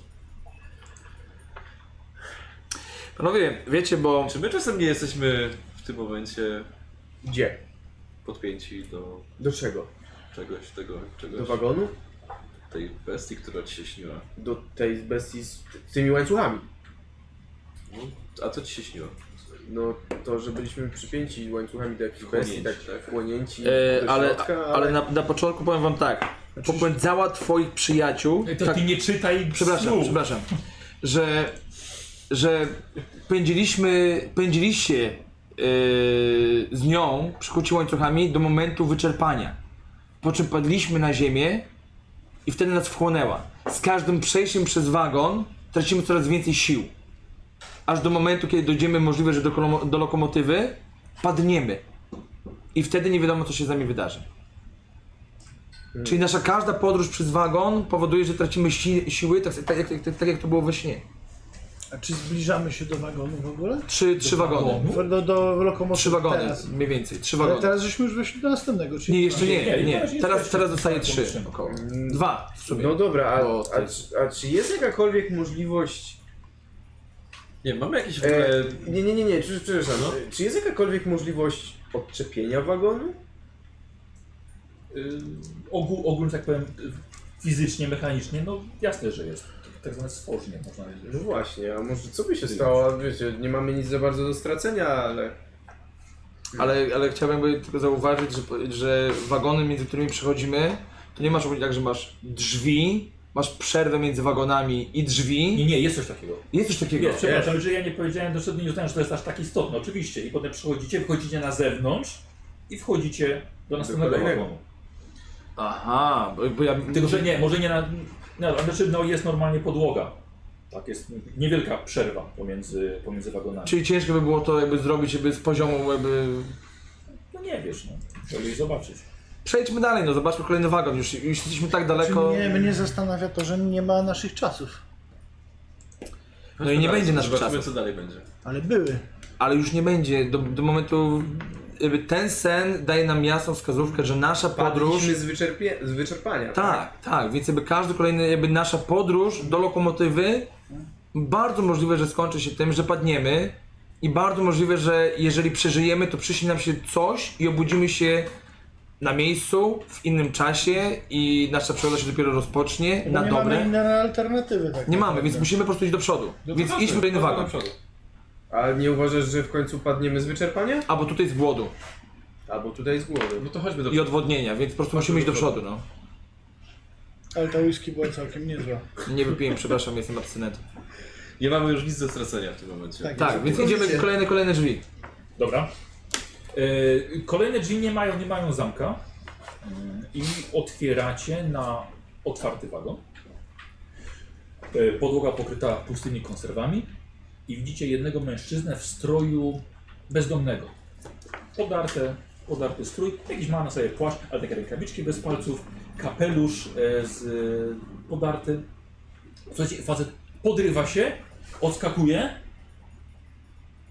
Speaker 4: Panowie, wiecie, bo.
Speaker 3: czy my czasem nie jesteśmy w tym momencie
Speaker 5: Gdzie?
Speaker 3: podpięci do
Speaker 5: Do czego?
Speaker 3: czegoś, tego,
Speaker 5: Do
Speaker 3: czegoś,
Speaker 5: wagonu?
Speaker 3: tej bestii, która ci się śniła?
Speaker 5: Do tej bestii z tymi łańcuchami.
Speaker 3: No, a co ci się śniło?
Speaker 5: No to, że byliśmy przypięci łańcuchami do jakichś bestii,
Speaker 3: Wchłonięci,
Speaker 5: tak
Speaker 3: tak?
Speaker 5: wchłonięci
Speaker 4: E,
Speaker 5: do
Speaker 4: ale
Speaker 5: środka,
Speaker 4: ale na, na początku powiem wam tak.
Speaker 2: Znaczy-
Speaker 4: Popędzała twoich przyjaciół.
Speaker 1: To
Speaker 4: tak,
Speaker 1: ty nie czytaj
Speaker 4: przepraszam,
Speaker 1: snu.
Speaker 4: przepraszam. Że, że pędziliśmy, pędziliście yy, z nią, przykuci łańcuchami, do momentu wyczerpania. Po czym padliśmy na ziemię i wtedy nas wchłonęła. Z każdym przejściem przez wagon tracimy coraz więcej sił. Aż do momentu, kiedy dojdziemy możliwe, że do, kolomo- do lokomotywy, padniemy. I wtedy nie wiadomo, co się z nami wydarzy. Czyli nasza każda podróż przez wagon powoduje, że tracimy si siły, tak, tak, tak, tak, tak jak to było we śnie.
Speaker 2: A czy zbliżamy się do wagonu w ogóle?
Speaker 4: Trzy, trzy wagony.
Speaker 2: Do, do, do lokomotywy
Speaker 4: Trzy wagony,
Speaker 2: Teraz.
Speaker 4: mniej więcej. Trzy
Speaker 2: Ale
Speaker 4: wagony.
Speaker 2: teraz żeśmy już weszli do następnego, czyli...
Speaker 4: Nie, jeszcze
Speaker 1: Nie,
Speaker 4: nie,
Speaker 1: nie,
Speaker 4: nie.
Speaker 1: teraz nie
Speaker 4: Teraz,
Speaker 1: jesteśmy
Speaker 4: teraz zostaje
Speaker 1: w tym
Speaker 4: trzy
Speaker 1: samym
Speaker 4: około.
Speaker 5: Mm,
Speaker 4: Dwa w sumie.
Speaker 5: No dobra, a,
Speaker 4: Bo
Speaker 5: a,
Speaker 4: to jest-
Speaker 5: czy- a czy jest jakakolwiek możliwość
Speaker 3: Nie, mamy jakieś w ogóle...
Speaker 5: E, nie, nie, nie, nie, prze- przepraszam.
Speaker 3: No.
Speaker 5: E, Czy jest jakakolwiek możliwość odczepienia wagonu?
Speaker 1: Y, ogół, ogólnie tak powiem, y, fizycznie, mechanicznie, no jasne, że jest. Tak zwane stworzenie, można powiedzieć.
Speaker 5: No właśnie, a może co by się stało? Wiecie, nie mamy nic za bardzo do stracenia, ale...
Speaker 4: Ale, ale chciałbym jakby tylko zauważyć, że, że wagony, między którymi przechodzimy, to nie masz ogólnie tak, że masz drzwi, masz przerwę między wagonami i
Speaker 1: Nie,
Speaker 4: drzwi.
Speaker 1: nie, jest coś takiego.
Speaker 4: Jest coś takiego.
Speaker 1: Nie, przepraszam, że ja nie powiedziałem, doszedłem nie uznałem, że to jest aż tak istotne, oczywiście. I potem przychodzicie, wychodzicie na zewnątrz i wchodzicie do następnego
Speaker 5: kolejnego.
Speaker 1: wagonu.
Speaker 4: Aha, bo, bo ja...
Speaker 1: Tylko, że nie, może nie na... No, znaczy, no jest normalnie podłoga. Tak, jest niewielka przerwa pomiędzy, pomiędzy wagonami.
Speaker 4: Czyli ciężko by było to jakby zrobić jakby z poziomu jakby
Speaker 1: No nie wiesz, no. Chciałbyś zobaczyć.
Speaker 4: Przejdźmy dalej, no zobaczmy kolejny wagon. Już, już jesteśmy tak
Speaker 2: Czy
Speaker 4: daleko.
Speaker 2: Znaczy, nie, mnie zastanawia to, że nie ma naszych czasów.
Speaker 4: No i nie będzie naszych
Speaker 3: Zobaczymy,
Speaker 4: czasów.
Speaker 3: co dalej będzie.
Speaker 2: Ale były.
Speaker 4: Ale już nie będzie do, do momentu jakby ten sen daje nam jasną wskazówkę, że nasza podróż...
Speaker 5: Padliśmy z, wyczerpie... z wyczerpania.
Speaker 4: Tak, tak, więc jakby każdy kolejny, jakby nasza podróż do lokomotywy bardzo możliwe, że skończy się tym, że padniemy i bardzo możliwe, że jeżeli przeżyjemy, to przyśni nam się coś i obudzimy się na miejscu, w innym czasie i nasza przygoda się dopiero rozpocznie
Speaker 2: Bo
Speaker 4: na
Speaker 2: No nie mamy
Speaker 4: dobre.
Speaker 2: innej alternatywy. Tak
Speaker 4: Nie mamy,
Speaker 2: naprawdę.
Speaker 4: więc musimy po prostu iść do przodu. więc idźmy kolejny wagon.
Speaker 5: A nie uważasz, że w końcu padniemy z wyczerpania?
Speaker 4: Albo tutaj z głodu
Speaker 5: Albo tutaj z głowy.
Speaker 6: No to chodźmy do
Speaker 4: i odwodnienia, więc po prostu musimy iść do przodu, no.
Speaker 2: Ale ta whisky była całkiem niezła.
Speaker 4: Nie wypiłem, przepraszam, jestem abstynentem.
Speaker 6: Nie mamy już nic do stracenia w tym momencie.
Speaker 2: Tak.
Speaker 4: Tak, więc idziemy kolejne, kolejne drzwi.
Speaker 1: Dobra. E, Kolejne drzwi nie mają, nie mają zamka. Mm, I otwieracie na otwarty wagon. E, Podłoga pokryta pustymi konserwami. I widzicie jednego mężczyznę w stroju bezdomnego. Podarte, podarty strój. Jakiś ma na sobie płaszcz, ale takie rękawiczki bez palców. Kapelusz e, z, e, podarty. Słuchajcie, facet podrywa się, odskakuje.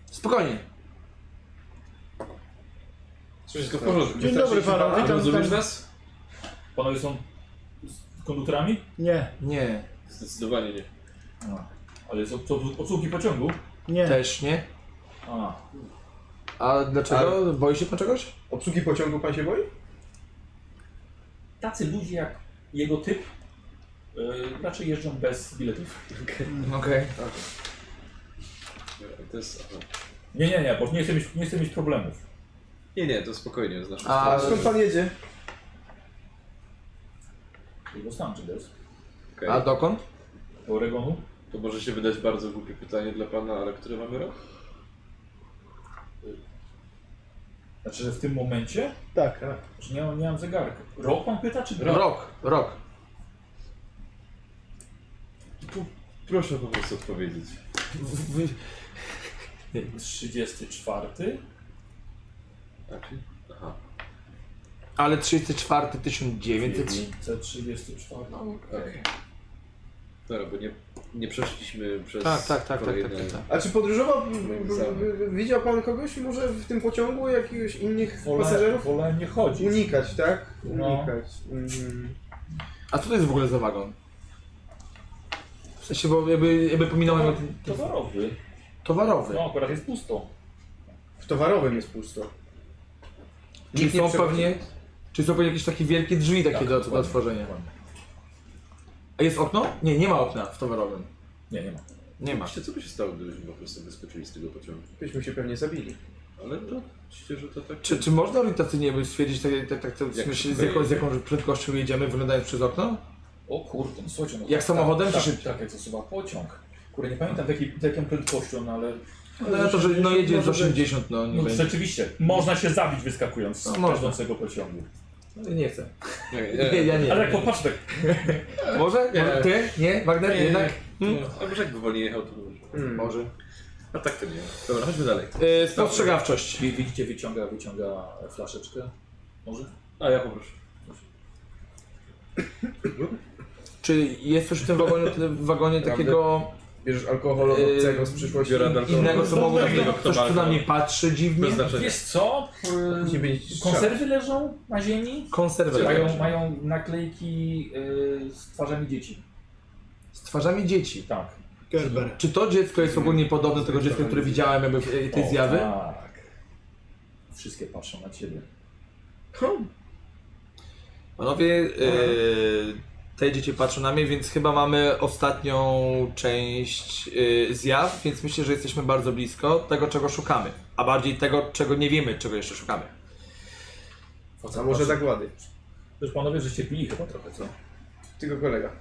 Speaker 4: Spokojnie.
Speaker 6: Wszystko w porządku.
Speaker 2: Dzień dobry panu,
Speaker 6: A
Speaker 2: witam.
Speaker 6: rozumiesz
Speaker 2: witam.
Speaker 6: nas?
Speaker 1: Panowie są z konduktorami?
Speaker 2: Nie,
Speaker 4: Nie,
Speaker 6: Zdecydowanie nie.
Speaker 1: Ale są No. co, obsługi pociągu?
Speaker 2: nie.
Speaker 4: też nie.
Speaker 1: A,
Speaker 4: A dlaczego? Boi się pan czegoś?
Speaker 5: Obsługi pociągu pan się boi?
Speaker 1: tacy ludzie jak jego typ y, raczej jeżdżą bez biletów.
Speaker 4: Okej.
Speaker 6: To jest... aha.
Speaker 1: Nie, nie, nie, bo nie chcę mieć, nie chcę mieć problemów.
Speaker 6: Nie, nie, to spokojnie, znasz.
Speaker 4: A
Speaker 5: Skąd pan jedzie?
Speaker 1: Jego stan czy też?
Speaker 4: A dokąd?
Speaker 1: Do Oregonu?
Speaker 6: To może się wydać bardzo głupie pytanie dla pana, ale który mamy rok?
Speaker 1: Znaczy, że w tym momencie?
Speaker 2: Tak.
Speaker 1: Czy nie, nie mam zegarka. Rok pan pyta, czy dwa?
Speaker 4: Rok, rok.
Speaker 6: Proszę po prostu odpowiedzieć.
Speaker 1: 34.
Speaker 6: Raczej? Aha.
Speaker 4: Ale 34 1900.
Speaker 1: 934.
Speaker 6: Okej. Dobra, bo nie, nie przeszliśmy przez
Speaker 4: Tak, tak, tak, tak,
Speaker 6: kolejne...
Speaker 4: tak, tak, tak.
Speaker 5: A czy podróżował?
Speaker 6: Moim zdaniem.
Speaker 5: Widział pan kogoś może w tym pociągu, jakiegoś innych
Speaker 1: Wolę,
Speaker 5: pasażerów?
Speaker 1: wolę nie chodzić.
Speaker 5: Unikać, tak?
Speaker 1: No.
Speaker 5: Unikać. Mhm.
Speaker 4: A co to jest w ogóle za wagon? W sensie, bo jakby, jakby pominąłem ten
Speaker 1: No, Towarowy.
Speaker 4: towarowy.
Speaker 1: No, akurat jest pusto.
Speaker 5: W towarowym jest pusto.
Speaker 4: Czy
Speaker 5: Nikt nie
Speaker 4: są
Speaker 5: przechodzi.
Speaker 4: pewnie, czy są pewnie jakieś takie wielkie drzwi takie do, do
Speaker 1: dokładnie,
Speaker 4: otworzenia?
Speaker 1: dokładnie.
Speaker 4: A jest okno? Nie, nie ma okna w towarowym.
Speaker 1: Nie, nie ma.
Speaker 4: Nie ma.
Speaker 6: Właśnie, co by się stało, gdybyśmy po prostu wyskoczyli z tego pociągu?
Speaker 5: Byśmy się pewnie zabili.
Speaker 6: Ale to, myślę, że to tak...
Speaker 4: Czy, czy można orientacyjnie by stwierdzić, tak, tak, tak, tak w
Speaker 6: Jak
Speaker 4: sensie, z,
Speaker 6: szybko
Speaker 4: jaką, z
Speaker 6: jedzie.
Speaker 4: jaką prędkością jedziemy, wyglądając przez okno?
Speaker 1: O kurde, no słuchajcie, no
Speaker 4: Jak
Speaker 1: tak,
Speaker 4: samochodem,
Speaker 1: tak,
Speaker 4: czy
Speaker 1: tak, tak, jak zasuwa pociąg. Kurde, nie pamiętam w jakiej, z jaką prędkością, no ale
Speaker 4: No to, że no jedzie z
Speaker 2: Może być.
Speaker 4: 80, no nie
Speaker 1: no,
Speaker 4: będzie. No,
Speaker 1: rzeczywiście, można się zabić wyskakując z
Speaker 4: Można.
Speaker 1: każdącego pociągu.
Speaker 4: No, Nie chcę.
Speaker 6: Nie,
Speaker 4: Nie, ja nie.
Speaker 1: Ale jak popatrz tak,
Speaker 4: Może?
Speaker 6: Nie.
Speaker 4: Może ty? Nie? Wagner?
Speaker 6: Nie,
Speaker 4: Jednak?
Speaker 6: nie. A może jakby wolniej jechał, to może.
Speaker 5: Hmm.
Speaker 4: Może.
Speaker 6: A tak to nie. Dobra, chodźmy dalej.
Speaker 4: Yy, spostrzegawczość.
Speaker 1: wi- widzicie, wyciąga, wyciąga flaszeczkę, może?
Speaker 6: A ja poproszę.
Speaker 4: Czy jest coś w tym wagonie, w wagonie takiego
Speaker 5: Bierzesz alkohol od
Speaker 4: Yy,
Speaker 5: obcego z przyszłości.
Speaker 6: biorę alkohol.
Speaker 4: innego, co mogło
Speaker 6: Innego, kto
Speaker 4: coś, co
Speaker 6: walka.
Speaker 4: na mnie patrzy dziwnie?
Speaker 6: Bez znaczenia.
Speaker 1: Wiesz co,
Speaker 4: Tak
Speaker 1: Y,
Speaker 5: Później będzie
Speaker 1: konserwy leżą na ziemi,
Speaker 4: Konserwę.
Speaker 1: mają, mają naklejki y, z twarzami dzieci.
Speaker 4: Z twarzami dzieci.
Speaker 1: Tak.
Speaker 2: Gerber.
Speaker 4: Czy to dziecko jest ogólnie podobne do tego dziecka, które widziałem jakby w e, tej
Speaker 1: O,
Speaker 4: zjawy?
Speaker 1: Tak. Wszystkie patrzą na ciebie.
Speaker 4: Panowie, yy, te dzieci patrzą na mnie, więc chyba mamy ostatnią część yy, zjaw, więc myślę, że jesteśmy bardzo blisko tego, czego szukamy. A bardziej tego, czego nie wiemy, czego jeszcze szukamy.
Speaker 1: Facet
Speaker 5: A może
Speaker 1: patrzy-
Speaker 4: tak
Speaker 5: zagłady.
Speaker 1: Wiesz panowie, żeście pili chyba trochę, co?
Speaker 5: Tylko kolega.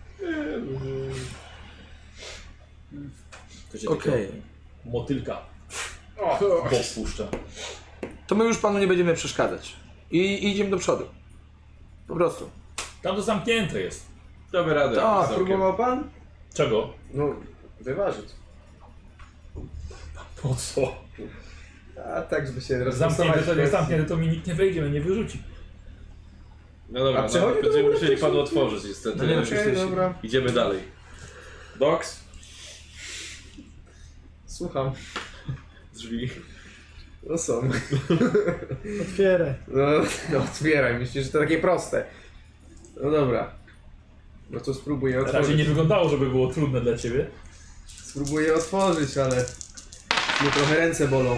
Speaker 1: Chcecie takiego
Speaker 4: Okej.
Speaker 1: Motylka
Speaker 5: O,
Speaker 1: popuszcza.
Speaker 4: To my już panu nie będziemy przeszkadzać. I, i idziemy do przodu. Po prostu.
Speaker 1: Tam to zamknięte jest.
Speaker 6: Damy radę.
Speaker 4: Tak,
Speaker 6: całkiem.
Speaker 5: próbował pan?
Speaker 1: Czego?
Speaker 5: No, wyważyć.
Speaker 1: Po co?
Speaker 5: A tak, żeby się
Speaker 1: Zamknięte
Speaker 5: rozpoznawać.
Speaker 1: to, jak zamknięte to mi nikt nie wejdzie, mnie nie wyrzuci.
Speaker 6: No dobra,
Speaker 5: A
Speaker 6: no,
Speaker 5: przechodzi do
Speaker 6: będziemy
Speaker 5: domu
Speaker 6: musieli
Speaker 5: wcześniej?
Speaker 6: panu otworzyć niestety.
Speaker 4: No nie, no,
Speaker 5: Okej, dobra.
Speaker 6: Idziemy dalej. Doks,
Speaker 5: Słucham.
Speaker 6: drzwi.
Speaker 5: No są.
Speaker 2: Otwieraj.
Speaker 5: No, no otwieraj, myślisz, że to takie proste. No dobra. No to spróbuję
Speaker 1: Na razie
Speaker 5: otworzyć.
Speaker 1: nie wyglądało, żeby było trudne dla ciebie.
Speaker 5: Spróbuję otworzyć, ale... Mnie trochę ręce bolą.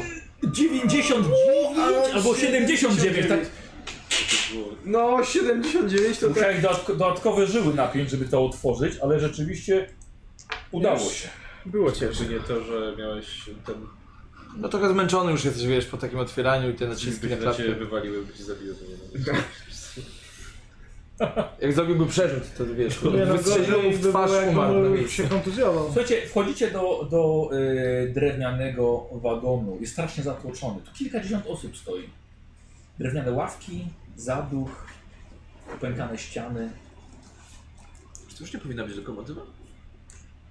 Speaker 1: 99 albo 79, tak
Speaker 5: No, 79 to tak...
Speaker 1: Musiałem dodatk- dodatkowe żyły napiąć, żeby to otworzyć, ale rzeczywiście udało
Speaker 5: Już.
Speaker 1: się.
Speaker 5: Było ciężko.
Speaker 6: nie to, że miałeś ten...
Speaker 4: No trochę zmęczony już jesteś, wiesz, po takim otwieraniu i te naciski na klatkę.
Speaker 6: wywaliły, by cię zabiły. To nie wiem.
Speaker 4: Jak zrobiłby przerzut, to wiesz,
Speaker 2: Nie no,
Speaker 4: wystrzelił mu
Speaker 2: gorzej
Speaker 4: w
Speaker 2: by było,
Speaker 4: twarz,
Speaker 2: jak
Speaker 4: umarł na
Speaker 2: on
Speaker 4: miejscu.
Speaker 2: się kontuzjował.
Speaker 1: Słuchajcie, wchodzicie do, do e, drewnianego wagonu. Jest strasznie zatłoczony. Tu kilkadziesiąt osób stoi. Drewniane ławki, zaduch, pękane ściany.
Speaker 6: Czy to już nie powinna być lokomotywa?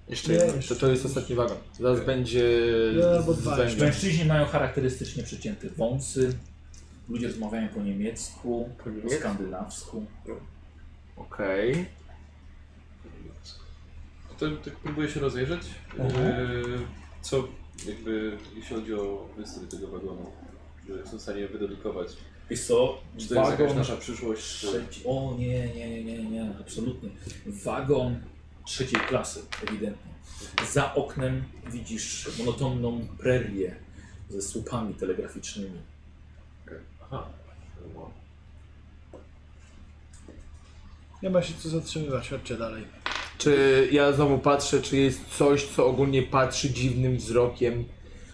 Speaker 4: Jeszcze jedno.
Speaker 2: Wiesz.
Speaker 4: To, to jest ostatni wagon. Zaraz będzie
Speaker 2: Ja,
Speaker 4: z,
Speaker 2: bo
Speaker 4: z
Speaker 2: dwa
Speaker 4: węglem.
Speaker 1: Mężczyźni mają charakterystycznie przecięte wąsy. Ludzie rozmawiają po niemiecku, po
Speaker 5: niemiecku?
Speaker 1: skandynawsku.
Speaker 4: Okej.
Speaker 3: To, tak próbuję się rozejrzeć.
Speaker 4: Mhm.
Speaker 3: Yy, co jakby, jeśli chodzi o wystrój tego wagonu, że jestem w stanie wydedukować.
Speaker 1: Wiesz co?
Speaker 3: Czy to jest jakaś
Speaker 1: Wagon-
Speaker 3: nasza przyszłość? Czy...
Speaker 1: Trzeci. O nie, nie, nie, nie, nie, absolutnie. Wagon trzeciej klasy, ewidentnie. Za oknem widzisz monotonną prerię ze słupami telegraficznymi.
Speaker 3: Aha.
Speaker 2: Nie ma się co zatrzymywać, chodźcie dalej.
Speaker 4: Czy ja znowu patrzę, czy jest coś, co ogólnie patrzy dziwnym wzrokiem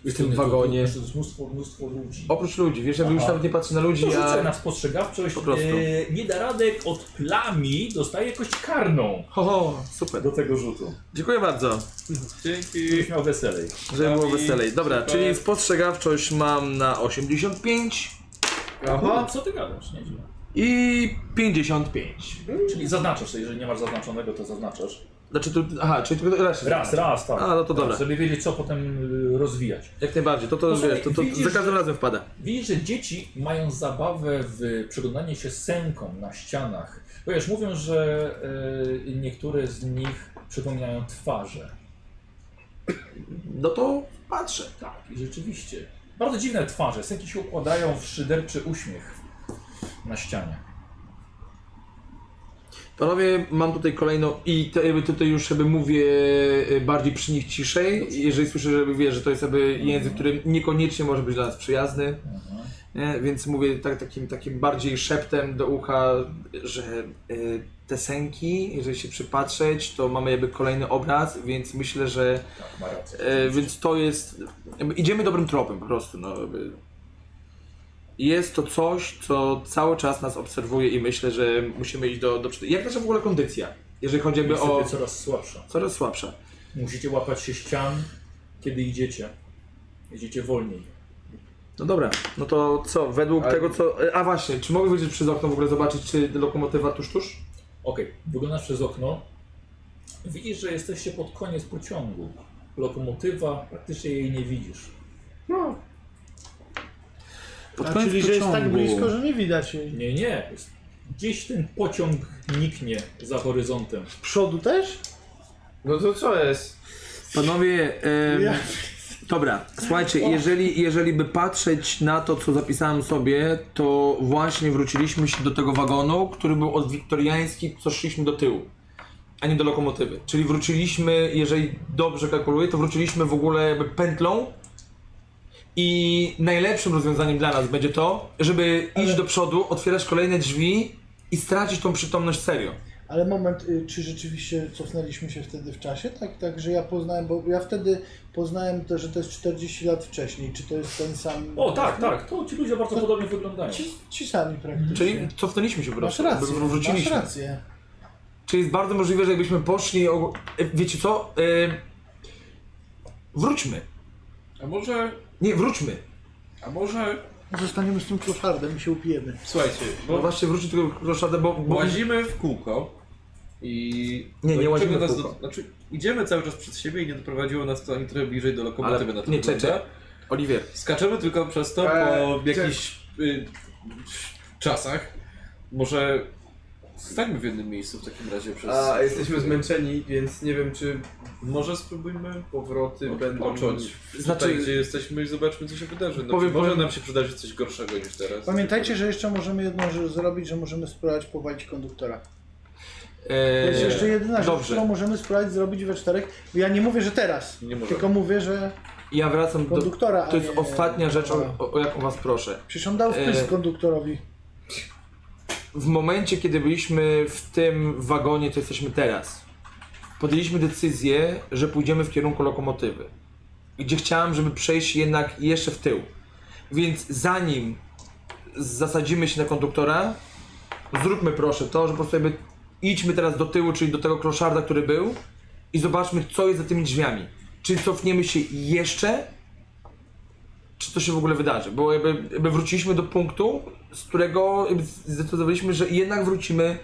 Speaker 4: w tym wagonie?
Speaker 1: To jest mnóstwo, mnóstwo ludzi.
Speaker 4: Oprócz ludzi, wiesz, ja bym już
Speaker 1: Aha.
Speaker 4: nawet nie patrzył na ludzi,
Speaker 1: To rzucę
Speaker 4: a...
Speaker 1: na spostrzegawczość.
Speaker 4: Po prostu.
Speaker 1: E, nie da radek od plami, dostaje kość karną
Speaker 4: Ho, ho, super.
Speaker 1: do tego rzutu.
Speaker 4: Dziękuję bardzo,
Speaker 3: Dzięki.
Speaker 1: Byś miał weselej.
Speaker 4: że było
Speaker 3: Dawid,
Speaker 4: weselej. Dobra,
Speaker 3: super.
Speaker 4: czyli spostrzegawczość mam na 85
Speaker 1: O,
Speaker 5: Aha.
Speaker 1: co ty gadasz? Nie dziwne.
Speaker 4: i 55.
Speaker 1: Czyli zaznaczasz, jeżeli nie masz zaznaczonego, to zaznaczasz.
Speaker 4: Znaczy tu, aha, czyli tylko raz. się
Speaker 1: Raz,
Speaker 4: zaznacza.
Speaker 1: raz, tak.
Speaker 4: A, no to
Speaker 1: Tak,
Speaker 4: dobra.
Speaker 1: Żeby wiedzieć, co potem y, rozwijać.
Speaker 4: Jak najbardziej, to to,
Speaker 1: No
Speaker 4: wiesz,
Speaker 1: słuchaj,
Speaker 4: to, to
Speaker 1: widzisz,
Speaker 4: za każdym
Speaker 1: że-
Speaker 4: razem wpada.
Speaker 1: Widzisz, że dzieci mają zabawę w przeglądanie się scenką na ścianach. Bo Wiesz, mówią, że y, niektóre z nich przypominają twarze.
Speaker 4: No to patrzę.
Speaker 1: Tak, i rzeczywiście. Bardzo dziwne twarze. Scenki się układają w szyderczy uśmiech na ścianie.
Speaker 4: Panowie, mam tutaj kolejną i to jakby tutaj już jakby mówię e, bardziej przy nich ciszej, jeżeli słyszę, żeby wie, że to jest jakby język, który niekoniecznie może być dla nas przyjazny, nie? więc mówię tak, takim, takim bardziej szeptem do ucha, że e, te senki, jeżeli się przypatrzeć, to mamy jakby kolejny obraz, więc myślę, że
Speaker 1: Tak, ma rację.
Speaker 4: E, więc to jest. jakby Idziemy dobrym tropem po prostu. No, jakby. Jest to coś, co cały czas nas obserwuje i myślę, że musimy iść do. do przodu. Jak nasza w ogóle kondycja? Jeżeli chodzi jakby
Speaker 1: Niestety
Speaker 4: No o.
Speaker 1: coraz słabsza.
Speaker 4: Coraz słabsza.
Speaker 1: Musicie łapać się ścian, kiedy idziecie. Jedziecie wolniej.
Speaker 4: No dobra, no to co? Według
Speaker 5: Ale-
Speaker 4: tego co. e, A właśnie, czy mogę wyjrzeć przez okno w ogóle zobaczyć, czy lokomotywa tuż tuż?
Speaker 1: Okej, wyglądasz przez okno. Widzisz, że jesteście pod koniec pociągu. Lokomotywa, praktycznie jej nie widzisz.
Speaker 4: Pod
Speaker 2: A,
Speaker 4: koniec
Speaker 2: czyli, że jest tak
Speaker 4: pociągu.
Speaker 2: blisko, że nie widać jej.
Speaker 1: Nie, nie. jest- Gdzieś ten pociąg niknie za horyzontem.
Speaker 2: Z przodu też?
Speaker 5: No to co jest?
Speaker 4: Panowie, em,
Speaker 2: Ja-
Speaker 4: dobra, słuchajcie, jeżeli, jeżeli by patrzeć na to, co zapisałem sobie, to właśnie wróciliśmy się do tego wagonu, który był od wiktoriański, co szliśmy do tyłu, a nie do lokomotywy. Czyli wróciliśmy, jeżeli dobrze kalkuluję, to wróciliśmy w ogóle jakby pętlą i najlepszym rozwiązaniem dla nas będzie to, żeby iść do przodu, otwierać kolejne drzwi i stracić tą przytomność serio.
Speaker 2: Ale moment, y, czy rzeczywiście cofnęliśmy się wtedy w czasie? Tak, tak, że ja poznałem, bo ja wtedy poznałem to, że to jest 40 lat wcześniej. Czy to jest ten sam...
Speaker 1: O, tak, tak. To ci ludzie bardzo
Speaker 2: To-
Speaker 1: podobnie wyglądają.
Speaker 2: Ci, ci sami praktycznie.
Speaker 4: Czyli cofnęliśmy się po
Speaker 2: Masz
Speaker 4: prostu,
Speaker 2: rację,
Speaker 4: jakby wróciliśmy.
Speaker 2: masz rację.
Speaker 4: Czyli jest bardzo możliwe, że jakbyśmy poszli. O... e, Wiecie co? E... Wróćmy.
Speaker 3: A może,
Speaker 4: Nie, wróćmy.
Speaker 3: a może,
Speaker 2: Zostaniemy z tym kloszardem i się upijemy.
Speaker 3: słuchajcie,
Speaker 4: No
Speaker 3: bo
Speaker 4: właśnie wróćmy tego kroszada, bo. bo...
Speaker 3: łazimy w kółko i...
Speaker 4: Nie, nie
Speaker 3: do
Speaker 4: łazimy
Speaker 3: czego
Speaker 4: w
Speaker 3: nas
Speaker 4: kółko.
Speaker 3: Do... Znaczy, idziemy cały czas przed siebie i nie doprowadziło nas to ani trochę bliżej do lokomotywy
Speaker 4: Ale
Speaker 3: na to
Speaker 4: nie,
Speaker 3: wygląda.
Speaker 4: czekaj. Oliwier.
Speaker 3: Skaczemy tylko przez to
Speaker 5: Eee,
Speaker 3: po jakichś y, czasach. Może Stańmy w jednym miejscu w takim razie przez...
Speaker 5: A jesteśmy zmęczeni, więc nie wiem czy
Speaker 3: Może spróbujmy
Speaker 5: powroty
Speaker 3: Od-
Speaker 5: będą...
Speaker 3: począć.
Speaker 4: Znaczy-
Speaker 3: znaczy, tutaj, gdzie jesteśmy i zobaczmy, co się wydarzy. No,
Speaker 4: Powiem-
Speaker 3: może
Speaker 4: powiem-
Speaker 3: nam się przydarzy coś gorszego niż teraz.
Speaker 2: Pamiętajcie, że jeszcze możemy jedną rzecz zrobić, że możemy spróbować powalić konduktora. To
Speaker 4: Eee,
Speaker 2: jest jeszcze jedyna rzecz,
Speaker 4: dobrze.
Speaker 2: którą możemy spróbować zrobić we czterech. Ja nie mówię, że teraz,
Speaker 3: Nie możemy.
Speaker 2: tylko mówię, że
Speaker 4: Ja wracam do...
Speaker 2: konduktora, a
Speaker 4: To jest
Speaker 2: nie-
Speaker 4: ostatnia rzecz, o, o, o jaką was proszę.
Speaker 2: Przecież on dał wpis
Speaker 4: E,
Speaker 2: konduktorowi.
Speaker 4: W momencie, kiedy byliśmy w tym wagonie, co jesteśmy teraz, podjęliśmy decyzję, że pójdziemy w kierunku lokomotywy. Gdzie chciałem, żeby przejść jednak jeszcze w tył. Więc zanim zasadzimy się na konduktora, zróbmy proszę to, że po prostu jakby idźmy teraz do tyłu, czyli do tego kloszarda, który był i zobaczmy, co jest za tymi drzwiami. Czy cofniemy się jeszcze, czy to się w ogóle wydarzy, bo jakby, jakby wróciliśmy do punktu, z którego jakby zdecydowaliśmy, że jednak wrócimy,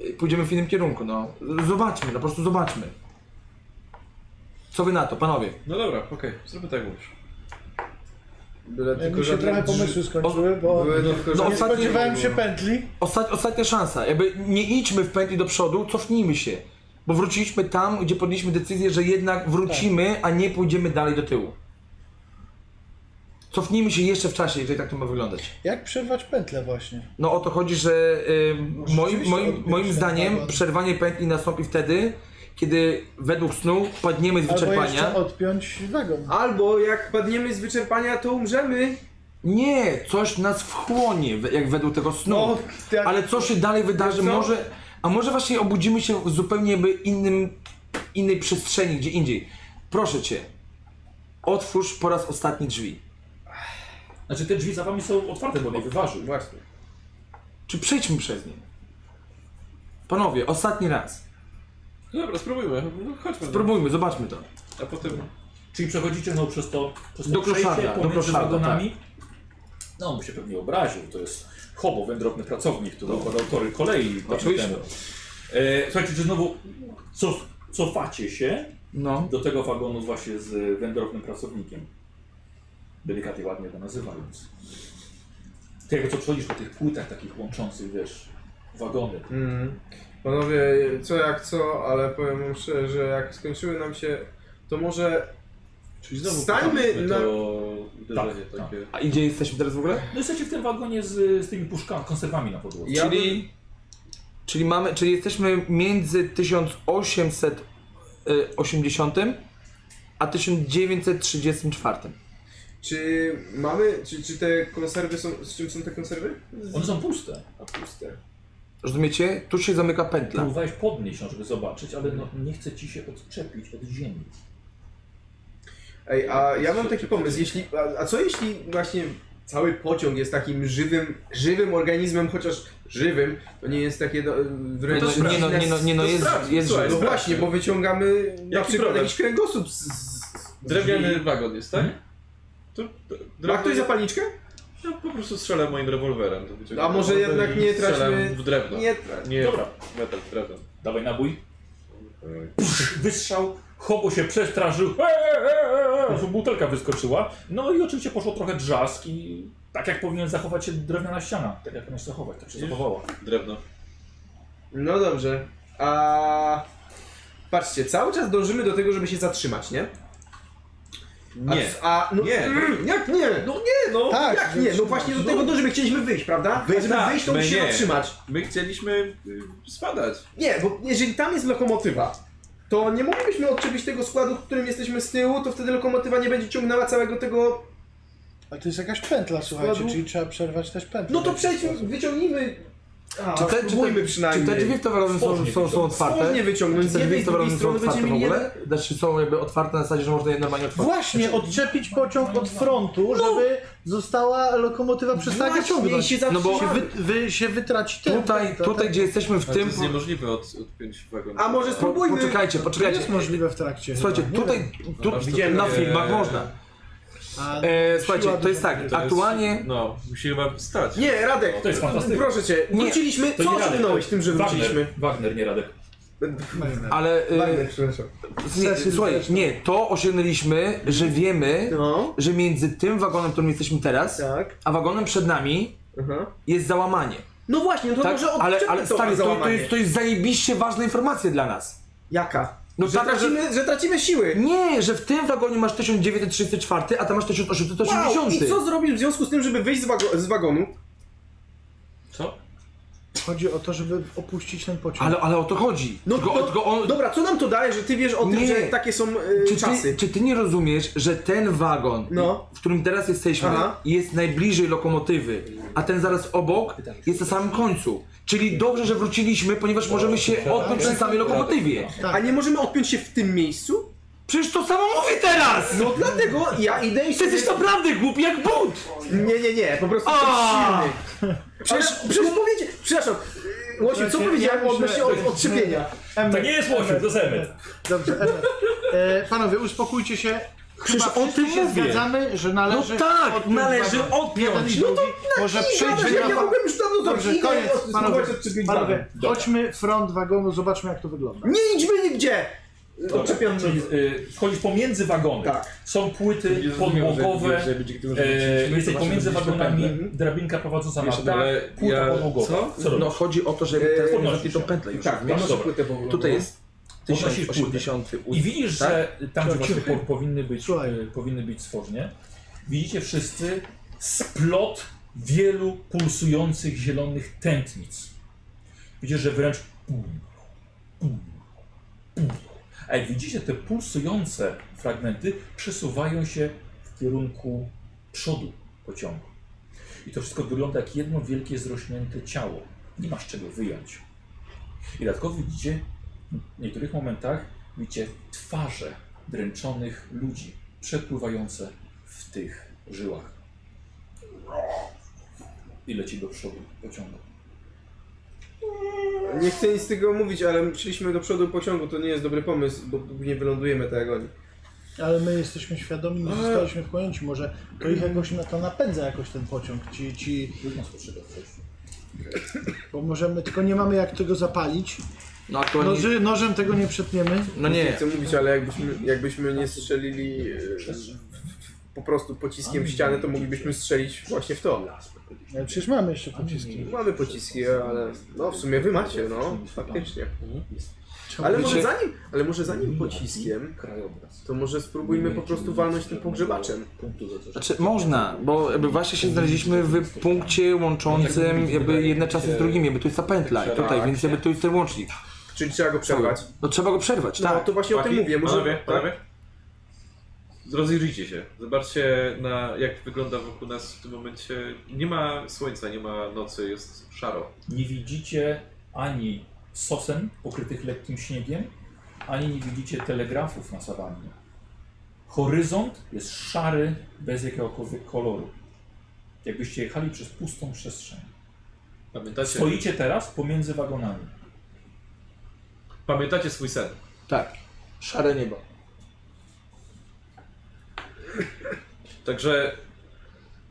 Speaker 4: y, pójdziemy w innym kierunku, no. Zobaczmy, no po prostu zobaczmy. Co wy na to, panowie?
Speaker 3: No dobra, okej, zróbmy tak jak mówisz.
Speaker 5: Byle
Speaker 2: Mi się
Speaker 5: żadne
Speaker 2: trochę
Speaker 5: drzwi-
Speaker 2: pomysły skończyły, bo
Speaker 5: Byle tylko
Speaker 4: No,
Speaker 5: żadne-
Speaker 2: nie
Speaker 4: ostatnie-
Speaker 2: spodziewałem się pętli.
Speaker 4: Osta- ostatnia szansa, jakby nie idźmy w pętli do przodu, cofnijmy się. Bo wróciliśmy tam, gdzie podjęliśmy decyzję, że jednak wrócimy, a nie pójdziemy dalej do tyłu. Cofnijmy się jeszcze w czasie, jeżeli tak to ma wyglądać.
Speaker 2: Jak przerwać pętlę właśnie?
Speaker 4: No o to chodzi, że y, moim,
Speaker 2: rzeczywiście
Speaker 4: moim,
Speaker 2: odbiór
Speaker 4: moim
Speaker 2: się
Speaker 4: zdaniem
Speaker 2: napadł.
Speaker 4: przerwanie pętli nastąpi wtedy, kiedy według snu padniemy z
Speaker 2: Albo
Speaker 4: wyczerpania.
Speaker 2: jeszcze odpiąć wagon.
Speaker 5: Albo jak padniemy z wyczerpania, to umrzemy.
Speaker 4: Nie, coś nas wchłonie, we- jak według tego snu.
Speaker 2: No, jak-
Speaker 4: Ale co się dalej wydarzy,
Speaker 5: co?
Speaker 4: może... A może właśnie obudzimy się w zupełnie jakby innym, innej przestrzeni, gdzie indziej. Proszę Cię, otwórz po raz ostatni drzwi.
Speaker 1: Znaczy te drzwi za wami są otwarte, bo nie wyważył.
Speaker 5: Właśnie.
Speaker 4: Czy przejdźmy przez nie? Panowie, ostatni raz.
Speaker 3: No dobra, spróbujmy. No, chodźmy.
Speaker 4: Spróbujmy, zobaczmy to.
Speaker 3: A potem...
Speaker 1: Czyli przechodzicie no, przez to, przez to
Speaker 4: Do
Speaker 1: przejście
Speaker 4: kloszarda, do tak.
Speaker 1: pomiędzy
Speaker 4: kloszarda,
Speaker 1: wagonami. No, on by się pewnie obraził. To jest hobo, wędrowny pracownik, który układał tory kolei. dawno
Speaker 4: No. Oczywiście.
Speaker 1: temu. E, słuchajcie, czy znowu cof, cofacie się
Speaker 4: No.
Speaker 1: do tego wagonu właśnie z wędrownym pracownikiem. Delikatnie, ładnie go nazywając. Ty jakby co przechodzisz po tych płytach takich łączących, wiesz, wagony.
Speaker 5: Mm. Panowie, co jak co, ale powiem wam szczerze, że jak skończyły nam się, to może
Speaker 3: Czyli znowu
Speaker 5: Stańmy
Speaker 3: pokażmy
Speaker 5: na-
Speaker 3: to uderzenie
Speaker 1: Tak,
Speaker 3: takie.
Speaker 4: A gdzie jesteśmy teraz w ogóle?
Speaker 1: No jesteście w tym wagonie z, z tymi puszkami, konserwami na podłodze.
Speaker 5: ja bym,
Speaker 4: Czyli, czyli mamy, czyli jesteśmy między 1880 a 1934.
Speaker 5: czy mamy, czy, czy te konserwy są, z czym są te konserwy?
Speaker 1: One są puste.
Speaker 5: A puste.
Speaker 4: Rozumiecie? Tu się zamyka pętla.
Speaker 1: Próbowałeś podnieść, no, żeby zobaczyć, ale no, nie chce ci się odczepić od ziemi.
Speaker 5: Ej, a ja mam taki pomysł, jeśli, a, a co jeśli właśnie cały pociąg jest takim żywym, żywym organizmem, chociaż żywym, to nie jest takie do, wręcz...
Speaker 4: No, nie no, nie no, nie no,
Speaker 5: To
Speaker 4: jest,
Speaker 5: sprawdź,
Speaker 4: jest
Speaker 5: Słuchaj,
Speaker 4: żywy.
Speaker 5: no właśnie, bo wyciągamy na
Speaker 3: Jaki
Speaker 5: przykład
Speaker 3: problem?
Speaker 5: jakiś kręgosłup z... z
Speaker 3: Drewniany wagon jest, tak? To, to,
Speaker 5: ma ktoś zapalniczkę?
Speaker 3: Ja po prostu strzelę moim rewolwerem. To będzie-
Speaker 5: A może jednak nie
Speaker 3: Strzelam
Speaker 5: traćmy-
Speaker 3: w drewno.
Speaker 5: Nie,
Speaker 3: nie
Speaker 1: Dobra.
Speaker 3: metal, w drewno.
Speaker 1: Dawaj nabój.
Speaker 3: Tak.
Speaker 1: Wystrzał, hobo się przestraszył. Eee, eee, eee. Butelka wyskoczyła. No i oczywiście poszło trochę drzask i tak jak powinien zachować się drewniana ściana. Tak jak powinien zachować, tak się zachowała.
Speaker 3: Drewno.
Speaker 5: No dobrze. A patrzcie, cały czas dążymy do tego, żeby się zatrzymać, nie? A,
Speaker 3: Nie.
Speaker 5: A, no,
Speaker 3: Nie.
Speaker 5: Mm, Jak nie? No nie, no.
Speaker 2: Tak,
Speaker 5: jak nie? No właśnie do tego dążymy, chcieliśmy wyjść, prawda? A żeby
Speaker 3: tak,
Speaker 5: wyjść, to
Speaker 3: my
Speaker 5: musimy
Speaker 3: nie.
Speaker 5: zatrzymać.
Speaker 3: My chcieliśmy y, spadać.
Speaker 5: Nie, bo jeżeli tam jest lokomotywa, to nie moglibyśmy odczepić tego składu, w którym jesteśmy z tyłu, to wtedy lokomotywa nie będzie ciągnęła całego tego...
Speaker 2: Ale to jest jakaś pętla, słuchajcie,
Speaker 5: Składu?
Speaker 2: czyli trzeba przerwać też pętlę.
Speaker 5: No to
Speaker 2: w jakiś
Speaker 5: przejdźmy,
Speaker 2: sposób.
Speaker 5: wyciągnijmy... A,
Speaker 4: Czy te, czy,
Speaker 5: spróbujmy
Speaker 4: te, czy te drzwi w towarzystwie są, są,
Speaker 5: no,
Speaker 4: są otwarte?
Speaker 5: Słownie wyciągnąć,
Speaker 4: Czy
Speaker 5: z
Speaker 4: te drzwi
Speaker 5: jednej,
Speaker 4: w
Speaker 5: z drugiej
Speaker 4: towarzystwie są otwarte
Speaker 5: strony no, będziemy
Speaker 4: w
Speaker 5: mieli...
Speaker 4: ogóle? Znaczy są jakby otwarte na zasadzie, że można je normalnie otworzyć.
Speaker 2: Właśnie, odczepić pociąg od frontu,
Speaker 4: No!
Speaker 2: żeby została lokomotywa przestała go
Speaker 5: Właśnie, i
Speaker 2: ciągnąć.
Speaker 5: się
Speaker 2: Się,
Speaker 4: No bo-
Speaker 5: zatrzymamy. Tak,
Speaker 2: wy, wy, się wytraci tak? ten.
Speaker 4: Tutaj,
Speaker 2: ta- ta-
Speaker 4: tutaj gdzie jesteśmy w
Speaker 3: Ale to
Speaker 4: tym...
Speaker 3: jest niemożliwe od, odpiąć wagon.
Speaker 5: A może
Speaker 4: Po,
Speaker 5: spróbujmy...
Speaker 4: poczekajcie,
Speaker 2: To
Speaker 4: poczekajcie.
Speaker 2: jest możliwe w trakcie.
Speaker 4: Słuchajcie,
Speaker 2: chyba, nie
Speaker 4: tutaj, tu,
Speaker 3: Zobacz,
Speaker 5: to
Speaker 4: na
Speaker 5: takie-
Speaker 4: filmach można.
Speaker 2: wiem. A no,
Speaker 4: E, słuchajcie,
Speaker 2: siła
Speaker 4: to jest tak,
Speaker 2: duża.
Speaker 3: To jest-
Speaker 4: aktualnie...
Speaker 3: No, musi chyba stać.
Speaker 5: Nie, Radek,
Speaker 1: To jest fantastyka.
Speaker 5: proszę cię,
Speaker 4: Nie,
Speaker 5: wróciliśmy,
Speaker 1: To
Speaker 5: co
Speaker 1: nie Radek.
Speaker 5: osiągnąłeś tym, że wróciliśmy?
Speaker 1: Wagner, Wagner, nie Radek.
Speaker 4: Ale
Speaker 5: Wagner,
Speaker 4: e,
Speaker 5: przepraszam.
Speaker 4: nie, e,
Speaker 2: Sesji
Speaker 4: słuchaj,
Speaker 2: zresztą.
Speaker 4: nie, to osiągnęliśmy, że wiemy,
Speaker 5: No,
Speaker 4: że między tym wagonem, w którym jesteśmy teraz,
Speaker 5: tak,
Speaker 4: a wagonem przed nami
Speaker 5: aha.
Speaker 4: jest załamanie.
Speaker 5: No właśnie, to
Speaker 4: Tak?
Speaker 5: może
Speaker 4: Ale,
Speaker 5: odczepmy
Speaker 4: ale
Speaker 5: to
Speaker 4: stary, to, to,
Speaker 5: załamanie.
Speaker 4: jest, to jest zajebiście ważna informacja dla nas.
Speaker 5: Jaka?
Speaker 4: No
Speaker 5: że,
Speaker 4: taka, że-
Speaker 5: tracimy, że... tracimy siły.
Speaker 4: Nie, że w tym wagonie masz 1934, a tam masz 1880.
Speaker 5: Wow. I co zrobisz w związku z tym, żeby wyjść z, wago- z wagonu?
Speaker 2: Chodzi o to, żeby opuścić ten pociąg.
Speaker 4: Ale, ale o to chodzi.
Speaker 5: No
Speaker 4: tylko,
Speaker 5: to,
Speaker 4: tylko on,
Speaker 5: Dobra, co nam to daje, że ty wiesz o tym,
Speaker 4: Nie.
Speaker 5: że takie są e,
Speaker 4: czy,
Speaker 5: czasy?
Speaker 4: ty, czy ty nie rozumiesz, że ten wagon,
Speaker 5: No.
Speaker 4: w którym teraz jesteśmy,
Speaker 5: Aha.
Speaker 4: jest najbliżej lokomotywy, a ten zaraz obok jest na samym końcu. Czyli dobrze, że wróciliśmy, ponieważ możemy się odpiąć przy samej lokomotywie.
Speaker 5: A nie możemy odpiąć się w tym miejscu?
Speaker 4: Przecież to samo mówię teraz!
Speaker 5: No dlatego ja idę i
Speaker 4: Ty jesteś naprawdę głupi jak but!
Speaker 5: Nie, nie, nie, po prostu jestem
Speaker 4: A!
Speaker 5: silny. Przecież, przecież powiedziałem... Przepraszam, yy, Łosiu, co
Speaker 2: Słuchajcie,
Speaker 5: powiedziałem
Speaker 2: ja
Speaker 5: odnośnie
Speaker 2: myślę-
Speaker 5: od, odczepienia?
Speaker 2: Emet,
Speaker 9: jest łosiu, to jest Emmet.
Speaker 2: Dobrze, Emet. E, panowie, uspokójcie się. Chyba
Speaker 4: Przecież o
Speaker 2: wszyscy
Speaker 4: tym
Speaker 2: się
Speaker 4: mówię.
Speaker 2: zgadzamy, że
Speaker 4: No
Speaker 2: należy
Speaker 4: tak,
Speaker 2: odpiąć
Speaker 4: należy No
Speaker 2: wagon. Jeden i
Speaker 4: odpiąć!
Speaker 2: drugi. Może
Speaker 5: I gadasz,
Speaker 2: przejdźmy
Speaker 5: jak ja
Speaker 2: na...
Speaker 5: mogłem już dawno to
Speaker 2: Dobrze,
Speaker 5: idę
Speaker 2: koniec,
Speaker 5: od-
Speaker 2: panowie.
Speaker 5: spróbować odczepić
Speaker 2: Panowie,
Speaker 5: dalej.
Speaker 2: chodźmy front wagonu, zobaczmy jak to wygląda.
Speaker 5: Nie idźmy nigdzie! Odczepiam
Speaker 1: Czyli y, wchodzisz pomiędzy wagony.
Speaker 5: Tak.
Speaker 1: Są płyty podłogowe. E, jesteś pomiędzy wagonami, drabinka prowadząca
Speaker 3: Wiesz, no
Speaker 1: na
Speaker 3: ale
Speaker 1: dach, płyta
Speaker 3: ja-
Speaker 1: podłogowa.
Speaker 3: co?
Speaker 1: Co robisz?
Speaker 4: No chodzi o to, żeby
Speaker 5: Eee,
Speaker 4: teraz
Speaker 1: podnosisz
Speaker 4: podnosić tą
Speaker 1: się.
Speaker 4: pętlę już.
Speaker 5: Tak,
Speaker 4: rozumiesz?
Speaker 5: masz
Speaker 1: dobra.
Speaker 5: płytę powolną.
Speaker 4: Tutaj jest
Speaker 1: Podnosisz płytę.
Speaker 4: 1088.
Speaker 1: I widzisz,
Speaker 4: tak?
Speaker 1: że tam, gdzie
Speaker 4: Cicho,
Speaker 1: właśnie po,
Speaker 4: cicho.
Speaker 1: powinny, być,
Speaker 2: Słuchaj.
Speaker 1: y, powinny być stworznie, widzicie wszyscy splot wielu pulsujących zielonych tętnic. Widzisz, że wręcz. A jak widzicie, te pulsujące fragmenty przesuwają się w kierunku przodu pociągu. I to wszystko wygląda jak jedno wielkie, zrośnięte ciało. Nie masz czego wyjąć. I dodatkowo widzicie w niektórych momentach widzicie twarze dręczonych ludzi przepływające w tych żyłach. I leci do przodu pociągu.
Speaker 5: Nie chcę nic z tego mówić, ale musieliśmy do przodu pociągu, to nie jest dobry pomysł, bo nie wylądujemy tak jak oni.
Speaker 2: Ale my jesteśmy świadomi,
Speaker 4: E.
Speaker 2: nie zostaliśmy wchłonięci. Może to ich jakoś na to napędza jakoś ten pociąg. Ci, ci,
Speaker 1: Trudno spostrzegać coś.
Speaker 2: bo możemy, tylko nie mamy jak tego zapalić.
Speaker 4: No, to oni...
Speaker 2: Noży, nożem tego nie przetniemy.
Speaker 4: no
Speaker 5: Nie
Speaker 4: nie,
Speaker 5: chcę mówić, ale jakbyśmy, jakbyśmy nie strzelili e, po prostu pociskiem w ścianę, to moglibyśmy strzelić właśnie w to.
Speaker 2: Ale przecież mamy jeszcze pociski.
Speaker 5: Mamy pociski, ale no w sumie wy macie, no faktycznie. Ale może zanim, ale może zanim pociskiem,
Speaker 1: Krajobraz.
Speaker 5: to może spróbujmy po prostu walnąć tym pogrzebaczem.
Speaker 1: Punktu za coś.
Speaker 4: Znaczy można, bo jakby właśnie się znaleźliśmy w punkcie łączącym jakby jedne czasy z drugimi, jakby tu jest ta pętla i tutaj, więc jakby tu jest ten łącznik.
Speaker 5: Czyli trzeba go przerwać.
Speaker 4: No trzeba go przerwać,
Speaker 5: No
Speaker 4: tak.
Speaker 5: to właśnie o tym
Speaker 3: Chłopaki,
Speaker 5: mówię,
Speaker 3: Panowie,
Speaker 5: może... tak?
Speaker 3: panowie? Rozejrzyjcie się. Zobaczcie, na, jak wygląda wokół nas w tym momencie. Nie ma słońca, nie ma nocy, jest szaro.
Speaker 1: Nie widzicie ani sosen pokrytych lekkim śniegiem, ani nie widzicie telegrafów na sawannie. Horyzont jest szary, bez jakiegokolwiek koloru. Jakbyście jechali przez pustą przestrzeń.
Speaker 3: Pamiętacie,
Speaker 1: Stoicie teraz pomiędzy wagonami.
Speaker 3: pamiętacie swój sen.
Speaker 4: Tak. Szare niebo.
Speaker 3: Także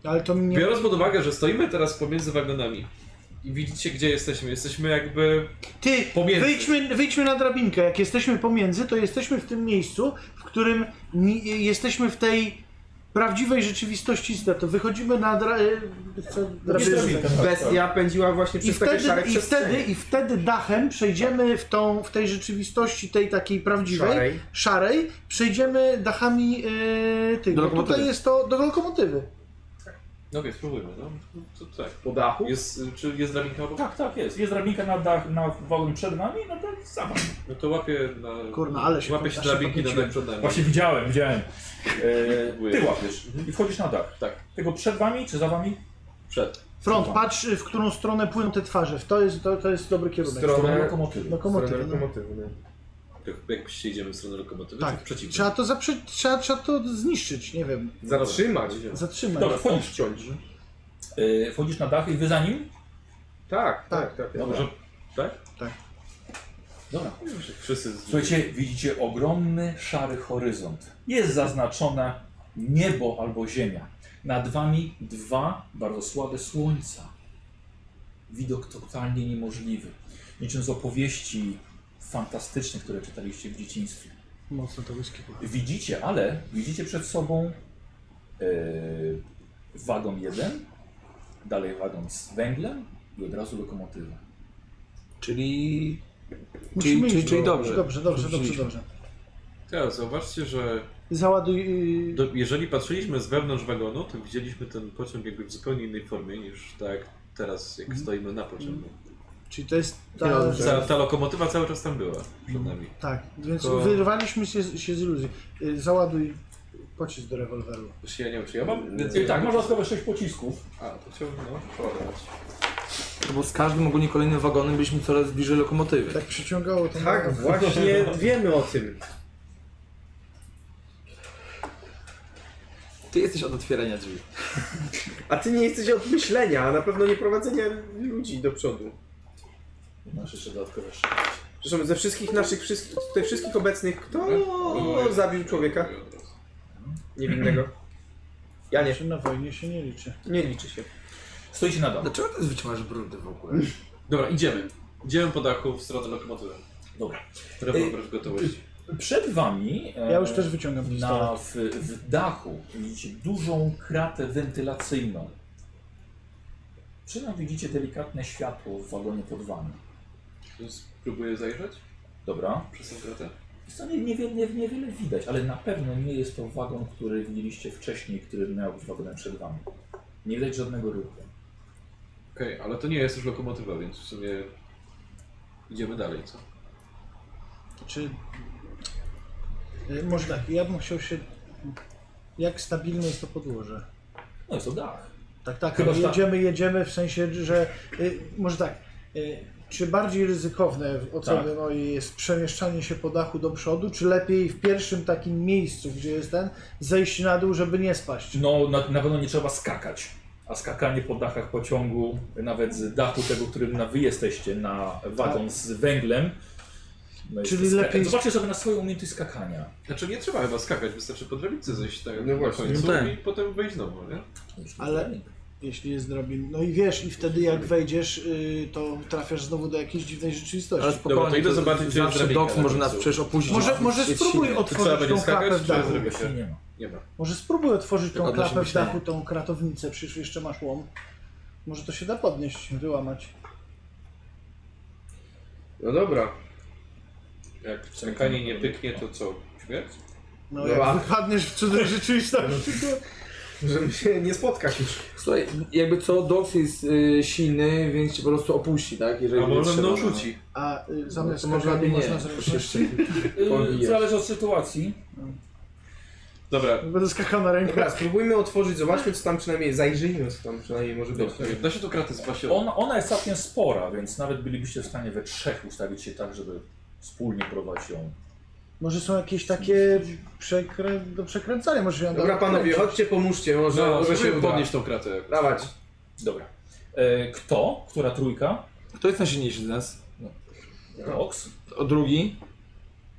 Speaker 2: Ale to mi nie...
Speaker 3: biorąc pod uwagę, że stoimy teraz pomiędzy wagonami i widzicie, gdzie jesteśmy. Jesteśmy jakby
Speaker 2: Ty,
Speaker 3: Pomiędzy.
Speaker 2: wyjdźmy, wyjdźmy na drabinkę. Jak jesteśmy pomiędzy, to jesteśmy w tym miejscu, w którym ni- jesteśmy w tej prawdziwej rzeczywistości. To wychodzimy na dra... e, co- drabinkę.
Speaker 5: Znaczy, Bestia pędziła właśnie
Speaker 2: I
Speaker 5: przez takie
Speaker 2: wtedy,
Speaker 5: szare
Speaker 2: i, wtedy,
Speaker 5: przestrzenie.
Speaker 2: I wtedy dachem przejdziemy w, tą, w tej rzeczywistości, tej takiej prawdziwej,
Speaker 5: Szarej.
Speaker 2: szarej, przejdziemy dachami yy, tych.
Speaker 4: Do
Speaker 2: Bo
Speaker 4: lokomotywy.
Speaker 2: tutaj jest to do lokomotywy.
Speaker 3: No więc spróbujmy, no. To, to tak.
Speaker 5: Po dachu?
Speaker 3: Jest, y, czy jest drabinka obok?
Speaker 1: Tak, tak, jest. Jest drabinka na dach, na wagon przed nami, no to jest za wami.
Speaker 3: No to łapię na...
Speaker 2: Kurna, ale się-
Speaker 3: Łapię się
Speaker 2: aż się
Speaker 3: drabinki na dach
Speaker 2: podnieciłem.
Speaker 3: przed nami.
Speaker 1: Właśnie widziałem, widziałem. E, ty łapiesz i wchodzisz na dach.
Speaker 3: Tak.
Speaker 1: Tego przed wami czy za wami?
Speaker 3: Przed.
Speaker 2: Front, patrz y, w którą stronę płyną te twarze. To jest, to, to jest dobry kierunek.
Speaker 5: Stronę-
Speaker 1: Stronę lokomotywy.
Speaker 5: Stronę
Speaker 2: lokomotywy. No.
Speaker 5: lokomotywy, no.
Speaker 3: Jak, jakbyście idziemy w stronę lokomotywy,
Speaker 2: Tak.
Speaker 3: to przeciwnie.
Speaker 2: Trzeba to, zaprze- trzeba, trzeba to zniszczyć, nie wiem,
Speaker 5: Zatrzymać.
Speaker 2: zatrzymać.
Speaker 1: Dobra, wchodzisz.
Speaker 5: Odciąć.
Speaker 1: E, wchodzisz na dach i wy za nim?
Speaker 5: Tak, tak, tak.
Speaker 1: Dobra. Dobra.
Speaker 3: Wszyscy... z-
Speaker 1: Słuchajcie, widzicie ogromny szary horyzont. Jest zaznaczone niebo albo ziemia. Nad wami dwa bardzo słabe słońca. Widok totalnie niemożliwy. Niczym z opowieści fantastycznych, które czytaliście w dzieciństwie.
Speaker 2: Mocno to whisky. było.
Speaker 1: Widzicie, ale widzicie przed sobą e, wagon jeden, dalej wagon z węglem, i od razu lokomotywa.
Speaker 4: Czyli
Speaker 2: Musimy
Speaker 4: czyli-
Speaker 2: iść,
Speaker 4: czyli
Speaker 2: bo-
Speaker 4: dobrze.
Speaker 2: Dobrze, dobrze, dobrze,
Speaker 4: Wróciliśmy.
Speaker 2: dobrze.
Speaker 3: Teraz zauważcie, że
Speaker 2: Załaduj... y,
Speaker 3: do, jeżeli patrzyliśmy z wewnątrz wagonu, to widzieliśmy ten pociąg jakby w zupełnie innej formie niż tak teraz,
Speaker 5: Mhm.
Speaker 3: jak stoimy na pociągu.
Speaker 2: Czyli to jest ta...
Speaker 5: Dobrze.
Speaker 3: Ta, ta lokomotywa cały czas tam była
Speaker 5: Mhm.
Speaker 3: przed nami.
Speaker 2: Tak, więc
Speaker 3: Tylko-
Speaker 2: wyrwaliśmy się, z- się z iluzji. Y, Załaduj pocisk do rewolweru.
Speaker 3: Właśnie ja nie wiem, czy ja mam?
Speaker 1: Więc tak, można schować 6 pocisków.
Speaker 3: A, to chciałbym, no, przeładować.
Speaker 4: bo z każdym ogólnie kolejnym wagonem byliśmy coraz bliżej lokomotywy.
Speaker 2: Tak przyciągało to...
Speaker 5: Tak, właśnie wiemy o tym.
Speaker 4: Ty jesteś od otwierania drzwi.
Speaker 5: A ty nie jesteś od myślenia, a na pewno nie prowadzenia ludzi do przodu.
Speaker 1: Masz jeszcze dodatkowe
Speaker 5: Zresztą ze wszystkich naszych, wszystkich, tutaj wszystkich obecnych, kto
Speaker 3: Dobra.
Speaker 5: zabił człowieka niewinnego? Ja nie,
Speaker 2: Się na wojnie się nie liczy.
Speaker 5: nie liczy się.
Speaker 1: Stoicie na dole.
Speaker 4: Dlaczego ty wyciągasz brudy w ogóle?
Speaker 3: Dobra, idziemy. Idziemy po dachu w stronę lokomotywy.
Speaker 1: Dobra.
Speaker 3: Rewolwer w gotowości.
Speaker 1: Przed wami. e,
Speaker 2: Ja już też wyciągam pistolet.
Speaker 1: na, w, w dachu widzicie dużą kratę wentylacyjną. Przy nam widzicie delikatne światło w wagonie pod wami.
Speaker 3: Spróbuję zajrzeć
Speaker 1: Dobra.
Speaker 3: przez tą kratę.
Speaker 1: Jest to nie- niewiele nie, niewiele widać, ale na pewno nie jest to wagon, który widzieliście wcześniej, który miał być wagonem przed wami. Nie widać żadnego ruchu.
Speaker 3: Okej, ale to nie jest już lokomotywa, więc w sumie idziemy dalej, co?
Speaker 2: Czy... y, Może tak, ja bym chciał się... Jak stabilne jest to podłoże?
Speaker 1: No jest to dach.
Speaker 2: Tak, tak,
Speaker 1: Chyba,
Speaker 2: ale
Speaker 1: że tak.
Speaker 2: jedziemy, jedziemy w sensie, że y, może tak. Y, czy bardziej ryzykowne w ocenie mojej jest przemieszczanie się po dachu do przodu, czy lepiej w pierwszym takim miejscu, gdzie jest ten, zejść na dół, żeby nie spaść?
Speaker 1: No na, na pewno nie trzeba skakać. A skakanie po dachach pociągu, nawet z dachu tego, którym na wy jesteście, na wagon z węglem. No jest
Speaker 2: Czyli
Speaker 1: to skaka-
Speaker 2: lepiej-
Speaker 1: Zobaczcie sobie na swoją umiejętność skakania.
Speaker 3: Znaczy nie trzeba chyba skakać, wystarczy po drabince zejść tak
Speaker 5: No
Speaker 3: na
Speaker 5: właśnie,
Speaker 3: końcu
Speaker 4: no tak.
Speaker 3: i potem wejść znowu, nie?
Speaker 2: Ale- Jeśli jest drabin. No i wiesz, i wtedy jak wejdziesz, y, to trafiasz znowu do jakiejś dziwnej
Speaker 4: Ale
Speaker 2: rzeczywistości.
Speaker 4: spokojnie,
Speaker 3: Dobra, to idę zobaczyć, czy jest
Speaker 4: zawsze
Speaker 3: drabinka
Speaker 4: Dox
Speaker 3: na
Speaker 4: może nas
Speaker 3: końcu.
Speaker 4: przecież opuścić.
Speaker 2: Może,
Speaker 4: Jest
Speaker 2: może spróbuj
Speaker 4: silny.
Speaker 3: trzeba
Speaker 2: otworzyć
Speaker 3: będzie
Speaker 2: tą
Speaker 3: skakać,
Speaker 2: klapę w
Speaker 3: czy
Speaker 2: dachu.
Speaker 3: zrobię się?
Speaker 1: Nie ma.
Speaker 3: Nie ma.
Speaker 2: Może spróbuj otworzyć
Speaker 4: Tak
Speaker 2: tą
Speaker 4: odnośnie
Speaker 2: klapę w
Speaker 4: myślenia.
Speaker 2: dachu, tą kratownicę, przecież jeszcze masz łom. Może to się da podnieść, wyłamać.
Speaker 5: No dobra.
Speaker 3: Jak skakanie nie pyknie, to co? Śmierć?
Speaker 2: No
Speaker 5: Dobra.
Speaker 2: jak wypadniesz w cudzej rzeczywistości, to...
Speaker 5: Żeby się nie spotkać już.
Speaker 4: Słuchaj, jakby co, Dox jest y, silny, więc cię po prostu opuści, tak? Jeżeli
Speaker 3: A
Speaker 4: będzie
Speaker 3: może
Speaker 4: trzeba,
Speaker 3: mną
Speaker 4: no.
Speaker 3: rzuci.
Speaker 2: A y, zamiast
Speaker 4: No to może
Speaker 2: skakania
Speaker 4: lepiej nie.
Speaker 2: można zrobić jeszcze.
Speaker 1: Yy, Zależy od sytuacji.
Speaker 3: Dobra,
Speaker 2: Będę skakał na rękę.
Speaker 5: Dobra, spróbujmy otworzyć, zobaczmy co tam przynajmniej, zajrzyjmy co tam przynajmniej może być.
Speaker 3: da się tu kratę spaść
Speaker 1: Ona, ona jest całkiem spora, więc nawet bylibyście w stanie we trzech ustawić się tak, żeby wspólnie prowadzić ją.
Speaker 2: Może są jakieś takie przekrę... do przekręcania, może się ją da
Speaker 5: Dobra panowie,
Speaker 2: odkręcić.
Speaker 5: chodźcie, pomóżcie, może,
Speaker 3: No,
Speaker 5: może się
Speaker 3: żeby
Speaker 5: uda.
Speaker 3: podnieść tą kratę.
Speaker 5: Dawać.
Speaker 1: Dobra. E, kto? Która trójka?
Speaker 4: Kto jest najsilniejszy z nas?
Speaker 1: Ox.
Speaker 4: O drugi?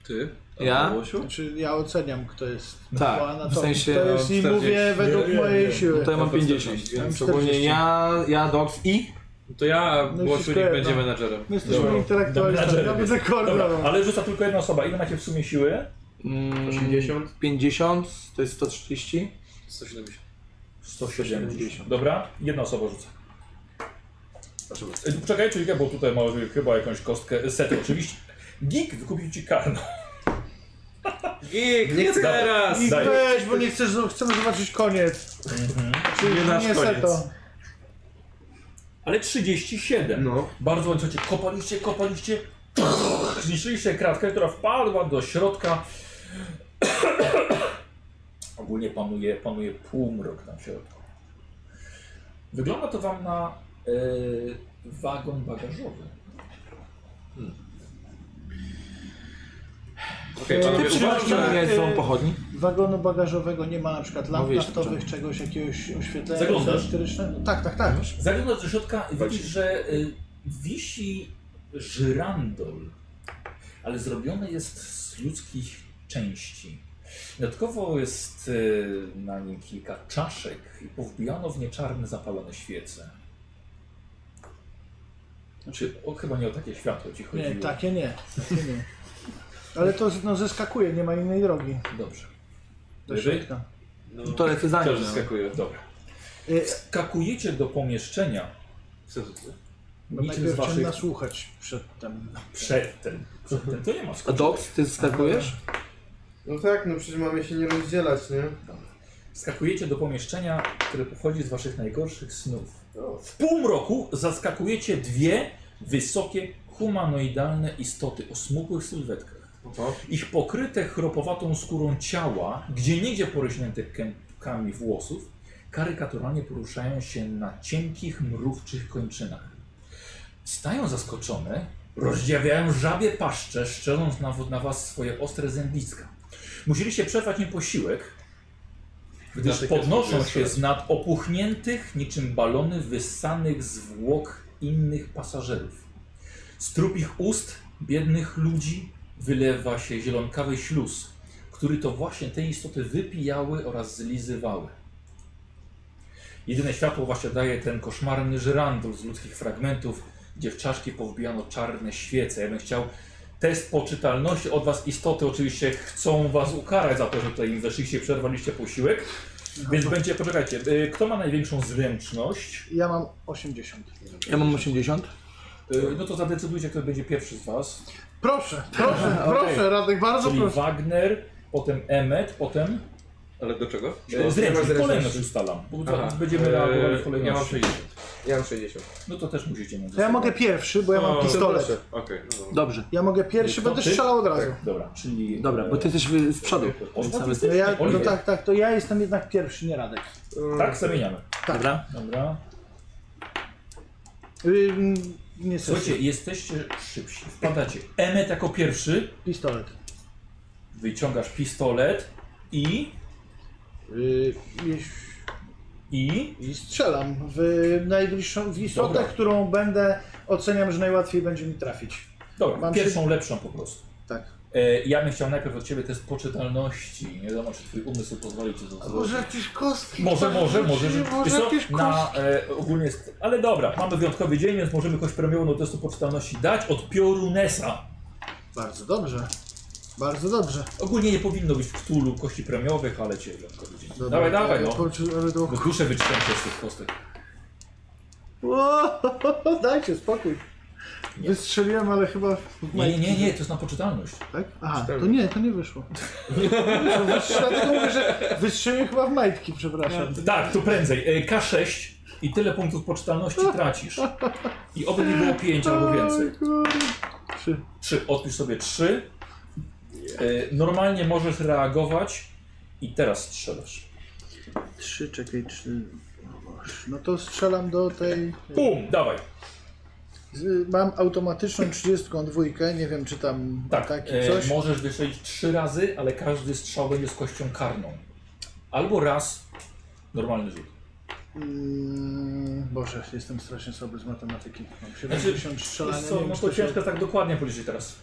Speaker 3: Ty?
Speaker 4: Ja?
Speaker 3: Łosiu?
Speaker 2: Czy Znaczy, ja oceniam, kto jest
Speaker 4: Tak,
Speaker 2: zła na
Speaker 4: w
Speaker 2: to.
Speaker 4: sensie,
Speaker 2: To jest
Speaker 4: no,
Speaker 2: i
Speaker 4: 40.
Speaker 2: mówię według
Speaker 9: Nie, nie,
Speaker 2: mojej
Speaker 9: nie.
Speaker 2: siły.
Speaker 4: To ja mam
Speaker 3: Ja mam
Speaker 4: 50, więc
Speaker 2: 40.
Speaker 4: ogólnie ja, ja, Dox i...
Speaker 3: To ja,
Speaker 2: No i
Speaker 3: Łosiu,
Speaker 2: wszystko jedno.
Speaker 3: niech będzie menadżerem.
Speaker 2: My jesteśmy
Speaker 1: Dobra.
Speaker 2: intelektualistami, ja
Speaker 1: Dobra,
Speaker 2: będę
Speaker 1: Dobra,
Speaker 2: koordynował.
Speaker 1: ale rzuca tylko jedna osoba. Ile macie w sumie siły?
Speaker 4: Mm,
Speaker 5: 80.
Speaker 4: 50, to jest 130.
Speaker 3: 170.
Speaker 1: 170. Dobra, jedna osoba rzuca. E, Czekaj, czyli bo tutaj ma chyba jakąś kostkę. Set oczywiście. Gig wykupił ci karno.
Speaker 3: Gig, nie
Speaker 1: Dobra.
Speaker 3: teraz!
Speaker 2: I
Speaker 1: Daję.
Speaker 2: weź, bo nie chcesz, no, chcemy zobaczyć koniec. Czyli
Speaker 3: Nie nasz koniec.
Speaker 2: seto.
Speaker 1: Ale 37.
Speaker 5: No.
Speaker 1: Bardzo ładnie, słuchajcie, kopaliście, kopaliście. Zniszczyliście kratkę, która wpadła do środka. Ogólnie panuje, panuje półmrok tam w środku. Wygląda to wam na e, wagon bagażowy.
Speaker 3: Okej,
Speaker 2: Czy ty
Speaker 3: panowie,
Speaker 2: przyjdziesz
Speaker 3: uważam,
Speaker 4: Uważam, że
Speaker 3: że...
Speaker 2: na-
Speaker 4: miałeś
Speaker 2: y,
Speaker 4: złą pochodni.
Speaker 2: Wagonu bagażowego nie ma na przykład lamp
Speaker 4: Mówiłeś
Speaker 2: naftowych,
Speaker 4: wczoraj.
Speaker 2: czegoś, jakiegoś oświetlenia
Speaker 1: Zaglądasz?
Speaker 2: elektrycznego. Tak, tak, tak.
Speaker 1: Zaglądasz do środka i widzisz, że y, wisi żyrandol, ale zrobiony jest z ludzkich części. Dodatkowo jest y, na nim kilka czaszek i powbijano w nie czarne zapalone świece. Znaczy, o, chyba nie o takie światło ci chodziło.
Speaker 2: Nie, tak. takie nie. Takie nie. Ale to no, zeskakuje, nie ma innej drogi
Speaker 1: Dobrze. Tak,
Speaker 2: do
Speaker 1: Wyżej?
Speaker 2: środka.
Speaker 3: No,
Speaker 4: To lecę za nim.
Speaker 3: też
Speaker 4: no.
Speaker 3: skakuje.
Speaker 1: Dobra.
Speaker 2: Y,
Speaker 1: Skakujecie do pomieszczenia,
Speaker 3: Co to? znaczy?
Speaker 2: Bo
Speaker 1: Niczym z
Speaker 2: najpierw
Speaker 1: waszych-
Speaker 2: trzeba nasłuchać przedtem.
Speaker 1: Przedtem. Przedtem to nie ma
Speaker 4: A
Speaker 1: skoczenia.
Speaker 4: Dox, ty skakujesz?
Speaker 5: No tak, no przecież mamy się nie rozdzielać, nie?
Speaker 1: Skakujecie do pomieszczenia, które pochodzi z waszych najgorszych snów. W półmroku zaskakujecie dwie wysokie, humanoidalne istoty o smukłych sylwetkach. Ich pokryte chropowatą skórą ciała, gdzie niegdzie porośnięte kępkami włosów, karykaturalnie poruszają się na cienkich, mrówczych kończynach. Stają zaskoczone, rozdziawiają żabie paszcze, szczeląc na, na was swoje ostre zębiska. Musieliście przerwać im posiłek, gdyż
Speaker 3: Dlatego
Speaker 1: podnoszą
Speaker 3: jest-
Speaker 1: się z nad opuchniętych, niczym balony, wyssanych zwłok innych pasażerów. Z trupich ust biednych ludzi wylewa się zielonkawy śluz, który to właśnie te istoty wypijały oraz zlizywały. Jedyne światło właśnie daje ten koszmarny żyrandol z ludzkich fragmentów, gdzie w czaszki powbijano czarne świece. Ja bym chciał test poczytalności od was. Istoty oczywiście chcą was ukarać za to, że tutaj im weszliście, przerwaliście posiłek. Więc będzie, poczekajcie, y, kto ma największą zręczność,
Speaker 2: Ja mam 80.
Speaker 4: Ja mam 80.
Speaker 1: y, no to zadecydujcie, kto będzie pierwszy z was.
Speaker 2: Proszę, proszę, proszę, Radek, bardzo
Speaker 1: Czyli
Speaker 2: No proszę.
Speaker 1: Wagner, potem Emmet, potem...
Speaker 3: Ale do czego?
Speaker 5: mam
Speaker 1: Zręczność,
Speaker 5: zręczność.
Speaker 1: kolejność ustalam, Y, bo
Speaker 3: Aha.
Speaker 1: będziemy reagowali w
Speaker 3: Eee, Ja mam
Speaker 1: kolejności.
Speaker 3: 60.
Speaker 5: Ja mam 60.
Speaker 1: No to też musicie mieć.
Speaker 2: To ja mogę pierwszy, bo ja mam
Speaker 3: O,
Speaker 2: pistolet.
Speaker 3: Okej, no dobra.
Speaker 4: Dobrze.
Speaker 2: Ja mogę pierwszy,
Speaker 1: Kto?
Speaker 2: będę
Speaker 1: Ty? Tak.
Speaker 2: strzelał od razu.
Speaker 1: Dobra, czyli...
Speaker 4: Dobra, bo ty jesteś wy- z przodu.
Speaker 1: On
Speaker 4: Cały-
Speaker 2: No ja, no
Speaker 1: Oliwier.
Speaker 2: tak, tak, to ja jestem jednak pierwszy, nie Radek.
Speaker 1: Tak, zamieniamy.
Speaker 4: Dobra.
Speaker 1: Dobra.
Speaker 2: Ym, Y, mm, nie
Speaker 1: Słuchajcie,
Speaker 2: słyszę.
Speaker 1: jesteście szybsi. Wpadacie. Emmet jako pierwszy,
Speaker 2: Pistolet.
Speaker 1: wyciągasz pistolet i...
Speaker 2: Yy, jeś-
Speaker 1: i...
Speaker 2: I strzelam w najbliższą, w istotę,
Speaker 1: Dobra.
Speaker 2: którą będę, oceniam, że najłatwiej będzie mi trafić.
Speaker 1: Dobra,
Speaker 2: Mam
Speaker 1: pierwszą lepszą po prostu.
Speaker 2: Tak.
Speaker 1: E, ja bym chciał najpierw od ciebie test poczytalności. Nie wiadomo, czy twój umysł pozwoli ci to zrobić.
Speaker 2: jakieś kostki?
Speaker 1: Może, może, może. że-
Speaker 2: Może
Speaker 1: wiesz co,
Speaker 2: jakieś
Speaker 1: na, e, ogólnie jest, ale dobra, mamy wyjątkowy dzień, więc możemy kogoś premiową do testu poczytalności dać od Piorunesa.
Speaker 2: Bardzo dobrze. Bardzo dobrze.
Speaker 1: Ogólnie nie powinno być w Cthulhu kości premiowych, ale cię wyjątkowy dzień.
Speaker 2: Dobra, E,
Speaker 1: dawaj,
Speaker 2: to
Speaker 1: dawaj,
Speaker 2: ja
Speaker 1: no.
Speaker 2: poczu- ale to-
Speaker 1: Bo duszę wytrzęsie z tych kostek.
Speaker 2: O, Dajcie spokój. Wystrzeliłem, ale chyba... w
Speaker 1: Nie, nie,
Speaker 2: majtki,
Speaker 1: nie, nie, to jest na poczytalność.
Speaker 2: Tak? Aha, to nie, to nie wyszło. To wyszło, Dlatego mówię, że wystrzeliłem chyba w majtki, przepraszam.
Speaker 1: Tak, to prędzej. E, K6 i tyle punktów poczytalności tracisz. I oby nie było 5 albo więcej.
Speaker 2: Trzy.
Speaker 1: 3, odpisz sobie 3. Normalnie możesz reagować i teraz strzelasz.
Speaker 2: Trzy, czekaj, trzy. No to strzelam do tej...
Speaker 1: Bum, dawaj.
Speaker 2: Z- Mam automatyczną 30 dwójkę, nie wiem czy tam
Speaker 1: Tak,
Speaker 2: taki
Speaker 1: e,
Speaker 2: coś.
Speaker 1: możesz wystrzelić 3 razy, ale każdy strzał będzie z kością karną. Albo raz normalny rzut.
Speaker 2: Mm, Boże, jestem strasznie słaby z matematyki. Mam
Speaker 1: Znaczy,
Speaker 2: 70 strzelania,
Speaker 1: Wiesz co,
Speaker 2: nie wiem,
Speaker 1: no
Speaker 2: czy
Speaker 1: to
Speaker 2: się-
Speaker 1: ciężko tak dokładnie policzyć teraz.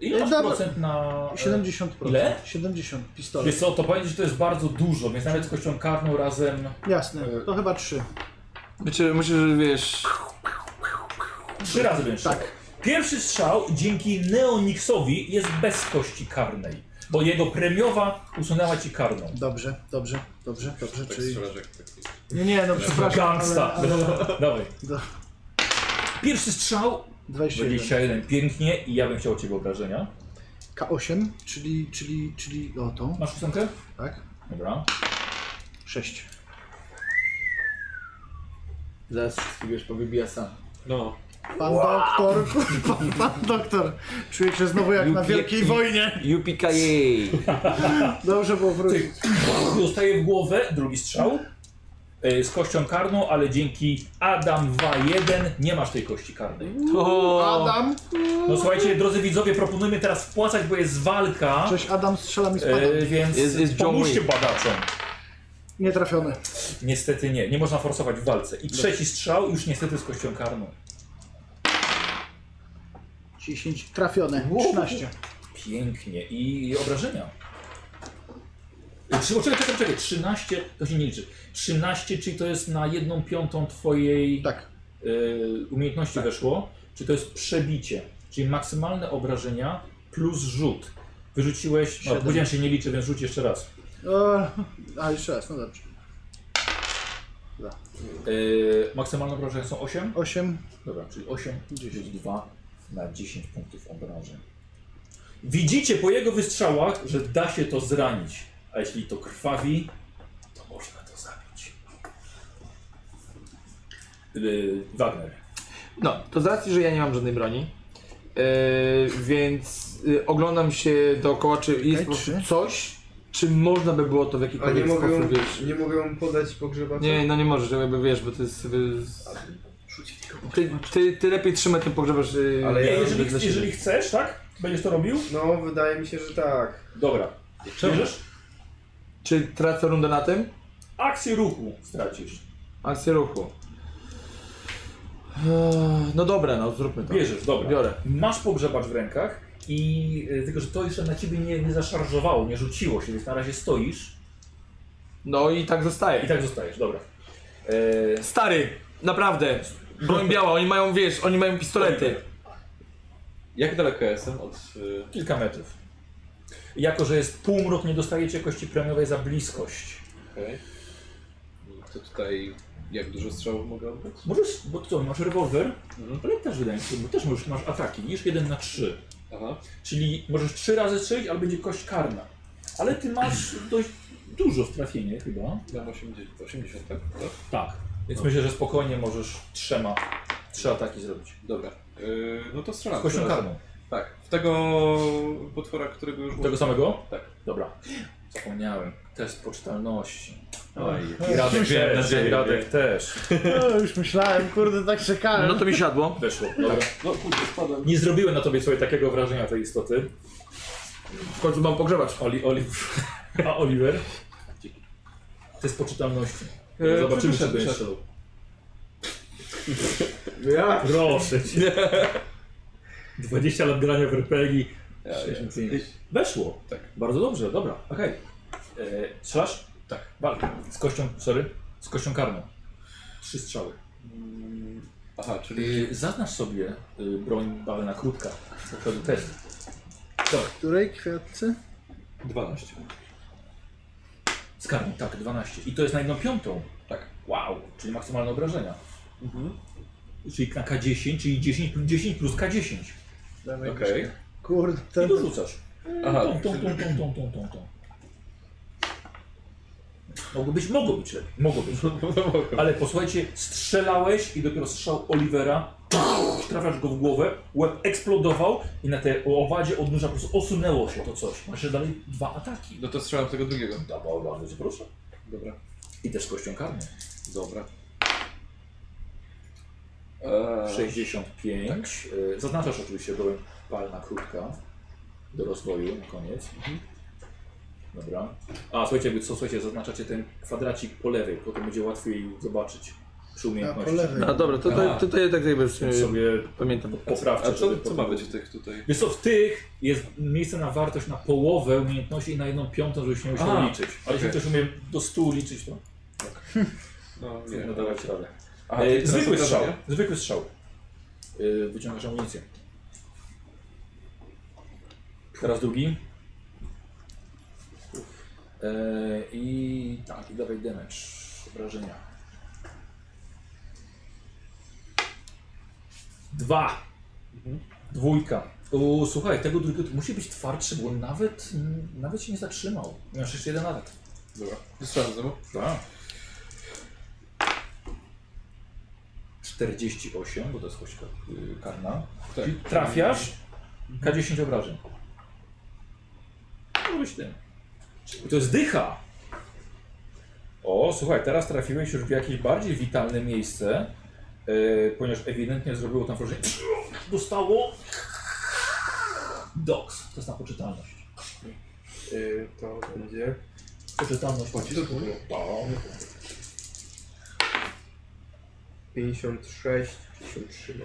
Speaker 1: Ile
Speaker 2: E,
Speaker 1: masz
Speaker 2: dobra.
Speaker 1: procent na... e,
Speaker 2: 70%.
Speaker 1: Ile?
Speaker 2: 70
Speaker 1: Wiesz
Speaker 2: pistolet.
Speaker 1: co, to powiedzieć, że to jest bardzo dużo, więc nawet z kością karną razem...
Speaker 2: Jasne,
Speaker 1: E-
Speaker 2: to chyba 3.
Speaker 4: Wiecie, Znaczy, myślę, że wiesz...
Speaker 1: Trzy razy będziesz tak. Pierwszy strzał dzięki Neonixowi jest bez kości karnej, bo jego premiowa usunęła ci karną.
Speaker 2: Dobrze, dobrze, dobrze, dobrze,
Speaker 3: Tak
Speaker 2: czyli...
Speaker 3: strzelasz jak taki.
Speaker 2: Nie, nie, no przepraszam, ale,
Speaker 1: Gangsta.
Speaker 2: ale...
Speaker 1: Dawaj.
Speaker 2: Do-
Speaker 1: Pierwszy strzał
Speaker 2: 21.
Speaker 1: 21 pięknie i ja bym chciał od ciebie obrażenia.
Speaker 2: K8, czyli, czyli, czyli, o tą,
Speaker 1: Masz ósemkę?
Speaker 2: tak?
Speaker 1: Dobra.
Speaker 2: 6.
Speaker 4: Zaraz wszystkich wiesz, powybija sam.
Speaker 3: No.
Speaker 2: Pan doktor, pan, pan doktor, czuję się znowu jak na
Speaker 4: Lubię
Speaker 2: Wielkiej
Speaker 4: i-
Speaker 2: Wojnie.
Speaker 4: Yupikajej!
Speaker 2: Dobrze było wrócić.
Speaker 1: Dostaje w głowę, drugi strzał. e, Z kością karną, ale dzięki Adam 2.1 nie masz tej kości karnej.
Speaker 4: To...
Speaker 2: Adam?
Speaker 1: No słuchajcie, drodzy widzowie, proponujemy teraz wpłacać, bo jest walka,
Speaker 2: Cześć, Adam strzela mi spada.
Speaker 1: e, więc
Speaker 4: Jest- jest John
Speaker 1: pomóżcie
Speaker 4: Wick.
Speaker 1: badaczom.
Speaker 2: Nie trafiony.
Speaker 1: Niestety nie, nie można forsować w walce. I trzeci strzał już niestety z kością karną.
Speaker 2: 10 trafione. 13.
Speaker 1: Pięknie. I obrażenia. Trzy- Czekaj, czekaj, czekaj. 13, to się nie liczy. 13, czyli to jest na jedną piątą twojej
Speaker 2: Tak.
Speaker 1: y, umiejętności
Speaker 4: Tak.
Speaker 1: weszło. Czyli to jest przebicie. Czyli maksymalne obrażenia plus rzut. Wyrzuciłeś, no
Speaker 2: Siedem.
Speaker 1: powiedziałem,
Speaker 2: No,
Speaker 1: że się nie liczy, więc rzuć jeszcze raz.
Speaker 2: O, a jeszcze raz, no dobrze. Da.
Speaker 1: Yy, maksymalne obrażenia są 8?
Speaker 2: 8.
Speaker 1: Dobra, czyli 8 10. 2 na 10 punktów obrażeń. Widzicie po jego wystrzałach, że da się to zranić. A jeśli to krwawi, to można to zabić. Yy, Wagner.
Speaker 4: No, to z racji, że ja nie mam żadnej broni, yy, więc yy, oglądam się dookoła, czy jest po prostu
Speaker 2: trzy.
Speaker 4: coś, czy można by było to w
Speaker 5: A nie
Speaker 4: jakikolwiek
Speaker 5: mogę,
Speaker 4: sposób, wiesz...
Speaker 5: nie mogę mu podać pogrzebacza?
Speaker 4: Nie, no nie możesz, jakby wiesz, bo to jest... Jakby... Ty, ty, ty lepiej trzymaj ten pogrzebasz. Yy,
Speaker 5: Ale ja-
Speaker 4: żeby
Speaker 1: jeżeli,
Speaker 4: dla siebie.
Speaker 1: jeżeli chcesz, tak? Będziesz to robił?
Speaker 5: No, wydaje mi się, że tak.
Speaker 1: Dobra. Bierzesz?
Speaker 4: Czy tracę rundę na tym?
Speaker 1: Akcję ruchu stracisz.
Speaker 4: Akcję ruchu. Eee, No dobra, no zróbmy to.
Speaker 1: Bierzesz, dobra.
Speaker 4: Biorę.
Speaker 1: Masz pogrzebacz w rękach i y, tylko, że to jeszcze na ciebie nie, nie zaszarżowało, nie rzuciło się, więc na razie stoisz
Speaker 4: No i tak zostaje.
Speaker 1: i tak zostajesz, dobra. E,
Speaker 4: Stary, naprawdę. Broń biała, oni mają, wiesz, oni mają pistolety.
Speaker 3: Jak daleko jestem od... y,
Speaker 1: kilka metrów. Jako, że jest półmrok, nie dostajecie kości premiowej za bliskość.
Speaker 3: Okej. To tutaj jak dużo strzałów mogę oddać?
Speaker 1: Możesz, bo co, masz rewolwer, ale też wydaje mi się, bo też możesz, masz ataki, niż jeden na trzy.
Speaker 3: Aha.
Speaker 1: Czyli możesz trzy razy strzelić, ale będzie kość karna. Ale ty masz dość dużo w trafienie chyba.
Speaker 3: Dam 80, 80 tak? tak?
Speaker 1: Tak. Więc myślę, że spokojnie możesz trzema, trzy ataki zrobić.
Speaker 3: Dobra. Y, no to strzelam.
Speaker 1: Z kością
Speaker 3: strzelam.
Speaker 1: karną.
Speaker 3: Tak. W tego potwora, którego już...
Speaker 1: Tego samego?
Speaker 3: Tak.
Speaker 1: Dobra. Zapomniałem. Test poczytalności.
Speaker 3: Oj,
Speaker 1: I Radek
Speaker 9: Słyszałem na
Speaker 1: też,
Speaker 9: ciebie.
Speaker 1: i Radek też.
Speaker 2: No, już myślałem, kurde, tak czekałem.
Speaker 4: No to mi siadło.
Speaker 1: Weszło, dobra.
Speaker 3: No,
Speaker 1: Nie zrobiłem na tobie sobie takiego wrażenia tej istoty.
Speaker 4: W końcu mam pogrzebacz.
Speaker 1: Oli, Oli... A Oliver? Test poczytalności. No, Zobaczymy, czy będziesz szedł.
Speaker 5: Ja?
Speaker 1: Proszę cię. 20 lat grania w RPG.
Speaker 3: Ja, ja.
Speaker 1: 65. Weszło. Tak. Bardzo dobrze, dobra, okej. Okay. Strzelasz? Tak. Walka. Z kością, sorry, z kością karną. Trzy strzały.
Speaker 3: Aha, czyli...
Speaker 1: Y, Zaznacz sobie y, broń balena krótka. To wtedy test.
Speaker 2: W której kwiatce?
Speaker 3: 12.
Speaker 1: Z karną, tak, 12. I to jest na jedną piątą.
Speaker 3: Tak.
Speaker 1: Wow, czyli maksymalne obrażenia. Czyli na K10, czyli 10 plus 10 plus K10.
Speaker 2: Dawaj,
Speaker 3: Okej.
Speaker 2: Kurde,
Speaker 1: I
Speaker 2: ten...
Speaker 1: dorzucasz.
Speaker 3: Aha.
Speaker 1: Tą, tą, tą, tą, tą, tą, tą, tą. Mogło być, mogło być lepiej. Mogło być. Ale posłuchajcie, strzelałeś i dopiero strzał Olivera, trafiasz go w głowę, łeb eksplodował i na tej owadzie od nóża po prostu osunęło się to coś. Masz jeszcze dalej dwa ataki.
Speaker 3: No to strzelam tego drugiego.
Speaker 1: Dawał radę, proszę.
Speaker 3: Dobra.
Speaker 1: I też z kością karną.
Speaker 3: Dobra.
Speaker 1: Eee. 65. Y, Zaznaczasz oczywiście broń palna krótka do rozwoju na koniec.
Speaker 3: Mhm.
Speaker 1: Dobra. A słuchajcie, jakby co słuchajcie, zaznaczacie ten kwadracik po lewej, potem będzie łatwiej zobaczyć przy
Speaker 2: A po
Speaker 1: umiejętności.
Speaker 2: lewej.
Speaker 4: No dobra, to
Speaker 3: A.
Speaker 4: to, to, to ja tak jakby w sumie
Speaker 1: Więc sobie
Speaker 4: pamiętam.
Speaker 1: poprawcie.
Speaker 3: E, A co,
Speaker 1: żeby
Speaker 3: co
Speaker 1: potem
Speaker 3: ma
Speaker 1: było.
Speaker 3: być w tych tutaj?
Speaker 1: Wiesz co, w tych jest miejsce na wartość na połowę umiejętności i na jedną piątą, żebyś nie musiał
Speaker 3: A,
Speaker 1: liczyć. Ale jeśli
Speaker 3: okej.
Speaker 1: ktoś umie do 100 liczyć, to
Speaker 3: No,
Speaker 1: trudno dawać radę.
Speaker 3: Aha,
Speaker 1: E,
Speaker 3: czyli teraz
Speaker 1: zwykły strzał.
Speaker 3: obrażenia?
Speaker 1: Zwykły strzał. E, wyciągasz amunicję. Teraz drugi. E, I tak, i dawaj damage. Obrażenia. Dwa. Dwójka. U, słuchaj, tego drugiego to musi być twardszy, bo on nawet, nawet się nie zatrzymał. Masz jeszcze jeden atak.
Speaker 3: Dobra. Strzelam znowu.
Speaker 1: Tak. 48, bo to jest kość ka- y, karna.
Speaker 3: Tak.
Speaker 1: Czyli trafiasz, K10 obrażeń. No być tym. I to jest dycha. O, słuchaj, teraz trafiłeś już w jakieś bardziej witalne miejsce, y, ponieważ ewidentnie zrobiło tam wrażenie. Dostało. Doks, to jest na poczytalność.
Speaker 5: Y, to będzie...
Speaker 1: Poczytalność.
Speaker 5: to było?
Speaker 1: O,
Speaker 5: 56, 53. no.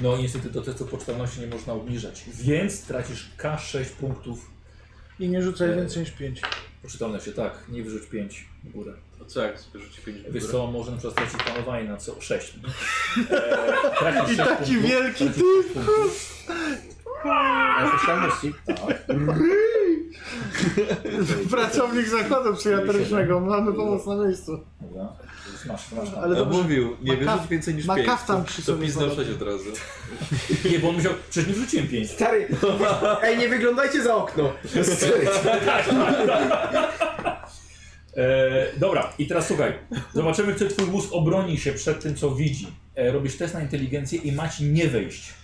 Speaker 1: No niestety do testu poczytalności nie można obniżać, więc tracisz K6 punktów
Speaker 2: I nie rzucaj więcej niż 5.
Speaker 1: poczytalności, tak, nie wyrzuć 5 w górę.
Speaker 3: A co jak wyrzuci 5
Speaker 1: Wiesz co, może na przykład stracić panowanie na co? 6. Eee, tracisz
Speaker 2: I
Speaker 1: sześć
Speaker 2: taki
Speaker 1: punktów,
Speaker 2: wielki
Speaker 1: tracisz sześć punktów.
Speaker 5: A słyszalności?
Speaker 1: Tak.
Speaker 2: Pracownik zakładu psychiatrycznego, mamy pomoc na miejscu.
Speaker 1: Dobra. prawda? Więc Masz, masz tam.
Speaker 2: Ale
Speaker 3: No,
Speaker 2: dobrze.
Speaker 3: mówił, nie
Speaker 2: Ma kaf-
Speaker 3: wierzysz więcej niż
Speaker 2: ma
Speaker 3: pięć.
Speaker 2: kaftan przy
Speaker 3: to
Speaker 2: sobie
Speaker 3: pizdo
Speaker 2: podobny.
Speaker 3: sześć od razu.
Speaker 1: Nie, bo on musiał, przecież nie wrzuciłem pięć.
Speaker 5: Stary, ej, nie wyglądajcie za okno.
Speaker 1: E, dobra, i teraz słuchaj. Zobaczymy, czy twój mózg obroni się przed tym, co widzi. E, robisz test na inteligencję i masz nie wejść.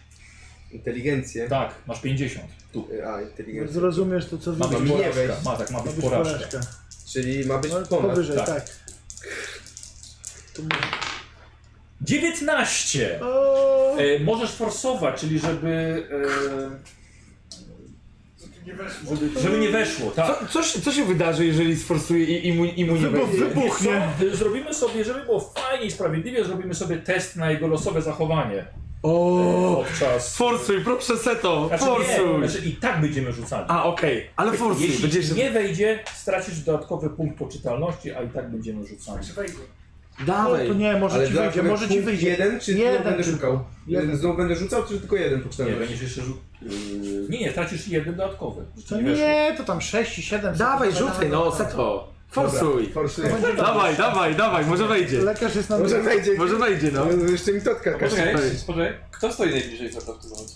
Speaker 5: Inteligencję.
Speaker 1: Tak, masz 50. Tu.
Speaker 5: A, inteligencję.
Speaker 2: Zrozumiesz to, co
Speaker 1: Ma
Speaker 2: widzisz.
Speaker 1: być
Speaker 5: nie
Speaker 1: porażka.
Speaker 5: wejść.
Speaker 1: Ma, tak, ma
Speaker 2: Ma
Speaker 1: być
Speaker 2: być
Speaker 1: porażka.
Speaker 2: porażka.
Speaker 5: Czyli ma być
Speaker 2: No,
Speaker 5: ponad.
Speaker 2: powyżej,
Speaker 1: tak.
Speaker 2: tak.
Speaker 1: 19!
Speaker 2: O,
Speaker 1: E, możesz forsować, czyli żeby...
Speaker 8: Nie weszło.
Speaker 1: E, żeby nie weszło, tak.
Speaker 4: Co, co, się- co się wydarzy, jeżeli sforsuje i, i mu, i mu nie
Speaker 2: Wybuch,
Speaker 4: wejdzie?
Speaker 2: wybuchnie.
Speaker 1: Co? Zrobimy sobie, żeby było fajnie i sprawiedliwie, zrobimy sobie test na jego losowe zachowanie
Speaker 4: O,
Speaker 1: podczas...
Speaker 4: Forsuj, proszę Seto,
Speaker 1: Znaczy, nie,
Speaker 4: forsuj!
Speaker 1: znaczy i tak będziemy rzucali.
Speaker 4: A, okej, ale forsuj,
Speaker 1: Jeśli
Speaker 4: będziesz...
Speaker 1: nie wejdzie, stracisz dodatkowy punkt poczytalności, a i tak będziemy rzucali.
Speaker 8: Czy wejdzie?
Speaker 2: O,
Speaker 4: Dawaj!
Speaker 2: to nie, może ci wyjdzie,
Speaker 5: dodatkowy
Speaker 2: może ci
Speaker 5: punkt
Speaker 2: wyjdzie.
Speaker 5: Jeden, czy
Speaker 2: Jeden
Speaker 5: znowu będę
Speaker 2: tylko.
Speaker 5: szukał? Y,
Speaker 2: Jeden.
Speaker 5: Znowu będę rzucał, czy tylko jeden
Speaker 1: Nie,
Speaker 5: pocztałem?
Speaker 1: będziesz jeszcze rzut... Yy, nie, nie, tracisz jeden dodatkowy.
Speaker 2: To
Speaker 1: Nie weszło.
Speaker 2: nie, to tam 6 i 7.
Speaker 4: Dawaj, rzucaj, no, Seto! Forsuj!
Speaker 5: Forsuję.
Speaker 4: Dawaj, dawaj, dawaj, może wejdzie.
Speaker 2: Lekarz jest na
Speaker 5: Może wejdzie.
Speaker 4: Może wejdzie, no.
Speaker 5: No, jeszcze mi totka każe.
Speaker 4: Poczekaj,
Speaker 3: Poczekaj,
Speaker 4: poczekaj.
Speaker 3: poczekaj. Kto stoi najbliżej Zeta w tym momencie?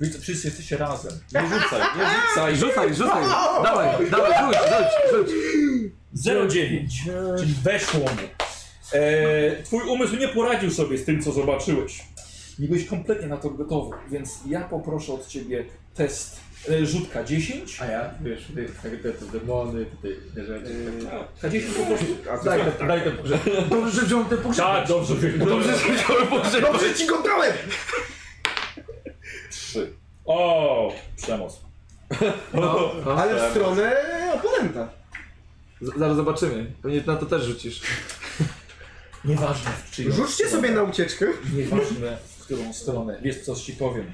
Speaker 1: Wy to wszyscy jesteście razem.
Speaker 3: Nie rzucaj, nie rzucaj.
Speaker 4: Rzucaj, rzucaj! Dawaj, dawaj, rzuć, rzuć, rzuć!
Speaker 1: 09, czyli weszło mu. E, twój umysł nie poradził sobie z tym, co zobaczyłeś. Nie byłeś kompletnie na to gotowy, więc ja poproszę od ciebie test e, rzutka 10.
Speaker 9: A ja, wiesz, tutaj te, te demony, tutaj te rzeczy.
Speaker 1: K10 po prostu.
Speaker 5: A co?
Speaker 4: Daj to, daj to pogrzeb. Dobrze, że wziąłem ten pogrzeb.
Speaker 1: Tak, dobrze, dobrze.
Speaker 4: Dobrze, że wziąłem pogrzeb.
Speaker 5: Dobrze ci go dałem!
Speaker 1: Trzy. O, przemoc.
Speaker 4: No,
Speaker 5: Ale w stronę oponenta.
Speaker 4: Z- no. Zaraz zobaczymy. Pewnie na to też rzucisz.
Speaker 1: Nieważne w czyją
Speaker 5: Rzućcie
Speaker 1: stronę.
Speaker 5: sobie na ucieczkę.
Speaker 1: Nieważne w którą stronę. Wiesz, coś ci powiem.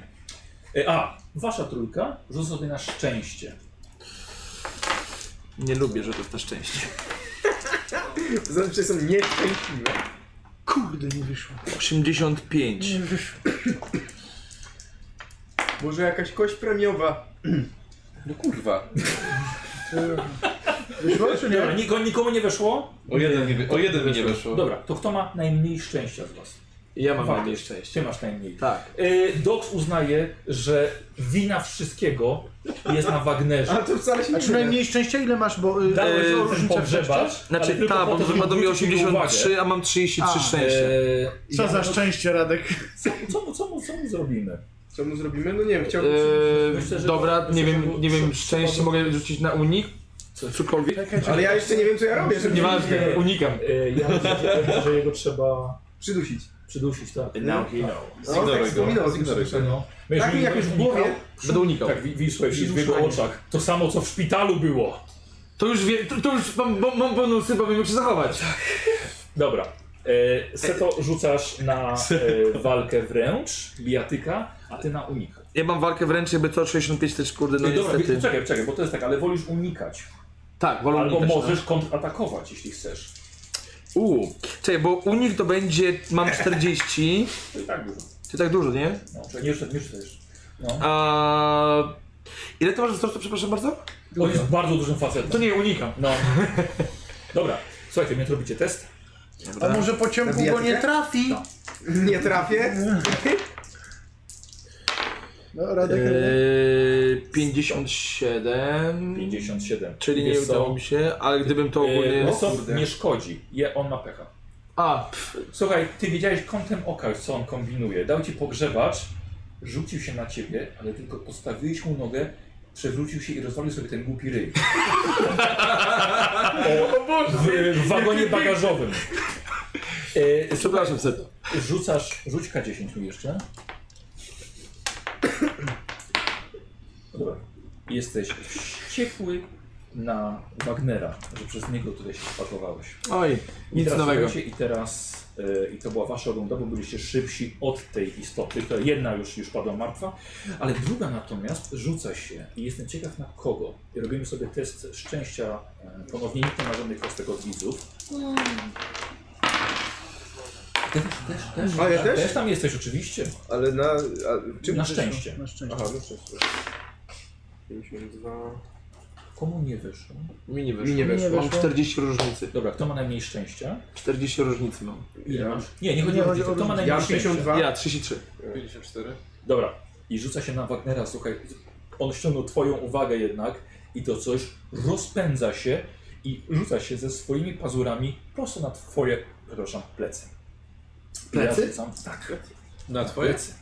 Speaker 1: E, a, wasza trójka, rzuć sobie na szczęście.
Speaker 4: Nie lubię rzutów na szczęście.
Speaker 5: Znaczy są nieszczęśliwe.
Speaker 2: Kurde, nie wyszło.
Speaker 4: 85.
Speaker 5: Może jakaś kość premiowa.
Speaker 3: No kurwa.
Speaker 2: Wyszło czy nie?
Speaker 1: Niko, nikomu nie weszło?
Speaker 3: O jeden, nie, wy- o jeden mi nie weszło.
Speaker 1: Dobra, to kto ma najmniej szczęścia z was?
Speaker 4: Ja mam
Speaker 1: Fakt.
Speaker 4: najmniej szczęście.
Speaker 1: Ty masz najmniej.
Speaker 4: Tak.
Speaker 1: E, Dox uznaje, że wina wszystkiego jest na Wagnerze.
Speaker 5: Ale to wcale się
Speaker 2: A
Speaker 5: nie
Speaker 2: czy
Speaker 5: wyda.
Speaker 2: najmniej szczęścia ile masz, bo... y,
Speaker 1: Dałeś
Speaker 4: Eee,
Speaker 1: różnicę pogrzebacz, ale
Speaker 4: Znaczy
Speaker 1: tylko
Speaker 4: ta,
Speaker 1: po
Speaker 4: bo
Speaker 1: to, żeby
Speaker 4: wypadło mi
Speaker 1: zwrócić jego uwagę.
Speaker 4: 83, a mam 33
Speaker 2: A.
Speaker 4: szczęścia.
Speaker 1: Eee,
Speaker 2: Co
Speaker 1: ja-
Speaker 2: za szczęście, Radek.
Speaker 1: Co, co, mu- co, mu- co mu zrobimy?
Speaker 5: Co mu zrobimy? No nie wiem, chciałbym...
Speaker 4: Eee,
Speaker 1: myślę, że-
Speaker 4: dobra,
Speaker 1: myślę,
Speaker 4: nie
Speaker 1: że
Speaker 4: wiem,
Speaker 1: było- Tak.
Speaker 4: nie wiem,
Speaker 1: trzeba-
Speaker 4: szczęście
Speaker 1: trzeba-
Speaker 4: mogę rzucić na unik? Cokolwiek?
Speaker 5: Ale ja jeszcze nie wiem, co ja robię, żeby
Speaker 4: Nieważne, unikam.
Speaker 1: Eee, ja myślę, że- że jego trzeba
Speaker 5: przydusić.
Speaker 1: przydusić, tak.
Speaker 5: Now he
Speaker 1: knows.
Speaker 5: No, tak,
Speaker 3: Zignoruj go.
Speaker 5: zginął, zginął.
Speaker 1: No. Wiesz,
Speaker 5: Tak mi jak już w głowie...
Speaker 4: Będę unikał.
Speaker 1: Tak, wi- wisłeś w jego oczach. To samo, co w szpitalu było.
Speaker 4: To już wiem, to, to już mam, mam, mam bonusy, bo wiem jak się zachować.
Speaker 1: Dobra. E, Seto rzucasz na e, walkę wręcz, bijatyka, a ty na unik.
Speaker 4: Ja mam walkę wręcz, jakby co 65 też kurde, no
Speaker 1: No dobra,
Speaker 4: niestety.
Speaker 1: wie- czekaj, czekaj, bo to jest tak, ale wolisz unikać.
Speaker 4: Tak, wolę
Speaker 1: Albo
Speaker 4: unikać, no.
Speaker 1: możesz kontratakować, jeśli chcesz.
Speaker 4: Uuu, tak. czekaj, bo unik to będzie, mam 40,
Speaker 1: To i tak dużo.
Speaker 4: to tak dużo, nie?
Speaker 1: No, czekaj, nie No. rzucaj, nie rzucaj jeszcze.
Speaker 4: A... Ile to masz wzrostu, przepraszam bardzo?
Speaker 1: On jest bardzo dużym facetem.
Speaker 4: To nie, unikam.
Speaker 1: No. Dobra, słuchajcie, mnie robicie test.
Speaker 2: A może po ciemku
Speaker 5: Zabijać
Speaker 2: go nie
Speaker 5: cię?
Speaker 2: trafi?
Speaker 5: Nie trafię.
Speaker 2: No, Radek...
Speaker 4: Eee, 57,
Speaker 1: 57.
Speaker 4: czyli nie
Speaker 1: Wiesz co?
Speaker 4: udało mi się, ale gdybym to
Speaker 1: E,
Speaker 4: ogólnie...
Speaker 1: losom
Speaker 5: kurde.
Speaker 1: nie szkodzi, je, on ma pecha.
Speaker 4: A, pff,
Speaker 1: Słuchaj, ty wiedziałeś kątem oka, co on kombinuje. Dał ci pogrzebacz, rzucił się na ciebie, ale tylko postawiłeś mu nogę, przewrócił się i rozwalił sobie ten głupi ryj. o, w, w wagonie bagażowym. E,
Speaker 4: przepraszam Seto.
Speaker 1: rzucasz, rzuć K10 mi jeszcze. Dobra. Jesteś wściekły na Wagnera, że przez niego tutaj się spakowałeś.
Speaker 4: Oj,
Speaker 1: I
Speaker 4: nic
Speaker 1: teraz
Speaker 4: nowego.
Speaker 1: słuchajcie, I teraz, e, i to była wasza runda, bo byliście szybsi od tej istoty. To jedna już, już padła martwa, ale druga natomiast rzuca się i jestem ciekaw na kogo. I robimy sobie test szczęścia e, ponownie nie ma żadnych kostek od widzów. Też, też, też.
Speaker 5: A ja też?
Speaker 1: Tak, Też tam jesteś oczywiście.
Speaker 5: Ale na... A, czym
Speaker 1: na
Speaker 5: przyszło?
Speaker 1: szczęście.
Speaker 2: Na szczęście.
Speaker 5: Aha, no szczęście. 52...
Speaker 1: Komu nie wyszło?
Speaker 4: Mi nie
Speaker 5: Mi
Speaker 4: wyszło.
Speaker 5: nie
Speaker 2: Nie
Speaker 5: weszło.
Speaker 4: Mam 40 różnicy.
Speaker 1: Dobra, kto ma najmniej szczęścia?
Speaker 4: 40 różnicy mam.
Speaker 1: Ile
Speaker 5: Ja.
Speaker 1: masz? Nie, nie chodzi
Speaker 2: Nie
Speaker 1: o
Speaker 2: chodzi
Speaker 1: różnicę.
Speaker 2: o
Speaker 1: Kto ma najmniej
Speaker 2: różnicę.
Speaker 5: Ja
Speaker 1: szczęścia?
Speaker 5: 52.
Speaker 4: Ja 33.
Speaker 3: 54.
Speaker 1: Dobra. I rzuca się na Wagnera, słuchaj, on ściągnął twoją uwagę jednak i to coś rozpędza się i rzuca się ze swoimi pazurami prosto na twoje, przepraszam, plecy. I
Speaker 4: Plecy?
Speaker 1: Ja rzucam, tak,
Speaker 3: Na twoje?
Speaker 1: plecy.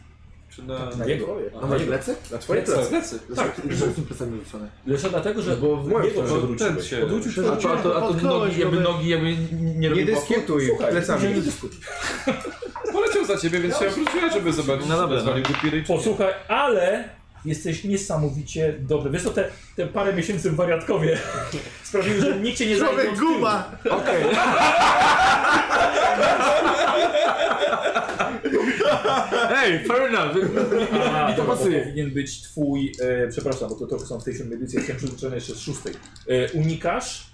Speaker 3: Czy na...
Speaker 1: Na jego.
Speaker 4: A masz plecy?
Speaker 5: Na twoje
Speaker 1: Plecy.
Speaker 5: plecy.
Speaker 3: Plecy.
Speaker 1: Tak,
Speaker 4: Że są plecami rzucone.
Speaker 1: Lecz dlatego, że
Speaker 5: Bo w moją
Speaker 1: jego
Speaker 5: stronę
Speaker 1: przewróciłeś.
Speaker 3: ten się-
Speaker 1: Odwrócił się
Speaker 4: A to, a to, a to
Speaker 2: Potknąłeś
Speaker 4: nogi, jakby
Speaker 2: go,
Speaker 4: nogi jakby nie
Speaker 5: Nie
Speaker 4: robiły
Speaker 5: dyskutuj
Speaker 1: Słuchaj,
Speaker 5: plecami.
Speaker 1: nie dyskutuj.
Speaker 3: Poleciał za ciebie, więc się obróciłem, żeby zobaczyć,
Speaker 4: No
Speaker 3: no dobra,
Speaker 4: dobra,
Speaker 3: czy zwalił go piry, czy nie.
Speaker 1: Posłuchaj, ale jesteś niesamowicie dobry. Wiesz co, te, te parę miesięcy w wariatkowie sprawiły, że nikt cię nie zajmie
Speaker 2: Człowiek
Speaker 1: od tyłu.
Speaker 2: guba!
Speaker 4: Okej. Ej, fair enough.
Speaker 1: A, to
Speaker 4: pasuje.
Speaker 1: powinien być twój, e, przepraszam, bo to trochę są w tej siódmej edycji, jestem przyzwyczajony jeszcze z szóstej. E, unikasz?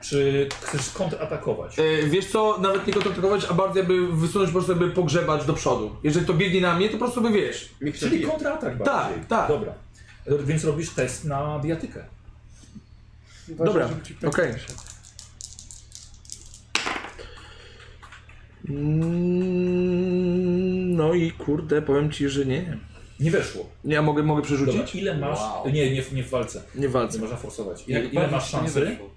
Speaker 1: Czy chcesz kontratakować?
Speaker 4: E, Wiesz co, nawet nie kontaktować, a bardziej by wysunąć po prostu, by pogrzebać do przodu. Jeżeli to biegnie na mnie, to po prostu by wiesz.
Speaker 5: Mi kto
Speaker 1: Czyli
Speaker 5: bije.
Speaker 1: kontratak bardziej.
Speaker 4: tak.
Speaker 1: Dobra. E, Więc robisz test na bijatykę.
Speaker 4: Dobra, okej. Mm, No i kurde, powiem ci, że nie.
Speaker 1: Nie weszło.
Speaker 4: Nie, a mogę, mogę
Speaker 1: Dobra.
Speaker 4: przerzucić?
Speaker 1: Ile masz... Nie, nie, w- nie w walce.
Speaker 4: Nie
Speaker 1: Nie
Speaker 4: walczę.
Speaker 1: można forsować. Ile,
Speaker 3: Jak
Speaker 1: ile masz
Speaker 3: bardzo się nie
Speaker 1: szansy?
Speaker 3: weszło.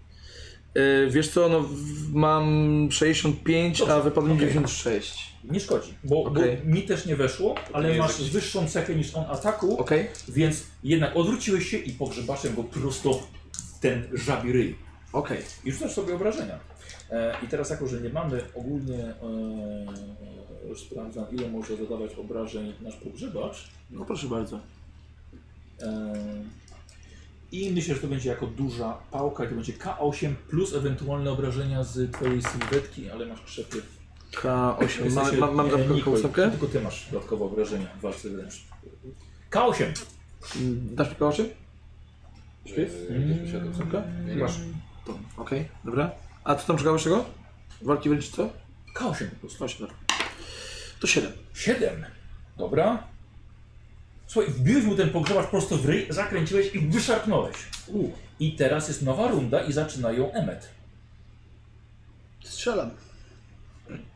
Speaker 4: E, Wiesz co, no w- mam 65, a
Speaker 1: Dobrze,
Speaker 4: wypadło mi
Speaker 1: okej.
Speaker 4: 96.
Speaker 1: Nie szkodzi, bo,
Speaker 4: Okej.
Speaker 1: bo mi też nie weszło, ale
Speaker 3: nie jest
Speaker 1: masz
Speaker 3: jakiś-
Speaker 1: wyższą cechę niż on ataku,
Speaker 4: Okej?
Speaker 1: więc jednak odwróciłeś się i pogrzebaszem go prosto w ten żabi ryj.
Speaker 4: Okej.
Speaker 1: I rzucasz sobie obrażenia. E, I teraz jako, że nie mamy ogólnie, e, już sprawdzam ile może zadawać obrażeń nasz pogrzebacz.
Speaker 4: No proszę bardzo.
Speaker 1: E, I myślę, że to będzie jako duża pałka i to będzie K8 plus ewentualne obrażenia z twojej sylwetki, ale masz krzepy.
Speaker 4: K8, ma,
Speaker 1: Jesteś,
Speaker 4: ma, mam
Speaker 1: e,
Speaker 4: dodatkową
Speaker 1: Nikol,
Speaker 4: ósemkę?
Speaker 1: Tylko ty masz dodatkowe obrażenia w walce wręcz. K8.
Speaker 4: Mm, Dasz mi K8?
Speaker 1: Mm.
Speaker 5: Masz.
Speaker 4: To, Okej, dobra. A co tam szukałeś czego? Walki wręcz czy co?
Speaker 1: K8 plus.
Speaker 4: Właśnie, dobra. To 7.
Speaker 1: 7. Dobra. Słuchaj, wbiłeś mu ten pogrzebacz prosto w ryj, zakręciłeś i wyszarpnąłeś. I teraz jest nowa runda i zaczyna ją Emmet.
Speaker 2: Strzelam.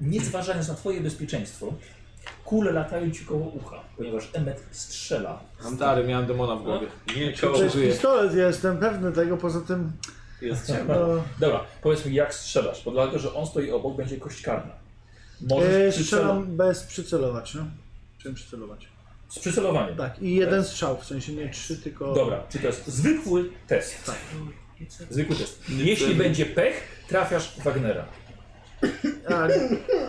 Speaker 1: Nie zważając na twoje bezpieczeństwo, kule latają ci koło ucha, ponieważ Emmet strzela.
Speaker 4: Stary, miałem demona w
Speaker 3: głowie. Nie,
Speaker 2: To
Speaker 3: koło.
Speaker 2: jest pistolet, ja jestem pewny tego, poza tym...
Speaker 3: Jest
Speaker 2: No,
Speaker 1: Dobra, powiedz mi jak strzelasz, bo dlatego, że on stoi obok, będzie kość karna. Możesz
Speaker 2: e,
Speaker 1: przycelo-
Speaker 2: strzelam bez przycelować, no. Chciałem przycelować.
Speaker 1: z przycelowaniem.
Speaker 2: Tak, i jeden strzał, w sensie nie trzy, tylko...
Speaker 1: Dobra, czy to jest zwykły test? Zwykły test. Jeśli będzie pech, trafiasz Wagnera.
Speaker 2: A,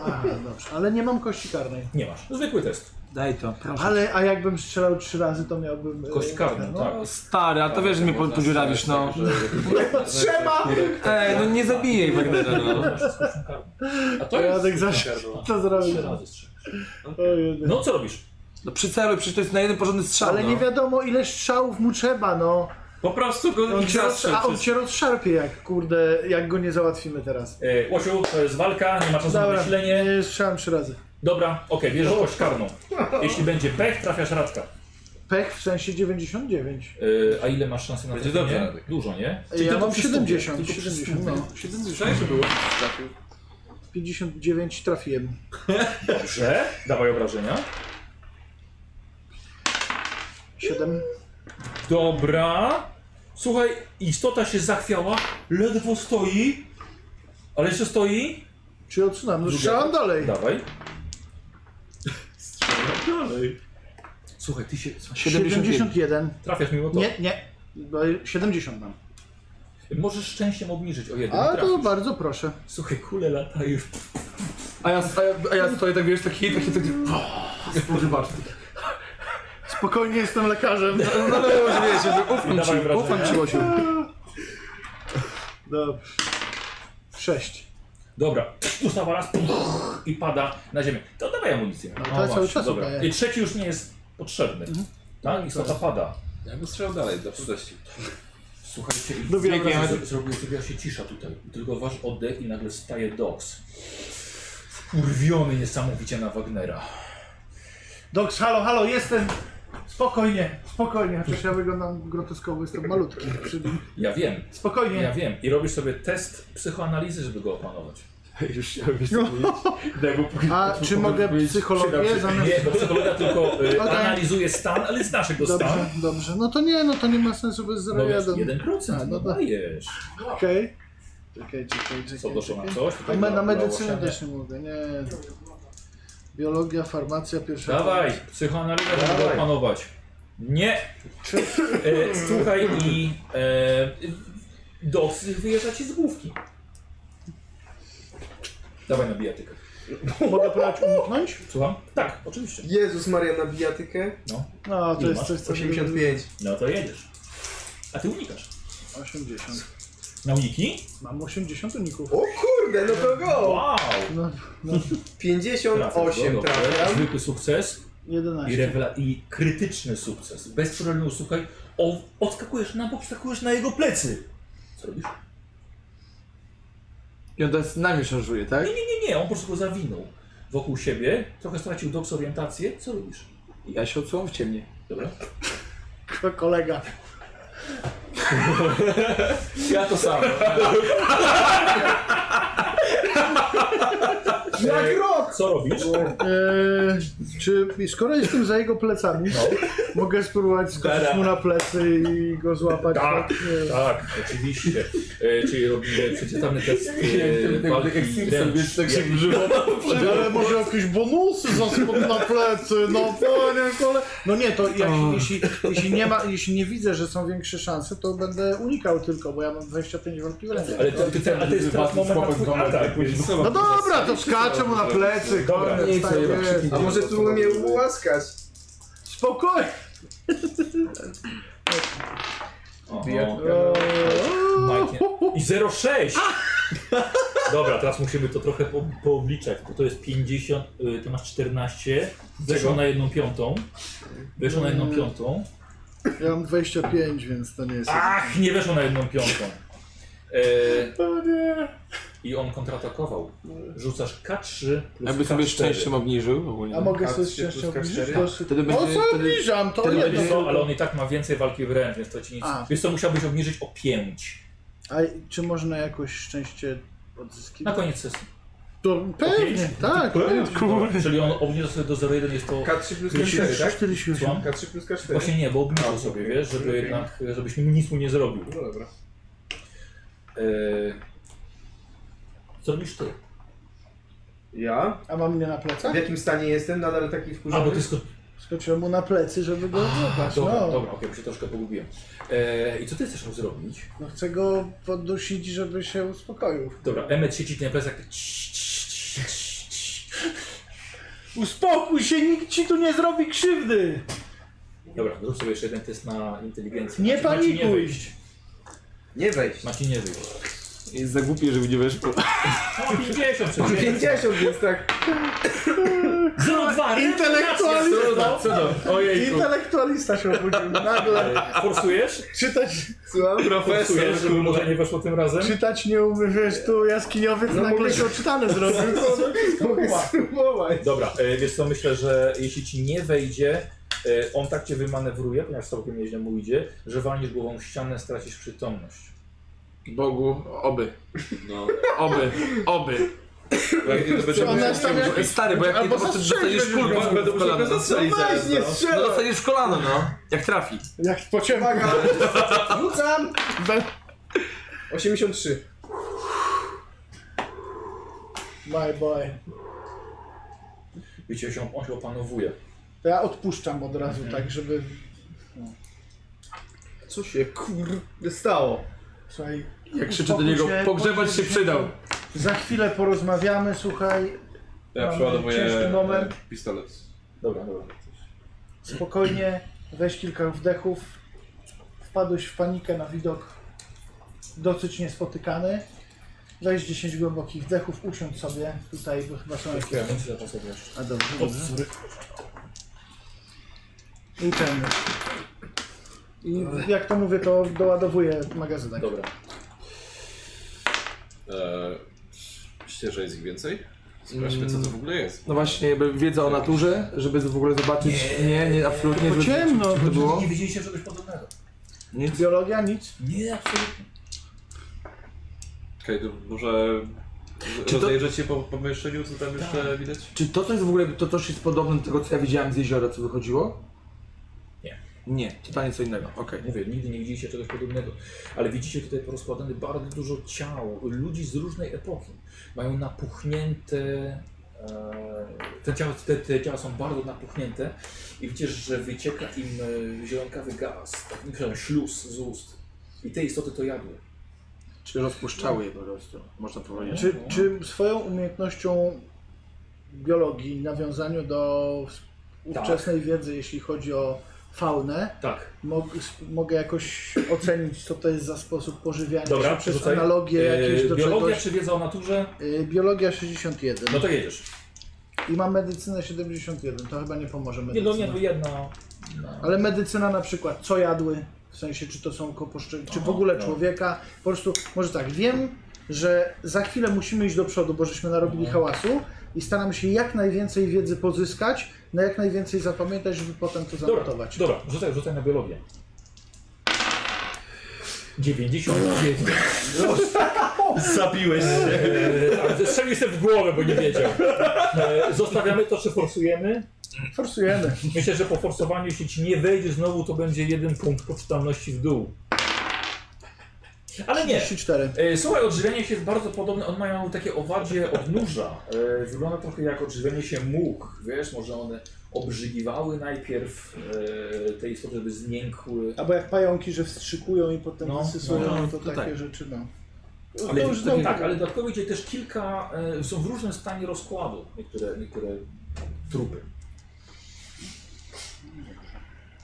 Speaker 2: a, dobrze, ale nie mam kości karnej.
Speaker 1: Nie masz. Zwykły test.
Speaker 4: Daj to, proszę.
Speaker 2: Ale, a jakbym strzelał trzy razy, to miałbym... e,
Speaker 1: Kość karną,
Speaker 2: no.
Speaker 1: tak.
Speaker 4: Stary, a to wiesz, że mnie po- podziurawisz, no.
Speaker 2: Trzeba!
Speaker 4: Ej, no nie zabijaj Wagnera, no.
Speaker 1: Masz z kością karną.
Speaker 3: A to jest...
Speaker 2: Radek zawsze to
Speaker 1: Trzy
Speaker 2: zrobił.
Speaker 1: razy strzelasz.
Speaker 2: O, jeden.
Speaker 1: No co robisz?
Speaker 4: No przyceluj, przecież to jest na jeden porządny strzał,
Speaker 2: Ale
Speaker 4: no.
Speaker 2: nie wiadomo ile strzałów mu trzeba, no.
Speaker 3: Po prostu
Speaker 1: No,
Speaker 3: go
Speaker 2: On
Speaker 3: ich
Speaker 2: cię roz...
Speaker 3: zastrzel
Speaker 2: A on
Speaker 3: przez...
Speaker 2: cię rozszarpie jak, kurde, jak go nie załatwimy teraz.
Speaker 1: E, Łosiu, to jest walka, nie ma czasu na
Speaker 2: Dobra,
Speaker 1: myślenie.
Speaker 2: e, strzałem trzy razy.
Speaker 1: Dobra, okej, bierzesz kość karną. Jeśli będzie pech, trafiasz Radka.
Speaker 2: Pech w sensie 99.
Speaker 1: E, a ile masz szansy na
Speaker 3: Będzie
Speaker 1: trafienie?
Speaker 3: dobrze, Radek.
Speaker 1: Dużo, nie?
Speaker 2: Ja
Speaker 1: tylko
Speaker 2: mam
Speaker 1: przy stówie,
Speaker 2: 70,
Speaker 1: tylko przy
Speaker 2: 70,
Speaker 1: stówie.
Speaker 2: no. 70.
Speaker 3: Szczęście było. Trafił.
Speaker 2: 59 trafiłem. No.
Speaker 1: Dobrze, dawaj obrażenia.
Speaker 2: 7.
Speaker 1: Dobra. Słuchaj, istota się zachwiała, ledwo stoi, ale jeszcze stoi.
Speaker 2: Czy odsunam? No strzelam dalej.
Speaker 1: Dawaj. Strzelam dalej. Słuchaj, ty się...
Speaker 2: 71.
Speaker 1: Trafiasz mimo to.
Speaker 2: Nie, nie. Bo 70 mam.
Speaker 1: Możesz szczęściem obniżyć o jeden.
Speaker 2: A to
Speaker 1: trafisz.
Speaker 2: bardzo proszę.
Speaker 1: Słuchaj, kule latają.
Speaker 4: A ja, a, ja, a ja stoję tak, wiesz, taki, taki, taki... Boże, patrz.
Speaker 2: Spokojnie jestem lekarzem.
Speaker 4: No, no, no, wiesz, ufam
Speaker 1: Dawaj
Speaker 4: ci,
Speaker 1: wrażenie.
Speaker 4: ufam ci, Łosiu.
Speaker 2: Dobrze. 6.
Speaker 1: Dobra, ustawa raz puch, i pada na ziemię. To dawaj amunicję. No,
Speaker 2: to ja cały czas Mhm.
Speaker 1: dobra.
Speaker 2: udaję.
Speaker 1: I trzeci już nie jest potrzebny. Tak, istota pada.
Speaker 3: Ja bym strzelał dalej, do 40.
Speaker 1: Słuchajcie, i
Speaker 2: Lubię
Speaker 1: zrobiła-
Speaker 2: obrazy.
Speaker 1: zro- zrobiła- zrobiła się cisza tutaj. Tylko wasz oddech i nagle staje Dox. Urwiony niesamowicie na Wagnera.
Speaker 2: Doks, halo, halo, jestem. Spokojnie, spokojnie, chociaż ja wyglądam groteskowo, jestem malutki. Przy...
Speaker 1: Ja wiem,
Speaker 2: Spokojnie.
Speaker 1: ja wiem. I robisz sobie test psychoanalizy, żeby go opanować.
Speaker 9: Już chciałem wiedzieć.
Speaker 2: No. A czy mogę psychologię zamiast...
Speaker 1: Nie, bo psychologa tylko y,
Speaker 2: Okej.
Speaker 1: analizuje stan, ale znasz jego
Speaker 2: Dobrze,
Speaker 1: stan.
Speaker 2: dobrze. No to nie, no to nie ma sensu bez
Speaker 1: No
Speaker 2: zrobienia.
Speaker 1: więc
Speaker 2: do-
Speaker 1: 1%
Speaker 2: A,
Speaker 1: no
Speaker 2: no tak.
Speaker 1: dajesz.
Speaker 2: Okej. Czekaj, czekaj, czekaj.
Speaker 1: Co doszło na
Speaker 2: czekaj.
Speaker 1: coś?
Speaker 2: A
Speaker 1: Tutaj dla-
Speaker 2: me,
Speaker 1: dla
Speaker 2: na medycynę
Speaker 1: ogłaszania.
Speaker 2: też nie mogę, nie. Biologia, farmacja, pierwsza.
Speaker 1: Dawaj, psychoanaliza, żeby go
Speaker 5: Dawaj.
Speaker 1: opanować. Nie! E, słuchaj i e, doks wyjeżdża ci z główki. Dawaj na bijatykę.
Speaker 2: Mogę próbować uniknąć?
Speaker 1: Słucham? Tak, oczywiście.
Speaker 5: Jezus Maria na bijatykę.
Speaker 2: No, to
Speaker 1: Ile
Speaker 2: jest
Speaker 1: masz?
Speaker 2: coś, co...
Speaker 5: 85.
Speaker 1: No to jedziesz. A ty unikasz.
Speaker 2: 80.
Speaker 1: Na uniki?
Speaker 2: Mam 80 uników.
Speaker 5: O kurde, no to go!
Speaker 1: Wow!
Speaker 2: No,
Speaker 1: Trafiasz go,
Speaker 5: 58
Speaker 1: dobrze.
Speaker 5: trafiam.
Speaker 1: Zwykły sukces i,
Speaker 2: 11.
Speaker 1: rewela- i krytyczny sukces. Bez problemu, słuchaj, o, odskakujesz na bok, skakujesz na jego plecy. Co robisz?
Speaker 4: I on teraz nami szarżuje, tak?
Speaker 1: Nie, nie, nie, nie, on po prostu go zawinął wokół siebie, trochę stracił doks orientację. Co robisz?
Speaker 4: Ja się odsuwam w ciemnie.
Speaker 1: Dobra.
Speaker 2: To kolega.
Speaker 1: Ja to samo.
Speaker 5: Na grot!
Speaker 1: E, Co robisz?
Speaker 2: Eee, czy skoro jestem za jego plecami,
Speaker 1: No.
Speaker 2: mogę spróbować skoczyć mu na plecy i go złapać?
Speaker 1: Tak.
Speaker 2: Nie.
Speaker 1: Tak, oczywiście. E, czyli robimy przeczytany test e, walki wręcz. Jak- Tak.
Speaker 2: Ale może jakieś bonusy za spod na plecy, no panie kole. No nie, to jak, jeśli, jeśli, nie ma, jeśli nie widzę, że są większe szanse, to będę unikał tylko, bo ja mam 25 walki wręcz.
Speaker 1: Ale to, ty, ty, a to jest teraz moment na twój atak. więc-
Speaker 2: No dobra, to skaczę mu na plecy,
Speaker 1: Dobra,
Speaker 2: koniec, tak jest.
Speaker 5: A może tu mnie ułaskać?
Speaker 2: Spokojnie.
Speaker 1: O, no.
Speaker 2: Eee,
Speaker 1: I 0,6! Dobra, teraz musimy to trochę po, poobliczać, bo to jest 50, y, ty masz 14, weszło na jedną piątą, weszło na jedną piątą,
Speaker 2: Ja mam 25, więc to nie jest...
Speaker 1: ach, nie weszło na jedną piątą. E, I on kontratakował. Rzucasz K3 plus
Speaker 4: Jakby sobie
Speaker 1: K4.
Speaker 4: szczęściem obniżył ogólnie.
Speaker 2: A mogę sobie
Speaker 5: K3
Speaker 2: szczęście
Speaker 5: plus
Speaker 2: obniżyć?
Speaker 5: K4?
Speaker 2: Proszę.
Speaker 4: Wtedy
Speaker 2: No
Speaker 4: będzie...
Speaker 2: co
Speaker 4: Wtedy...
Speaker 2: obniżam, to
Speaker 4: wtedy
Speaker 2: jedno.
Speaker 1: No, Wiesz co, ale on i tak ma więcej walki wręcz, więc to ci nic...
Speaker 2: A.
Speaker 1: Wiesz co, musiałbyś obniżyć o 5
Speaker 2: A czy można jakoś szczęście
Speaker 1: na
Speaker 2: odzyskiwać?
Speaker 1: koniec sesji.
Speaker 2: To pewnie, tak. pewnie.
Speaker 1: Dobra, Czyli on obniżył sobie do 0,1, jest to...
Speaker 5: K3 plus
Speaker 1: Plus
Speaker 5: K4, tak?
Speaker 1: Słucham?
Speaker 5: K3 plus K4.
Speaker 1: Właśnie nie, bo
Speaker 5: A,
Speaker 1: obniżył
Speaker 5: okej.
Speaker 1: sobie, wiesz, żeby
Speaker 5: Okej.
Speaker 1: jednak, żebyś mu nic mu nie zrobił.
Speaker 5: No dobra.
Speaker 1: Eee, co robisz ty?
Speaker 5: Ja?
Speaker 2: A mam mnie na plecach?
Speaker 5: W jakim stanie jestem? Nadal taki
Speaker 1: A, bo
Speaker 5: wkurzony?
Speaker 1: ty sko-
Speaker 2: Skoczyłem mu na plecy, żeby go złapać.
Speaker 1: Dobra,
Speaker 2: No, No.
Speaker 1: dobra, okej, bo się troszkę pogubiłem. Eee, I co ty chcesz mu zrobić?
Speaker 2: no chcę go podusić, żeby się uspokoił.
Speaker 1: Dobra, Emmet siedzi ci na plecach, tak cii, cii, cii, cii, cii.
Speaker 2: Uspokój się, nikt ci tu nie zrobi krzywdy!
Speaker 1: Dobra, zrób sobie jeszcze jeden test na inteligencję.
Speaker 2: Nie
Speaker 1: Macie- macie nie
Speaker 2: panikuj!
Speaker 1: wyjść.
Speaker 5: Nie wejść.
Speaker 1: Macie nie wyjść.
Speaker 4: Jest za głupie, żeby nie weszło.
Speaker 1: O, 50 przecież.
Speaker 5: 50, więc tak.
Speaker 1: 02,
Speaker 2: Intelektualizm!
Speaker 1: rewelacja, co to?
Speaker 3: Ojejku.
Speaker 2: Intelektualista się obudził nagle.
Speaker 1: Forsujesz?
Speaker 2: Czytać,
Speaker 5: Słucham?
Speaker 1: Forsujesz, żeby może nie weszło tym razem?
Speaker 2: czytać nie umie, wiesz, tu jaskiniowiec
Speaker 5: No,
Speaker 2: nagle
Speaker 5: mogę-
Speaker 2: się odczytane zrobił.
Speaker 5: Mogę spróbować.
Speaker 1: Dobra, e, wiesz co, myślę, że jeśli ci nie wejdzie, e, on tak cię wymanewruje, ponieważ całkiem nieźle mu idzie, że walniesz głową w ścianę, stracisz przytomność.
Speaker 4: Bogu, oby.
Speaker 9: No.
Speaker 4: Oby, oby.
Speaker 2: Ona jest tam jak...
Speaker 4: Ej, Stary, bo jak nie
Speaker 2: Albo
Speaker 4: to po prostu
Speaker 2: zastrzelić
Speaker 4: dostaniesz
Speaker 2: będzie
Speaker 4: kulkę w
Speaker 3: Będę
Speaker 4: w
Speaker 3: musiał go
Speaker 4: kolano.
Speaker 3: zastrzelić zaraz,
Speaker 5: Nie
Speaker 3: no.
Speaker 4: No
Speaker 5: strzelaj!
Speaker 4: dostaniesz w kolano, no. Jak trafi.
Speaker 2: Jak po ciemku.
Speaker 5: Rzucam!
Speaker 2: Wel-
Speaker 5: 83.
Speaker 2: My boy.
Speaker 1: Wiecie, się, on się opanowuje.
Speaker 2: To ja odpuszczam od razu,
Speaker 4: Mhm.
Speaker 2: tak, żeby. no.
Speaker 5: Co się kur... stało?
Speaker 2: Słuchaj,
Speaker 4: Jak krzyczę do niego,
Speaker 2: uspokój się,
Speaker 4: pogrzebać się przydał.
Speaker 2: Za chwilę porozmawiamy, słuchaj,
Speaker 9: Ja
Speaker 2: Mamy
Speaker 9: przeładowuję
Speaker 2: ciężki moment.
Speaker 9: e, pistolet.
Speaker 1: Dobra, dobra.
Speaker 2: spokojnie, weź kilka wdechów. Wpadłeś w panikę na widok dosyć niespotykany. Weź 10 głębokich wdechów, usiądź sobie tutaj, bo chyba są jakieś.
Speaker 1: Ja muszę zapasować.
Speaker 2: A dobrze, dobrze. I ten. I jak to mówię, to doładowuję magazynek.
Speaker 1: Dobra.
Speaker 9: E, Myślicie, że jest ich więcej?
Speaker 3: Sprawdźmy, co to w ogóle jest.
Speaker 4: No właśnie, jakby wiedza o naturze, żeby w ogóle zobaczyć. Nie, nie, absolutnie.
Speaker 2: To
Speaker 4: żeby-
Speaker 2: ciemno,
Speaker 4: czy- czy to było?
Speaker 1: Nie widzieliście czegoś podobnego.
Speaker 4: Nic.
Speaker 2: Biologia? Nic.
Speaker 1: Nie, absolutnie.
Speaker 3: Okej, to może
Speaker 4: Czy to-
Speaker 3: rozejrzeć się po pomieszczeniu, co
Speaker 2: Tak.
Speaker 3: tam jeszcze widać?
Speaker 4: Czy to, co jest w ogóle, to coś jest podobne do tego, co ja widziałem z jeziora, co wychodziło?
Speaker 1: Nie.
Speaker 4: Nie, totalnie co innego. Okej.
Speaker 1: Mówię, nigdy nie widzieliście czegoś podobnego. Ale widzicie tutaj porozkładane bardzo dużo ciał, ludzi z różnej epoki. Mają napuchnięte... e, Te ciała, te, te ciała są bardzo napuchnięte i widzisz, że wycieka im e, zielonkawy gaz, tak, przepraszam, śluz z ust. I te istoty to jadły.
Speaker 4: Czy rozpuszczały je po prostu, można powiedzieć.
Speaker 2: Czy, czy swoją umiejętnością biologii, nawiązaniu do ówczesnej wiedzy, jeśli chodzi o faunę,
Speaker 1: Tak.
Speaker 2: mog, sp- mogę jakoś ocenić, co to jest za sposób pożywiania
Speaker 1: Dobra,
Speaker 2: się przez
Speaker 1: rzucaj. Yy, E,
Speaker 2: analogię jakieś do
Speaker 1: biologia
Speaker 2: czegoś.
Speaker 1: czy wiedza o naturze?
Speaker 2: Yy, biologia 61
Speaker 1: No to jedziesz.
Speaker 2: i mam medycynę 71, to chyba nie pomoże
Speaker 1: Nie,
Speaker 2: medycyna.
Speaker 1: no nie, no jedna.
Speaker 2: Ale medycyna na przykład, co jadły, w sensie czy to są koposzcze, czy w ogóle człowieka, po prostu, może tak, wiem, że za chwilę musimy iść do przodu, bo żeśmy narobili hałasu i staram się jak najwięcej wiedzy pozyskać, na jak najwięcej zapamiętać, żeby potem to
Speaker 1: Dobra,
Speaker 2: zanotować.
Speaker 1: dobra, rzucaj, rzucaj na biologię. 99.
Speaker 6: Zabiłeś się.
Speaker 1: Eee, ale Strzelił sobie w głowę, bo nie wiedział. Eee, Zostawiamy to, czy forsujemy?
Speaker 2: Forsujemy.
Speaker 1: Myślę, że po forsowaniu, jeśli ci nie wejdzie znowu, to będzie jeden punkt poczytalności w dół. Ale nie,
Speaker 2: 34.
Speaker 1: E, Słuchaj, odżywianie się jest bardzo podobne. On mają takie owadzie odnóża. E, Wygląda trochę jak odżywianie się much. Wiesz, może one obrzygiwały najpierw e, te istoty, żeby zmiękły.
Speaker 2: Albo jak pająki, że wstrzykują i potem
Speaker 1: No,
Speaker 2: wysysują,
Speaker 1: no,
Speaker 2: no,
Speaker 1: no,
Speaker 2: to
Speaker 4: to
Speaker 2: takie
Speaker 4: tak.
Speaker 2: rzeczy, no.
Speaker 1: Ale,
Speaker 2: to
Speaker 1: tak,
Speaker 2: znowu-
Speaker 1: tak, ale dodatkowo idzie też kilka, e, są w różnym stanie rozkładu niektóre, niektóre trupy.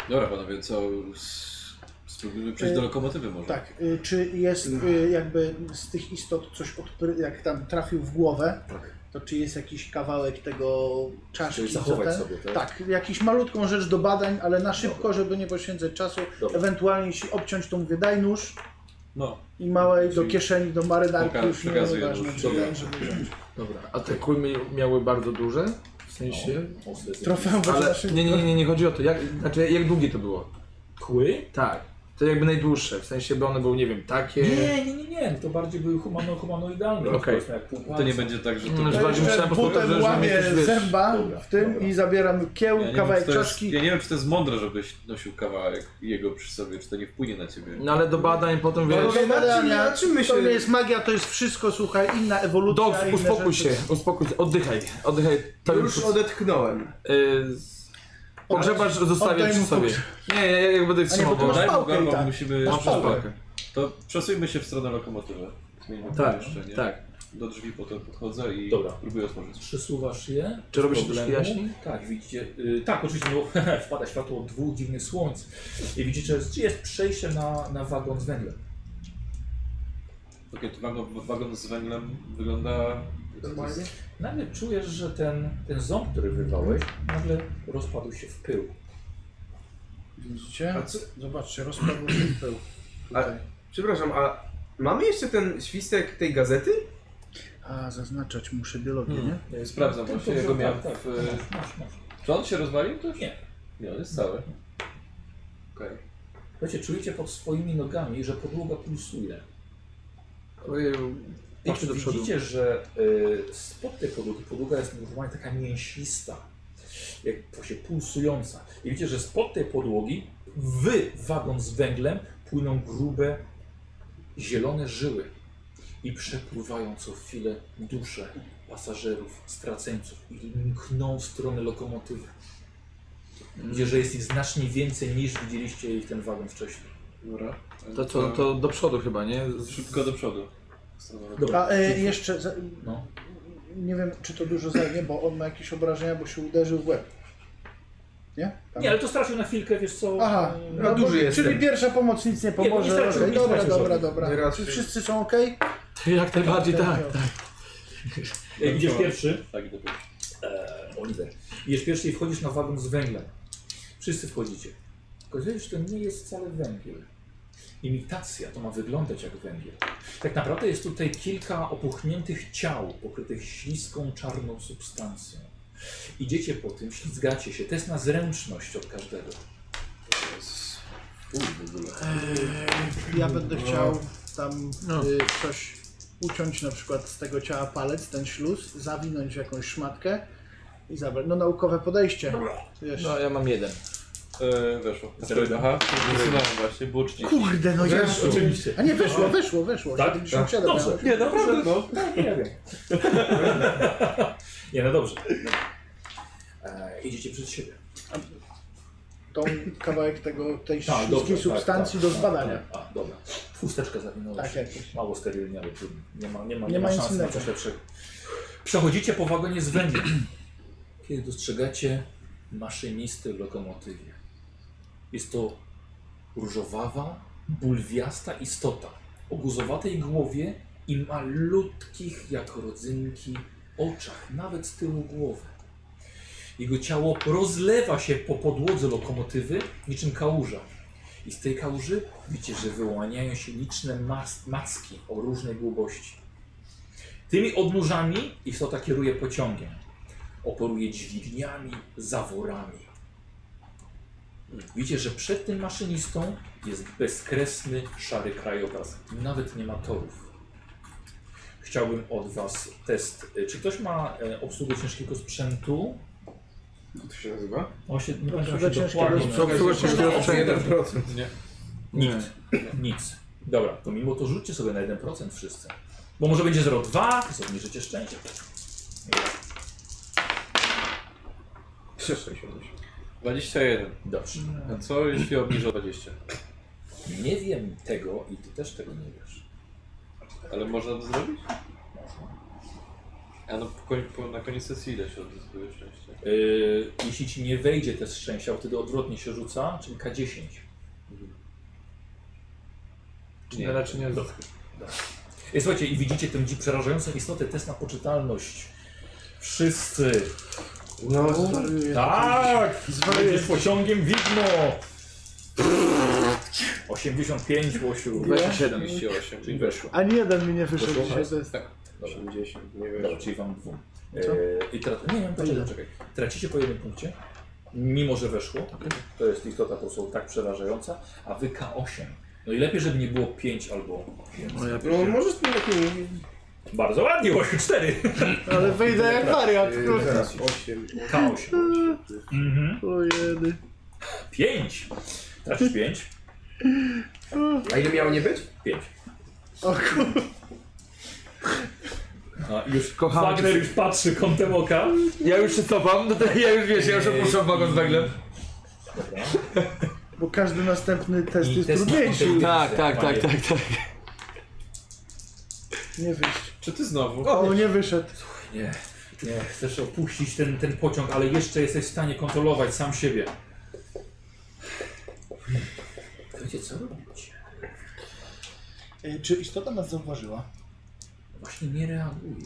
Speaker 3: Dobra, panowie, co... s- Spróbujmy przejść do
Speaker 2: Y,
Speaker 3: lokomotywy może.
Speaker 2: Tak, y, czy jest y, jakby z tych istot coś, odpry, jak tam trafił w głowę,
Speaker 1: Tak.
Speaker 2: to czy jest jakiś kawałek tego czaszki?
Speaker 1: Czyli zachować
Speaker 2: co ten-
Speaker 1: sobie, tak?
Speaker 2: Tak, jakiś malutką rzecz do badań, ale na szybko, żeby nie poświęcać czasu.
Speaker 1: Dobra.
Speaker 2: Ewentualnie jeśli obciąć, to mówię daj nóż
Speaker 3: No.
Speaker 2: i małej do
Speaker 3: Czyli
Speaker 2: kieszeni, do marynarki
Speaker 3: poka-
Speaker 2: już nie
Speaker 3: przekazuję
Speaker 2: ważne,
Speaker 3: nóż.
Speaker 2: czy
Speaker 3: Dobra.
Speaker 2: ten, żeby wziąć.
Speaker 4: Dobra. A te kulmy miały bardzo duże? W
Speaker 2: No.
Speaker 4: sensie.
Speaker 1: Ostre są.
Speaker 3: No,
Speaker 2: Trofeum
Speaker 4: Ale
Speaker 3: znaczy-
Speaker 2: naszym-
Speaker 4: nie, nie, nie, nie, nie chodzi o to. Jak, znaczy, jak długie to było?
Speaker 1: Kły?
Speaker 4: Tak. To jakby najdłuższe, w sensie, by one były, nie wiem, takie.
Speaker 1: Nie, nie, nie, nie. To bardziej były humano, humanoidalne.
Speaker 4: Okej.
Speaker 1: powiedzmy, jak pół
Speaker 3: To nie
Speaker 1: palca.
Speaker 3: będzie tak, że to...
Speaker 4: No,
Speaker 2: Ja
Speaker 4: że bardziej
Speaker 2: jeszcze
Speaker 4: myślałem po prostu,
Speaker 2: butem
Speaker 4: że- że
Speaker 2: łamię
Speaker 4: myślisz, wiesz.
Speaker 2: zęba
Speaker 1: Dobra,
Speaker 2: w tym
Speaker 1: dobra.
Speaker 2: i zabieram kieł,
Speaker 3: Ja nie, wiem,
Speaker 2: kawałek
Speaker 3: czy to jest,
Speaker 2: czaszki.
Speaker 3: ja nie wiem, czy to jest mądre, żebyś nosił kawałek jego przy sobie, czy to nie wpłynie na ciebie.
Speaker 4: No ale do badań potem
Speaker 5: No,
Speaker 4: wiesz.
Speaker 5: no,
Speaker 2: Badania,
Speaker 5: na czym my się...
Speaker 2: To nie jest magia, to jest wszystko, słuchaj, inna ewolucja.
Speaker 4: Dogs,
Speaker 2: inne
Speaker 4: uspokój
Speaker 2: rzeczy.
Speaker 4: się, uspokój się, oddychaj, oddychaj. To
Speaker 5: Już odetchnąłem.
Speaker 4: y, z- Pogrzebasz zostawię
Speaker 2: Oddaj
Speaker 4: przy
Speaker 2: mu
Speaker 4: sobie. Nie, ja, ja jakby
Speaker 2: bo to
Speaker 4: wstrzymał.
Speaker 2: masz
Speaker 3: Daj mu
Speaker 2: pałkę i
Speaker 3: garbą,
Speaker 2: tak.
Speaker 3: musimy...
Speaker 2: Masz
Speaker 3: Przez
Speaker 2: pałkę.
Speaker 3: pałkę. To przesuńmy się w stronę lokomotywy. Zmieńmy
Speaker 4: Tak,
Speaker 3: pomieszczenie.
Speaker 4: tak.
Speaker 3: Do drzwi potem podchodzę i
Speaker 1: Dobra.
Speaker 3: próbuję otworzyć.
Speaker 1: Przesuwasz je.
Speaker 4: Czy robi się
Speaker 1: Problemu.
Speaker 4: troszkę jaśniej?
Speaker 1: Tak, widzicie. y, tak, oczywiście, bo wpada światło dwóch dziwnych słońc. I widzicie, że jest przejście na, na wagon z węglem.
Speaker 3: Okej, to wagon, wagon z węglem wygląda...
Speaker 8: Normalnie?
Speaker 1: Nagle czujesz, że ten, ten ząb, który wyrwałeś, nagle rozpadł się w pył.
Speaker 2: Widzicie? Zobaczcie, rozpadł się pył. Tutaj.
Speaker 5: Przepraszam, a mamy jeszcze ten świstek tej gazety?
Speaker 2: A, zaznaczać muszę biologię, nie?
Speaker 1: Y,
Speaker 3: Sprawdzam
Speaker 1: ten
Speaker 3: właśnie,
Speaker 1: poziom-
Speaker 3: ja go miałem
Speaker 1: Tak,
Speaker 3: w...
Speaker 1: tak, masz, masz.
Speaker 3: Czy on się rozwalił też?
Speaker 1: Nie.
Speaker 3: Nie, on jest cały. Okej.
Speaker 1: Wiecie, czujecie pod swoimi nogami, że podłoga pulsuje.
Speaker 4: Ojeju,
Speaker 1: I
Speaker 4: Patrzę do przodu.
Speaker 1: widzicie, że y, spod tej podłogi, podłoga jest normalnie taka mięsista, jak właśnie pulsująca. I widzicie, że spod tej podłogi w wagon z węglem płyną grube, zielone żyły i przepływają co chwilę dusze pasażerów, straceńców i mkną w stronę lokomotywy. Widzicie, że jest ich znacznie więcej niż widzieliście ich ten wagon wcześniej.
Speaker 3: Dobra.
Speaker 4: To co, no to do przodu chyba, nie?
Speaker 3: Szybko do przodu. W stronę
Speaker 1: Dobra,
Speaker 2: A e, jeszcze, za,
Speaker 1: no.
Speaker 2: nie wiem czy to dużo zajmie, bo on ma jakieś obrażenia, bo się uderzył w łeb. Nie? Tam.
Speaker 1: Nie, ale to stracił na chwilkę, wiesz co...
Speaker 2: Aha,
Speaker 1: mm,
Speaker 5: no
Speaker 2: bo-
Speaker 5: duży
Speaker 2: Czyli
Speaker 5: jestem.
Speaker 2: pierwsza pomoc nic nie
Speaker 1: Nie, nie
Speaker 2: pomoże.
Speaker 1: stracił,
Speaker 2: okej,
Speaker 1: nie
Speaker 2: dobra,
Speaker 1: stracił
Speaker 2: dobra,
Speaker 1: żadnych.
Speaker 5: Nie
Speaker 2: dobra.
Speaker 5: raczej.
Speaker 2: Czy wszyscy są ok?
Speaker 4: Jak najbardziej,
Speaker 2: Tak, tak.
Speaker 4: tak, tak.
Speaker 1: Jak idziesz pierwszy,
Speaker 3: Tak, i do przodu.
Speaker 1: e, Oliver, idziesz pierwszy i wchodzisz na wagon z węglem. Wszyscy wchodzicie. Okazuje się, że to nie jest wcale węgiel. imitacja, to ma wyglądać jak węgiel. Tak naprawdę jest tutaj kilka opuchniętych ciał pokrytych śliską, czarną substancją. Idziecie po tym, ślizgacie się. Test na zręczność od każdego.
Speaker 2: Ja będę chciał tam y, coś uciąć na przykład z tego ciała palec, ten śluz, zawinąć w jakąś szmatkę i zabrać. No naukowe podejście. Wiesz.
Speaker 4: No, ja mam jeden.
Speaker 3: E, weszło. Aha, wysunąłem właśnie, było 30.
Speaker 2: Kurde, no ja...
Speaker 1: Oczywiście.
Speaker 2: A nie, weszło, weszło, weszło.
Speaker 1: Tak?
Speaker 2: 77
Speaker 1: Dobrze.
Speaker 2: miałem.
Speaker 3: Nie, naprawdę no.
Speaker 1: Nie wiem. Nie, no dobrze. E, idziecie przed siebie.
Speaker 2: Tą kawałek tego, tej
Speaker 1: Tak,
Speaker 2: śliskiej
Speaker 1: dobrze, tak,
Speaker 2: substancji
Speaker 1: tak,
Speaker 2: do
Speaker 1: tak,
Speaker 2: zbadania.
Speaker 1: tak. A, dobra. Chusteczkę zawinąłeś.
Speaker 2: Tak, jakoś.
Speaker 1: Mało sterylnie, ale trudno. Nie ma, nie ma,
Speaker 2: Nie
Speaker 1: nie ma
Speaker 2: ma nic
Speaker 1: szans na
Speaker 2: innego.
Speaker 1: coś lepszego. Przechodzicie po wagonie z węglem, kiedy dostrzegacie maszynistę w lokomotywie. Jest to różowawa, bulwiasta istota o guzowatej głowie i malutkich jak rodzynki oczach, nawet z tyłu głowy. Jego ciało rozlewa się po podłodze lokomotywy niczym kałuża. I z tej kałuży widzicie, że wyłaniają się liczne mas- macki o różnej długości. Tymi odnóżami istota kieruje pociągiem. Operuje dźwigniami, zaworami. Widzicie, że przed tym maszynistą jest bezkresny, szary krajobraz. Nawet nie ma torów. Chciałbym od Was test. Czy ktoś ma e, obsługę ciężkiego sprzętu?
Speaker 5: Jak to się nazywa?
Speaker 1: On się, nie pamiętam,
Speaker 2: Obsługa
Speaker 1: jak się
Speaker 2: ciężkiego
Speaker 1: dokładnie
Speaker 4: Co obsługujesz jeszcze sprzętem?
Speaker 5: 1%. Nie.
Speaker 1: Nikt. Nic. Dobra, to mimo to rzućcie sobie na 1% wszyscy. Bo może będzie 0,2, to sobie życie szczęście.
Speaker 5: 3,68.
Speaker 3: 21.
Speaker 1: Dobrze.
Speaker 3: A co jeśli obniżę 20?
Speaker 1: Nie wiem tego i ty też tego nie wiesz.
Speaker 3: Ale można to zrobić?
Speaker 1: Można.
Speaker 3: A no po, koń- po, na koniec sesji ile się odzyskuje szczęście?
Speaker 1: Yy, jeśli ci nie wejdzie test szczęścia, wtedy odwrotnie się rzuca, czyli K10.
Speaker 4: Nie, raczej nie.
Speaker 1: Dobra. Dobra. I Słuchajcie, i widzicie tę dzi- przerażającą istotę, test na poczytalność. Wszyscy.
Speaker 2: No, zwariuję.
Speaker 1: Tak!
Speaker 2: Zwariuję.
Speaker 1: Będziesz pociągiem widmo! 85, Łosiu.
Speaker 4: 27.
Speaker 3: 38.
Speaker 1: Czyli weszło.
Speaker 2: Ani jeden mi nie wyszedł
Speaker 1: Weszło?
Speaker 2: dzisiaj. To jest...
Speaker 5: 80, nie wiem.
Speaker 1: Dobra, czyli wam dwóm. E,
Speaker 2: Co?
Speaker 1: I teraz, nie wiem,
Speaker 2: ile?
Speaker 1: poczekaj, czekaj. Tracicie po jednym punkcie, mimo że weszło. To jest istota po prostu tak przerażająca, a wy K8. No i lepiej, żeby nie było 5 albo
Speaker 4: No,
Speaker 1: więcej.
Speaker 4: ja
Speaker 5: No możesz tu lepiej
Speaker 1: Bardzo ładnie, 8, 4.
Speaker 2: Ale wyjdę jak
Speaker 1: Tak.
Speaker 2: wariat,
Speaker 5: Yy,
Speaker 2: kurde.
Speaker 5: zaraz, 8.
Speaker 1: K8. Mhm.
Speaker 2: O jedy.
Speaker 1: 5. Tracisz 5?
Speaker 5: A ile miało nie być?
Speaker 1: 5.
Speaker 2: O kurde.
Speaker 1: A już
Speaker 4: Kocham
Speaker 1: Wagner już patrzy kątem oka.
Speaker 4: Ja już się cofam, no to ja już wiesz, ja już opuszczam wagon z węglem.
Speaker 1: Dobra.
Speaker 2: Bo każdy następny test
Speaker 1: I
Speaker 2: jest
Speaker 1: test na
Speaker 2: trudniejszy.
Speaker 1: inteligencję.
Speaker 4: Tak, tak, tak, tak, tak.
Speaker 2: Nie wyjść.
Speaker 3: Czy ty znowu?
Speaker 2: O, nie wyszedł.
Speaker 1: Nie, nie, chcesz opuścić ten, ten pociąg, ale jeszcze jesteś w stanie kontrolować sam siebie. Wiecie co robić?
Speaker 2: Y, Czy istota nas zauważyła?
Speaker 1: Właśnie nie reaguje.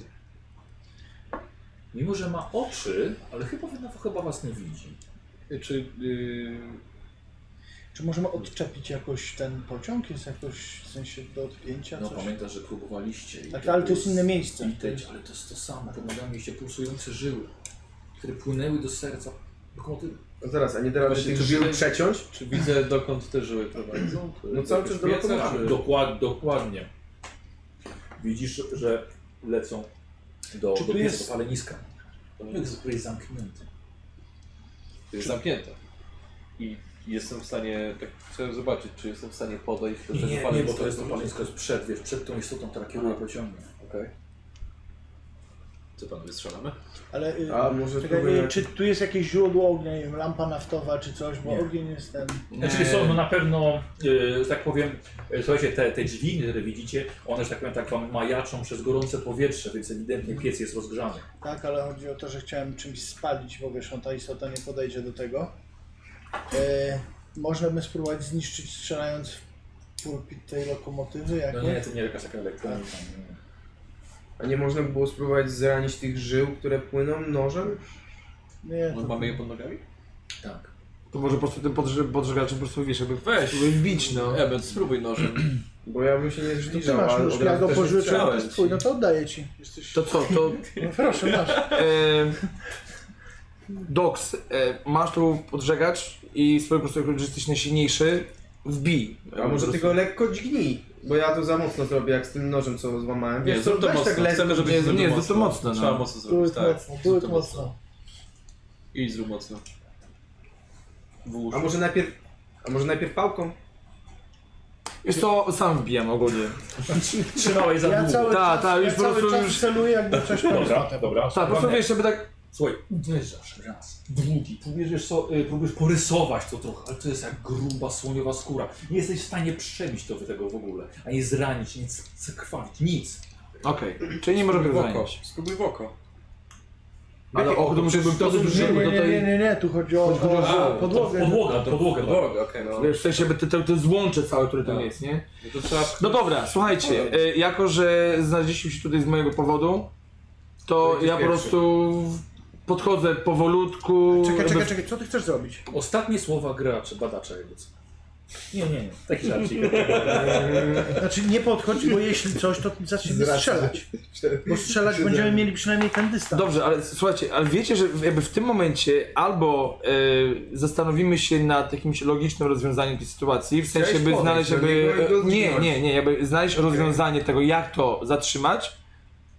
Speaker 1: Mimo, że ma oczy, ale chyba, chyba was nie widzi.
Speaker 3: Czy yy,
Speaker 2: Czy możemy odczepić jakoś ten pociąg? Jest jakoś w sensie do odpięcia?
Speaker 1: No
Speaker 2: coś?
Speaker 1: pamiętasz, że próbowaliście. i
Speaker 2: Tak, ale to jest inne miejsce.
Speaker 1: Widać, ale to jest to samo. Pod nogami się pulsujące żyły, które płynęły do serca lokomotywy.
Speaker 5: No zaraz, a nie da rady
Speaker 3: Właśnie
Speaker 5: tych
Speaker 3: czy-
Speaker 5: żył przeciąć?
Speaker 3: czy widzę dokąd te żyły prowadzą? To
Speaker 5: No cały czas do
Speaker 3: pieca,
Speaker 5: lokomotywy.
Speaker 3: czy-
Speaker 1: Dokład, dokładnie. Widzisz, że lecą do,
Speaker 2: Czy
Speaker 1: do
Speaker 2: tu
Speaker 1: pieca,
Speaker 2: jest-
Speaker 1: do paleniska. To jest, który jest zamknięty.
Speaker 3: To jest zamknięte. I jestem w stanie, tak chciałem zobaczyć, czy jestem w stanie podejść do
Speaker 1: Nie,
Speaker 3: tego
Speaker 1: nie,
Speaker 3: paleniska.
Speaker 1: bo to jest to palenisko jest przed, wiesz, przed tą istotą, która kieruje pociągiem.
Speaker 3: Okej. Co panowie strzelamy?
Speaker 2: Ale y,
Speaker 5: A może
Speaker 2: czekaj,
Speaker 5: spróbujemy-
Speaker 2: y, czy tu jest jakieś źródło ognia, nie wiem, lampa naftowa czy coś, bo
Speaker 1: Nie.
Speaker 2: ogień jest ten...
Speaker 1: Znaczy są, no na pewno, e, że tak powiem, e, słuchajcie, te, te dźwignie, które widzicie, one, że tak powiem, tak wam majaczą przez gorące powietrze, więc ewidentnie piec jest rozgrzany.
Speaker 2: Tak, ale chodzi o to, że chciałem czymś spalić, bo wiesz, no, ta istota nie podejdzie do tego. E, można by spróbować zniszczyć strzelając w pulpit tej lokomotywy, jak
Speaker 1: No nie, to nie jakaś taka elektronika. nie.
Speaker 5: A nie można by było spróbować zranić tych żył, które płyną nożem?
Speaker 2: Nie,
Speaker 3: No,
Speaker 2: to...
Speaker 3: mamy je pod nogami?
Speaker 1: Tak.
Speaker 4: To może po prostu tym podrze- podżegaczem po prostu wiesz, jakby
Speaker 3: Weź.
Speaker 4: spróbuj wbić, no.
Speaker 3: Eben, spróbuj nożem.
Speaker 5: Bo ja bym się nie
Speaker 2: To ty masz
Speaker 5: ale
Speaker 2: nóż,
Speaker 5: od
Speaker 2: ja
Speaker 5: razu
Speaker 2: go
Speaker 5: też nie
Speaker 2: pożyczyłem,
Speaker 5: chciałem.
Speaker 2: to jest twój, no to oddaję ci. Jesteś...
Speaker 4: To co, to...
Speaker 2: No proszę, masz.
Speaker 4: E, Dox, e, masz tu podżegacz i spróbuj po prostu, jako że jesteś najsilniejszy, wbij.
Speaker 5: A może ty go lekko dźgnij, bo ja to za mocno zrobię, jak z tym nożem, co złamałem.
Speaker 3: Nie,
Speaker 5: Wiesz,
Speaker 3: zrób to
Speaker 5: weź
Speaker 3: mocno.
Speaker 5: tak lekko.
Speaker 3: Chcemy, żebyś
Speaker 4: Nie,
Speaker 3: zrobił
Speaker 4: nie, zrób to mocno, no.
Speaker 3: Trzeba mocno
Speaker 2: Tułek
Speaker 3: zrobić, tak.
Speaker 2: mocno,
Speaker 3: Zrób
Speaker 2: tułek
Speaker 3: to
Speaker 2: mocno.
Speaker 3: I zrób mocno.
Speaker 5: A może najpierw... A może najpierw pałką?
Speaker 4: Wiesz co, sam wbijam ogólnie.
Speaker 1: Trzymałeś za
Speaker 2: Ja
Speaker 1: długo.
Speaker 2: cały
Speaker 4: Ta,
Speaker 2: czas,
Speaker 4: ta, już
Speaker 2: ja
Speaker 4: po
Speaker 2: cały
Speaker 4: prostu
Speaker 2: czas
Speaker 4: już-
Speaker 2: celuję, jakby coś
Speaker 1: Dobra, dobra.
Speaker 4: Tak, po prostu wiesz, żeby tak...
Speaker 1: Słuchaj, uderzasz raz, drugi, próbujesz, so, y, próbujesz porysować to trochę, ale to jest jak gruba, słoniowa skóra. Nie jesteś w stanie przebić to, tego w ogóle, ani zranić, nic zakrwawić, nic.
Speaker 4: Okej, czyli nie możemy
Speaker 3: Spróbuj
Speaker 4: go
Speaker 3: w oko.
Speaker 4: zająć.
Speaker 3: Spróbuj w oko.
Speaker 4: Ale och, to musiałbym to
Speaker 2: Nie,
Speaker 4: żeby
Speaker 2: nie, nie, nie,
Speaker 4: tutaj...
Speaker 2: nie, nie, tu chodzi o,
Speaker 4: Chodzi o-
Speaker 2: o, o podłogę.
Speaker 1: Podłoga, podłoga.
Speaker 3: Podłoga, okej, no.
Speaker 4: Wiesz, w sensie, by te, te, te złącze całe, które tam
Speaker 3: Tak.
Speaker 4: jest, nie?
Speaker 3: No to trzeba...
Speaker 4: No dobra, słuchajcie, e, jako że znaleźliśmy się tutaj z mojego powodu, to
Speaker 3: idziesz
Speaker 4: ja po
Speaker 3: pierwszy.
Speaker 4: prostu podchodzę powolutku.
Speaker 2: Czekaj,
Speaker 4: jakby
Speaker 2: czekaj, czekaj, co ty chcesz zrobić?
Speaker 1: Ostatnie słowa gracza, badacza jakby co. Nie, nie, nie. Taki żarcik.
Speaker 2: Znaczy nie podchodź, bo jeśli coś, to zaczniemy strzelać. Bo strzelać będziemy mieli przynajmniej ten dystans.
Speaker 4: Dobrze, ale słuchajcie, ale wiecie, że jakby w tym momencie albo e, zastanowimy się nad jakimś logicznym rozwiązaniem tej sytuacji, w sensie
Speaker 5: Chciałeś
Speaker 4: by
Speaker 5: podejść
Speaker 2: no,
Speaker 4: znaleźć
Speaker 5: do
Speaker 4: jakby...
Speaker 5: niego i go
Speaker 4: e, Nie,
Speaker 5: zginąć.
Speaker 4: nie, nie, jakby znaleźć rozwiązanie tego, jak to zatrzymać,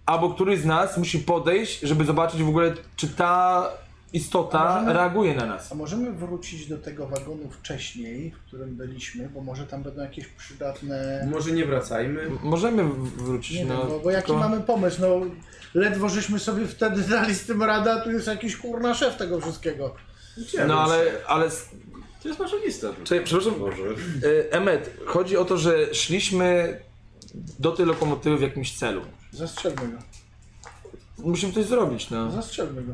Speaker 4: albo któryś z nas musi podejść, żeby zobaczyć w ogóle, czy ta
Speaker 2: A
Speaker 4: istota
Speaker 2: możemy-
Speaker 4: reaguje na nas.
Speaker 2: A możemy wrócić do tego wagonu wcześniej, w którym byliśmy, bo może tam będą jakieś przydatne...
Speaker 5: Może nie wracajmy?
Speaker 4: M- Możemy w- wrócić,
Speaker 2: Nie
Speaker 4: no...
Speaker 2: wiem, bo, bo jaki
Speaker 4: tylko-
Speaker 2: mamy pomysł, no ledwo żeśmy sobie wtedy dali z tym radę, a tu jest jakiś kurna szef tego wszystkiego.
Speaker 4: No ale, ale s-
Speaker 3: To jest nasza lista.
Speaker 4: Czekaj, przepraszam. E, Emet, chodzi o to, że szliśmy do tej lokomotywy w jakimś celu.
Speaker 2: Zastrzelmy go,
Speaker 4: Musimy coś zrobić, no.
Speaker 2: zastrzelmy go.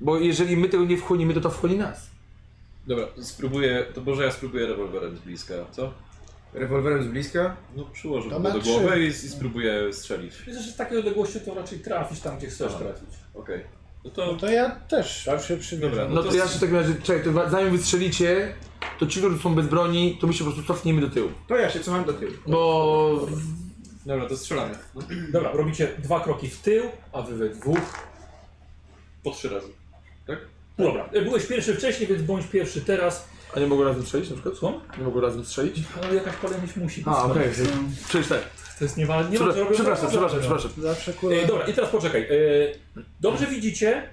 Speaker 4: Bo jeżeli my tego nie wchłonimy, to to wchłonie nas.
Speaker 3: Dobra, spróbuję, to może ja spróbuję rewolwerem z bliska, co?
Speaker 5: Rewolwerem z bliska?
Speaker 3: No przyłożę
Speaker 2: To
Speaker 3: go
Speaker 2: na
Speaker 3: do
Speaker 2: trzy.
Speaker 3: głowy i, i spróbuję strzelić.
Speaker 1: Wiesz, że z takiej odległości to raczej trafisz tam, gdzie chcesz
Speaker 4: Tak.
Speaker 1: trafić.
Speaker 3: Okej.
Speaker 2: No
Speaker 3: No to...
Speaker 2: to ja też się
Speaker 3: Dobra,
Speaker 2: przymierzam.
Speaker 4: No to ja się w takim razie, czekaj, to wa- zanim wystrzelicie, to ci, którzy są bez broni, to my się po prostu cofniemy do tyłu.
Speaker 5: To ja się cofam do tyłu.
Speaker 4: Bo...
Speaker 3: Dobra, to strzelamy. No,
Speaker 1: Dobra, robicie dwa kroki w tył, a wy we dwóch. No
Speaker 3: Po trzy razy.
Speaker 1: Dobra, e, byłeś pierwszy wcześniej, więc bądź pierwszy teraz.
Speaker 4: A nie mogą razem strzelić na przykład?
Speaker 1: Co?
Speaker 4: Nie mogą razem strzelić?
Speaker 1: Ale jakaś kolejność musi być.
Speaker 4: A,
Speaker 1: no.
Speaker 4: okej. Przecież tak.
Speaker 1: To jest nieważne. Nie ma co
Speaker 4: Przepra-
Speaker 1: robić.
Speaker 4: Przepraszam, przepraszam, przepraszam.
Speaker 2: Zawsze kurwa...
Speaker 1: E, dobra, i teraz poczekaj. E, dobrze widzicie,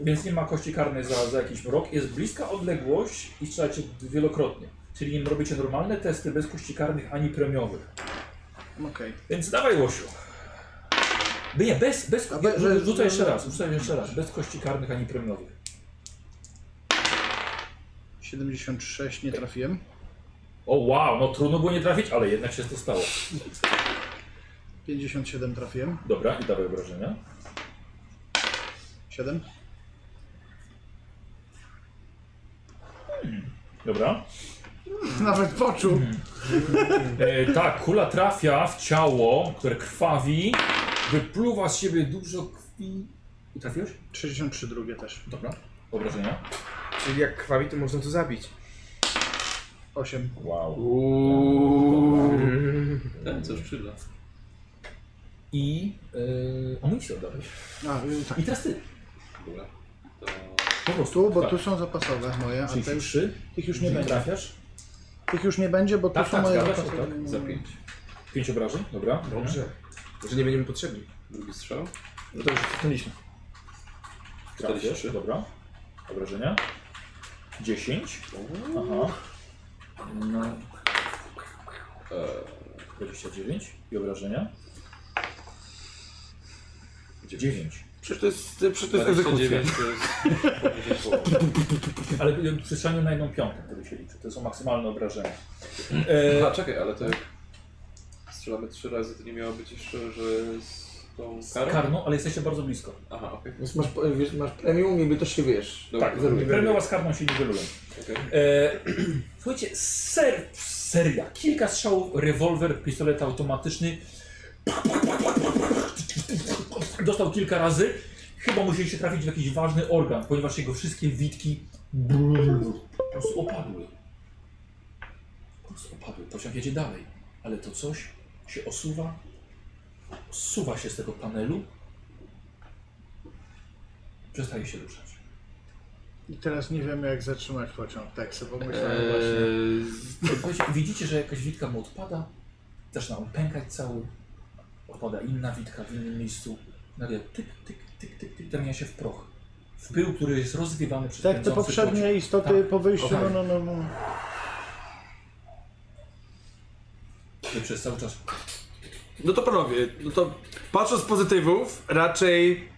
Speaker 1: więc nie ma kości karnej za, za jakiś mrok. Jest bliska odległość i strzelacie wielokrotnie. Czyli nie robicie normalne testy bez kości karnych ani premiowych.
Speaker 2: Okej.
Speaker 1: Więc dawaj Łosiu. By nie, bez, bez,
Speaker 2: A be-
Speaker 1: rzu-
Speaker 2: bez-
Speaker 1: rzucaj jeszcze raz, rzucaj jeszcze raz. Bez kości karnych ani premiowych.
Speaker 2: 76 nie trafiłem.
Speaker 1: O wow, no trudno było nie trafić, ale jednak się to stało.
Speaker 2: 57 trafiłem.
Speaker 1: Dobra, i dawaj obrażenia.
Speaker 2: 7.
Speaker 1: Dobra.
Speaker 2: Nawet poczuł.
Speaker 4: Mhm.
Speaker 1: E, tak, kula trafia w ciało, które krwawi, wypluwa z siebie dużo krwi. I trafiłeś?
Speaker 2: 63 drugie też.
Speaker 1: Dobra. Obrażenia.
Speaker 4: Znaczy,
Speaker 5: Czyli jak krwawi, to można to zabić.
Speaker 2: 8.
Speaker 1: Wow.
Speaker 3: Tak, co szczyla.
Speaker 1: I yy, amunicję oddałeś.
Speaker 2: A, y, tak.
Speaker 1: I teraz ty.
Speaker 3: Dobra. To...
Speaker 1: Po prostu.
Speaker 2: Tu, bo
Speaker 1: tak.
Speaker 2: tu są zapasowe moje, a
Speaker 1: Czyli
Speaker 2: te już,
Speaker 1: trzy.
Speaker 2: tych już nie
Speaker 1: Czyli
Speaker 2: będzie.
Speaker 1: Trafiasz.
Speaker 2: Tych już nie będzie, bo tu
Speaker 1: Tak,
Speaker 2: są
Speaker 1: tak,
Speaker 2: moje
Speaker 1: zgadza się,
Speaker 2: zapasowe.
Speaker 1: tak,
Speaker 3: Za pięć.
Speaker 1: Pięć obrażeń. Dobra. Mhm.
Speaker 5: Dobrze. Że nie będziemy potrzebni.
Speaker 3: Drugi strzał.
Speaker 4: No to już cofnęliśmy.
Speaker 1: Trafiasz. Dobra. Obrażenia. Dziesięć. Aha. No. E, 29 i obrażenia. 9.
Speaker 4: Przecież to jest, przecież to jest egzekucja.
Speaker 3: 29 to jest poniżej połowy.
Speaker 1: Ale y, przy strzaniu na jedną piątą, który się liczy. To są maksymalne obrażenia. E,
Speaker 3: A czekaj, ale to jak strzelamy trzy razy, to nie miało być jeszcze, że z tą karą?
Speaker 1: Karno, ale jesteście bardzo blisko.
Speaker 3: Aha, okej.
Speaker 4: Więc masz, wiesz, masz premium i by to się wiesz.
Speaker 3: Dobra,
Speaker 1: Tak,
Speaker 3: zrobię.
Speaker 1: premiowa z karną się niwelują.
Speaker 3: Okej.
Speaker 1: E, słuchajcie, ser, seria, kilka strzałów, rewolwer, pistolet automatyczny. Dostał kilka razy. Chyba musieli się trafić w jakiś ważny organ, ponieważ jego wszystkie witki po prostu opadły. Po prostu opadły. Pociąg jedzie dalej, ale to coś się osuwa, zsuwa się z tego panelu, przestaje się ruszać.
Speaker 2: I teraz nie wiemy jak zatrzymać pociąg, tak sobie pomyślałem
Speaker 3: E,
Speaker 2: właśnie.
Speaker 4: Eee,
Speaker 1: Słuchajcie, Widzicie, że jakaś witka mu odpada, zaczyna on pękać cały, odpada inna witka w innym miejscu, nagle tyk, tyk, tyk, tyk, tyk, zamienia się w proch. W pył, który jest rozwiewany przez
Speaker 2: Tak, te
Speaker 1: pędzący
Speaker 2: poprzednie
Speaker 1: pociąg.
Speaker 2: istoty
Speaker 1: Tak,
Speaker 2: po wyjściu,
Speaker 1: kochani.
Speaker 2: no, no, no.
Speaker 1: Wy przez cały czas
Speaker 4: No to panowie, no to patrząc z pozytywów, raczej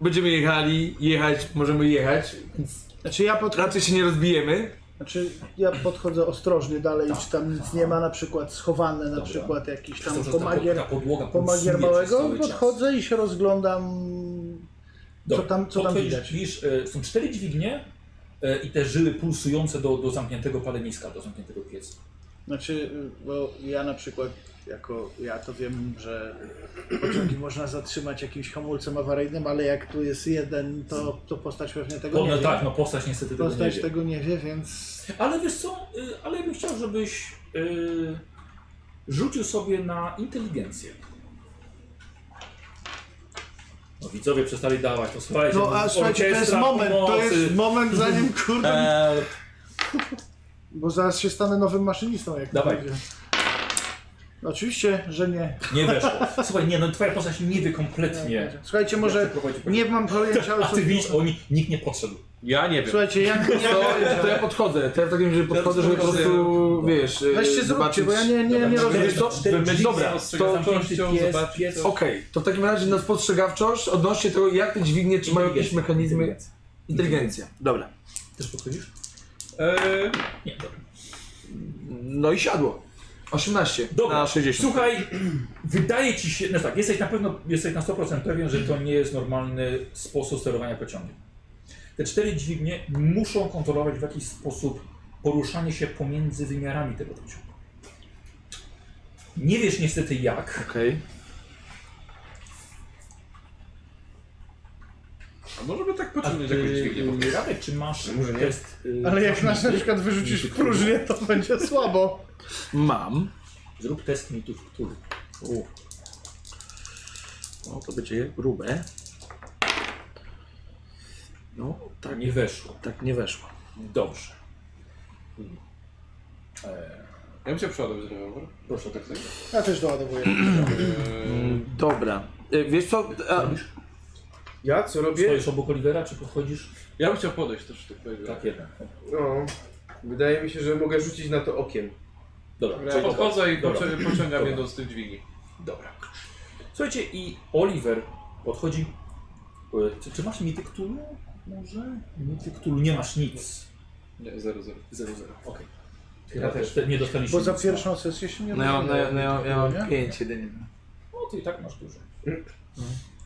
Speaker 4: będziemy jechali, jechać, możemy jechać, więc
Speaker 2: Znaczy ja, pod...
Speaker 4: raczej się nie rozbijemy.
Speaker 2: znaczy ja podchodzę ostrożnie dalej,
Speaker 1: Tak.
Speaker 2: czy tam nic nie ma na przykład schowane, na przykład jakiś
Speaker 1: przez to,
Speaker 2: tam
Speaker 1: że ta, pod-
Speaker 2: pomagier,
Speaker 1: ta podłoga
Speaker 2: pomagier
Speaker 1: podsunie tak, przez
Speaker 2: małego,
Speaker 1: cały czas.
Speaker 2: podchodzę i się rozglądam, co
Speaker 1: Dobra,
Speaker 2: tam, co tam
Speaker 1: otworzysz-
Speaker 2: widać.
Speaker 1: Widzisz, e, są cztery dźwignie e, i te żyły pulsujące do, do zamkniętego paleniska, do zamkniętego pieca.
Speaker 2: Znaczy, bo ja na przykład, jako ja to wiem, że pociągi można zatrzymać jakimś hamulcem awaryjnym, ale jak tu jest jeden, to, to postać pewnie tego nie
Speaker 1: One,
Speaker 2: wie.
Speaker 1: tak, no postać niestety tego nie
Speaker 2: Postać
Speaker 1: wie.
Speaker 2: tego nie wie, więc
Speaker 1: Ale wiesz co, y, ale ja bym chciał, żebyś y, rzucił sobie na inteligencję. No widzowie przestali dawać, to słuchajcie.
Speaker 2: No a słuchajcie, to jest
Speaker 1: orkiestra
Speaker 2: moment, to
Speaker 1: pomocy. E.
Speaker 2: jest moment zanim kurde... Bo zaraz się stanę nowym maszynistą, jak to
Speaker 1: Dawaj.
Speaker 2: będzie. Oczywiście, że nie.
Speaker 1: Nie weszło. Słuchaj, nie, no twoja postać nie wie kompletnie.
Speaker 2: Słuchajcie, może nie mam pojęcia o
Speaker 1: A
Speaker 2: co...
Speaker 1: ty widzisz, oni, nikt nie podszedł.
Speaker 3: Ja nie wiem.
Speaker 2: Słuchajcie, ja nie
Speaker 4: To, to ja podchodzę, to ja w takim razie podchodzę, żeby po prostu, wiesz, e,
Speaker 2: Weźcie zróbcie,
Speaker 4: zobaczyć-
Speaker 2: bo ja nie, nie, nie rozumiem.
Speaker 4: Wiesz co, dobra, to Okej, to w takim razie na spostrzegawczość odnośnie tego, jak te dźwignie, czy mają jakieś mechanizmy... Inteligencja. Dobra.
Speaker 1: Też podchodzisz?
Speaker 3: E,
Speaker 1: Nie, dobra.
Speaker 4: No i siadło. 18
Speaker 1: Dobra.
Speaker 4: na 60.
Speaker 1: Słuchaj, wydaje ci się, no tak, jesteś na pewno, jesteś na 100% pewien, że to nie jest normalny sposób sterowania pociągiem. Te cztery dźwignie muszą kontrolować w jakiś sposób poruszanie się pomiędzy wymiarami tego pociągu. Nie wiesz niestety jak.
Speaker 4: Okej.
Speaker 3: A może by tak
Speaker 1: A
Speaker 3: pociągnąć jakąś dźwignię?
Speaker 1: ty, Radek, czy masz
Speaker 5: No Może nie.
Speaker 1: test? y,
Speaker 2: Ale jak nas na przykład wyrzucisz w próżnię, to będzie słabo.
Speaker 4: Mam.
Speaker 1: Zrób test mitów, który?
Speaker 4: No to będzie grube. No, tak,
Speaker 1: Nie weszło.
Speaker 4: tak nie weszło.
Speaker 1: Dobrze.
Speaker 3: Ja bym chciał przeładować rewolwer.
Speaker 1: Proszę, tak tak.
Speaker 2: Ja też doładowuję.
Speaker 4: Mm, Dobra. E, Wiesz co? A,
Speaker 5: Ja co robię?
Speaker 1: Stoisz obok Olivera, czy podchodzisz?
Speaker 3: Ja bym chciał podejść też do tego.
Speaker 1: Tak, jeden.
Speaker 5: No, wydaje mi się, że mogę rzucić na to okiem.
Speaker 1: Dobra,
Speaker 3: Ja podchodzę i
Speaker 1: Dobra.
Speaker 3: pocią- pociągam
Speaker 1: Dobra.
Speaker 3: jedną z tych dźwigni.
Speaker 1: Dobra. Słuchajcie, i Oliver podchodzi. e, Czy, czy masz mity Cthulhu? Może? Mity Cthulhu, nie masz nic.
Speaker 3: Nie, 0-0.
Speaker 1: 0-0. Okej. Ja też te- nie dostaliśmy.
Speaker 2: Bo za
Speaker 1: nic,
Speaker 2: pierwszą sesję się nie
Speaker 4: no ja, no, ja, no, ja, ja mam
Speaker 2: nie?
Speaker 4: 5 jedynie.
Speaker 1: No No, ty i tak masz dużo.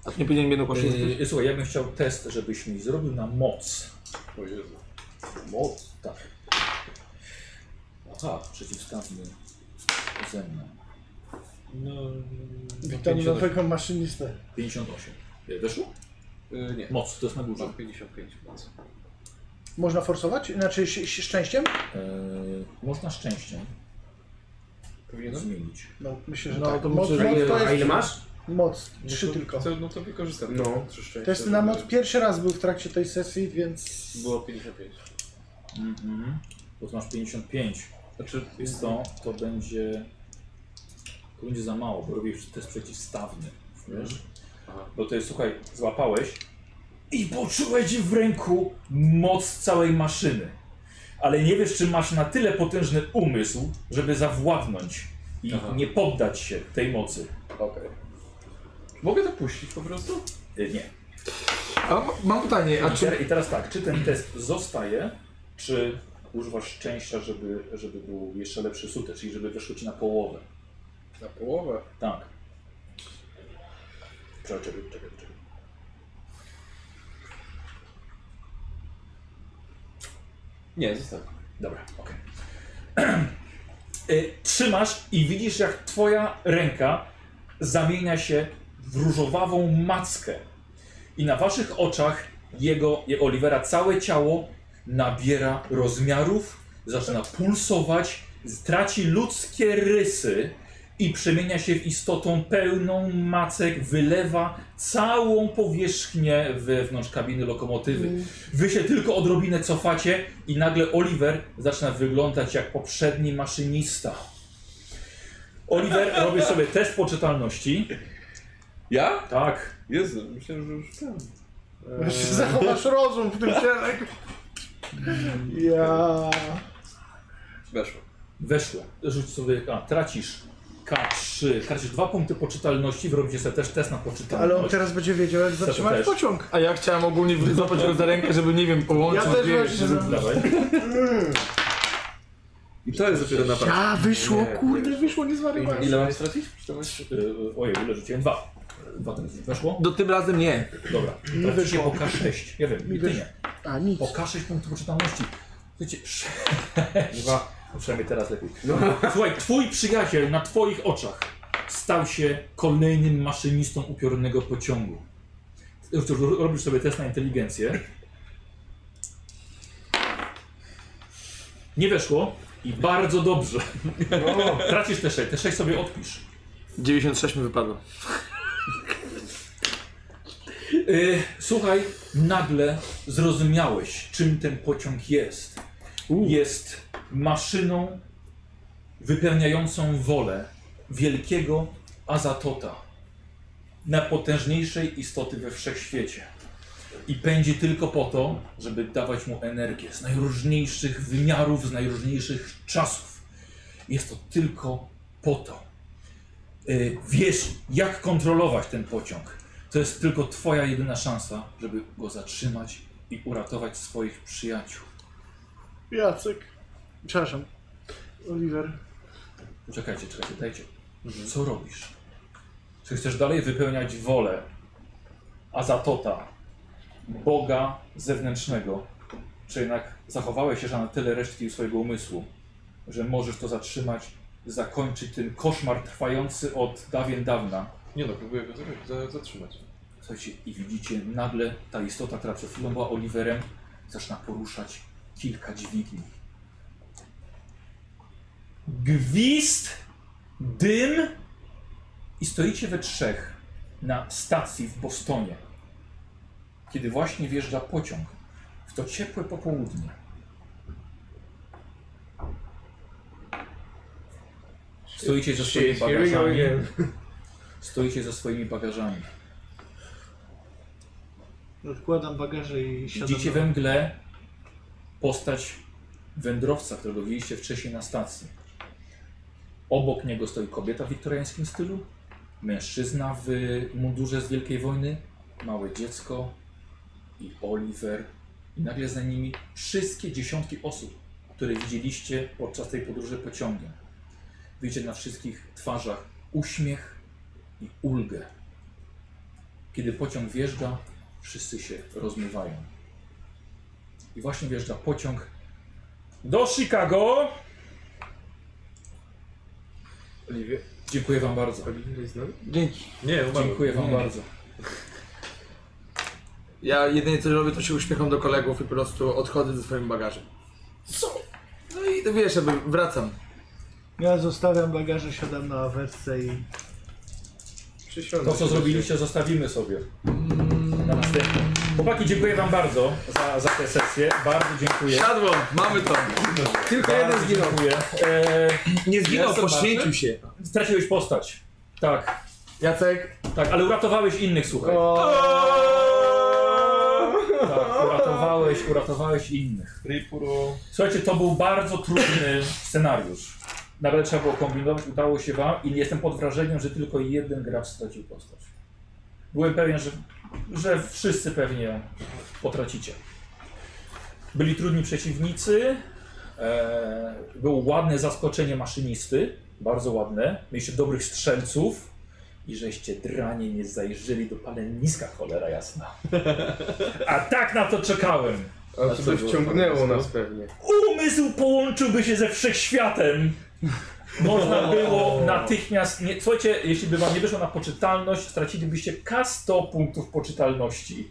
Speaker 4: A ty nie powinienem jedną koszulę
Speaker 1: Yy, słuchaj, ja bym chciał test, żebyś mi zrobił na moc.
Speaker 3: O Jezu.
Speaker 1: Moc? Tak. Aha, przeciwstawny ze mną. No,
Speaker 2: Witam nowego maszynistę.
Speaker 1: 58. E, Weszło?
Speaker 3: Y, nie.
Speaker 1: Moc, to jest na górze.
Speaker 3: Mam 55 mocy.
Speaker 2: Można forsować? Znaczy ś- ś- szczęściem?
Speaker 1: E, można szczęściem Tak.
Speaker 3: Powinienem?
Speaker 1: zmienić.
Speaker 2: No, myślę, że
Speaker 4: No,
Speaker 2: tak.
Speaker 4: to
Speaker 2: moc,
Speaker 4: myślę, że
Speaker 2: moc
Speaker 4: nie.
Speaker 2: to
Speaker 5: A ile
Speaker 2: jest...
Speaker 5: masz?
Speaker 2: Moc, trzy tylko.
Speaker 3: Chcę, no to wykorzystam.
Speaker 5: No.
Speaker 3: Trzy szczęścia,
Speaker 2: Testy na moc
Speaker 3: żeby
Speaker 2: pierwszy raz był w trakcie tej sesji, więc...
Speaker 3: Było 55.
Speaker 1: Mhm. Bo to masz 55.
Speaker 3: Znaczy,
Speaker 1: Jest to, to będzie. To będzie za mało, bo robisz test przeciwstawny. Wiesz?
Speaker 3: Aha.
Speaker 1: Bo to jest, słuchaj, złapałeś i poczułeś w ręku moc całej maszyny. Ale nie wiesz, czy masz na tyle potężny umysł, żeby zawładnąć i
Speaker 3: Aha.
Speaker 1: nie poddać się tej mocy.
Speaker 3: okej. Mogę to puścić po prostu?
Speaker 1: Y, Nie.
Speaker 4: A, mam pytanie, Yy, a
Speaker 1: I,
Speaker 4: czy...
Speaker 1: te, I teraz tak, czy ten test zostaje, czy używasz szczęścia, żeby, żeby był jeszcze lepszy sukces, czyli żeby wyszło ci na połowę.
Speaker 3: Na połowę.
Speaker 1: Tak. Czekaj, czekaj, czekaj. czekaj.
Speaker 3: Nie, zostaw.
Speaker 1: Dobra, okej. Y, Trzymasz i widzisz, jak twoja ręka zamienia się w różowawą mackę. I na waszych oczach jego, je- Olivera, całe ciało nabiera rozmiarów, zaczyna pulsować, traci ludzkie rysy i przemienia się w istotą pełną macek, wylewa całą powierzchnię wewnątrz kabiny lokomotywy. Wy się tylko odrobinę cofacie i nagle Oliver zaczyna wyglądać jak poprzedni maszynista. Oliver, robię sobie test poczytalności.
Speaker 3: Ja?
Speaker 1: Tak.
Speaker 3: Jezu, myślałem, że już ten.
Speaker 2: Jeszcze zachowasz rozum w tym ciele. Ja.
Speaker 3: Weszło.
Speaker 1: Weszło. Rzuć sobie. A, tracisz K3. Tracisz dwa punkty poczytalności. Wyrobicie sobie też test na poczytalność.
Speaker 2: Ale on teraz będzie wiedział, jak zatrzymać
Speaker 1: też.
Speaker 2: pociąg.
Speaker 4: A ja chciałem ogólnie złapać go za rękę, żeby, nie wiem, połączyć.
Speaker 2: Ja też
Speaker 4: wiesz,
Speaker 2: właśnie.
Speaker 4: żeby-
Speaker 1: Dawaj.
Speaker 3: I to jest dopiero napad.
Speaker 2: A, wyszło, kurde, wyszło, nie zwariowałem.
Speaker 3: Ile mam stracić? Przytomność?
Speaker 1: Y, Ojej, ile rzuciłem? Dwa. Dwa teraz. Weszło?
Speaker 4: Do tym razem nie.
Speaker 1: Dobra. Tracisz je po K6. Ja wiem,
Speaker 2: Mi
Speaker 1: i ty
Speaker 2: też.
Speaker 1: nie.
Speaker 2: A, nic.
Speaker 1: Po K6 punktów poczytalności. Słuchajcie, sześć. No, Przynajmniej teraz lepiej. Słuchaj, twój przyjaciel na twoich oczach stał się kolejnym maszynistą upiornego pociągu. Cóż, robisz sobie test na inteligencję. Nie weszło i bardzo dobrze. Tracisz te 6, te 6 sobie odpisz.
Speaker 4: 96 mi wypadło.
Speaker 1: Yy, słuchaj, nagle zrozumiałeś, czym ten pociąg jest. Jest maszyną wypełniającą wolę wielkiego Azatota, najpotężniejszej istoty we wszechświecie. I pędzi tylko po to, żeby dawać mu energię z najróżniejszych wymiarów, z najróżniejszych czasów. Jest to tylko po to. Yy, wiesz, jak kontrolować ten pociąg. To jest tylko twoja jedyna szansa, żeby go zatrzymać i uratować swoich przyjaciół.
Speaker 2: Jacek. Przepraszam. Oliver.
Speaker 1: Czekajcie, czekajcie, dajcie. Co robisz? Czy chcesz dalej wypełniać wolę Azatota, Boga zewnętrznego? Czy jednak zachowałeś się na tyle resztki swojego umysłu, że możesz to zatrzymać, zakończyć ten koszmar trwający od dawien dawna?
Speaker 3: Nie no, próbuję go zrobić, za- zatrzymać.
Speaker 1: Słuchajcie, i widzicie nagle ta istota, która przed chwilą była Oliverem, zaczyna poruszać kilka dźwigni. Gwizd, dym i stoicie we trzech na stacji w Bostonie. Kiedy właśnie wjeżdża pociąg w to ciepłe popołudnie. Stoicie ze swoimi bagażami. Stoicie ze swoimi bagażami.
Speaker 2: Odkładam bagaże i siadam.
Speaker 1: Widzicie
Speaker 2: do-
Speaker 1: we mgle postać wędrowca, którego widzieliście wcześniej na stacji. Obok niego stoi kobieta w wiktoriańskim stylu, mężczyzna w mundurze z Wielkiej Wojny, małe dziecko i Oliver. I nagle za nimi wszystkie dziesiątki osób, które widzieliście podczas tej podróży pociągiem. Widzicie na wszystkich twarzach uśmiech i ulgę. Kiedy pociąg wjeżdża, wszyscy się rozmywają. I właśnie wjeżdża pociąg do Chicago.
Speaker 5: Oliwie,
Speaker 1: Dziękuję Wam bardzo.
Speaker 5: Oliwie jest z nami?
Speaker 4: Dzięki.
Speaker 3: Nie, umarłem.
Speaker 1: Dziękuję Wam bardzo.
Speaker 4: Ja jedynie co robię, to się uśmiecham do kolegów i po prostu odchodzę ze swoim bagażem. Co? No i to wiesz, jakby wracam.
Speaker 2: Ja zostawiam bagaże, siadam na awersce i
Speaker 5: Przysiądę.
Speaker 1: To, co zrobiliście, zostawimy sobie. Mm. Na następne. Chłopaki, dziękuję Wam bardzo za, za tę sesję. Bardzo dziękuję.
Speaker 4: Siadło, mamy to.
Speaker 5: Tylko jeden
Speaker 1: Bardzo
Speaker 5: zginął.
Speaker 1: dziękuję. Eee,
Speaker 4: Nie zginął,
Speaker 3: Jestem
Speaker 4: poświęcił się.
Speaker 1: straciłeś postać. Tak,
Speaker 4: Jacek,
Speaker 1: tak, ale uratowałeś innych, słuchaj. Tak, uratowałeś, uratowałeś innych.
Speaker 3: Ripuro.
Speaker 1: Słuchajcie, to był bardzo trudny scenariusz. Naprawdę trzeba było kombinować, udało się wam i jestem pod wrażeniem, że tylko jeden gracz stracił postać. Byłem pewien, że, że wszyscy pewnie potracicie. Byli trudni przeciwnicy, e, było ładne zaskoczenie maszynisty, bardzo ładne. Mieliście dobrych strzelców i żeście dranie nie zajrzeli do paleniska, cholera jasna. A tak na to czekałem.
Speaker 5: A to by wciągnęło nas pewnie.
Speaker 1: umysł połączyłby się ze wszechświatem. Można było natychmiast. Nie, słuchajcie, jeśli by wam nie wyszło na poczytalność, stracilibyście K100 punktów poczytalności.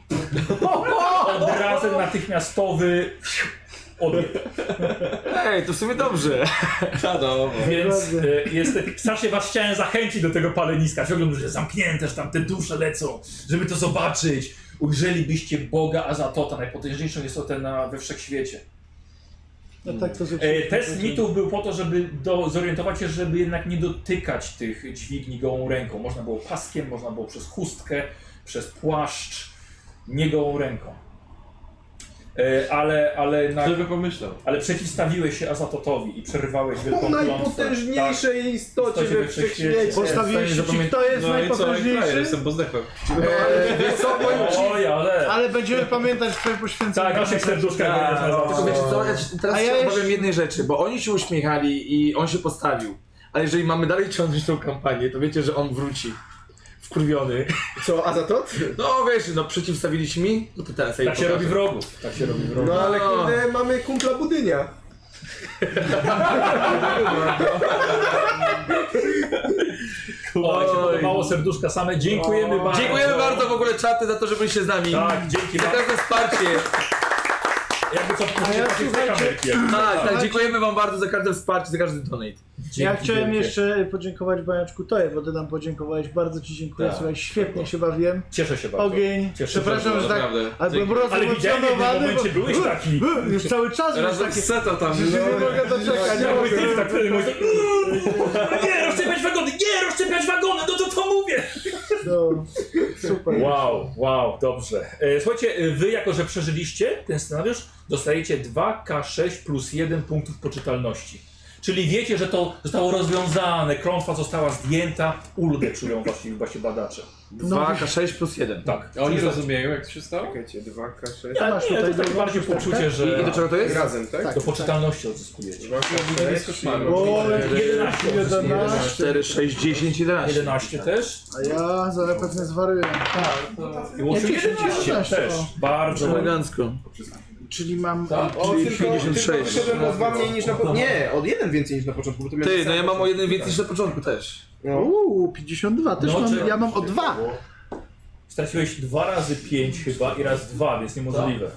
Speaker 1: Od razu natychmiastowy Obie.
Speaker 4: Ej, to w sumie dobrze.
Speaker 1: Więc e, jest, strasznie was chciałem zachęcić do tego paleniska. Ciągle mówię, że zamknięte, że tam te dusze lecą, żeby to zobaczyć. Ujrzelibyście Boga Azatota, najpotężniejszą istotę na, we wszechświecie.
Speaker 2: No tak to
Speaker 1: E,
Speaker 2: zepsuło.
Speaker 1: test mitów był po to, żeby do, zorientować się, żeby jednak nie dotykać tych dźwigni gołą ręką. Można było paskiem, można było przez chustkę, przez płaszcz, nie gołą ręką. E, ale, ale, na,
Speaker 3: Kto by Tak. pomyślał?
Speaker 1: ale przeciwstawiłeś się Azatotowi i przerwałeś wielką
Speaker 5: O
Speaker 1: klątwę. Tak.
Speaker 5: najpotężniejszej istocie
Speaker 1: Istocie we
Speaker 5: we wszechświecie.
Speaker 1: wszechświecie.
Speaker 2: Postawiłeś się, ci, kto jest
Speaker 3: No i co, i frajer,
Speaker 2: najpotężniejszy,
Speaker 3: jestem po zdechach.
Speaker 5: Eee, wiesz co, powiem
Speaker 1: Tak.
Speaker 5: ci,
Speaker 1: Oj, ale...
Speaker 2: ale będziemy pamiętać twoje poświęcenie.
Speaker 1: Tak, naszych serduszkach będziesz nas
Speaker 4: Tylko wiecie co, ja ci- teraz
Speaker 2: A
Speaker 4: się
Speaker 2: ja
Speaker 4: obawiam
Speaker 2: jeszcze-
Speaker 4: jednej rzeczy, bo oni się uśmiechali i on się postawił. Ale jeżeli mamy dalej ciągnąć tą kampanię, to wiecie, że on wróci. Wkurwiony.
Speaker 5: co, Azatot?
Speaker 4: No wiesz, no przeciwstawili się mi, no to teraz ja
Speaker 1: Tak się robi wrogów. Tak się robi wrogów.
Speaker 5: No ale kurde, mamy kumpla Budynia.
Speaker 1: Oj, się
Speaker 4: Oj.
Speaker 1: podobało serduszka same. Dziękujemy bardzo.
Speaker 4: Dziękujemy bardzo w ogóle czaty za to, że byliście z nami.
Speaker 1: Tak, dzięki
Speaker 4: Za
Speaker 1: bardzo.
Speaker 4: każde wsparcie.
Speaker 1: Jakby co,
Speaker 2: A ja
Speaker 1: puszczycie
Speaker 2: słuchajcie-
Speaker 1: kamerki.
Speaker 4: Tak, tak, dziękujemy wam bardzo za każde wsparcie, za każdy donate.
Speaker 2: Ja
Speaker 1: Dzięki
Speaker 2: chciałem
Speaker 1: wielkie.
Speaker 2: jeszcze podziękować Baniaczku Toje, bo ty nam podziękowałeś, bardzo ci dziękuję,
Speaker 3: Tak,
Speaker 2: słuchaj, świetnie
Speaker 3: tak.
Speaker 2: się bawiłem.
Speaker 1: Cieszę się bardzo.
Speaker 2: Ogień,
Speaker 1: Cieszę się
Speaker 2: przepraszam,
Speaker 3: bardzo,
Speaker 2: że tak,
Speaker 3: naprawdę.
Speaker 2: ale byłem
Speaker 3: Dzięki.
Speaker 1: Ale widziałem, w jednym
Speaker 2: rozemocjonowany,
Speaker 1: momencie byłeś taki.
Speaker 2: Już cały czas byłeś
Speaker 3: Razem
Speaker 2: taki,
Speaker 3: z Seta tam. no.
Speaker 2: że nie mogę doczekać, nie
Speaker 1: Cały
Speaker 2: mogę.
Speaker 1: typ tak wtedy mówi, "Mm, Nie, rozsypać wagony! Nie, rozsypać wagony! No to co mówię?
Speaker 2: No, super.
Speaker 1: Wow, wow, dobrze. E, Słuchajcie, e, wy jako, że przeżyliście ten scenariusz, dostajecie 2K6 plus 1 punktów poczytalności. Czyli wiecie, że to zostało rozwiązane, klątwa została zdjęta, ulgę czują właśnie, właśnie badacze.
Speaker 2: No.
Speaker 4: 2K6 plus 1.
Speaker 1: Tak.
Speaker 3: A Oni rozumieją, jak to się stało?
Speaker 5: Czekajcie, 2K6.
Speaker 1: Ja, nie,
Speaker 2: masz
Speaker 1: to tak
Speaker 2: tutaj
Speaker 1: jest takie
Speaker 2: drugą
Speaker 1: bardziej
Speaker 2: szósteczkę?
Speaker 1: poczucie,
Speaker 4: I
Speaker 1: że
Speaker 4: do czego to jest?
Speaker 5: Razem, tak?
Speaker 1: do poczytalności odzyskujecie.
Speaker 5: 2K6.
Speaker 2: O, jak
Speaker 1: 11,
Speaker 2: 11,
Speaker 4: 4, 6, 10, 11.
Speaker 1: 11 też.
Speaker 2: a ja zapewne zwaryłem.
Speaker 1: I łącznie
Speaker 2: Ja też
Speaker 1: 11
Speaker 2: 11,
Speaker 1: też. Bardzo
Speaker 2: No,
Speaker 1: ładnie.
Speaker 4: Elegancko.
Speaker 2: Czyli mam...
Speaker 5: O,
Speaker 4: Czyli
Speaker 5: tylko,
Speaker 4: 56.
Speaker 5: tylko szedłem o dwa mniej niż na początku. Nie, od jeden więcej niż na początku, bo to miałem
Speaker 4: Ty, no
Speaker 5: sam
Speaker 4: ja mam o
Speaker 5: początek.
Speaker 4: jeden więcej niż na początku też.
Speaker 5: No.
Speaker 2: Uuu, 52, też
Speaker 1: No,
Speaker 2: mam,
Speaker 1: czy-
Speaker 2: ja mam o 2.
Speaker 1: Straciłeś dwa razy 5 chyba i raz 2, więc niemożliwe.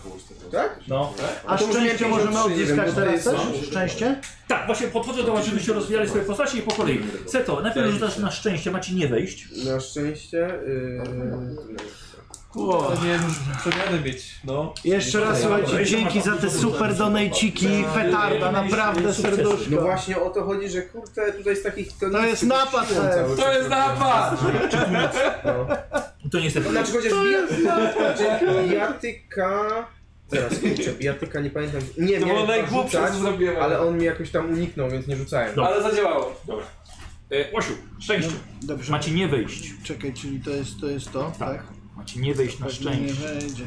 Speaker 5: Tak?
Speaker 1: No.
Speaker 2: A
Speaker 5: to może
Speaker 2: szczęście
Speaker 5: miałem
Speaker 2: możemy
Speaker 5: 53, nie
Speaker 2: odzyskać
Speaker 5: wiem, bo to
Speaker 2: teraz
Speaker 5: jest-
Speaker 2: też? Szczęście?
Speaker 1: Tak, właśnie podchodzę do was, żebyście rozwijali swoje postacie i po kolei. Seto, najpierw rzucasz na szczęście, macie nie wejść.
Speaker 5: Na szczęście. Yy...
Speaker 3: Kurwa, nie wiem, przemiany mieć, no.
Speaker 2: Jeszcze raz słuchajcie, dzięki za te super donejciki, petarda, naprawdę serduszko.
Speaker 5: No właśnie o to chodzi, że kurde, tutaj z takich.
Speaker 2: To jest napad, to jest.
Speaker 5: To jest
Speaker 3: napad!
Speaker 1: To niestety.
Speaker 5: No. Znaczy chociaż bijatyka. bijatyka. Zaraz, kurczę, bijatyka nie pamiętam. Nie,
Speaker 3: To było
Speaker 5: miałem
Speaker 3: najgłupsze,
Speaker 5: rzucać,
Speaker 3: co zrobiłem.
Speaker 5: Ale on mi jakoś tam uniknął, więc nie rzucałem.
Speaker 1: No.
Speaker 3: Ale zadziałało.
Speaker 1: E, Łosiu, szczęście.
Speaker 2: Dobrze,
Speaker 1: Macie nie wejść.
Speaker 2: czekaj, czyli to jest to, jest to tak?
Speaker 1: Macie nie wejść na
Speaker 2: Pewnie nie
Speaker 1: szczęście.
Speaker 2: wejdzie.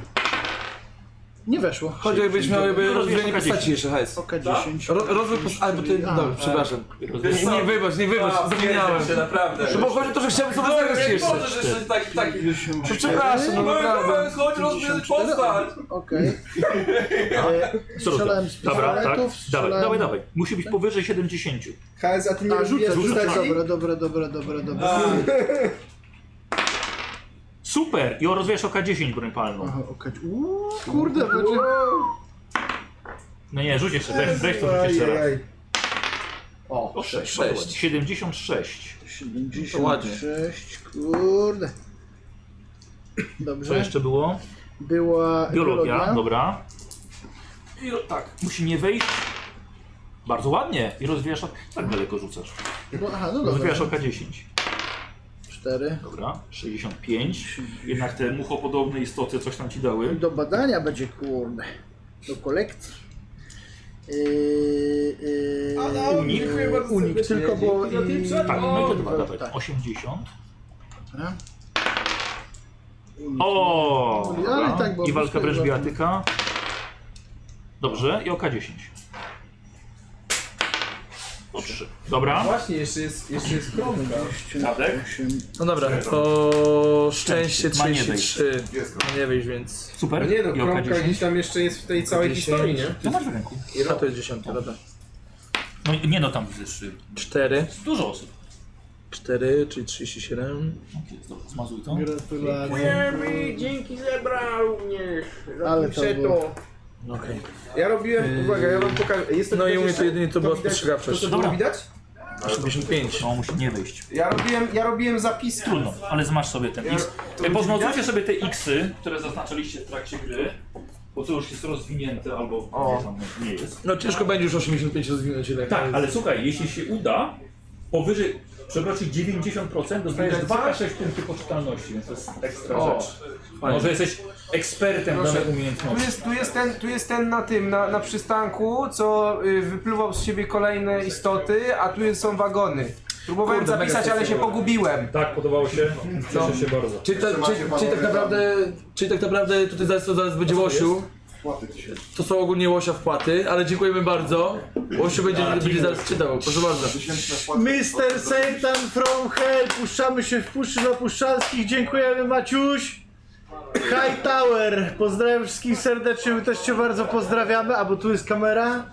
Speaker 2: Nie weszło.
Speaker 4: Chodź, jakbyś miał jakby
Speaker 1: No,
Speaker 4: rozwijanie
Speaker 1: rozwijesz
Speaker 4: postaci jeszcze, hajs.
Speaker 2: Oka 10.
Speaker 4: Ro, rozwój postaci, albo ty,
Speaker 2: A,
Speaker 4: dobra,
Speaker 2: tak.
Speaker 4: przepraszam.
Speaker 1: Rozwijesz-
Speaker 4: Nie, nie wybacz, nie wybacz, zapomniałem.
Speaker 3: się, naprawdę.
Speaker 4: No bo chodzi o to, że chciałbym sobie zagrać
Speaker 3: Nie
Speaker 4: jeszcze.
Speaker 3: możesz jeszcze tak, tak.
Speaker 4: No przepraszam, no naprawdę.
Speaker 3: Chodź, rozbierz postać!
Speaker 2: Okej. E,
Speaker 1: Co
Speaker 2: Strzelałem z
Speaker 1: Dobra, tak?
Speaker 2: pistoletów,
Speaker 1: Dawaj,
Speaker 2: strzelałem...
Speaker 1: dawaj, dawaj. Musi być powyżej 70.
Speaker 5: HS, a ty nie
Speaker 2: A, Tak, rzucę,
Speaker 5: rozbijasz
Speaker 2: rzucę.
Speaker 5: postaci?
Speaker 2: Dobra, dobra, dobra, dobra, dobra.
Speaker 1: Super! I rozwijasz oka 10 broń palną.
Speaker 2: Aha, okej. Uuu, kurde, będzie...
Speaker 1: No nie, rzuć jeszcze, weź, weź to rzuć jeszcze raz.
Speaker 5: Ajajaj.
Speaker 1: O, 6. 76.
Speaker 2: 76, kurde.
Speaker 1: Co
Speaker 2: Dobrze.
Speaker 1: jeszcze było?
Speaker 2: Była
Speaker 1: Biologia, dobra. I o- tak, musi nie wejść. Bardzo ładnie. I rozwijasz ok. Tak daleko rzucasz.
Speaker 2: No, aha, no dobra.
Speaker 1: Rozwijasz oka 10.
Speaker 2: 4.
Speaker 1: Dobra, 65. Jednak te muchopodobne istoty coś tam ci dały.
Speaker 2: Do badania będzie, kurde. Do kolekcji. Yy, yy,
Speaker 1: unik?
Speaker 2: Yy, unik, tylko było i...
Speaker 1: Tak, no i to dwa, dawaj.
Speaker 2: tak.
Speaker 1: 80.
Speaker 2: Dobra.
Speaker 1: O!
Speaker 2: Ale
Speaker 1: Dobra.
Speaker 2: No tak było
Speaker 1: I walka
Speaker 2: wszystko
Speaker 1: wręcz
Speaker 2: ładnie.
Speaker 1: biatyka. Dobrze, i oka 10. O 3. Dobra.
Speaker 5: Właśnie, jeszcze jest, jeszcze jest kromka.
Speaker 1: Tadek.
Speaker 4: No dobra, to szczęście
Speaker 1: Ma nie wejść.
Speaker 4: 33. Ma nie wyjść, więc...
Speaker 5: No
Speaker 1: Super.
Speaker 5: nie no,
Speaker 1: I oka
Speaker 5: kromka
Speaker 1: 10.
Speaker 5: gdzieś tam jeszcze jest w tej całej
Speaker 4: 10.
Speaker 5: historii, nie?
Speaker 1: No masz w ręku.
Speaker 4: A to jest dziesiątka, dobra.
Speaker 1: No i- nie no tam wyższy.
Speaker 4: 4,
Speaker 1: Dużo osób.
Speaker 4: 4, czyli 37.
Speaker 1: Tak jest, Dobra, zmazuj to.
Speaker 2: Gratulacje.
Speaker 5: Dzięki, zebrał mnie.
Speaker 2: Ale to było.
Speaker 4: No Okej.
Speaker 5: Ja robiłem, uwaga, ja wam pokażę. Jest
Speaker 4: No i u mnie to
Speaker 5: jeszcze-
Speaker 4: jedynie to była
Speaker 5: widać-
Speaker 4: spostrzegawczość.
Speaker 5: To, co było
Speaker 10: Dobra.
Speaker 5: widać?
Speaker 10: 85.
Speaker 1: On No, musi nie wyjść.
Speaker 5: Ja robiłem, ja robiłem zapiski.
Speaker 10: Trudno, ale zmasz sobie ten
Speaker 5: Ja,
Speaker 10: X.
Speaker 5: to będzie
Speaker 1: Poznajcie
Speaker 5: widać?
Speaker 1: sobie te xy, Tak. które zaznaczaliście w trakcie gry, bo to już jest rozwinięte albo
Speaker 5: O.
Speaker 1: tam nie jest.
Speaker 4: No ciężko będzie już 85 rozwinąć ile.
Speaker 1: Tak, ale słuchaj, jeśli się uda, powyżej przekroczy 90%, dostajesz 2-6 punktów poczytalności, więc to jest ekstra
Speaker 5: O.
Speaker 1: rzecz. Może jesteś ekspertem
Speaker 5: Proszę.
Speaker 1: danej
Speaker 5: Tu
Speaker 1: umiejętności.
Speaker 5: jest, tu, jest ten, tu jest ten na tym, na, na przystanku, co y, wypluwał z siebie kolejne istoty, a tu są wagony. Próbowałem
Speaker 4: Kurde, mega
Speaker 5: zapisać, ale się
Speaker 4: stresujące.
Speaker 5: pogubiłem.
Speaker 1: Tak, podobało się? Cieszę się bardzo.
Speaker 4: Czyli, ta,
Speaker 9: Jeszcze
Speaker 4: czy,
Speaker 9: macie panowie
Speaker 4: czyli tak naprawdę, czyli tak naprawdę tutaj zaraz, to zaraz będzie Łosiu.
Speaker 9: Płaty dzisiaj.
Speaker 4: To są ogólnie Łosia wpłaty, ale dziękujemy bardzo. Łosiu będzie, będzie zaraz czytał, proszę bardzo.
Speaker 9: Tysięczne wpłaty.
Speaker 2: Mr. Satan from Hell, puszczamy się w Puszczy Zapuszczalskich, dziękujemy Maciuś! High Tower, pozdrawiam wszystkich serdecznie, my też Cię bardzo pozdrawiamy, a bo tu jest kamera.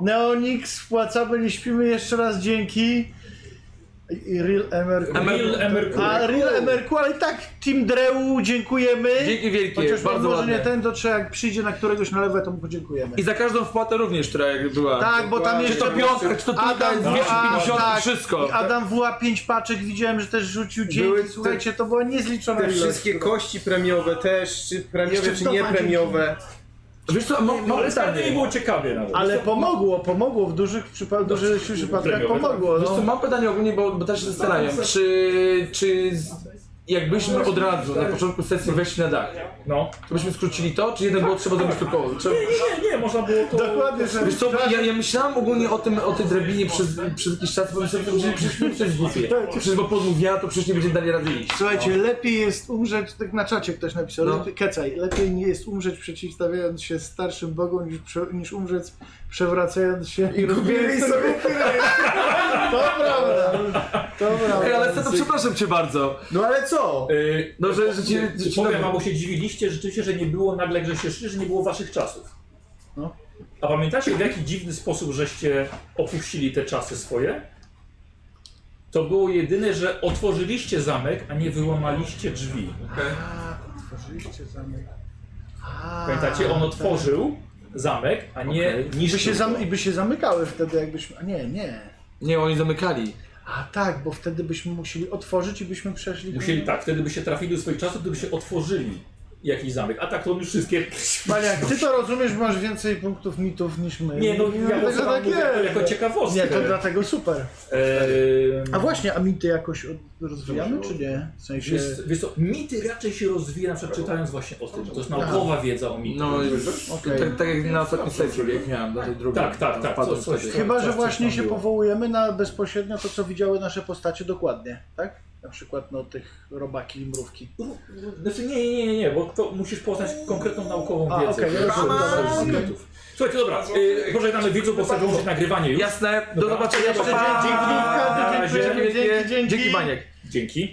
Speaker 2: Neonix, wpłacamy, nie śpimy, jeszcze raz dzięki. I Real MRQ.
Speaker 1: Emil Emerku.
Speaker 2: A Real MRQ, ale i tak Team Dreu dziękujemy.
Speaker 4: Dzięki wielkie,
Speaker 2: Chociaż
Speaker 4: bardzo
Speaker 2: może nie
Speaker 4: ładnie.
Speaker 2: ten, to trzeba jak przyjdzie na któregoś nalewę, to mu podziękujemy.
Speaker 4: I za każdą wpłatę również, która jak była.
Speaker 2: Tak, bo tam
Speaker 4: Czy
Speaker 2: jeszcze
Speaker 4: to piątka, czy to trójka,
Speaker 2: Adam, a,
Speaker 4: 250,
Speaker 2: tak.
Speaker 4: wszystko.
Speaker 2: I Adam WA 5 paczek widziałem, że też rzucił
Speaker 5: Były
Speaker 2: dzięki.
Speaker 5: te-
Speaker 2: Słuchajcie, to była niezliczona
Speaker 5: Te
Speaker 2: ilość.
Speaker 5: wszystkie kości premiowe też, czy premiowe,
Speaker 2: Jeszcze
Speaker 5: czy nie
Speaker 2: wdowadzili.
Speaker 5: premiowe.
Speaker 4: Wiesz co, mam, mam
Speaker 1: No, Ale
Speaker 4: pytanie.
Speaker 1: stanie nie było ciekawie nawet.
Speaker 2: Ale pomogło, pomogło w dużych przypadkach, dużych przypadkach
Speaker 1: premiowe,
Speaker 2: pomogło.
Speaker 4: Wiesz co,
Speaker 2: No.
Speaker 4: mam pytanie ogólnie, bo, bo też się zastanawiam, czy, czy z, jakbyśmy od razu na początku sesji weszli na dach,
Speaker 1: No.
Speaker 4: to byśmy skrócili to, czy jednak było trzeba zrobić tylko trzeba...
Speaker 1: Nie, nie, można było to...
Speaker 2: Dokładnie, że
Speaker 4: Wiesz co, ja, ja myślałem ogólnie o tym, o tej drabinie przez, przez jakiś czas, bo myślałem, że przecież my coś głupie. Przecież bo podmów ja, to przecież nie będziemy dali rady iść.
Speaker 2: Słuchajcie, lepiej jest umrzeć, tak na czacie ktoś napisał,
Speaker 4: No.
Speaker 2: lepiej, kecaj, lepiej nie jest umrzeć przeciwstawiając się starszym bogom niż, prze, niż umrzeć przewracając się i
Speaker 5: Kupili sobie.
Speaker 2: To prawda, to prawda.
Speaker 4: Ej, ale to przepraszam cię bardzo.
Speaker 5: No ale co?
Speaker 1: Yy,
Speaker 4: No, że, że ci... Że ci
Speaker 1: Powiem, albo się dziwiliście rzeczywiście, że nie było nagle, że się szczerze, że nie było waszych czasów.
Speaker 2: No.
Speaker 1: A pamiętacie, w jaki dziwny sposób żeście opuścili te czasy swoje? To było jedyne, że otworzyliście zamek, a nie wyłamaliście drzwi.
Speaker 2: Otworzyliście zamek.
Speaker 1: Pamiętacie, on otworzył zamek, a nie
Speaker 2: I tak. by, się
Speaker 1: niszczył. go.
Speaker 2: zam- I by się zamykały wtedy jakbyśmy... A nie, nie.
Speaker 4: Nie, oni zamykali.
Speaker 2: A tak, bo wtedy byśmy musieli otworzyć i byśmy przeszli...
Speaker 1: Musieli tak, wtedy by się trafili do swoich czasów, gdyby się otworzyli jakiś zamek. A tak to on już wszystkie...
Speaker 2: Maniak, ty to rozumiesz, bo masz więcej punktów mitów niż my.
Speaker 1: Nie, no ja to
Speaker 2: dlatego
Speaker 1: tak
Speaker 2: tak
Speaker 1: mówię, jako- jako
Speaker 2: jest.
Speaker 1: ciekawostkę.
Speaker 2: Nie, to dlatego super.
Speaker 1: Eee,
Speaker 2: A właśnie, a mity jakoś od- rozwijamy, czy nie? W sensie...
Speaker 1: Wiesz, wiesz co, mity raczej się rozwija, na przykład czytając właśnie o tym. To jest naukowa wiedza o mitach.
Speaker 4: No,
Speaker 2: Okej.
Speaker 4: tak, tak jak na ostatniej sesji, jak miałem, na tej drugiej.
Speaker 1: Tak, tak, tak,
Speaker 4: Wpadłem
Speaker 1: co- coś
Speaker 4: wtedy.
Speaker 2: Chyba,
Speaker 1: coś
Speaker 2: że
Speaker 1: tam
Speaker 2: właśnie się
Speaker 1: było.
Speaker 2: powołujemy na bezpośrednio to, co widziały nasze postacie dokładnie, tak? Na przykład no tych robaki i mrówki.
Speaker 1: Znaczy nie, nie, nie, nie, bo to musisz poznać konkretną naukową
Speaker 2: A,
Speaker 1: wiedzę.
Speaker 2: okej, ja
Speaker 1: która się
Speaker 2: rozumiem,
Speaker 1: wydarza
Speaker 2: dobra,
Speaker 1: z
Speaker 2: okej.
Speaker 1: mitów. Słuchajcie, dobra, yy, pożegnamy widzów, bo chcę wyłączyć nagrywanie już.
Speaker 4: Jasne, do
Speaker 1: Dobra.
Speaker 4: zobaczenia.
Speaker 1: Jeszcze
Speaker 4: pa!
Speaker 1: dzięki,
Speaker 2: Dzięki,
Speaker 1: dzięki,
Speaker 2: dziękujemy, dzięki, dzięki.
Speaker 4: Dzięki, Maniek.
Speaker 1: Dzięki.